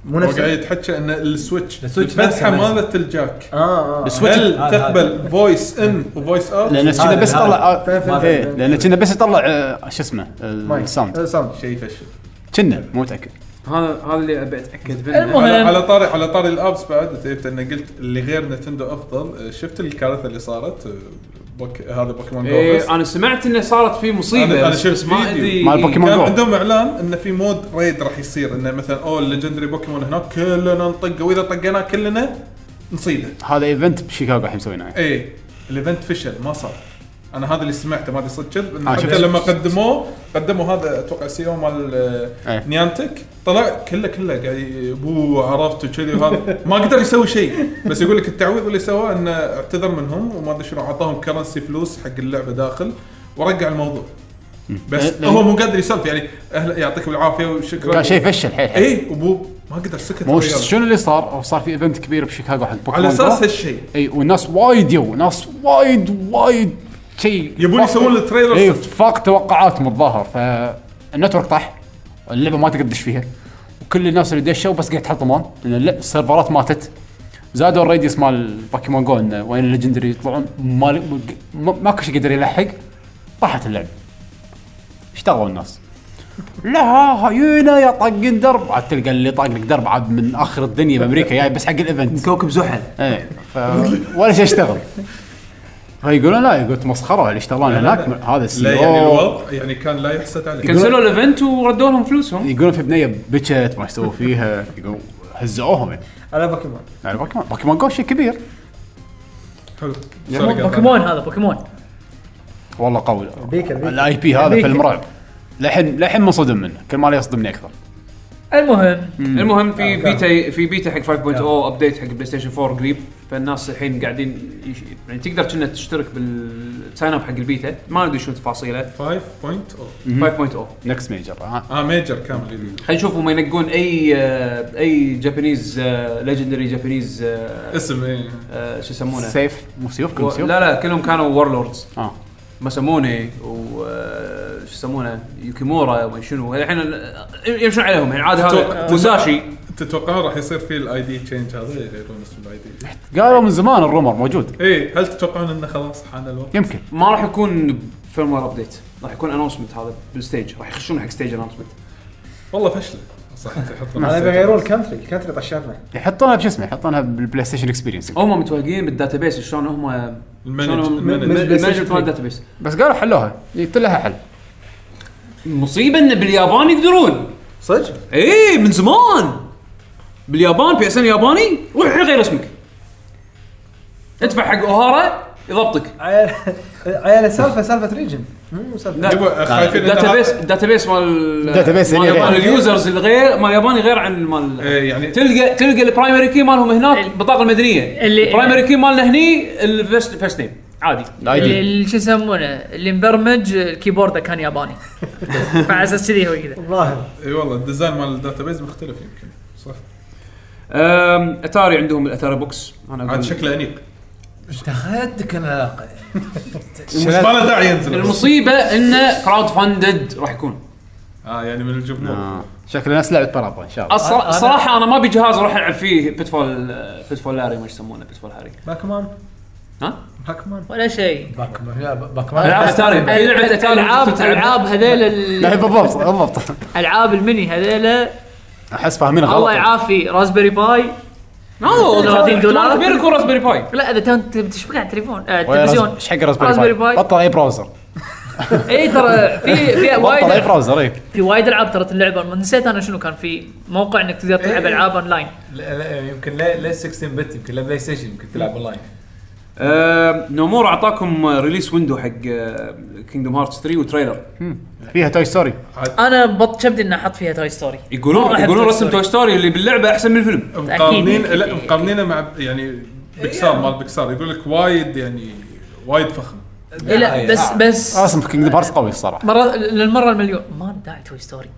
مو هو قاعد نفسه يتحكى ان السويتش السويتش الفتحه نفسه نفسه. مالت الجاك Ah, اه اه السويتش هل آه، هذا- تقبل فويس ان وفويس اوت لان كنا بس هذا- طلع آه، فاهم، فاهم، إيه، فاهم. لان كنا بس يطلع آه، شو اسمه مايك الساوند آه، ساوند شيء يفشل كنا مو متاكد هذا هذا اللي ابي اتاكد منه المهم. على على طاري على طاري الابس بعد انت جبت انه قلت اللي غير نتندو افضل آه، شفت الكارثه اللي صارت آه، بوك... هذا بوكيمون جو إيه انا سمعت انه صارت في مصيبه أنا- أنا بس- شفت بس ما فيديو. ادري مال بوكيمون. كان جو. عندهم اعلان انه في مود ريد راح يصير انه مثلا اوه الليجندري بوكيمون هناك كلنا نطقه واذا طقيناه كلنا نصيده هذا ايفنت بشيكاغو الحين مسويناه ايه الايفنت فشل ما صار انا هذا اللي سمعته ما ادري صدق كذب إنه آه، حتى شفت. لما قدموه قدموا هذا اتوقع سي او مال آه، إيه. نيانتك طلع كله كله قاعد ي- بو عرفت وكذي وهذا ما قدر يسوي شيء بس يقول لك التعويض اللي سواه انه اعتذر منهم وما ادري شنو اعطاهم كرنسي فلوس حق اللعبه داخل ورجع الموضوع بس لأن- هو مو قادر يسولف يعني اهلا يعطيكم العافيه وشكرا كان شيء فشل حيل حيل اي إيه، وبو ما قدر سكت مو الرجال. ش- شنو اللي صار؟ أو صار في ايفنت كبير بشيكاغو حق بوكيمون على اساس جو. هالشيء اي والناس وايد يو ناس وايد وايد إيه، شيء يبون يسوون التريلر اي صدق. فاق توقعاتهم الظاهر فالنتورك طاح اللعبه ما تقدر تدش فيها وكل الناس اللي دشوا بس قاعد تحطمون لان الل- السيرفرات ماتت زادوا الراديوس مال بوكيمون جو إنه وين الليجندري يطلعون ما ما- ماكو شيء يقدر يلحق طاحت اللعبه اشتغلوا الناس لا هاينا يا طق درب عاد تلقى اللي طاق لك درب عاد من اخر الدنيا بامريكا جاي بس حق الايفنت كوكب زحل ايه ف... ولا شيء اشتغل فيقولون لا يقول مسخره اللي يشتغلون هناك م- هذا لا السي يعني او الوضع يعني كان لا يحسد عليه كنسلوا الايفنت وردوا لهم فلوسهم يقولون في بنيه بكت ما سووا فيها يقول هزؤوهم يعني على بوكيمون يعني بوكيمون بوكيمون جو شيء كبير حلو مو بوكيمون هذا بوكيمون والله قوي بيك بيك الاي بي هذا أبيك. فيلم رعب للحين للحين منصدم منه كل ما لا يصدمني اكثر المهم المهم في بيتا في بيتا حق 5.0 ابديت حق بلاي ستيشن 4 قريب فالناس الحين قاعدين يش... يعني تقدر كنا تشترك بالساين اب حق البيتا ما ندري شو تفاصيله 5.0 5.0 نكس ميجر ها اه ميجر كامل جديد oh. خلينا نشوف هم ينقون اي آه، اي جابانيز ليجندري جابانيز اسم ايه آه، شو يسمونه سيف مو سيوف كل و- سيوف لا لا كلهم كانوا وورلوردز اه ماساموني و آه، شو يسمونه يوكيمورا وما شنو الحين ال- يمشون عليهم يعني عاد هذا تتوقع- موساشي تتوقعون راح يصير في الاي دي تشينج هذا يغيرون اسم الاي دي قالوا من زمان الرومر موجود ايه هل تتوقعون انه خلاص حان الوقت؟ يمكن ما راح يكون فيرموير ابديت راح يكون انونسمنت هذا بالستيج راح يخشون حق ستيج انونسمنت والله فشله صح تحطون على السيرفر. بيغيرون الكنتري الكنتري طشرنا يحطونها بشو اسمه يحطونها بالبلاي ستيشن اكسبيرينس هم متواجدين بالداتابيس شلون هم المانج- شلون هم- المانج- المانجمنت مال الداتابيس بس قالوا حلوها قلت لها حل المصيبه ان باليابان يقدرون صدق؟ اي من زمان باليابان بي اس ان ياباني روح الحين غير اسمك ادفع حق اوهارا يضبطك عيال عيال سالفه سالفه ريجن Hmm, مو سالفه لا يبا، خايفين إن الداتابيس هذا- الداتابيس مال الداتابيس مال اللي اليابان غير. اليوزرز الغير مال الياباني غير عن مال ايه يعني تلقى تلقى البرايمري كي مالهم هناك بالبطاقه المدنيه اللي- البرايمري كي مالنا هني الفيرست فيرست نيم عادي الاي اللي- دي اللي شو يسمونه اللي مبرمج الكيبورد كان ياباني فعلى اساس كذي هو كذا الظاهر اي إيه، والله الديزاين مال الداتابيز مختلف يمكن صح أم، اتاري عندهم الاتاري بوكس انا عاد أقول- شكله انيق دخلتك انا بس ما له داعي ينزل المصيبه انه كراود فاندد راح يكون اه يعني من الجمهور آه. شكل الناس لعبه بارابا ان شاء الله الصرا- الصراحه انا ما ابي جهاز اروح العب فيه بيتفول بيتفول لاري ما يسمونه بيتفول هاري باكمان ها؟ باكمان ولا شيء باكمان يا العاب باكمان اتاري اي لعبه اتاري العاب ممكن تلعبها. العاب هذيل لا ال- بالضبط بالضبط العاب المني هذيل احس فاهمين غلط الله يعافي رازبري باي نو 30 30 دولار. دولار كبير يكون راسبيري باي لا اذا تنت بتشبك على التليفون آه، وين راز- التلفزيون ايش حق راسبيري باي باي. بطل اي براوزر اي ترى في في بطل اي وايد براوزر اي في وايد العاب ترى تلعب ما نسيت انا شنو كان في موقع انك تقدر تلعب العاب اونلاين لا- لا، يمكن لا لا 16 بت يمكن لا بلاي ستيشن يمكن تلعب اونلاين نومور اعطاكم ريليس ويندو حق كينجدوم هارتس 3 وتريلر فيها توي ستوري انا بط كبدي اني احط فيها توي ستوري يقولون ما أحب يقولون Toy رسم Story. توي ستوري اللي باللعبه احسن من الفيلم مقارنين أكيد. لا مقارنينه مع يعني بكسار مال بكسار يقول لك وايد يعني وايد فخم إيه آه، لا بس بس رسم في كينجدم هارتس قوي الصراحه مرة للمره المليون ما داعي توي ستوري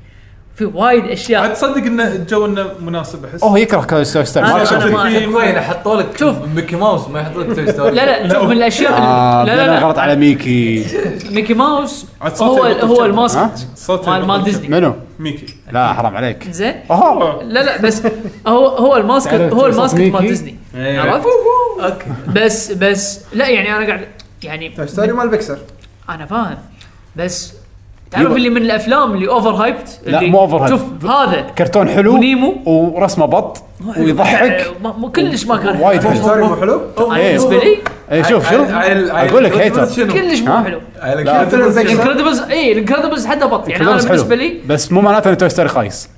في وايد عاد اشياء تصدق انه الجو انه مناسب احس اوه يكره توي ستوري ما أنا- له شغل أنا فيه. ما أحب. وين حطوا لك شوف ميكي ماوس ما يحطوا لك توي [LAUGHS] ستوري لا [LAUGHS] لا شوف من الاشياء آه، لا لا بدنا لا غلط على ميكي ميكي ماوس عاد صوتي هو يبطل هو كذا. ها؟ الماسك صوت مال- مال ديزني. منو؟ ميكي لا حرام عليك زين اوه لا لا بس هو هو الماسك تعرف هو صوت الماسك ميكي؟ مال ديزني أيوه. عرفت؟ اوكي بس طيب، بس لا يعني انا قاعد يعني توي ستوري مال بيكسر انا فاهم بس تعرف اللي من الافلام اللي اوفر هايبت لا، مو overhyped. شوف هذا كرتون حلو ونيمو. ورسمه بط ويضحك آه، ما- مو كلش ما كان وايد حلو. إيه. ستوري مو حلو أنا بالنسبه لي اي شوف شوف اقول لك هيتر كلش مو ها؟ حلو لا. مثلا زي انكريدبلز اي انكريدبلز حتى بط يعني انا كلهم بالنسبه حلو. لي بس مو معناته ان توي ستوري خايس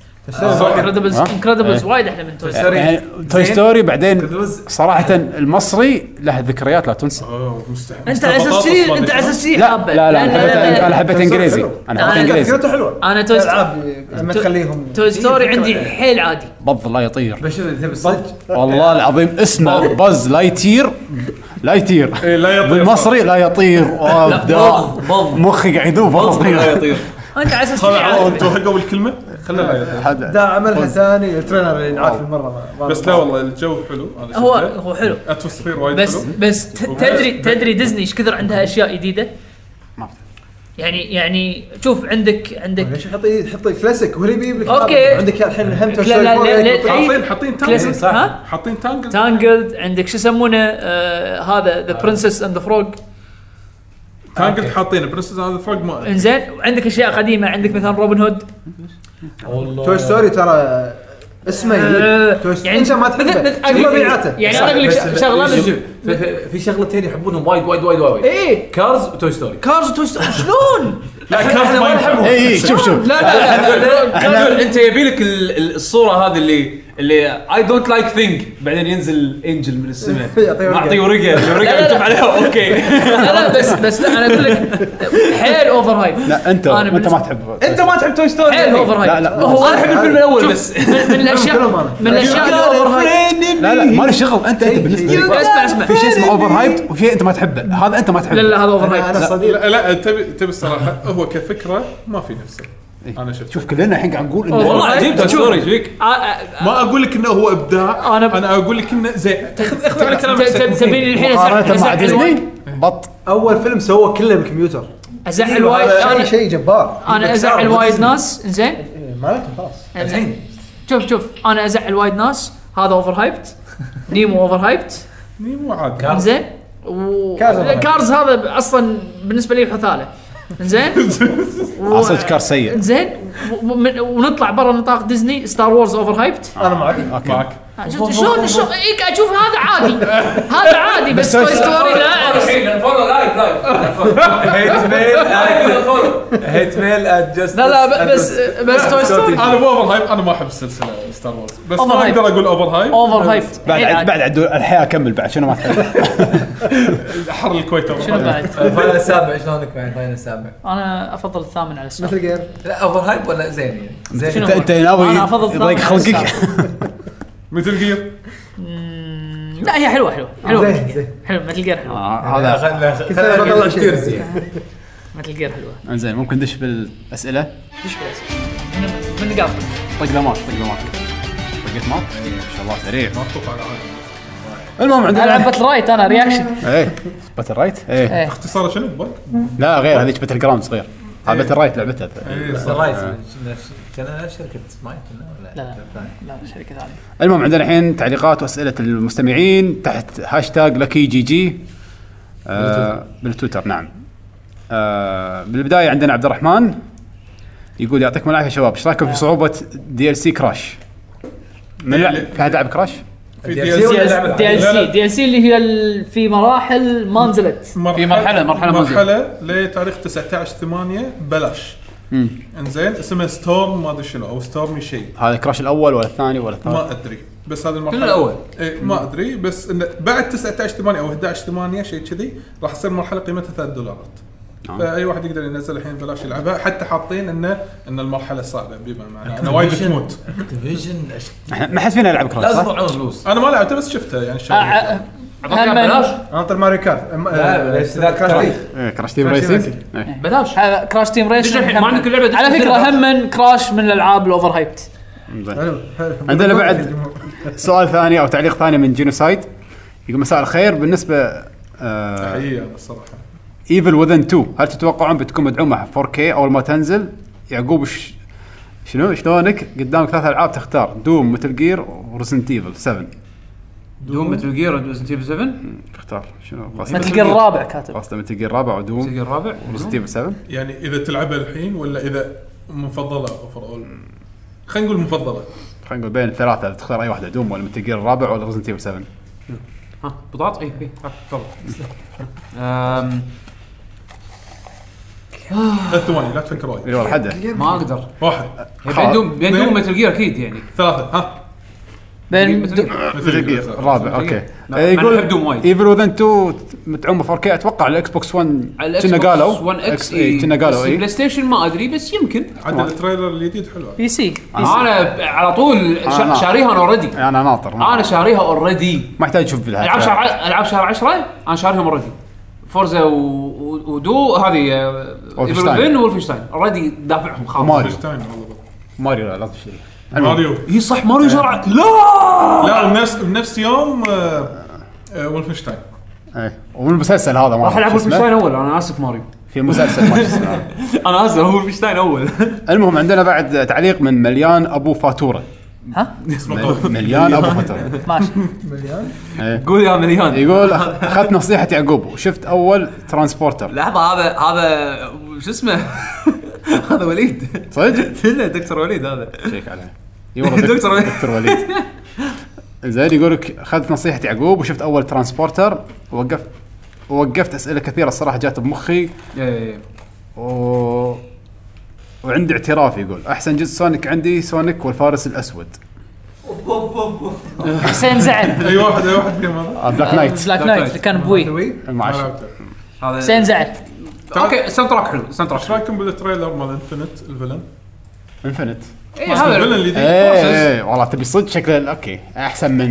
انكريدبلز ها؟ انكريدبلز إيه. وايد احلى من توي ستوري يعني توي زين. ستوري بعدين كلوز. صراحه المصري له ذكريات لا تنسى اوه مستحيل انت على اساس شيء انت على اساس شيء لا حابه لا لا انا حبيت انا حبيت انجليزي حلو. انا حبيت أنا- انجليزي فكرته حلوه انا توي ستوري العاب لما تخليهم إيه، توي ستوري فكرة عندي يعني. حيل عادي بض لا يطير بشوف اذا تبي صدق والله العظيم اسمه باز لا يطير لا يطير إيه، لا يطير بالمصري لا يطير وابداع بض بض مخي قاعد يذوب لا والله طيب. [LAUGHS] يطير انت على اساس شيء طلع عادي. انتوا حقوا الكلمه خلنا لا يطير. حد- دا عمل حساني التريلر اللي نعرف المره ما- ما- بس لا والله الجو حلو انا هو شفته. هو حلو اتموسفير وايد بس حلو بس ت- تدري تدري ديزني ايش كثر عندها اشياء جديده؟ ما في. يعني يعني شوف عندك عندك ليش حط حط كلاسيك هو اللي بيجيب لك أوكي. هذا. عندك يا الحين هم توي لا- ستوري لا- لا- فور لا- يحط- أي- حاطين حاطين كلاسيك تانجل ها؟ حاطين تانجل تانجلد عندك شو يسمونه آه هذا ذا برنسس اند ذا فروج تانجل حاطين برنسس هذا فرق ما انزين وعندك اشياء قديمه عندك مثلا روبن هود توي ستوري ترى اسمه آه، يجيب. توي ستوري انت ما مثل- مثل- تحبه شوف مبيعاته يعني انا اقول لك ش- شغله بس- في- [LAUGHS] في- في شغلتين يحبونهم وايد وايد وايد وايد ايه كارز وتوي ستوري كارز توي ستوري شلون؟ لا كارز ما يحبون اي اي إيه، شوف شوف لا لا لا, لا, لا, لا انت يبي لك ال- ال- الصوره هذه اللي اللي اي دونت لايك ثينج بعدين ينزل انجل من السماء [LAUGHS] يعطيه ورقة. معطيه ورقه الورقه لا. مكتوب عليها [LAUGHS] اوكي لا بس بس لا انا اقول لك حيل اوفر هايب لا انت أنا انت بالنسبة- ما تحب انت ما تحب توي ستوري حيل اوفر هايب لا، لا. هو انا احب الفيلم الاول بس من الاشياء كلهم أنا. من الاشياء اللي اوفر هايب لا لا ما له شغل انت انت بالنسبه لك اسمع اسمع في شيء اسمه اوفر هايبت وفي شيء انت ما تحبه هذا انت ما تحبه لا لا هذا اوفر انا هايب أنا صديق لا لا تبي تبي الصراحه هو كفكره ما في نفسه إيه. انا شفته شوف كلنا الحين قاعد نقول انه والله عجيب توي ستوري ايش فيك؟ ما اقول لك انه هو ابداع آه، أنا ب- انا انا اقول لك انه زين إيه. خذ اخذ على كلامك ت- ت- تبيني الحين مقارنه مع ازعل ديزني ازعل بط اول فيلم سووه كله بالكمبيوتر ازعل وايد شيء انا شيء جبار انا ازعل وايد ناس زين إيه، مالكم خلاص الحين شوف شوف انا ازعل وايد ناس هذا اوفر هايبت نيمو اوفر هايبت مو عادي زين و كارز أوفر هايبت. كارز هذا اصلا بالنسبه لي حثاله زين و- صدق كار سيء زين و- ومن- ونطلع برا نطاق ديزني ستار وورز اوفر هايبت انا معك اوكي شفت شلون شلون اي قاعد اشوف هذا عادي هذا عادي بس توي ستوري لا فولو لايك لايك هيت ميل هيت ميل ات جاست لا لا ب- بس بس توي ستوري انا مو اوفر هايب انا ما احب السلسله ستار وورز بس أوفر ما هايب. اقدر اقول اوفر هايب اوفر هايب بعد عد- بعد عد الحياه اكمل بعد شنو ما تحب حر الكويت اوفر شنو هايب بعد؟ الفاينل السابع شلونك مع الفاينل السابع؟ انا افضل الثامن على السابع مثل جير لا اوفر هايب ولا زين يعني؟ زين شنو؟ انت انت ناوي أنا أفضل الثامن يضيق على خلقك السابع. مثل جير مم، لا هي حلوه حلوه حلوه زين زين حلو مثل جير حلوه آه، هذا خلينا نطلع شيء. كرسي مثل جير حلوه زين ممكن ندش بالاسئله من قبل طق دمار طق دمار طقت مات ما شاء الله سريع ما تطوف على عادي المهم العب عندنا باتل رايت انا رياكشن [LAUGHS] ايه باتل رايت ايه إيه. اختصاره شنو بق؟ لا غير هذيك باتل جراوند صغير هذا باتل رايت لعبته إيه، سرايز كان شركه مايك ولا لا لا لا شركه ثانيه المهم عندنا الحين تعليقات واسئله المستمعين تحت هاشتاج لكي جي جي آه بالتويتر نعم آه بالبدايه عندنا عبد الرحمن يقول يعطيكم العافيه شباب ايش رايكم في صعوبه دي ال سي كراش؟ من لعب في احد لعب كراش؟ في DLC DLC ولا لعبة؟ دي ال لا، سي لا. دي ال سي اللي هي ال- في مراحل ما نزلت في مرحلة- مرحلة منزل. مرحله لتاريخ 19 8 بلاش انزين اسمها ستورم ما ادري شنو او ستورمي شيء هذا كراش الاول ولا الثاني ولا الثالث؟ ما ادري بس هذه المرحله طيب. كل الأول. إيه ما ادري بس إن بعد 19 8 او 11 8 شيء كذي راح تصير مرحله قيمتها 3 دولارات نعم. آه. فاي واحد يقدر ينزل الحين بلاش يلعبها حتى حاطين انه ان المرحله صعبه بما معناه انا وايد تموت اكتيفيجن إحنا- ما حد فينا يلعب كراش لازم صح؟ عوز فلوس انا ما لعبتها بس شفتها يعني آه، شغلة. هم- بلاش انطر ماريو كارت أم- آه، بس ذاك كراش كراش. تيم. إيه، كراش تيم كراش تيم ريسنج إيه. بلاش هذا كراش تيم ريس دش الحين، ما عندك اللعبة دش على فكره تلعبها. هم من كراش من الالعاب الاوفر هايبت إنزين. حلو حلو عندنا بعد سؤال ثاني او تعليق ثاني من جينوسايد يقول مساء الخير بالنسبه آه، حقيقة انا الصراحه ايفل وذن 2 هل تتوقعون بتكون مدعومه 4K اول ما تنزل يعقوب ش... شنو شلونك قدامك ثلاث العاب تختار دوم متل جير ورسنت ايفل 7 دوم متل جير ريزنت ايفل 7 اختار شنو قصدك؟ مثل جير الرابع [LAUGHS] كاتب قصده متل جير الرابع متل ودوم جير الرابع ريزنت ايفل 7 يعني اذا تلعبها الحين ولا اذا مفضله اوفر اول خلينا نقول مفضله خلينا نقول بين الثلاثه تختار اي واحده دوم ولا متل جير الرابع ولا ريزنت ايفل 7 ها بطاط اي اي ها، تفضل أم، ثلاث ثواني لا تفكر وايد اللي ورا حده ما اقدر واحد بين دوم بين دوم متل جير اكيد يعني ثلاثه ها بين متل جير. متل جير الرابع اوكي لا، إيه، أنا أحب دوم وايد. ايفل وذن 2 مدعومه 4 كي اتوقع على الاكس بوكس 1 على كنا Xbox قالوا One X، إيه، إي. كنا قالوا بس اي بلاي ستيشن ما ادري بس يمكن عاد التريلر الجديد حلو بي سي انا على طول أنا- شا- شاريها انا اوريدي انا ناطر انا شاريها اوريدي ما يحتاج اشوف العاب شهر بالهاتف ع- العاب شهر 10 انا شاريهم اوريدي فورزا و... و- ودو هذه Wolfenstein. ايفل وولفنشتاين اوريدي دافعهم خالص ماريو فيشتاين والله بالضبط. ماريو لا لازم تشتري ماريو هي صح إيه. ماريو جرعه لا لا بنفس بنفس يوم آه، آه، ولفنشتاين ايه والمسلسل هذا ما راح العب أعرف شو اسمه. وولفنشتاين اول انا اسف ماريو [LAUGHS] في مسلسل ما شو اسمه انا اسف هو وولفنشتاين اول المهم عندنا بعد تعليق من مليان ابو فاتوره ها م- مليان ابو فاتوره ماشي [LAUGHS] قول يا مليان يقول اخذت نصيحه يعقوب وشفت اول ترانسبورتر لحظه هذا هذا شو اسمه [LAUGHS] هذا وليد صدق؟ [LAUGHS] لا دكتور وليد هذا شيك عليه إي والله دك- دكتور وليد. دكتور وليد زين يقول لك اخذت نصيحه يعقوب وشفت اول ترانسبورتر ووقفت ووقفت اسئله كثيره الصراحه جات بمخي إيه، و... وعندي اعتراف يقول احسن جزء سونيك عندي سونيك والفارس الاسود حسين زعل اي واحد اي واحد فيهم هذا آه، بلاك نايت بلاك نايت اللي كان بوي مع الش- آه. هذا حسين زعل اوكي ساوند تراك حلو ساوند ايش تراك رايكم بالتريلر مال انفنت الفيلن؟ انفنت إي، إيه، هذا الفيلن الجديد ايه إيه، والله تبي صدق شكله اوكي احسن من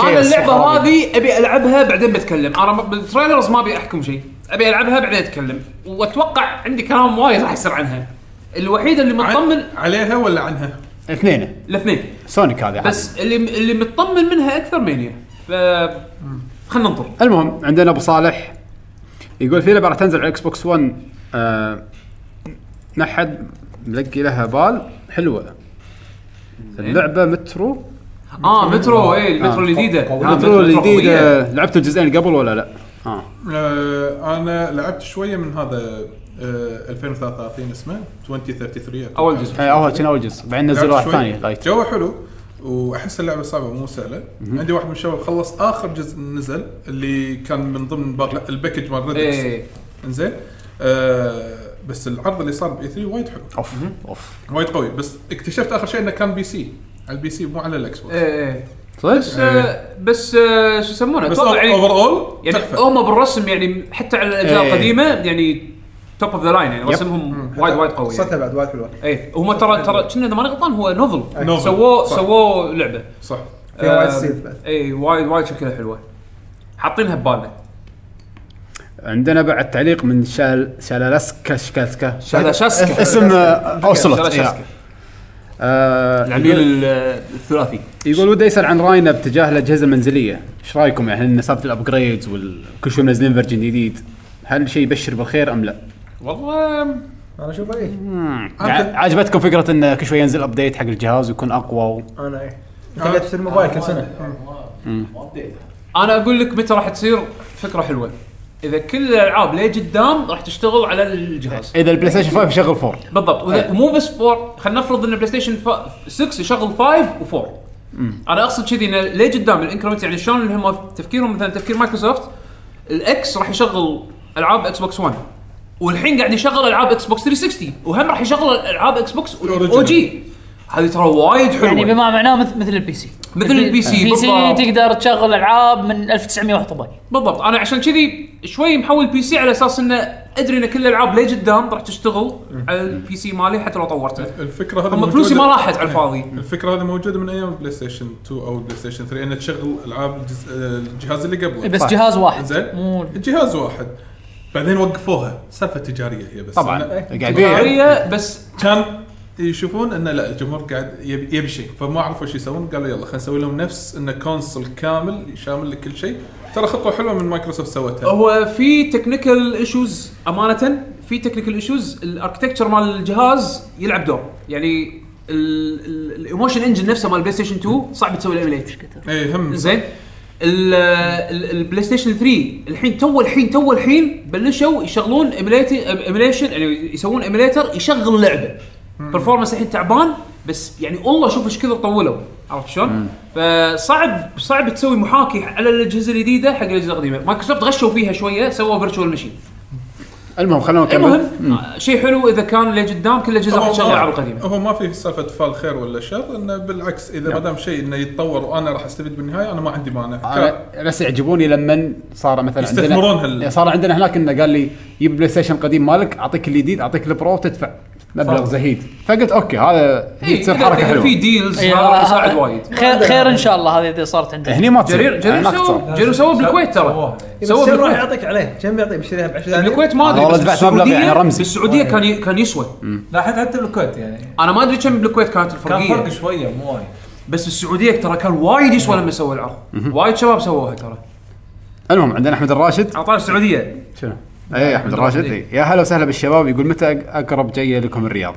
انا كيس اللعبه وخرابي. هذه ابي العبها بعدين بتكلم انا ما- بالتريلرز ما ابي احكم شيء ابي العبها بعدين اتكلم واتوقع عندي كلام وايد راح يصير عنها الوحيده اللي مطمن عن- عليها ولا عنها؟ الاثنين الاثنين سونيك هذه بس بس اللي اللي مطمن منها اكثر مانيا ف خلينا ننطر المهم عندنا ابو صالح يقول في لعبه راح تنزل على اكس بوكس 1 آه نحد ملقي لها بال حلوه اللعبه مترو اه مترو اي آه، المترو الجديده قوية. آه، مترو قوية. الجديده لعبت الجزئين اللي قبل ولا لا؟ اه آه، انا لعبت شويه من هذا آه، 2033 اسمه 2033 اول جزء إيه، اول كان اول جزء بعدين طيب. نزلوا واحد ثاني لايت جو حلو واحس اللعبه صعبه مو سهله عندي واحد من الشباب خلص اخر جزء نزل اللي كان من ضمن بار- الباكج مال ريدكس اي انزين آه، بس العرض اللي صار باي 3 وايد حلو اوف اوف وايد قوي بس اكتشفت اخر شيء انه كان بي سي على البي سي مو على الاكس بوكس اي إيه، بس صدق؟ آه، بس آه، شو يسمونه بس أتوقع يعني- اوفر اول يعني تحفه هم بالرسم يعني حتى على الاجزاء إيه. القديمه يعني توب اوف ذا لاين يعني يب. رسمهم وايد وايد قوي يعني. قصتها بعد وايد حلوه اي هم إيه، ترى ترى كنا اذا ماني غلطان هو نوفل نوفل. سووه صح. سووه لعبه صح فيها وايد آه، سيف بعد. اي وايد وايد شكلها حلوه حاطينها ببالنا عندنا بعد تعليق من شال شالالسكا شكاسكا [LAUGHS] هذا شاسكا اسم آه، اوسلوت شاسكا. يا. آه، العميل ال- الثلاثي يقول ودي يسال عن راينا باتجاه الاجهزه المنزليه، ايش رايكم يعني ان سالفه الابجريدز وكل شوي منزلين فيرجن جديد، هل شيء يبشر بالخير ام لا؟ والله انا اشوف ايه يعني عجبتكم فكره انه كل شوي ينزل ابديت حق الجهاز ويكون اقوى و... انا إيه. ايه انت قاعد تشتري موبايل كل سنه انا اقول لك متى راح تصير فكره حلوه اذا كل الالعاب ليه قدام راح تشتغل على الجهاز اذا البلاي ستيشن 5 يشغل 4 بالضبط وإذا- ومو بس 4 خلينا نفرض ان بلاي ستيشن 6 يشغل 5 و4 انا اقصد كذي انه ليه قدام الانكرمنت يعني شلون اللي هم تفكيرهم مثلا تفكير مايكروسوفت الاكس راح يشغل العاب اكس بوكس 1 والحين قاعد يشغل العاب اكس بوكس 360 وهم راح يشغل العاب اكس بوكس او جي هذه ترى وايد حلوه يعني بما معناه مثل مثل البي سي مثل البي سي، البي سي بالضبط. تقدر تشغل العاب من 1981 بالضبط انا عشان كذي شوي محول بي سي على اساس انه ادري ان كل الالعاب ليه قدام راح تشتغل على البي سي مالي حتى لو طورته الفكره هذه هم موجودة- فلوسي ما راحت على الفاضي الفكره هذه موجوده من ايام بلاي ستيشن 2 او بلاي ستيشن 3 انها تشغل العاب الجز- الجهاز اللي إيه، قبله طيب. بس جهاز واحد زين مو جهاز واحد بعدين وقفوها سالفه تجاريه هي بس طبعا إنه قاعد يبيع تجاريه بس كان يشوفون انه لا الجمهور قاعد يبي, يبي شيء فما عرفوا ايش يسوون قالوا يلا خلينا نسوي لهم نفس انه كونسل كامل شامل لكل شيء ترى خطوه حلوه من مايكروسوفت سوتها هو في تكنيكال ايشوز امانه في تكنيكال ايشوز الاركتكتشر مال الجهاز يلعب دور يعني الايموشن انجن نفسه مال بلاي ستيشن 2 صعب تسوي الايميليت اي إيه، هم زين ال- ال- البلاي ستيشن 3 الحين تو الحين تو الحين بلشوا يشغلون ايميليشن يعني يسوون ايميليتر يشغل لعبه برفورمانس الحين تعبان بس يعني والله شوف ايش كثر طولوا عرفت شلون؟ فصعب صعب تسوي محاكي على الاجهزه الجديده حق الاجهزه القديمه، مايكروسوفت غشوا فيها شويه سووا فيرتشوال ماشين. المهم خلونا نكمل المهم آه، شيء حلو اذا كان اللي قدام كل الاجهزه راح تشغل العاب قديمه. هو ما في سالفه فال خير ولا شر انه بالعكس نعم. اذا ما دام شيء انه يتطور وانا راح استفيد بالنهايه انا ما عندي مانع ك- انا بس يعجبوني لما صار مثلا يستثمرون عندنا يعني هال- صار عندنا هناك انه قال لي جيب بلاي ستيشن قديم مالك اعطيك الجديد اعطيك البرو تدفع مبلغ زهيد فقلت اوكي هذا هي إيه، تصير إذا- حركه إذا في حلوه ديلز إيه، هذا راح آه، يساعد آه. وايد. خير خير ان شاء الله هذه اذا صارت عندنا هني ما تصير جرير جرير هناك سووا صار. جرير سووا بالكويت ترى سووها يعني. سووا سوى راح بالكويت يعطيك عليه كم بيعطيه بيشتريها ب 10000 الكويت ما أنا ادري والله بس دفعت مبلغ بالسعودية- يعني رمزي. بالسعوديه كان ي- كان يسوى لا حتى حتى بالكويت يعني انا ما ادري كم بالكويت كانت كان فرق الفرقيه شويه مو وايد بس بالسعوديه ترى كان وايد يسوى لما سووا العرض وايد شباب سووها ترى المهم عندنا احمد الراشد على طار السعوديه شنو؟ اي احمد الراشد الراشد، اي يا هلا وسهلا بالشباب يقول متى اقرب جايه لكم الرياض؟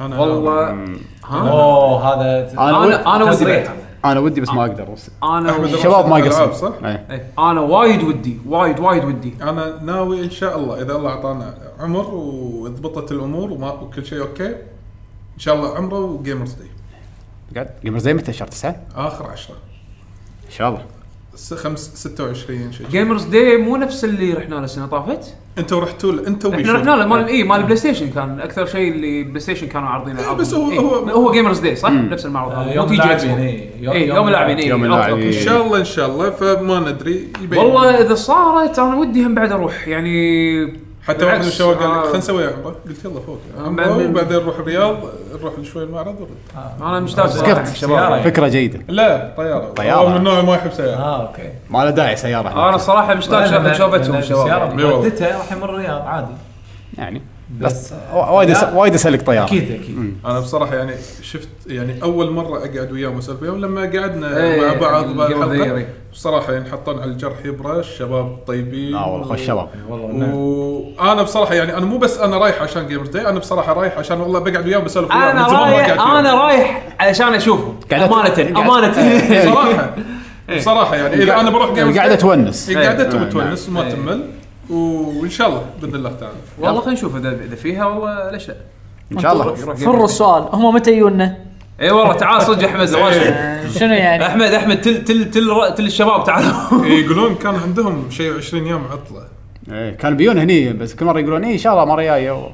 انا والله ها اوه هذا انا انا ودي تصريح. بعد. انا ودي بس ما آه. اقدر انا الشباب ما يقصر ألعاب، صح؟ إيه، انا وايد ودي وايد وايد ودي انا ناوي ان شاء الله اذا الله اعطانا عمر وضبطت الامور وما وكل شيء اوكي ان شاء الله عمره وجيمرز دي قاعد قبل زي متى شهر 9 ان اخر 10 شاء الله 5 26 شيء جيمرز دي مو نفس اللي رحنا له السنه طافت انتوا رحتوا له انتوا احنا رحنا له مال اي مال بلاي ستيشن كان اكثر شيء اللي بلاي ستيشن كانوا عارضين العاب بس هو- إيه، هو- هو جيمرز دي صح نفس المعرض هذا آه، يوم آه، مو TGX. اللاعبين، إيه. يوم- إيه، يوم يوم اللاعبين إيه. يوم أوكي، أوكي. اللاعبين. ان شاء الله ان شاء الله فما ندري يبين والله اذا صارت انا ودي هم بعد اروح يعني حتى واحد بالعكس، من الشباب قال لي آه. خلينا نسوي عمره قلت يلا فوق بعد- عمره وبعدين نروح الرياض نروح شوي المعرض ورد انا مشتاق صراحه سكت شباب سيارة. فكره جيده لا طياره طيارة. هو من النوع اللي ما يحب سياره اه اوكي ما له داعي سياره هناك. انا صراحه مشتاق شباب شوفتهم شباب إي والله. ودته راح يمر الرياض عادي يعني بس وا- وايد أس- وايد اسالك طياره اكيد اكيد انا بصراحه يعني شفت يعني اول مره اقعد وياهم واسولف وياهم لما قعدنا إيه، مع بعض قبل بالحلقه ذيري. بصراحه يعني حطون على الجرح يبره الشباب طيبين لا والله خوش شباب وانا بصراحه يعني انا مو بس انا رايح عشان جيمرز داي انا بصراحه رايح عشان والله بقعد وياهم بسولف وياهم انا من زمان ما قعدت رايح وياهم. انا رايح علشان [LAUGHS] اشوفهم قاعد أت- قاعد- امانه امانه [LAUGHS] إيه. بصراحه إيه. بصراحه يعني اذا انا بروح إيه. جيمرز قاعده تونس قاعدته نعم. بتونس إيه. وما تمل وان شاء الله باذن الله تعالى والله خلينا نشوف اذا اذا فيها والله ليش لا ان شاء الله فروا السؤال هم متى يجونا؟ اي والله تعال صدق يا إيه. احمد زواج. شنو يعني؟ احمد احمد تل تل تل, تل الشباب تعالوا يقولون كان عندهم شيء 20 يوم عطله إيه، كان بيون هني بس كل مره يقولون ايه ان شاء الله مره جايه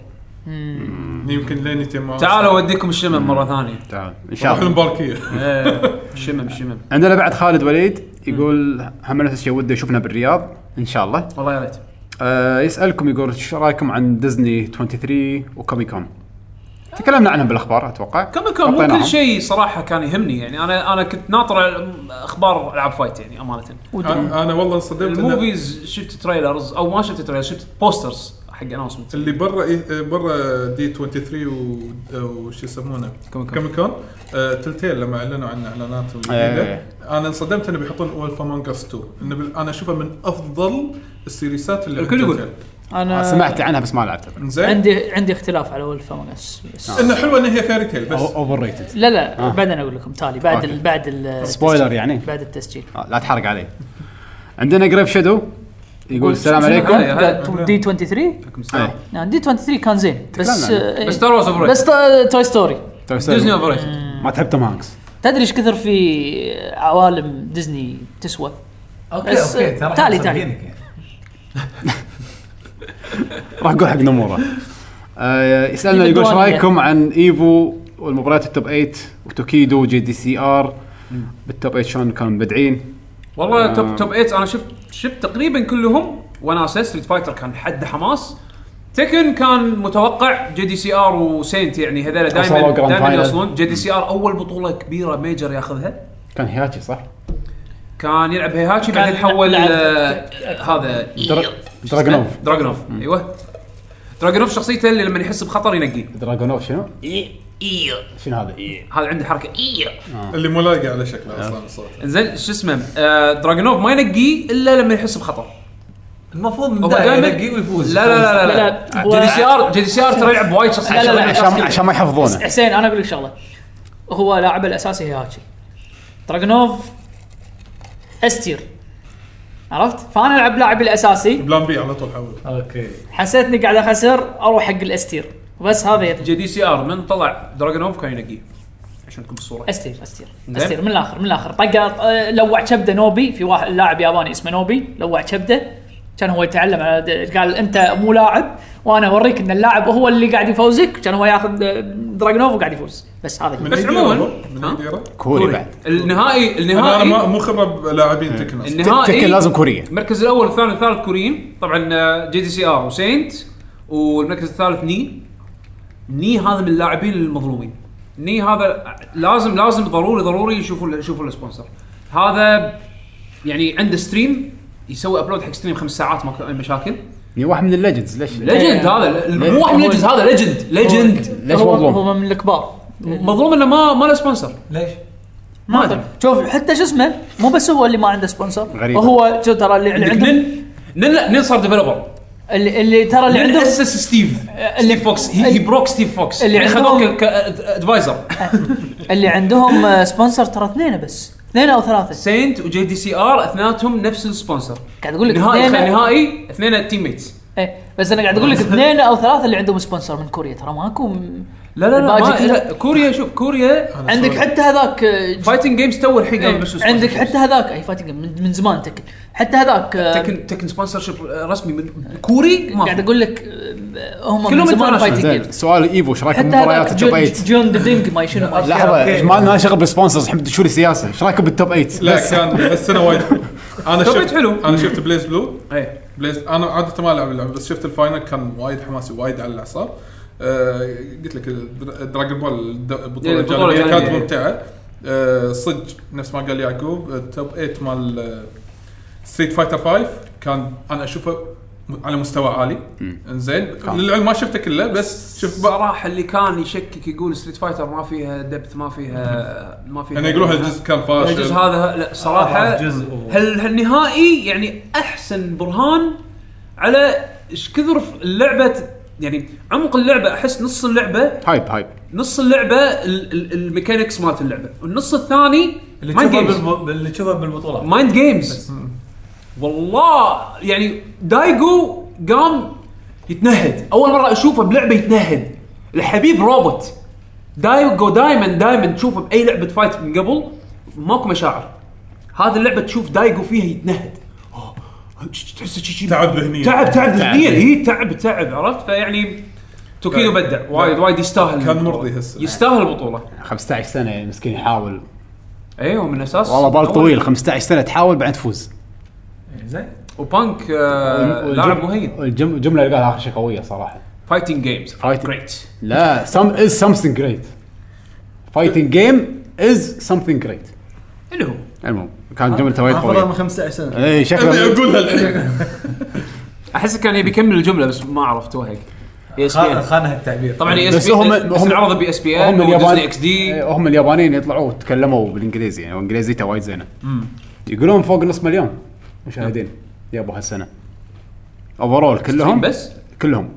يمكن لين يتجمعون تعالوا اوديكم الشمم مره ثانيه تعال ان شاء يروحون الله الباركيه [LAUGHS] الشمم الشمم عندنا بعد خالد وليد يقول هم نفس الشيء وده يشوفنا بالرياض ان شاء الله والله يا ريت آه يسالكم يقول ايش رايكم عن ديزني 23 وكومي كون تكلمنا عنهم بالاخبار اتوقع كم كم مو أعطيناهم. كل شيء صراحه كان يهمني يعني انا انا كنت ناطر اخبار العاب فايت يعني امانه انا أنا والله انصدمت إنه الموفيز شفت تريلرز او ما شفت تريلرز شفت بوسترز حق اناونسمنت اللي برا إيه- برا دي 23 و- وش يسمونه كوميك كون. كوميك كون آه، تلتيل لما اعلنوا عن اعلاناتهم الجديده إيه. انا انصدمت انه بيحطون اول فامونج اس 2 انه بال- انا اشوفها من افضل السيريسات اللي الكل عند يقول. تلتيل. آه، انا سمعت عنها بس ما لعبتها زين عندي عندي اختلاف على اول فامونس بس انه حلوه ان هي فيري تيل بس أو- اوفر ريتد لا لا آه. بعدين اقول لكم تالي بعد أوكي. ال بعد [LAUGHS] ال سبويلر يعني بعد التسجيل آه، لا تحرق علي عندنا جريف شادو يقول السلام شنو عليكم هاي؟ هاي. دي 23 آه، نعم، دي 23 كان زين بس تكلمنا آه، إيه. بس ستار وورز اوفر بس إيه. تا- توي ستوري طيب، سلام. ديزني اوفر ريتد ما تحب توم هانكس تدري ايش كثر في عوالم ديزني تسوى اوكي بس، اوكي ترى تالي، تالي. إحنا مصدقينك يعني. راح اقول حق نموره آه، يسالنا إيفو يقول ايش دوانية. رايكم عن ايفو والمباريات التوب 8 وتوكيدو وجي دي سي ار بالتوب 8 شلون كانوا مبدعين والله توب توب 8 انا شفت شفت تقريبا كلهم وناسه ستريت فايتر كان حد حماس تكن كان متوقع جي دي سي ار وسينت يعني هذول دائما وصلوا جراند دائما فاينل. يوصلون جي دي سي ار اول بطوله كبيره ميجر ياخذها كان هياتشي صح؟ كان يلعب هيهاتشي كان بعدين حول لعب- آه، هذا درا- دراجونوف دراجونوف ايوه دراجونوف شخصيته اللي لما يحس بخطر ينقيه دراجونوف شنو؟ شنو هذا؟ هذا عنده حركه إيه. اللي مو لاقي على أه. شكله اصلا الصوت انزين شو اسمه آه دراجونوف ما ينقيه الا لما يحس بخطر المفروض من هو البدايه دايماً- ينقي ويفوز لا لا لا، لا لا لا. لا جي دي سي ار جي دي سي ار ترى يلعب وايد شخصيات لا، لا، لا. عشان عشان ما يحفظونه حسين انا اقول لك شغله هو لاعبه الاساسي هيهاتشي دراجونوف استير عرفت؟ فانا العب لاعبي الاساسي بلان بي على طول حول اوكي حسيتني قاعد اخسر اروح حق الاستير وبس هذا يطلع جي دي سي ار من طلع دراجون اوف كان ينقيه عشان تكون بالصوره استير استير زين. استير من الاخر من الاخر طق آه، لوع كبده نوبي في واحد لاعب ياباني اسمه نوبي لوع كبده كان هو يتعلم على د- قال انت مو لاعب وانا اوريك ان اللاعب هو اللي قاعد يفوزك كان هو ياخذ آه، دراجونوف وقاعد يفوز بس هذا هي. من بس أي عموماً- ديرة هو؟ من ها؟ إيه. أي ديرة؟ كوري بعد انا النهائي أنا ما- النهائي مو خبره بلاعبين إيه. تكن أصلاً. تك- النهائي تكن لازم كوريه المركز الاول والثاني والثالث كوريين طبعا آه، جي دي سي ار وسينت والمركز الثالث ني ني هذا من اللاعبين المظلومين ني هذا لازم لازم ضروري ضروري يشوفوا يشوفوا السبونسر هذا يعني عنده ستريم يسوي ابلود حق ستريم خمس ساعات ماكو اي مشاكل يعني واحد من الليجندز ليش؟ ليجند هذا ال- مو واحد ليجند هذا ليجند ليجند ليش هو مظلوم؟ هو من الكبار مظلوم انه ما ما له سبونسر ليش؟ ما ادري شوف حتى شو اسمه مو بس هو اللي ما عنده سبونسر غريبة. وهو شو ترى اللي اللي عندك عنده نن نن لا، نن صار ديفلوبر اللي, اللي ترى اللي اللي عنده اسس ستيف اللي- ستيف فوكس هي بروك ستيف فوكس اللي اللي عندهم- خذوه كادفايزر اللي عندهم آه، سبونسر ترى اثنين بس اثنين او ثلاثه سينت وجي دي سي ار اثنيناتهم نفس السبونسر قاعد اقول لك نهائي اثنين نهائي اثنين تيم ميتس ايه بس انا قاعد اقول لك اثنين او ثلاثه اللي عندهم سبونسر من كوريا ترى ماكو م- لا لا لا, الباقي ما كله- لا كوريا شوف كوريا عندك حتى هذاك آه، فايتنج جيمز تو الحين إيه، قبل بس sponsor. عندك حتى هذاك اي فايتنج من, من زمان تكن حتى هذاك آه، تكن تكن سبونسر شيب رسمي من كوري ما قاعد في. اقول لك آه، هم من كلهم زمان international. فايتنج زين جيم سؤال ايفو ايش رايك حتى بمباريات هذاك التوب جون- 8؟ جون ذا دينج ما شنو ما لحظه أوكي. ايش مالنا شغل بالسبونسرز الحين شو السياسه ايش رايكم بالتوب 8 لا كان السنه وايد [LAUGHS] انا طب شفت حلو. انا شفت بليز بلو إيه. بليز انا عاده ما العب اللعبه بس شفت الفاينل كان وايد حماسي وايد على الاعصاب آه، قلت لك الدرا- دراجون بول الد- البطوله إيه، البطولة الجانبيه كانت الجانبية. ممتعه آه، صدق نفس ما قال يعقوب التوب 8 مال آه، ستريت فايتر 5 كان انا اشوفه م- على مستوى عالي انزين للعلم ما شفته كله بس شفت بعض صراحه اللي كان يشكك يقول ستريت فايتر ما فيها دبث ما فيها ما فيها يعني يقولون هالجزء كان الجزء فاشل هذا لا صراحه آه، جزء و- هل هالنهائي يعني احسن برهان على ايش كثر ف- اللعبه يعني عمق اللعبه احس نص اللعبه هايب هايب نص اللعبه ال- ال- الميكانكس مالت اللعبه والنص الثاني اللي مايند تشوفه جيمز بالب- اللي تشوفه بالبطولات مايند جيمز والله يعني دايجو قام يتنهد اول مره اشوفه بلعبه يتنهد الحبيب روبوت دايجو دايما دايما تشوفه باي لعبه فايت من قبل ماكو مشاعر هذه اللعبه تشوف دايجو فيها يتنهد أوه، تحسه شي- شي- تعب ذهنيا. تعب تعب تعب. ذهنيا اي تعب تعب عرفت فيعني توكيدو لا. بدع وايد وايد يستاهل كان البطولة. مرضي هسه يستاهل البطوله 15 سنه يعني مسكين يحاول ايوه من اساس والله بال طويل 15 سنه تحاول بعدين تفوز زين وبانك آه والجم- لاعب مهين الجم- الجمله اللي قالها اخر شيء قويه صراحه فايتنج جيمز Fighting. جريت لا some is something great fighting game is something great اللي هو المهم كان جملته آه، وايد إيه، حافظها من قويه 15 سنه اي شكله اقولها الحين احس كان يبي يكمل الجمله بس ما E عرف توهق اي اس خان- بي خانها التعبير طبعا اي اس بس بي هم- هم هم- العرض E بي اس بي هم ان اليابان- وديزني اكس دي إيه، هم اليابانيين يطلعوا تكلموا بالانجليزي يعني وانجليزيته وايد زينه يقولون فوق نص مليون مشاهدين يابوا هالسنه اوفرول كلهم بس كلهم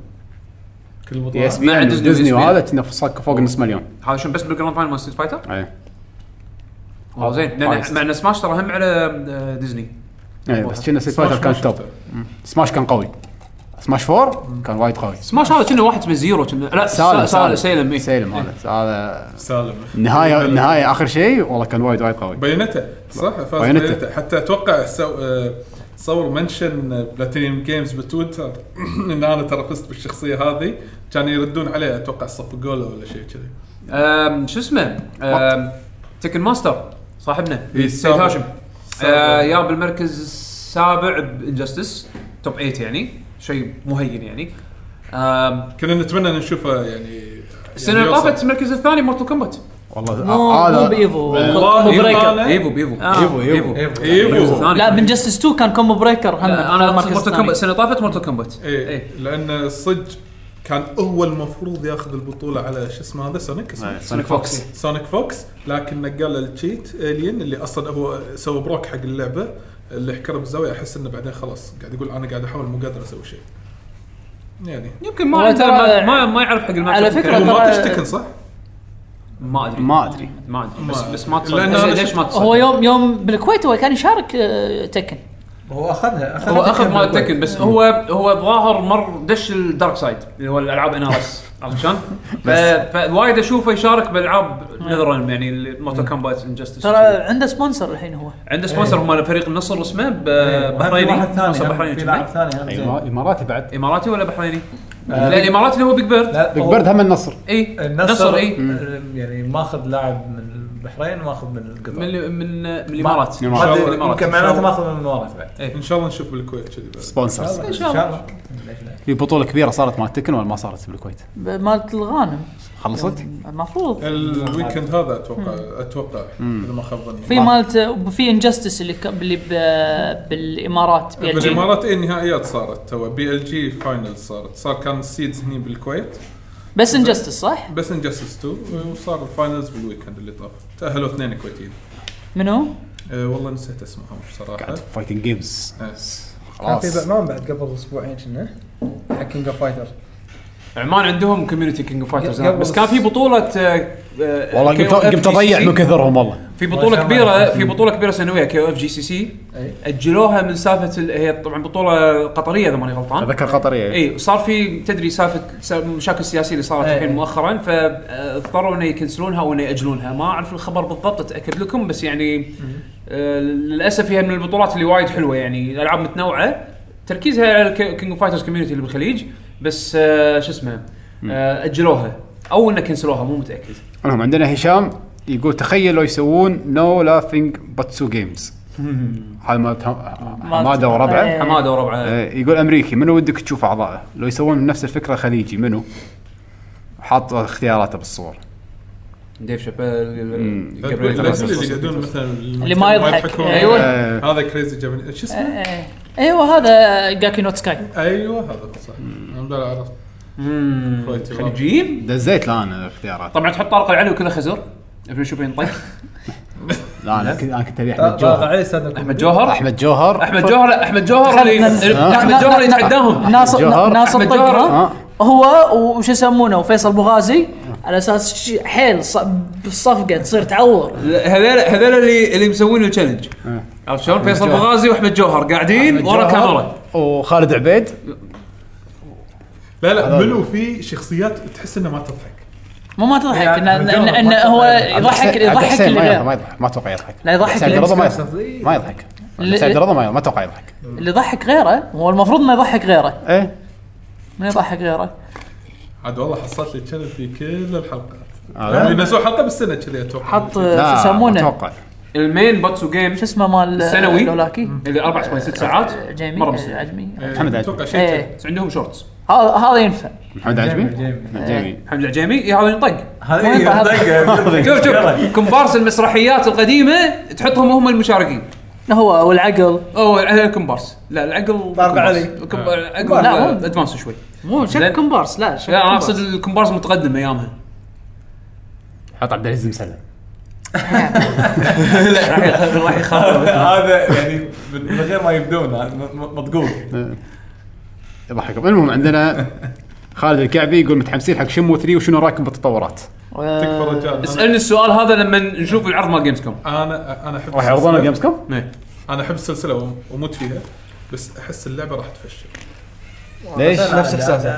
كل البطولات اي اس مع بي ديزني ديزني وإس بي إن. وهذا كنا فوق فوق نص مليون إيه. هذا شنو بس بالجراند فاينل مال ستريت فايتر اي والله زين لان آه، فايز. مع ان سماش ترى هم على آه، ديزني اي إيه، بس كنا سيت فايتر سماش كان ما توب شفته. مم. سماش كان قوي سماش 4 كان وايد قوي سماش هذا كنا واحد من زيرو كنا لا سالم سالم سالم إيه. سالم هذا هذا سالم النهايه النهايه اخر شيء والله كان وايد وايد قوي بايونيتا صح فاز بايونيتا. بايونيتا حتى اتوقع سو... آه، صور منشن بلاتينيوم جيمز بتويتر [CLEARS THROAT] ان انا ترى فزت بالشخصيه هذه كانوا يردون عليه اتوقع صفقوا له ولا شيء كذي آم، شو اسمه آم، تكن ماستر صاحبنا إيه، سيد سابع. هاشم سابع. آه، يا بالمركز السابع بانجستس توب 8 يعني شيء مهين يعني آم، كنا نتمنى إن نشوفه يعني السنه يعني اللي يوصل. طافت المركز الثاني مورتو كومبات والله مو مو هذا بايفو والله كومبو بريكر أنا- ايفو بيفو إيفو، إيفو. إيه، آه. ايفو لا من جاستس 2 كان كومبو بريكر هم انا المركز مورتو الثاني. كومبات السنه اللي طافت مورتو كومبات إيه. ايه لان صدق كان هو المفروض ياخذ البطوله على شو اسمه هذا سونيك اسمه سونيك فوكس سونيك فوكس لكن نقل التشيت الين اللي اصلا هو سوى بروك حق اللعبه اللي حكره بالزاويه احس انه بعدين خلاص قاعد يقول انا قاعد احاول مو قادر اسوي شيء يعني يمكن ما والله عنده- ترى- ما, ما, ما يعرف حق الماتش على فكرة هو ما ترى- تشتكن صح؟ ما ادري ما ادري ما ادري بس ما- بس ما تصدق لأن أنا ليش ما تصدق هو يوم يوم بالكويت هو كان يشارك آه، تكن هو اخذها هو اخذ مال تكن بس هو هو الظاهر مر دش الدارك سايد اللي هو الالعاب ان ار اس [LAUGHS] عرفت شلون؟ ف- فوايد اشوفه يشارك بالعاب نذرالم يعني موتو كومبات انجستس ترى عنده سبونسر الحين هو عنده سبونسر مال فريق النصر اسمه ب- بحريني إيه. آه، واحد ثاني سبونسر هم، بحريني في كنا. لاعب ثاني يعني. هم، زين. أيوة. إما- اماراتي بعد اماراتي ولا بحريني؟ لا الاماراتي اللي هو بيج بيرد آه، لا، بيج هو بيرد هم النصر اي النصر نصر إيه. اي اي يعني ماخذ لاعب من البحرين وماخذ من القطر من من من الامارات من ان الإمارات. شاء ما الله أدري، الامارات يمكن معناته ماخذ من الامارات بعد ان شاء الله نشوف بالكويت كذي بعد. سبونسرز ان شاء الله. ليش لا؟ في بطوله كبيره صارت مال تكن ولا ما صارت بالكويت ب- مالت الغانم خلصت المفروض الويكند هذا اتوقع اتوقع اذا ما خاب ظني في مالت في انجستس اللي ك- اللي ب- بالامارات بي ال جي. بالامارات ايه النهائيات صارت تو بي ال جي فاينل صارت صار كان السيدز هني بالكويت بس انجستس صح؟ بس انجستس 2 وصار الفاينلز بالويكند اللي طاف تاهلوا اثنين كويتيين منو؟ أه والله نسيت اسمهم بصراحه قاعد فايتنج جيمز أه. كان خلاص في برنامج بعد قبل اسبوعين كنا حق كينج اوف فايتر عمان عندهم كوميونتي كينج اوف فايترز قبل- آه، بس كان في بطوله آه، آه، والله قمت KOF قمت اضيع GC. من كثرهم والله في ما بطوله شاء الله. أمم. كبيره في بطوله كبيره سنويه كي او اف جي سي سي أي. اجلوها من سالفه ال- هي طبعا بطوله قطريه اذا ماني غلطان اتذكر قطريه اي وصار إيه، في تدري سالفه سا- المشاكل السياسيه اللي صارت أي. الحين مؤخرا فاضطروا انه يكنسلونها او انه ياجلونها ما اعرف الخبر بالضبط اتاكد لكم بس يعني آه، للاسف هي من البطولات اللي وايد حلوه يعني العاب متنوعه تركيزها على الكينج اوف فايترز كوميونتي اللي بالخليج بس آه، شو اسمه آه، اجلوها او انه كنسلوها مو متاكد المهم عندنا هشام يقول تخيل لو يسوون نو لافينج باتسو [LAUGHS] جيمز هذا مال حماده وربعه إيه. حماده وربعه آه، يقول امريكي منو ودك تشوف اعضائه؟ لو يسوون نفس الفكره خليجي منو؟ حاط اختياراته بالصور ديف شابيل جابرييل الناس اللي جابرييل. يقعدون مثلا اللي ما يضحك يضحكون. ايوه آه، هذا كريزي جاباني شو اسمه؟ إيه. ايوه هذا جاكي نوت سكاي ايوه هذا هو صح انا لا عرفت مم. كويتي والله. خليجيين دزيت لا انا اختيارات طبعا تحط طارق العلوي كله خزر ابي اشوف ينطق لا انا كنت- انا كنت ابي آه، احمد جوهر عليه استاذ احمد جوهر احمد جوهر احمد جوهر لا، احمد جوهر اللي آه. احمد جوهر اللي يتعداهم ناصر جوهر. ناصر أحمد جوهر. طقرة آه. هو وش يسمونه وفيصل بوغازي على اساس شي- حيل ص- بالصفقه تصير تعور هذول هذول اللي اللي مسوين التشالنج آه. عرفت شلون؟ فيصل جوهر. بغازي واحمد جوهر قاعدين أحمد ورا جوهر كاميرا وخالد عبيد لا لا منو في شخصيات تحس انها ما تضحك مو ما تضحك يعني ان ان, الجوهر إن, ما إن تضحك. هو عبد يضحك الحسين- عبد يضحك الحسين اللي ما يضحك غير ما يضحك ما اتوقع يضحك لا، يضحك حسين عبد الرضا ما يمسك يضحك نفسه. ما يضحك ل- حسين عبد الرضا ما ما اتوقع يضحك اللي يضحك غيره هو المفروض ما يضحك غيره ايه ما يضحك غيره عاد والله حصلت لي تشانل في كل الحلقات يعني آه، اللي بسوا حلقه بالسنه كذي إيه، اتوقع حط شو لا، يسمونه اتوقع المين باتسو جيم شو اسمه مال الثانوي. لولاكي اللي 4.6 ساعات جيمي مره بالسنه عجمي محمد عجمي. اتوقع إيه. شيء كذي. ايه بس عندهم شورتس هذا هذا ينفع محمد عجمي جميل حمد العجيمي إيه، هذا ينطق هذا وين إيه، بعد؟ دقة. شوف شوف كومبارس المسرحيات القديمه تحطهم هم المشاركين هو والعقل او الكومبارس لا العقل طارق علي. لا، مو- العقل ادفانس شوي مو شك زين. كومبارس لا شك لا انا كومبارس. اقصد الكومبارس متقدم ايامها حط عبد العزيز [LAUGHS] مسلم لا راح يخ- راح يخاف [LAUGHS] هذا يعني من من غير ما يبدون هذا م- م- مطقوق يضحكهم المهم عندنا خالد الكعبي يقول متحمسين حق شمو 3 وشنو رايكم بالتطورات؟ آه، تكفى رجال اسالني السؤال هذا لما نشوف العرض مال جيمز كوم انا انا احب راح يعرضونه السلسلة. جيمز كوم؟ انا احب السلسله وم- واموت فيها بس احس اللعبه راح تفشل ليش؟ نفس احساسه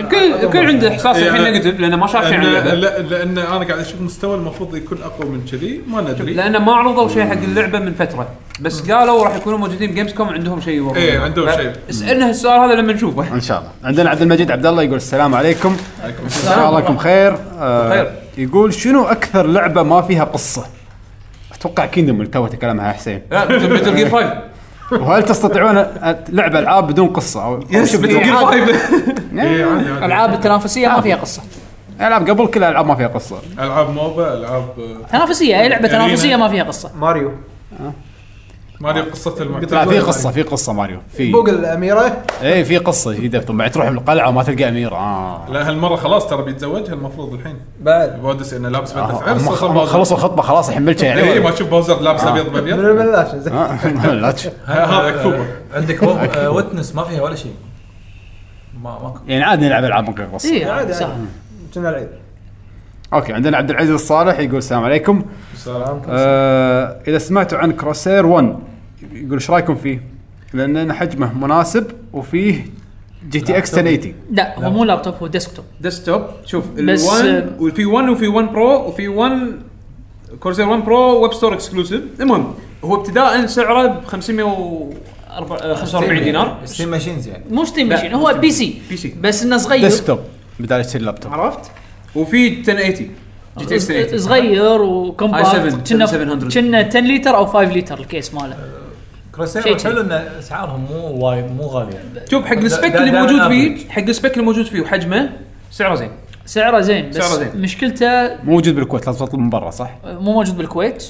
الكل الكل عنده احساس الحين آه، يعني- نيجاتيف لانه ما شاف شيء عن يعني لأن, اللعبه لا لان انا قاعد اشوف مستوى المفروض يكون اقوى من كذي ما ندري لانه ما عرضوا شيء حق اللعبه من فتره بس قالوا راح يكونوا موجودين بجيمز كوم عندهم شيء يورونه. إيه، عندهم ف- شيء. اسالنا السؤال هذا لما [LAUGHS] نشوفه ان شاء الله عندنا عبد المجيد عبد الله يقول السلام عليكم ان شاء الله لكم خير آه خير. يقول شنو اكثر لعبه ما فيها قصه؟ اتوقع كيندم اللي تو تكلمها حسين [LAUGHS] لا مثل جير 5 وهل تستطيعون أ- لعب العاب بدون قصه او يس [LAUGHS] إيه، عادي، عادي. الالعاب التنافسيه ما فيها قصه العاب قبل كل العاب ما فيها قصه العاب موبا آه، العاب تنافسيه اي لعبه تنافسيه ما فيها قصه ماريو ما ادري قصه لا المعتاد في قصه في قصه ماريو في فوق الاميره اي في قصه في دفتر بعد تروح القلعه وما تلقى امير اه لا هالمره خلاص ترى بيتزوجها المفروض الحين بعد بودس انه لابس بدله آه، عرس هم خ- صار هم بودس. خلصوا الخطبه خلاص يحملته اي يعني إيه، ما تشوف بوزر لابس ابيض من بابيض البلاش زين آه، [LAUGHS] لا تش- هذا كوبا آه، عندك و- آه، ويتنس ما فيها ولا شيء ما ماكو يعني عادي نلعب العاب من غير قصه اي عادي، عادي، صح عادي. كنا العيد اوكي عندنا عبد العزيز الصالح يقول السلام عليكم آه اذا سمعتوا عن كروسير 1 يقول ايش رايكم فيه؟ لان حجمه مناسب وفيه جي تي اكس 1080 لا هو مو لابتوب هو ديسكتوب ديسكتوب شوف بس- ال1 وفي 1 وفي 1 برو وفي 1 كورسير 1 برو ويب ستور اكسكلوسيف المهم هو ابتداء سعره ب 545 دينار ستيم ماشينز يعني مو ستيم لا، ماشين هو بي سي بي سي. بس انه صغير ديسكتوب بدال اشتري لابتوب عرفت؟ وفي 1080 جي تي 1080 صغير i7 وكومباكت كنا 700. كنا 10 لتر او 5 لتر الكيس ماله كروسير شيء شيء. حلو ان اسعارهم مو وايد مو غاليه شوف حق دا- السبيك دا- اللي دا- موجود دا- فيه حق السبيك اللي موجود فيه وحجمه سعره زين سعره زين بس سعره زين. مشكلته موجود بالكويت لازم تطلب من برا صح؟ مو موجود بالكويت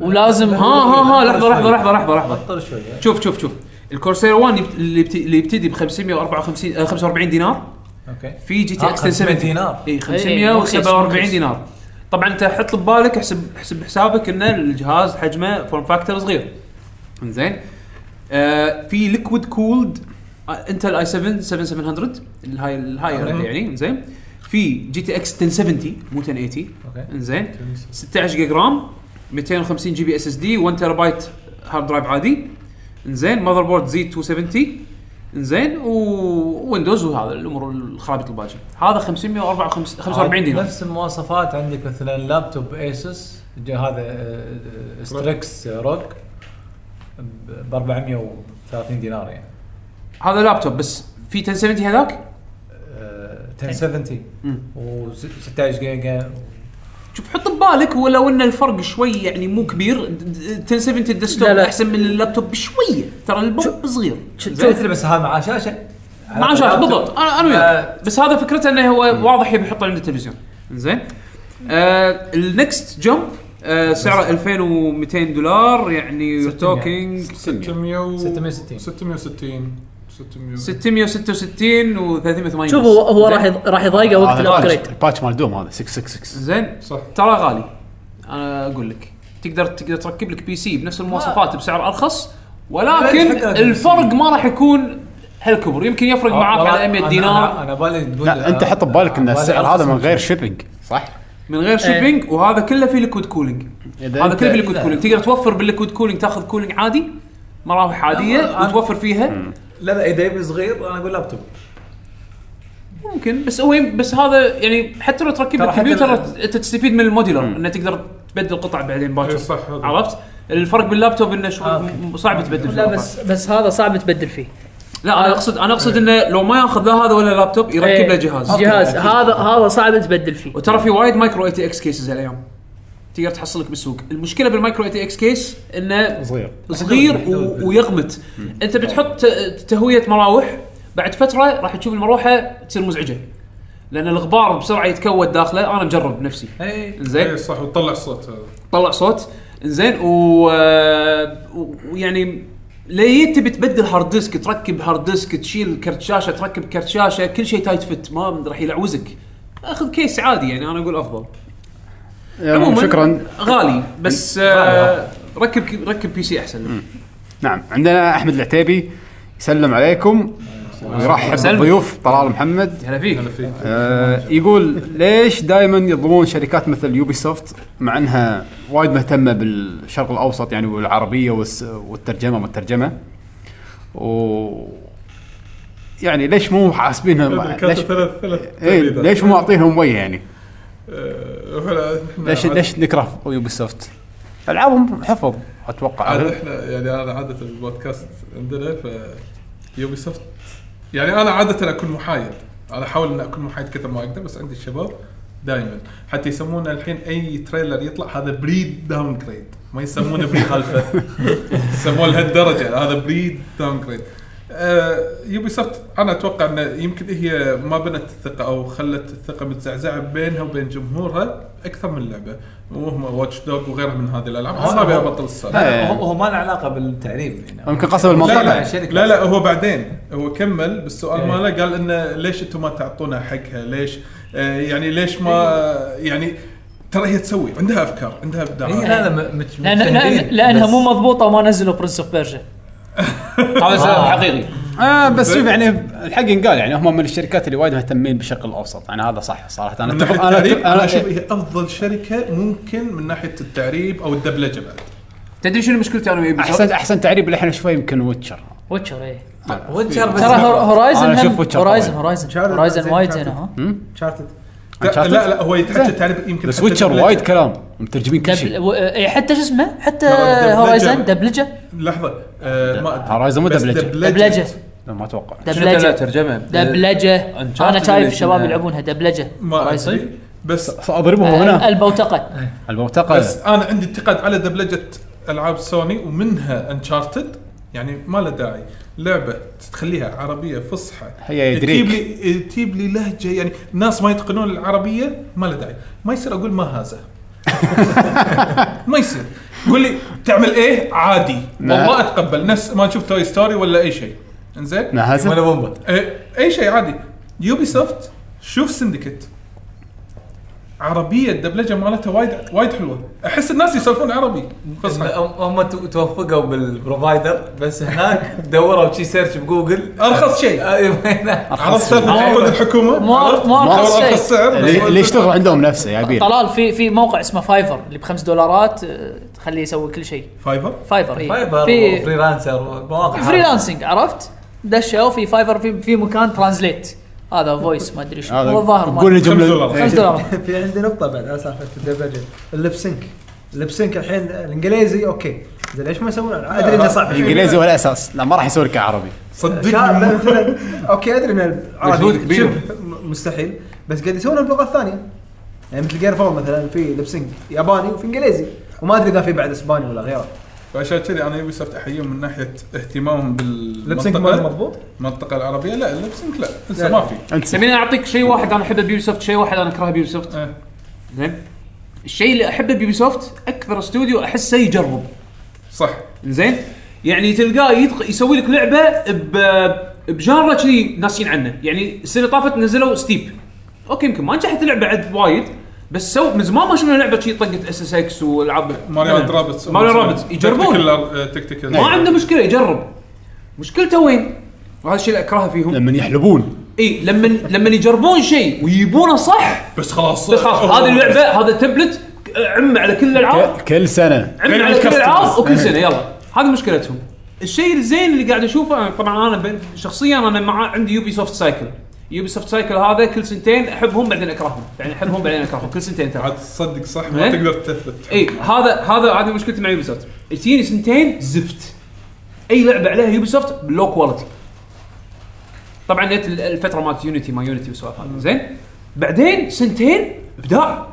ولازم ها ها ها لحظه لحظه لحظه لحظه لحظه بطل شوي يعني. شوف شوف شوف الكورسير 1 يبت- اللي يبت- اللي يبتدي ب 554 آه، 45 دينار اوكي في جي تي آه، اكس 500 1070 دينار. اي إيه، مو رخيص، مو 547 رخيص. دينار طبعا انت حط ببالك احسب احسب حسابك ان الجهاز حجمه فورم فاكتور صغير زين آه في آه، ليكويد كولد انتل اي 7 7700 الهاي الهاير آه. يعني زين في جي تي اكس 1070 مو 1080 اوكي انزين 16 جيجا رام 250 جي بي اس اس دي 1 تيرا بايت هارد درايف عادي انزين ماذر بورد زي 270 انزين وويندوز وهذا الامور الخرابيط الباجي هذا 545 45 دينار نفس المواصفات عندك مثلا لابتوب اسوس هذا آه، ستريكس روك ب 430 دينار يعني هذا لابتوب بس في 1070 هذاك آه، 1070 مم. و16 جيجا شوف حط ببالك ولو ان الفرق شوي يعني مو كبير 1070 الديسكتوب لا لا. احسن من اللابتوب بشويه ترى البوب صغير زين؟ مثل بس هذا مع شاشه مع شاشه بالضبط انا انا آه. وياك بس هذا فكرته انه هو واضح يبي يحطه عند التلفزيون زين آه النكست جمب آه سعره 2200 دولار يعني توكينج 600 660 660 600 666 و380 شوف هو هو راح يض- راح يضايقه وقت هذا الباتش- الابجريد الباتش مال دوم هذا 666 زين صح. ترى غالي انا اقول لك تقدر تقدر تركب لك بي سي بنفس المواصفات بسعر ارخص ولكن حق الفرق ما راح يكون هالكبر يمكن يفرق معاك على 100 دينار انا بالي تقول لا انت حط ببالك ان أنا بالي السعر هذا من أرخص غير شيبنج صح؟ من غير شيبينج وهذا كله في ليكويد كولينج إذا هذا أنت- كله بالليكويد كولينج تقدر توفر بالليكويد كولينج تاخذ كولينج عادي مراوح عاديه أنا- وتوفر فيها لا لا اذا يبي صغير انا اقول لابتوب ممكن بس هو يم- بس هذا يعني حتى لو تركب ترى حتى الكمبيوتر ال- انت تستفيد من الموديلر انه تقدر تبدل قطع بعدين باكر إي إيه، صح، هذا. عرفت الفرق باللابتوب انه شوي آه، م- صعب تبدل فيه لا بس بس هذا صعب تبدل فيه لا انا اقصد انا اقصد انه لو ما ياخذ لا هذا ولا لابتوب يركب له إيه، جهاز جهاز هذا هذا صعب تبدل فيه وترى في وايد مايكرو اي تي اكس كيسز الايام تقدر تحصلك بالسوق المشكله بالمايكرو اي تي اكس كيس انه صغير صغير و- ويغمت انت بتحط ت- تهويه مراوح بعد فتره راح تشوف المروحه تصير مزعجه لان الغبار بسرعه يتكود داخله انا مجرب نفسي اي زين إيه صح وتطلع الصوت هذا طلع صوت زين و... آه، و- ويعني ليه تبي تبدل هارد ديسك تركب هارد ديسك تشيل كرت شاشه تركب كرت شاشه كل شيء تايت فت ما راح يلعوزك اخذ كيس عادي يعني انا اقول افضل عموما شكرا غالي بس آه ركب ركب بي سي احسن نعم عندنا احمد العتيبي يسلم عليكم ويرحب وسلم. بالضيوف طلال محمد هلا فيك هلا فيك آه، يقول ليش دائما يظلمون شركات مثل يوبي سوفت مع انها وايد مهتمه بالشرق الاوسط يعني والعربيه والس- والترجمه والترجمه و يعني ليش مو حاسبينهم كانت ليش ثلاث ثلاث ايه تبريدات. ليش مو معطينهم وجه يعني آه، ولا- إحنا ليش عاد- ليش نكره يوبي سوفت العابهم حفظ عاد اتوقع احنا يعني انا عاده البودكاست عندنا ف يوبي سوفت يعني انا عاده اكون محايد انا احاول ان اكون محايد كثر ما اقدر بس عندي الشباب دائما حتى يسمونه الحين اي تريلر يطلع هذا بريد داون جريد ما يسمونه بريد الفا يسمونه لهالدرجه هذا بريد داون جريد يوبي سوفت انا اتوقع ان يمكن هي ما بنت الثقه او خلت الثقه متزعزعه بينها وبين جمهورها اكثر من لعبه وهم واتش دوج وغيرها من هذه الالعاب بس ما ابي ابطل السالفه إيه. هو هو ما له يعني. علاقه بالتعريب هنا يمكن قصب الموضوع لا بعد. لا, لا لا هو بعدين هو كمل بالسؤال ماله قال انه ليش انتم ما تعطونا حقها؟ ليش آه، يعني ليش ما يعني ترى هي تسوي عندها افكار عندها هي ابداع إيه، لا لا م- مت- لان متفهمين، لأن لانها بس- مو مضبوطه وما نزلوا برنس اوف بيرجا هذا سبب حقيقي آه بس شوف يعني الحق ينقال يعني هم من الشركات اللي وايد مهتمين بالشرق الاوسط يعني هذا صح صراحه انا من ناحيه اتفق انا التعريب انا اشوف أنا- إيه. هي افضل شركه ممكن من ناحيه التعريب او الدبلجه بعد تدري شنو مشكلتي انا ويا Ubisoft؟ احسن احسن تعريب اللي احنا شوي يمكن ويتشر ويتشر اي ويتشر بس إيه. ترى هور- هورايزن أنا أشوف هم- Witcher هورايزن طبعاً. هورايزن شارد هورايزن زين وايد شارد. زينه ها شارتد لا Uncharted؟ لا هو يتحكى زين. التعريب يمكن بس حتى ويتشر الدبلجة. وايد كلام مترجمين كل دبل شيء و- إيه، حتى شو اسمه حتى ترى هورايزن دبلجة. دبلجه لحظه آه ما ادري هورايزن مو بس دبلجة. دبلجه لا، ما اتوقع دبلجه ترجمه دبلجه Uncharted انا اللي شايف شباب اسمها- يلعبونها دبلجه ما Horizon. ادري بس اضربهم آه، هنا البوتقه البوتقه بس انا عندي انتقاد على دبلجه العاب سوني ومنها انشارتد يعني ما له داعي لعبه تخليها عربيه فصحى هي تجيب يدريك. لي تجيب لي لهجه يعني ناس ما يتقنون العربيه ما له داعي ما يصير اقول ما هذا [LAUGHS] ما يصير قول لي تعمل ايه عادي نعم. والله اتقبل نفس ما نشوف توي ستوري ولا اي شيء انزين نهزة؟ [LAUGHS] ولا بومبا إيه، اي شيء عادي يوبي سوفت شوف سندكت عربيه الدبلجه مالتها وايد وايد حلوه احس الناس يسولفون عربي فصحى هم هم تو- توفقوا بالبروفايدر بس هناك دوروا شي سيرش بجوجل [LAUGHS] ارخص شيء أيوة. عرفت سالفه تعاقد الحكومه مو- عرفت؟ مو أرخص دور شيء. ارخص سعر اللي اللي يشتغل عندهم نفسه يا بير طلال في في موقع اسمه فايفر اللي بخمس دولارات آه، تخليه يسوي كل شيء فايفر فايفر اي فايبر في وفريلانسر ومواقع فريلانسنج عرفت؟ دشوا في فايفر في, في مكان ترانزليت هذا فويس ما ادري شو هذا هو الظاهر ما- قول لي خمس دولار. جمله خمس إيه. دولار في عندي نقطة بعد على سالفة الدبلجة اللبسنك اللبسنك الحين الانجليزي اوكي زين ليش ما يسوون ادري آه، انه إيه. صعب [LAUGHS] انجليزي ولا اساس لا ما راح يسوي لك عربي شعب صدقني مثلا اوكي ادري انه مجهود عادي كبير. شبه م- مستحيل بس قاعد يسوونه بلغات ثانية يعني مثل جير فول مثلا في لبسنك ياباني وفي انجليزي وما ادري اذا في بعد اسباني ولا غيره فعشان كذي انا يوبي سوفت احييهم من ناحيه اهتمامهم لبسنك ماله بالمنطقه مضبوط المنطقه العربيه لا اللبسنك لا لا. لسه ما في انت تبيني اعطيك شيء واحد انا احبه بيوبي سوفت شيء واحد انا اكرهه بيوبي سوفت إيه. زين الشيء اللي احبه بيوبي سوفت اكثر استوديو احسه يجرب صح زين يعني تلقاه يدخ... يسوي لك لعبه ب بجانرا كذي ناسين عنه يعني السنه طافت نزلوا ستيب اوكي يمكن ما نجحت اللعبه عد وايد بس سو من زمان ما شفنا لعبه شي طقت اس اس اكس والعاب ماريو اند رابتس يعني ماريو رابتس يجربون تكتيكال ما عنده مشكله يجرب مشكلته وين؟ وهذا الشيء اللي اكرهه فيهم لما يحلبون اي إيه، لما لما يجربون شيء ويجيبونه صح بس خلاص بس خلاص أوه. هذه اللعبه هذا التبلت عم على كل الالعاب ك- كل سنه عم غير على كل الكاستمرز. الالعاب وكل سنه يلا هذه مشكلتهم الشيء الزين اللي قاعد اشوفه أنا- طبعا انا بين- شخصيا انا مع عندي يوبي سوفت سايكل يوبي سوفت سايكل هذا كل سنتين احبهم بعدين اكرههم يعني احبهم بعدين اكرههم كل سنتين ترى عاد تصدق صح إيه؟ ما تقدر تثبت اي إيه، هذا هذا هذه مشكلتي مع يوبي سوفت تجيني سنتين زفت اي لعبه عليها يوبي سوفت لو كواليتي طبعا جت ال- الفتره مالت يونيتي ما يونيتي والسوالف هذه زين بعدين سنتين ابداع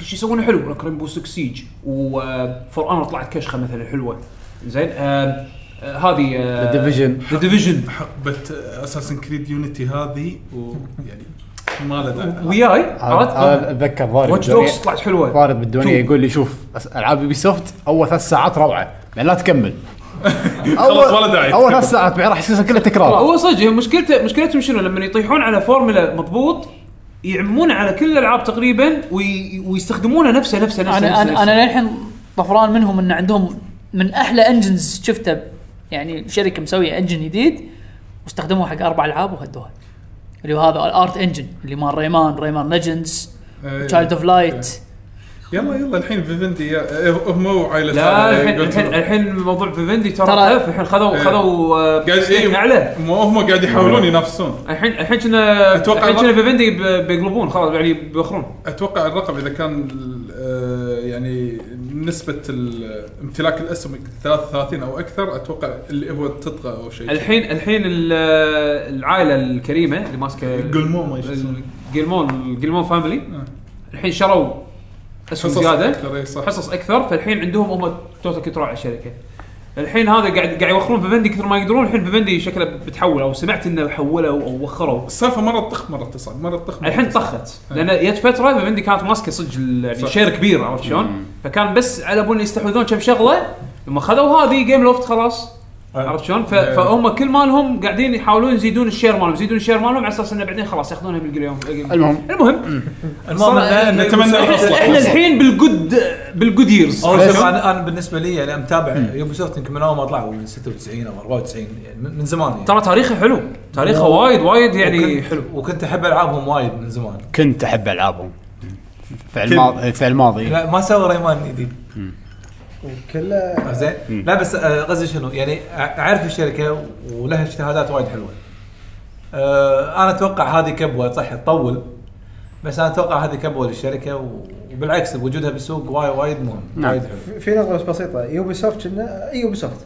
كل شيء يسوونه حلو لك ريمبو 6 سيج وفور انر آه، طلعت كشخه مثلا حلوه زين آه، آه، هذه ديفيجن ذا ديفيجن حقبه اساسن كريد يونيتي هذه ويعني ما له داعي وياي هذا عرفت اتذكر ضارب واتش دوكس طلعت حلوه فارد بالدنيا يقول لي شوف أس- العاب يوبي سوفت اول ثلاث ساعات روعه يعني لا تكمل خلاص أول- ولا داعي. اول ثلاث ساعات بعدين راح يصير كله تكرار هو صدق هم مشكلته مشكلتهم شنو لما يطيحون على فورمولا مضبوط يعمون على كل الالعاب تقريبا وي... ويستخدمونها نفسها نفسها نفسها انا نفسها انا انا للحين طفران منهم ان عندهم من احلى انجنز شفته يعني شركه مسويه انجن جديد واستخدموه حق اربع العاب وهدوها اللي هو هذا الارت انجن اللي مال ريمان ريمان ليجندز إيه. تشايلد اوف لايت يلا يلا الحين فيفندي يا- إيه، هم وعائله لا الحين الحين الحين موضوع فيفندي ترى ترى- خف الحين خذوا إيه. خذوا آه، قاعد stake اعلى مو هم قاعد يحاولون ينافسون الحين الحين كنا أتوقع إيه. الحين كنا الرقم- فيفندي ب- بيقلبون خلاص يعني بيخرون اتوقع الرقم اذا كان آه، يعني نسبه ال- امتلاك الاسم 33 او اكثر اتوقع اللي هو تطغى او شيء الحين الحين ال- آه، العائله الكريمه اللي ماسكه قلمو ما يسمونه. جلمون الجلمون فاميلي الحين شروا اسهم زياده آه. أكثر، إيه، صح حصص اكثر فالحين عندهم هم توتال كنترول على الشركه الحين هذا قاعد قاعد يوخرون فيفندي كثر ما يقدرون الحين فيفندي شكله بتحول او سمعت انه حولوا او وخروا السالفه مره تطخ مره تصعد مره تطخ مرة الحين تصعد. طخت لان جت فتره فيفندي كانت ماسكه صدق ال- يعني إيه. صح. شير كبير عرفت شلون؟ فكان بس على بون يستحوذون كم شغله لما خذوا هذه جيم لوفت خلاص عرفت شلون؟ ف- إيه. فهم كل مالهم قاعدين يحاولون يزيدون الشير مالهم يزيدون الشير مالهم على اساس انه بعدين خلاص ياخذونها من الجيم المهم المهم المهم آه، إن- نتمنى احنا يصلح. إحنا الحين بالجود بالجود ييرز اول شيء انا انا بالنسبه لي يعني متابع يوبي سوفت يمكن من اول ما طلعوا من 96 او 94 يعني من من زمان يعني ترى تاريخه حلو تاريخه وايد وايد يعني وكنت- وكنت احب العابهم وايد من زمان كنت احب العابهم في الماضي في الماضي لا ما سووا ريمان جديد كله زين لا بس آه، قصدي شنو يعني أع- اعرف الشركه ولها اجتهادات وايد حلوه آه، انا اتوقع هذه كبوه صح تطول بس انا اتوقع هذه كبوه للشركه و- وبالعكس وجودها بالسوق وايد وايد مهم نعم. وايد حلو في- في نقطه بس بسيطه يوبي سوفت كنا اي يوبي سوفت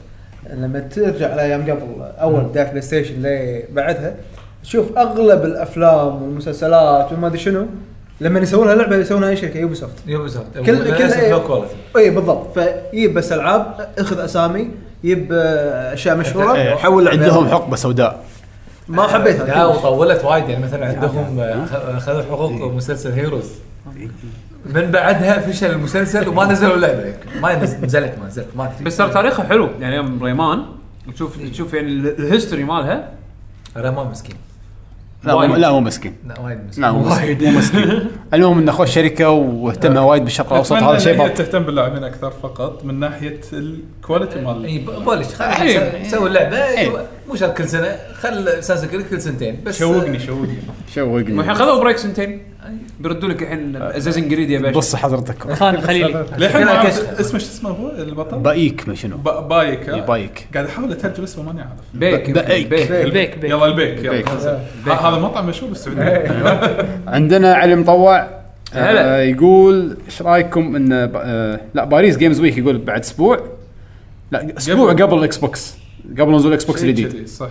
لما ترجع لايام قبل اول بدايه بلاي ستيشن لبعدها تشوف اغلب الافلام والمسلسلات وما ادري شنو لما يسوون لها لعبه يسوونها اي شركه يوبي سوفت يوبي سوفت كل- إيه؟ كل- لو كواليتي اي بالضبط فيجيب بس العاب اخذ اسامي يب آه، اشياء مشهوره إيه، حول لعبة. عندهم حقبه سوداء ما لا حبيتها وطولت وايد يعني مثلا عندهم آه، خ- خذوا إيه. حقوق مسلسل هيروز من بعدها فشل المسلسل وما نزلوا لعبه يمكن. ما نز- نزلت ما نزلت ما أدري. بس ترى تاريخها حلو يعني يوم ريمان تشوف تشوف يعني ال- الهيستوري مالها رمان مسكين لا مو- وايد. لا مو مسكين لا وايد مسكين لا مو مسكين مو [LAUGHS] مسكين المهم انه خوش شركه واهتم وايد بالشرق الاوسط أتمنى هذا شيء إن هي بط تهتم باللاعبين اكثر فقط من ناحيه الكواليتي إيه، مال اي إيه، ب- بولش خلينا أحيان. نسوي اللعبه أي. مو شرط كل سنه خل سانس كريد كل سنتين بس شوقني شوقني والحين شوقني خذوا بريك سنتين بيردوا لك الحين ازازن جريد يا باشا آه. بص حضرتك خان خليلي للحين ما كذا أعرف كشخة. اسمه شو اسمه هو البطل؟ بايك ما شنو ب- بايك إيه، آه. بايك. قاعد احاول اترجم اسمه ماني عارف بيك بأيك. بيك بيك بيك يلا البيك بيك. يلا آه. ه- هذا مطعم مشهور بالسعوديه عندنا علي مطوع هلا. آه يقول ايش رايكم ان ب... آه لا باريس جيمز ويك يقول بعد اسبوع لا اسبوع قبل. قبل الاكس بوكس قبل نزول الاكس بوكس الجديد صح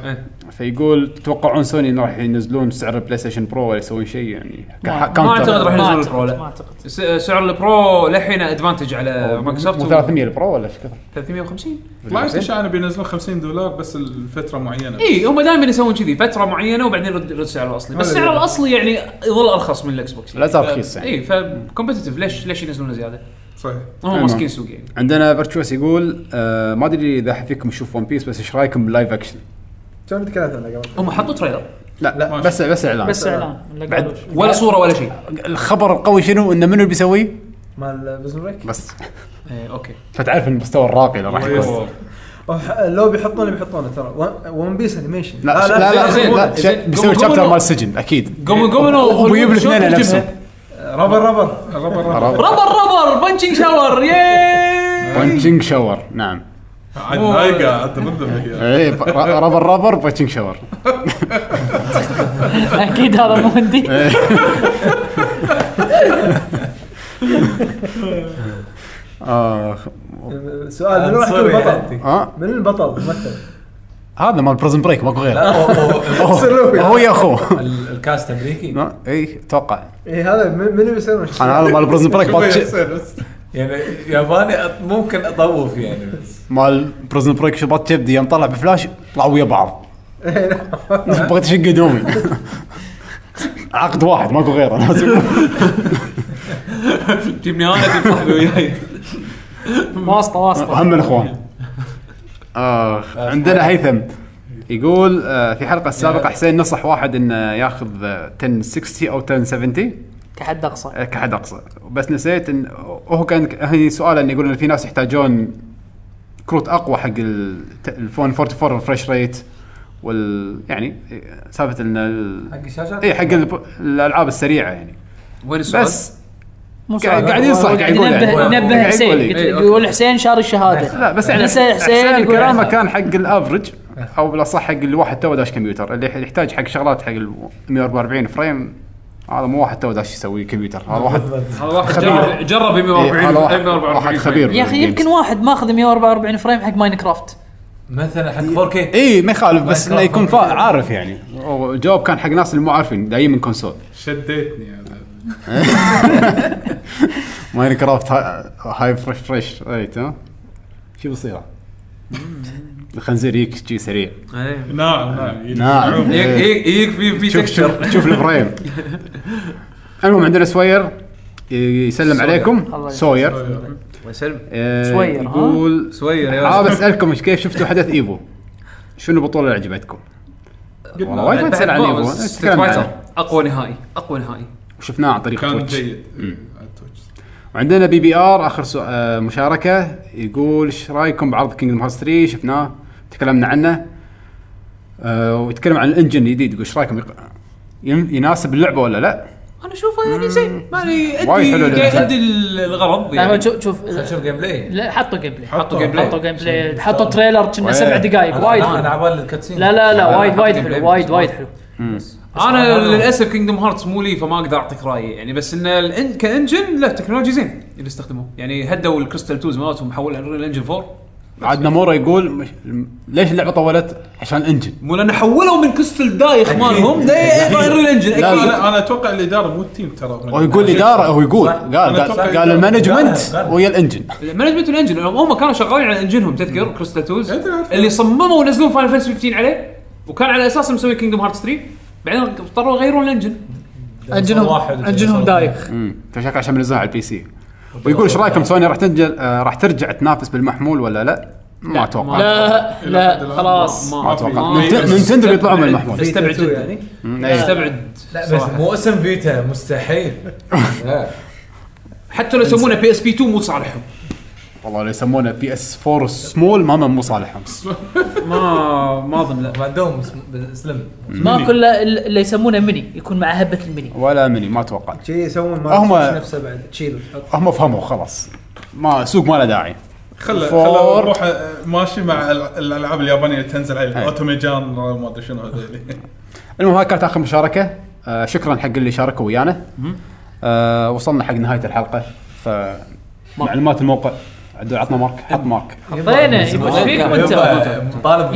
فيقول تتوقعون سوني إن راح ينزلون سعر البلاي ستيشن برو ولا يسوون شيء يعني ك- ما- ما كاونتر. أعتقد ما راح ينزلون أعتقد، البرو، لا. ما اعتقد س- سعر البرو للحين ادفانتج على مايكروسوفت مو و- 300 البرو ولا ايش كثر؟ 350 طلعت اشاعه انه يعني بينزلون 50 دولار بس لفتره معينه اي إيه، هم دائما يسوون كذي فتره معينه وبعدين يرد يرد سعره الاصلي بس هذا سعره اللي- الاصلي يعني يظل ارخص من الاكس بوكس لا صار رخيص يعني. اي فكومبتتف ليش ليش ينزلونه زياده؟ صحيح هم أيوة. ماسكين سوق يعني عندنا فيرتشوس يقول آه ما ادري اذا فيكم تشوف ون بيس بس ايش رايكم باللايف اكشن؟ كان تكلمت عنها قبل هم حطوا تريلر لا, لا بس بس اعلان بس اعلان لا [LAUGHS] قالوش. ولا صوره ولا شيء الخبر القوي شنو انه منو اللي بيسويه؟ مال بريزن بريك بس إيه، اوكي فتعرف المستوى الراقي اللي راح يكون وح- لو بيحطونه بيحطونه ترى ون- ون بيس انيميشن لا لا لا, لا, زين، لا, لا, زين. شا- بيسوي قبل- قبل شابتر نو- مال السجن اكيد قوموا قوموا ويجيب الاثنين نفسه ربر ربر الربر الربر عرفت؟ ربر ربر بنشنج شاور ياي بانشنج شاور نعم عاد نايقه عاد رندم هي اي ب- ر- [LAUGHS] رابر رابر بانشنج شاور اكيد هذا مو هندي [LAUGHS] اخ سؤال من راح يكون [LAUGHS] البطل؟ ها من البطل ممثل؟ آه. هذا مال بريزن بريك ماكو غير لا سلوي. هو يا [LAUGHS] اخوه [LAUGHS] الكاست امريكي لا، اي اتوقع اي إيه، هذا من من اللي بيسوي انا هذا مال بريزن بريك بات- يعني ياباني أط- ممكن اطوف يعني بس مال بريزن بريك شباط كبدي يوم طلع بفلاش طلعوا ويا [LAUGHS] بعض [LAUGHS] إيه، بغيت اشق هدومي [LAUGHS] عقد واحد ماكو غيره [LAUGHS] لازم جبني انا [LAUGHS] جيب صاحبي وياي واسطه واسطه هم الاخوان اخ آه، عندنا هيثم يقول آه، في حلقه السابقه حسين نصح واحد انه ياخذ آه، 1060 او 1070 كحد اقصى آه، كحد اقصى بس نسيت ان هو كان هني سؤال انه يقول ان في ناس يحتاجون كروت اقوى حق ال- الفون 44 الفريش ريت وال يعني آه، سالفه ان ال- حق الشاشات اي حق ال- الالعاب السريعه يعني وين السؤال؟ بس مو قاعد- صعب. قاعد ينصح، هو قاعد يقول يعني. ينبه قاعد نبه يقول حسين لي. قلت- إيه، أوكي. يقول حسين شار الشهاده لا بس يعني أه. نسى حسين يقول كلامه عسى. كان حق الافرج او بالاصح حق اللي واحد تو داش كمبيوتر اللي يحتاج حق شغلات حق ال 144 فريم هذا مو واحد تو داش يسوي كمبيوتر هذا [LAUGHS] واحد هذا واحد خبير. جرب- جرب ب إيه، هذا 140 واحد- 144 واحد خبير يا اخي يمكن واحد ماخذ 144 فريم حق ماينكرافت مثلا إيه. حق 4K اي ما يخالف بس ما انه يكون فا يخالف. عارف يعني الجواب كان حق ناس اللي مو عارفين جايين من كونسول شديتني هذا ماين كرافت هاي فريش فريش ريت ها شو بيصير؟ الخنزير يك شي سريع إيه. ناعم ناعم نعم إيه. يجيك في في شوف تكستشر شوف شوف [LAUGHS] الفريم المهم عندنا سوير يسلم عليكم الله سوير الله يسلمك آه، سوير، ها؟ يقول سوير يا [LAUGHS] اه ولد. بسالكم إيش- كيف شفتوا حدث ايفو؟ شنو البطوله اللي عجبتكم؟ والله وايد ما تسال عن بعد ايفو بوس، ستريت نتكلم فايتر. عنه. اقوى نهائي اقوى نهائي يعني. وشفناه عن طريق كان تويتش جيد على تويتش. وعندنا بي بي ار اخر سو... آه مشاركه يقول ايش رايكم بعرض كينجدم هارت 3 شفناه تكلمنا عنه آه ويتكلم عن الانجن الجديد يقول ايش رايكم يق... ين- يناسب اللعبه ولا لا؟ انا اشوفه يعني زين ما لي وايد حلو ادري الانجاز. قاعد ادري الغرض لا، هو يعني شوف شوف شوف جيم بلاي لا حطوا جيم بلاي حطوا جيم حطوا بلاي جيم بلاي حطوا تريلر كنا سبع دقائق انا وايد أنا حلو. على بالي الكاتسين لا لا لا وايد حطوا وايد جيم بلاي. حلو وايد وايد حلو انا للاسف كينجدم هارتس مو لي فما اقدر اعطيك رايي يعني بس ان الان كانجن لا تكنولوجي زين اللي استخدموه يعني هدوا الكريستال توز مالتهم حولوا انريل انجن 4 يعني عاد نامورا يقول مش... ليش اللعبه طولت؟ عشان الانجن مو لان حولوا من كريستال دايخ مالهم انريل انجن لا، اكيد انا انا اتوقع الاداره مو التيم ترى هو يقول الاداره هو يقول صح. قال قال, أتوقع قال الإدارة. المانجمنت قال- قال. ويا الانجن مانجمنت الانجن هم كانوا شغالين على انجنهم تذكر كريستال توز أنت عارف. اللي صمموا ونزلوا فاينل فانتسي 15 عليه وكان على اساسه مسوي كينجدم هارتس 3 بعدين اضطروا يغيرون الانجن انجنهم انجنهم دايخ امم فشكله عشان منزلها على البي سي ويقول ايش رايكم سوني راح تنجل آه راح ترجع تنافس بالمحمول ولا لا؟ ما اتوقع لا لا خلاص ما اتوقع ما- نينت- نينتندو بيطلعوا [LAUGHS] من المحمول استبعد تو جدا يعني مم، أي. استبعد لا بس صراحة. مو اسم فيتا [LAUGHS] مستحيل لا. حتى لو يسمونه بي اس بي 2 مو صالحهم والله اللي يسمونه بي اس 4 سمول ما من مو صالحهم ما ما اظن لا بعدهم اسم- سلم ماكو الا اللي يسمونه ميني يكون مع هبه الميني ولا مني ما اتوقع شي يسوون ما هم- نفسه بعد تشيل هم فهموا خلاص ما سوق ما له داعي خله فور. خله روح ماشي مع ال- الالعاب اليابانيه اللي تنزل عليه هاي. اوتوميجان ما ادري شنو [LAUGHS] هذول المهم هاي كانت اخر مشاركه آه شكرا حق اللي شاركوا ويانا آه وصلنا حق نهايه الحلقه ف معلومات الموقع عدو عطنا مارك حط مارك حطينا ايش فيكم انت يبا مطالب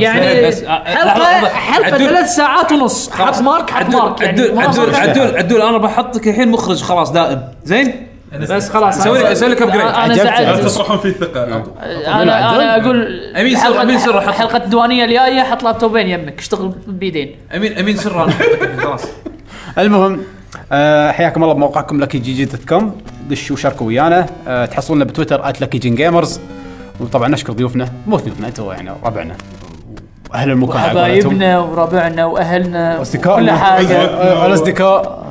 [LAUGHS] يعني بس- حلقه حلقه عدول. ثلاث ساعات ونص حط مارك حط مارك يعني عدول ما عدول صار شيء. عدول عدول انا بحطك الحين مخرج خلاص دائم زين بس خلاص آه، سوي لك- سوي لك upgrade. انا أنا عجبت. لا زعلت تطرحون فيه ثقه انا انا اقول أمين سر- حلقة- أمين سر حط. حلقه الديوانيه الجايه حط لابتوبين يمك اشتغل بيدين امين امين سر انا بحطك خلاص المهم آه حياكم الله بموقعكم لكي جي جي دوت كوم دشوا وشاركوا ويانا آه تحصلونا بتويتر ات لكي جين جيمرز وطبعا نشكر ضيوفنا مو ضيوفنا انتوا يعني ربعنا واهل المكان على قولتهم. حبايبنا وربعنا واهلنا اصدقاء كل حاجه آه، الاصدقاء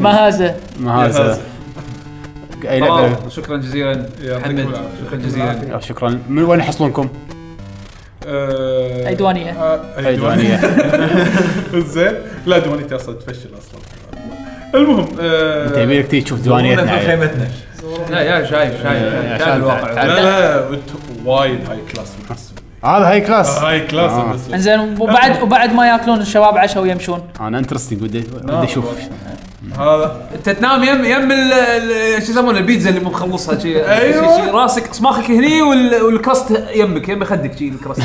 ما هذا ما هذا اي لعبه خلاص، شكرا جزيلا يعطيكم محمد العافية. شكرا جزيلا آه، شكرا من وين يحصلونكم؟ آه، أي دوانية. آه، أي أي دوانية. [LAUGHS] زين لا ديوانيتي اصلا تفشل اصلا المهم آه، انت يبيلك تيجي تشوف ديوانيتنا في عيل. خيمتنا لا يا شايف شايف شايف عشان الواقع تعال- لا لا وت- وايد هاي كلاس بس. هذا هاي كلاس هاي آه. كلاس بس. انزين وبعد وبعد ما ياكلون الشباب عشاء ويمشون انا انترستنج ودي آه. ودي اشوف هذا انت تنام يم يم ال- ال- شو يسمونه البيتزا اللي مو مخلصها شي أيوة. شي- شي راسك اصماخك هني وال- والكرست يمك يم خدك شي الكرست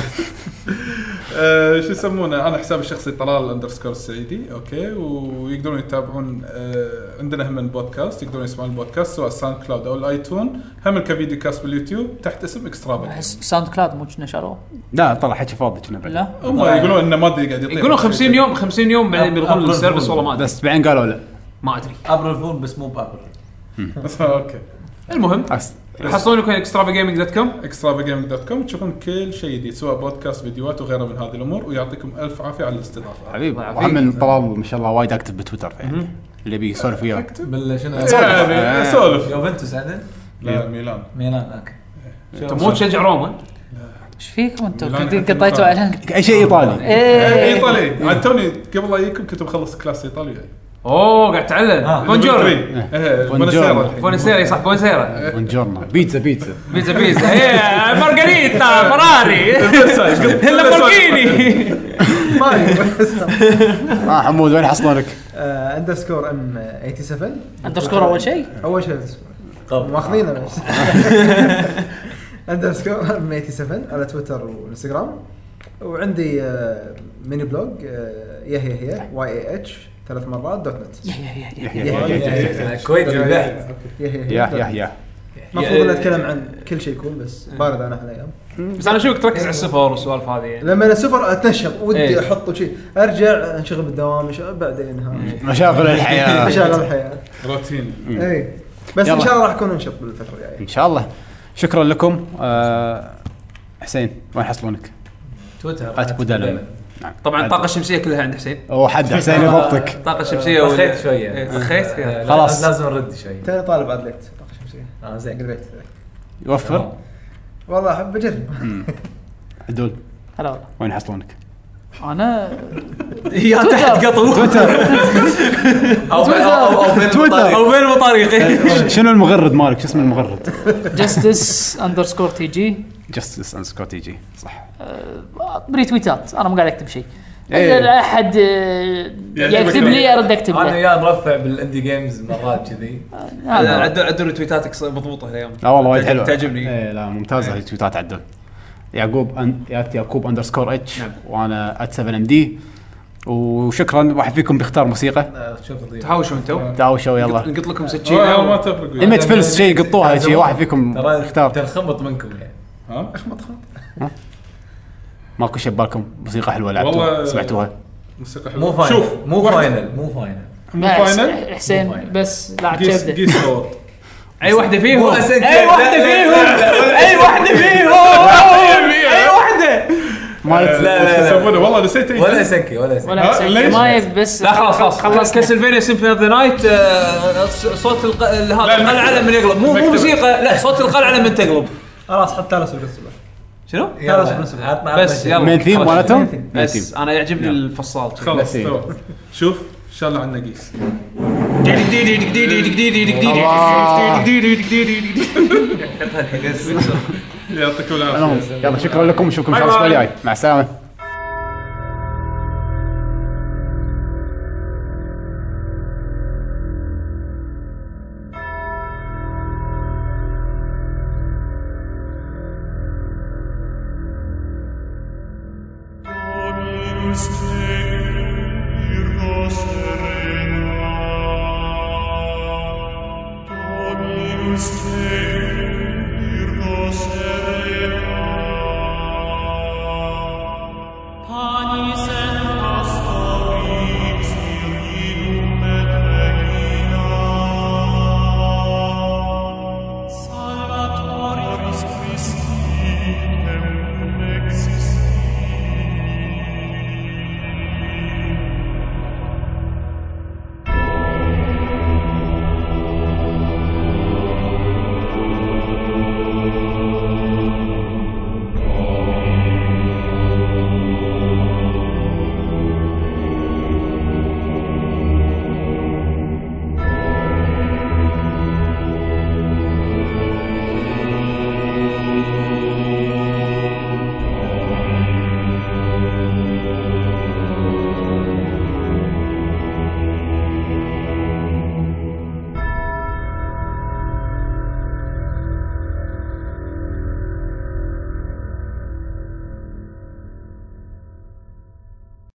آه، شو يسمونه انا حسابي الشخصي طلال اندرسكور السعيدي اوكي ويقدرون يتابعون آه، عندنا هم البودكاست يقدرون يسمعون البودكاست سواء ساوند كلاود او الايتون هم كفيديو كاست باليوتيوب تحت اسم اكسترا بنك. احس ساوند كلاود مو كنا شروه لا طلع حكي فاضي كنا بعد لا هم يقولون انه ما ادري قاعد يطيح يقولون [LAUGHS] 50 يوم 50 يوم بعدين بيلغون أبرر السيرفس فول. والله ما ادري بس بعدين قالوا لا ما ادري ابرل فول بس مو بابرل اوكي المهم أس- يحصلونكم اكسترافا جيمنج دوت كوم extravagagaming.com تشوفون كل شيء جديد سواء بودكاست فيديوهات وغيره من هذه الامور ويعطيكم الف عافيه على الاستضافه حبيبي الله وهم إن طلال ما شاء الله وايد اكتب بتويتر يعني اللي يبي يسولف وياك بال شنو يعني سولف يوفنتوس عدل لا ميلان ميلان اوكي انت مو تشجع روما ايش فيكم انتم لا، قاعدين نحن قطيتوا نطالع. علينا اي شيء ايطالي ايه ايطالي إيه، عاد توني قبل لا اجيكم كنت مخلص كلاس إيه، ايطاليا اوه قاعد تعلم Ah. آه. بونجور بونجورنو. بونسيري صح بونسيرا بونجورنا بيتزا بيتزا بيتزا بيتزا ايه مارغريتا فراري [LAUGHS] لامبورجيني اه حمود وين حصلونك؟ آه، اندرسكور ام 87 اندرسكور اول شيء اول شيء طب. ماخذينه [LAUGHS] بس اندرسكور ام 87 على تويتر وانستغرام وعندي آه، ميني بلوج آه، يحيى هي واي اي اتش ثلاث مرات دوت نت يا يا يا يا. يحيى يحيى يحيى كويت بالبحث يحيى هي يا دوت يا يا المفروض اني اتكلم عن كل شيء يكون بس بارد انا هالايام بس انا اشوفك تركز على السفر والسوالف هذه يعني لما انا سفر اتنشط ودي إيه. احط وشي ارجع انشغل بالدوام إيش- بعدين ها [LAUGHS] مشاغل [LAUGHS] الحياه مشاغل الحياه روتين اي إيه. بس إيه. ان يلا. شاء الله راح اكون انشط بالفتره الجايه ان شاء الله شكرا لكم آه حسين وين يحصلونك؟ تويتر ات بدلم نعم. طبعا عاد. الطاقه الشمسيه كلها عند حسين او [LAUGHS] حد حسين يضبطك الطاقه الشمسيه وال- رخيت شوية. إيه، رخيت Eh. فيها خلاص. لازم نرد شوي تاني طالب عاد ليت طاقة شمسية. اه زين قريت يوفر والله احب اجرب عدول هلا والله وين [LAUGHS] يحصلونك؟ انا يا تحت تويتر. قطو او او او بين تويتر. او بين Eh. المطاريق شنو المغرد مالك؟ شو اسم المغرد؟ جستس اندرسكور تي جي جستس اند سكوت تي جي صح بريتويتات انا مو قاعد اكتب شيء إيه. اذا احد آه، يكتب لي ارد اكتب انا له وياه مرفع بالاندي جيمز مرات كذي هذا. عدل عدل تويتاتك ص- مضبوطه هالايام لا والله وايد حلوه تعجبني ايه لا ممتازه التويتات عدل يعقوب أن... يات يعقوب اندرسكور اتش نعم. وانا ات 7 ام دي وشكرا واحد فيكم بيختار موسيقى آه، شوف نظيف. تحاوشوا انتم داوشوا يلا نقط لكم سكينه لا آه، ما تفرق وياي. لما تفلس شيء قطوها شيء واحد فيكم ترى يختار تنخبط منكم يعني ها ماكو شيء ببالكم موسيقى حلوه لعبتوها والله- سمعتوها موسيقى حلوه مو فاينل شوف مو واحد- فاينل مو فاينل مو لا، فاينل مو حسين فاينل. بس لا جيس عجبني جيس باور اي واحده فيهم اي واحده فيهم اي واحده فيهم اي واحده مالت لا، لا، شو لا. يسمونه والله نسيت أي ولا شيء. اسكي ولا اسكي ولا ها، حسين. ليش؟ ما يب- بس لا خلاص خلاص خلاص خلصنا كاسلفينيا سيمفوني اوف ذا نايت صوت الق- هذا لا، القلعه لما يقلب مو مو المكتبة. موسيقى لا صوت القلعه لما تقلب خلاص حط ثالث وجه الصبح شنو؟ يلا، خلاص، بس- عطنا- عطنا بس شيء. يلا مين ثيم خلاص. مالتهم؟ مين بس ثيم انا يعجبني الفصال خلاص نسيت. تمام. شوف ان شاء الله عندنا جيس يعطيكم العافيه المهم، يلا شكرا لكم نشوفكم ان شاء الله الاسبوع الجاي مع السلامه